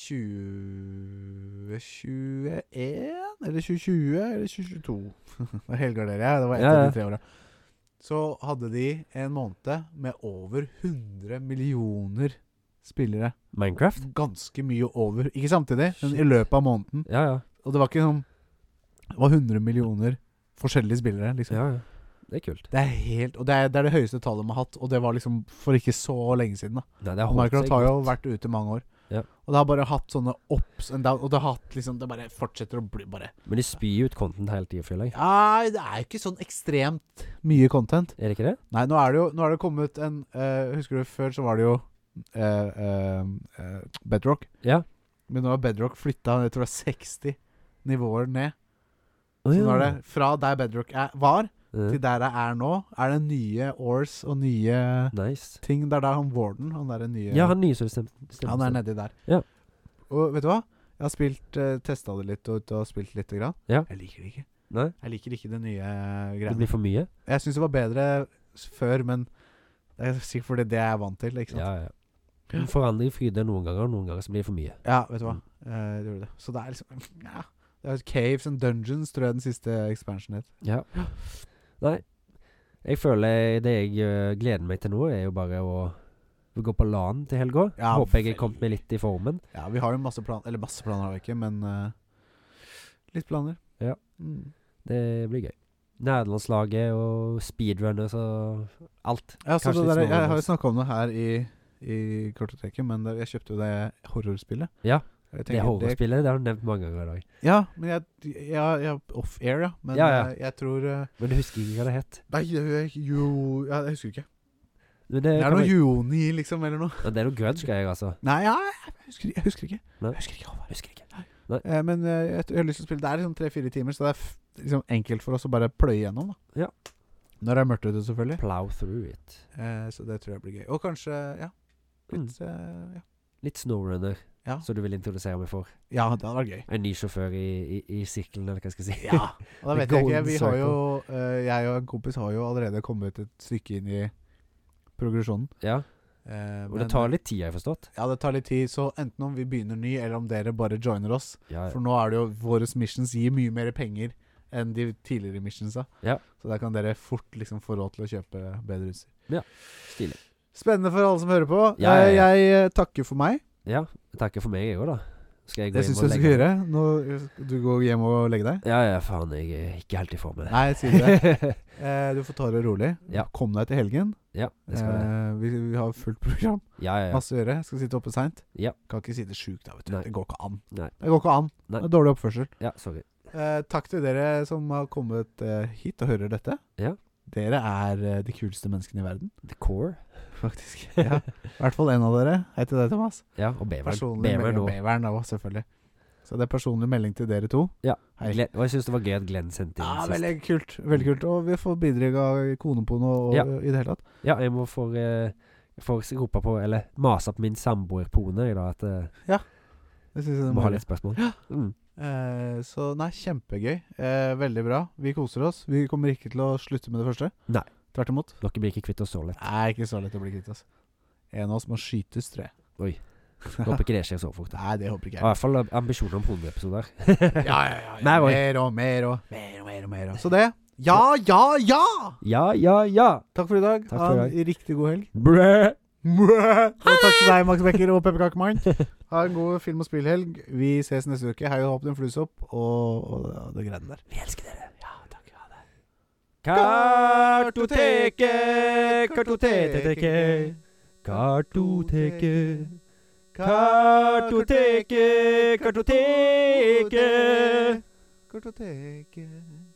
[SPEAKER 3] 2021 Eller 2020 eller 2022 [LAUGHS] Nå helgarderer jeg. Det var ett
[SPEAKER 2] Ja,
[SPEAKER 3] av
[SPEAKER 2] ja.
[SPEAKER 3] de tre åra. Så hadde de en måned med over 100 millioner spillere.
[SPEAKER 2] Minecraft?
[SPEAKER 3] Ganske mye over. Ikke samtidig, men
[SPEAKER 2] Shit.
[SPEAKER 3] i løpet av måneden.
[SPEAKER 2] Ja, ja.
[SPEAKER 3] Og det var ikke sånn Det var 100 millioner forskjellige spillere, liksom.
[SPEAKER 2] ja, ja. Det er kult.
[SPEAKER 3] Det er helt Og det er, det er det høyeste tallet de har hatt, og det var liksom for ikke så lenge siden, da.
[SPEAKER 2] Nei, det har holdt
[SPEAKER 3] Minecraft
[SPEAKER 2] seg
[SPEAKER 3] har jo
[SPEAKER 2] godt.
[SPEAKER 3] vært ute i mange år.
[SPEAKER 2] Ja.
[SPEAKER 3] Og det har bare hatt sånne ups and downs. Og det har hatt liksom Det bare fortsetter å bli bare
[SPEAKER 2] Men de spyr ut content hele tida, føler jeg.
[SPEAKER 3] Nei, det er jo ikke sånn ekstremt mye content.
[SPEAKER 2] Er det ikke det?
[SPEAKER 3] Nei, nå er det jo Nå er det kommet en eh, Husker du før så var det jo eh, eh, eh, Bedrock.
[SPEAKER 2] Ja.
[SPEAKER 3] Men nå har Bedrock flytta jeg tror det er 60 nivåer ned.
[SPEAKER 2] Å,
[SPEAKER 3] Så
[SPEAKER 2] ja.
[SPEAKER 3] nå er Sånn det fra der Bedrock er, var,
[SPEAKER 2] Ja.
[SPEAKER 3] til der jeg er nå, er det nye Oars og nye
[SPEAKER 2] Nice.
[SPEAKER 3] ting. Det er der han Warden, han derre nye
[SPEAKER 2] Ja, han nye som bestemte
[SPEAKER 3] Han er nedi der.
[SPEAKER 2] Ja.
[SPEAKER 3] Og vet du hva? Jeg har spilt uh, testa det litt og, og spilt litt. Grann.
[SPEAKER 2] Ja.
[SPEAKER 3] Jeg liker det ikke.
[SPEAKER 2] Nei.
[SPEAKER 3] Jeg liker ikke det nye eh,
[SPEAKER 2] Det
[SPEAKER 3] greiene.
[SPEAKER 2] blir for mye?
[SPEAKER 3] Jeg syns det var bedre s- før, men det er sikkert fordi det jeg er vant til. Ikke sant?
[SPEAKER 2] Ja, ja. Men Forandring fryder noen ganger, og noen ganger så blir det for mye.
[SPEAKER 3] Ja. vet du hva.
[SPEAKER 2] Mm.
[SPEAKER 3] Eh, det gjorde det. Så det er liksom ja. Det er Caves and Dungeons, tror jeg den siste expansionen het.
[SPEAKER 2] Ja. Nei. Jeg føler det jeg ø, gleder meg til nå, er jo bare å gå på LAN til helga.
[SPEAKER 3] Ja,
[SPEAKER 2] Håper jeg
[SPEAKER 3] veldig.
[SPEAKER 2] er kommet meg litt i formen.
[SPEAKER 3] Ja, vi har jo masse planer Eller masse planer har vi ikke, men eh, litt planer.
[SPEAKER 2] Ja.
[SPEAKER 3] Mm.
[SPEAKER 2] Det blir gøy. Nederlandslaget og speedrunners og alt.
[SPEAKER 3] Ja, så
[SPEAKER 2] Kanskje litt
[SPEAKER 3] det der, jeg,
[SPEAKER 2] småere
[SPEAKER 3] har jo
[SPEAKER 2] også.
[SPEAKER 3] snakka om det her i, i kortoteket, men det, jeg kjøpte jo det horrorspillet.
[SPEAKER 2] Ja,
[SPEAKER 3] Jeg
[SPEAKER 2] Det
[SPEAKER 3] tenker
[SPEAKER 2] horrespillet det har du nevnt mange ganger i dag.
[SPEAKER 3] Ja, men jeg, jeg, jeg Off-air, ja. Men
[SPEAKER 2] Ja, ja.
[SPEAKER 3] eh, jeg tror eh,
[SPEAKER 2] Men du husker ikke hva det het.
[SPEAKER 3] Nei, jeg, jo, ja, jeg husker ikke.
[SPEAKER 2] Men det,
[SPEAKER 3] Det er
[SPEAKER 2] kan
[SPEAKER 3] noe
[SPEAKER 2] være-
[SPEAKER 3] Joni, liksom, eller noe.
[SPEAKER 2] Ja, det er noe grudge-greier, altså.
[SPEAKER 3] Nei, ja, jeg husker, jeg husker ikke.
[SPEAKER 2] Nei.
[SPEAKER 3] Jeg husker ikke Håvard.
[SPEAKER 2] Husker ikke.
[SPEAKER 3] Eh, men eh, jeg, jeg har lyst til å spille Det er liksom tre-fire timer, så det er f liksom enkelt for oss å bare pløye gjennom. da
[SPEAKER 2] Ja.
[SPEAKER 3] Når det er mørkt ute, selvfølgelig.
[SPEAKER 2] Plow through it.
[SPEAKER 3] Eh, så det tror jeg blir gøy. Og kanskje, ja
[SPEAKER 2] Mm.
[SPEAKER 3] Litt eh, ja.
[SPEAKER 2] Litt snowrunner,
[SPEAKER 3] Ja.
[SPEAKER 2] som du vil introdusere meg for.
[SPEAKER 3] ja, det hadde vært gøy.
[SPEAKER 2] En ny sjåfør i, i, i sirkelen, eller hva skal jeg si.
[SPEAKER 3] Ja, og da
[SPEAKER 2] The
[SPEAKER 3] vet jeg ikke.
[SPEAKER 2] golden
[SPEAKER 3] Vi har jo, eh, jeg og en kompis har jo allerede kommet et stykke inn i progresjonen.
[SPEAKER 2] [LAUGHS] Ja,
[SPEAKER 3] Eh,
[SPEAKER 2] Og
[SPEAKER 3] men-
[SPEAKER 2] det tar litt tid, har jeg forstått.
[SPEAKER 3] Ja, det tar litt tid, så enten om vi begynner ny, eller om dere bare joiner oss.
[SPEAKER 2] Ja,
[SPEAKER 3] For nå er det jo våre missions gir mye mer penger enn de tidligere missionsa.
[SPEAKER 2] Ja.
[SPEAKER 3] Så der kan dere fort liksom få råd til å kjøpe bedre utstyr.
[SPEAKER 2] stilig.
[SPEAKER 3] Spennende for alle som hører på.
[SPEAKER 2] Ja, ja,
[SPEAKER 3] Eh,
[SPEAKER 2] ja.
[SPEAKER 3] Jeg eh, takker for meg.
[SPEAKER 2] Ja, takker for meg, jeg òg, da. Skal jeg gå
[SPEAKER 3] Det
[SPEAKER 2] hjem
[SPEAKER 3] syns
[SPEAKER 2] og
[SPEAKER 3] jeg du skal
[SPEAKER 2] legge meg?
[SPEAKER 3] gjøre. Nå, du går hjem og legger
[SPEAKER 2] [LAUGHS]
[SPEAKER 3] deg.
[SPEAKER 2] Ja, ja, faen, jeg er ikke helt i form med det.
[SPEAKER 3] Nei, jeg sier det. Eh, du får ta det rolig.
[SPEAKER 2] Ja.
[SPEAKER 3] Kom deg til helgen.
[SPEAKER 2] [LAUGHS] ja, jeg skal det.
[SPEAKER 3] Eh, vi, vi har fullt program.
[SPEAKER 2] Ja, ja, ja.
[SPEAKER 3] Masse å gjøre. Skal sitte oppe seint.
[SPEAKER 2] Ja.
[SPEAKER 3] Kan ikke sitte sjuk da, vet du.
[SPEAKER 2] Nei.
[SPEAKER 3] Det går ikke an.
[SPEAKER 2] Nei.
[SPEAKER 3] Det går ikke an.
[SPEAKER 2] Nei.
[SPEAKER 3] Det er dårlig oppførsel.
[SPEAKER 2] ja sorry.
[SPEAKER 3] Eh, takk til dere som har kommet eh, hit og hører dette.
[SPEAKER 2] Ja.
[SPEAKER 3] Dere er eh, de kuleste menneskene i
[SPEAKER 2] [LAUGHS]
[SPEAKER 3] verden,
[SPEAKER 2] The core.
[SPEAKER 3] faktisk. Ja. I hvert fall én av dere. Hei til deg, Thomas.
[SPEAKER 2] Ja, og beveren.
[SPEAKER 3] Personlig
[SPEAKER 2] Beveren
[SPEAKER 3] melding
[SPEAKER 2] òg.
[SPEAKER 3] Beveren òg, selvfølgelig. Så det er personlig melding til dere to.
[SPEAKER 2] Ja.
[SPEAKER 3] Hei.
[SPEAKER 2] Glenn- Og jeg syns det var gøy at Glenn sendte
[SPEAKER 3] Ja,
[SPEAKER 2] inn sist.
[SPEAKER 3] veldig kult. Veldig kult. Og vi får bidrag av konepoen og, og
[SPEAKER 2] Ja.
[SPEAKER 3] i det hele tatt.
[SPEAKER 2] Ja, jeg må få eh, få rope på, eller mase på min samboerpone i dag at jeg
[SPEAKER 3] Det synes jeg
[SPEAKER 2] må ha
[SPEAKER 3] være.
[SPEAKER 2] litt spørsmål. Mm.
[SPEAKER 3] Eh, så nei, kjempegøy. Eh, veldig bra. Vi koser oss. Vi kommer ikke til å slutte med det første.
[SPEAKER 2] Nei.
[SPEAKER 3] Tvert imot.
[SPEAKER 2] Dere blir ikke kvitt oss så
[SPEAKER 3] [LAUGHS]
[SPEAKER 2] lett.
[SPEAKER 3] Nei, ikke så lett å bli kvitt, altså. En av oss må skytes, tror jeg.
[SPEAKER 2] Oi. Håper ikke det skjer så fort. da.
[SPEAKER 3] Nei, det håper ikke
[SPEAKER 2] I
[SPEAKER 3] jeg.
[SPEAKER 2] hvert fall ambisjoner om 100 episoder.
[SPEAKER 3] Ja, ja, ja.
[SPEAKER 2] Mer og-
[SPEAKER 3] Mer og mer og mer og mer og mer og Så det. Ja, ja, ja!
[SPEAKER 2] Ja, ja, ja!
[SPEAKER 3] Takk for i dag.
[SPEAKER 2] Takk for i
[SPEAKER 3] Ha en riktig god helg.
[SPEAKER 2] Brø!
[SPEAKER 3] Og takk til deg, Max Becker og Pepperkakemann. Ha en god film- og spillhelg. Vi ses neste uke. Hei og hopp din fluesopp og, og det, det greiene der.
[SPEAKER 2] Vi elsker dere. Ja, takk. Ha det.
[SPEAKER 3] Kartoteket,
[SPEAKER 2] Kartoteket, kartoteket, kartoteket, Kartoteket, kartoteket.
[SPEAKER 3] Kartoteket.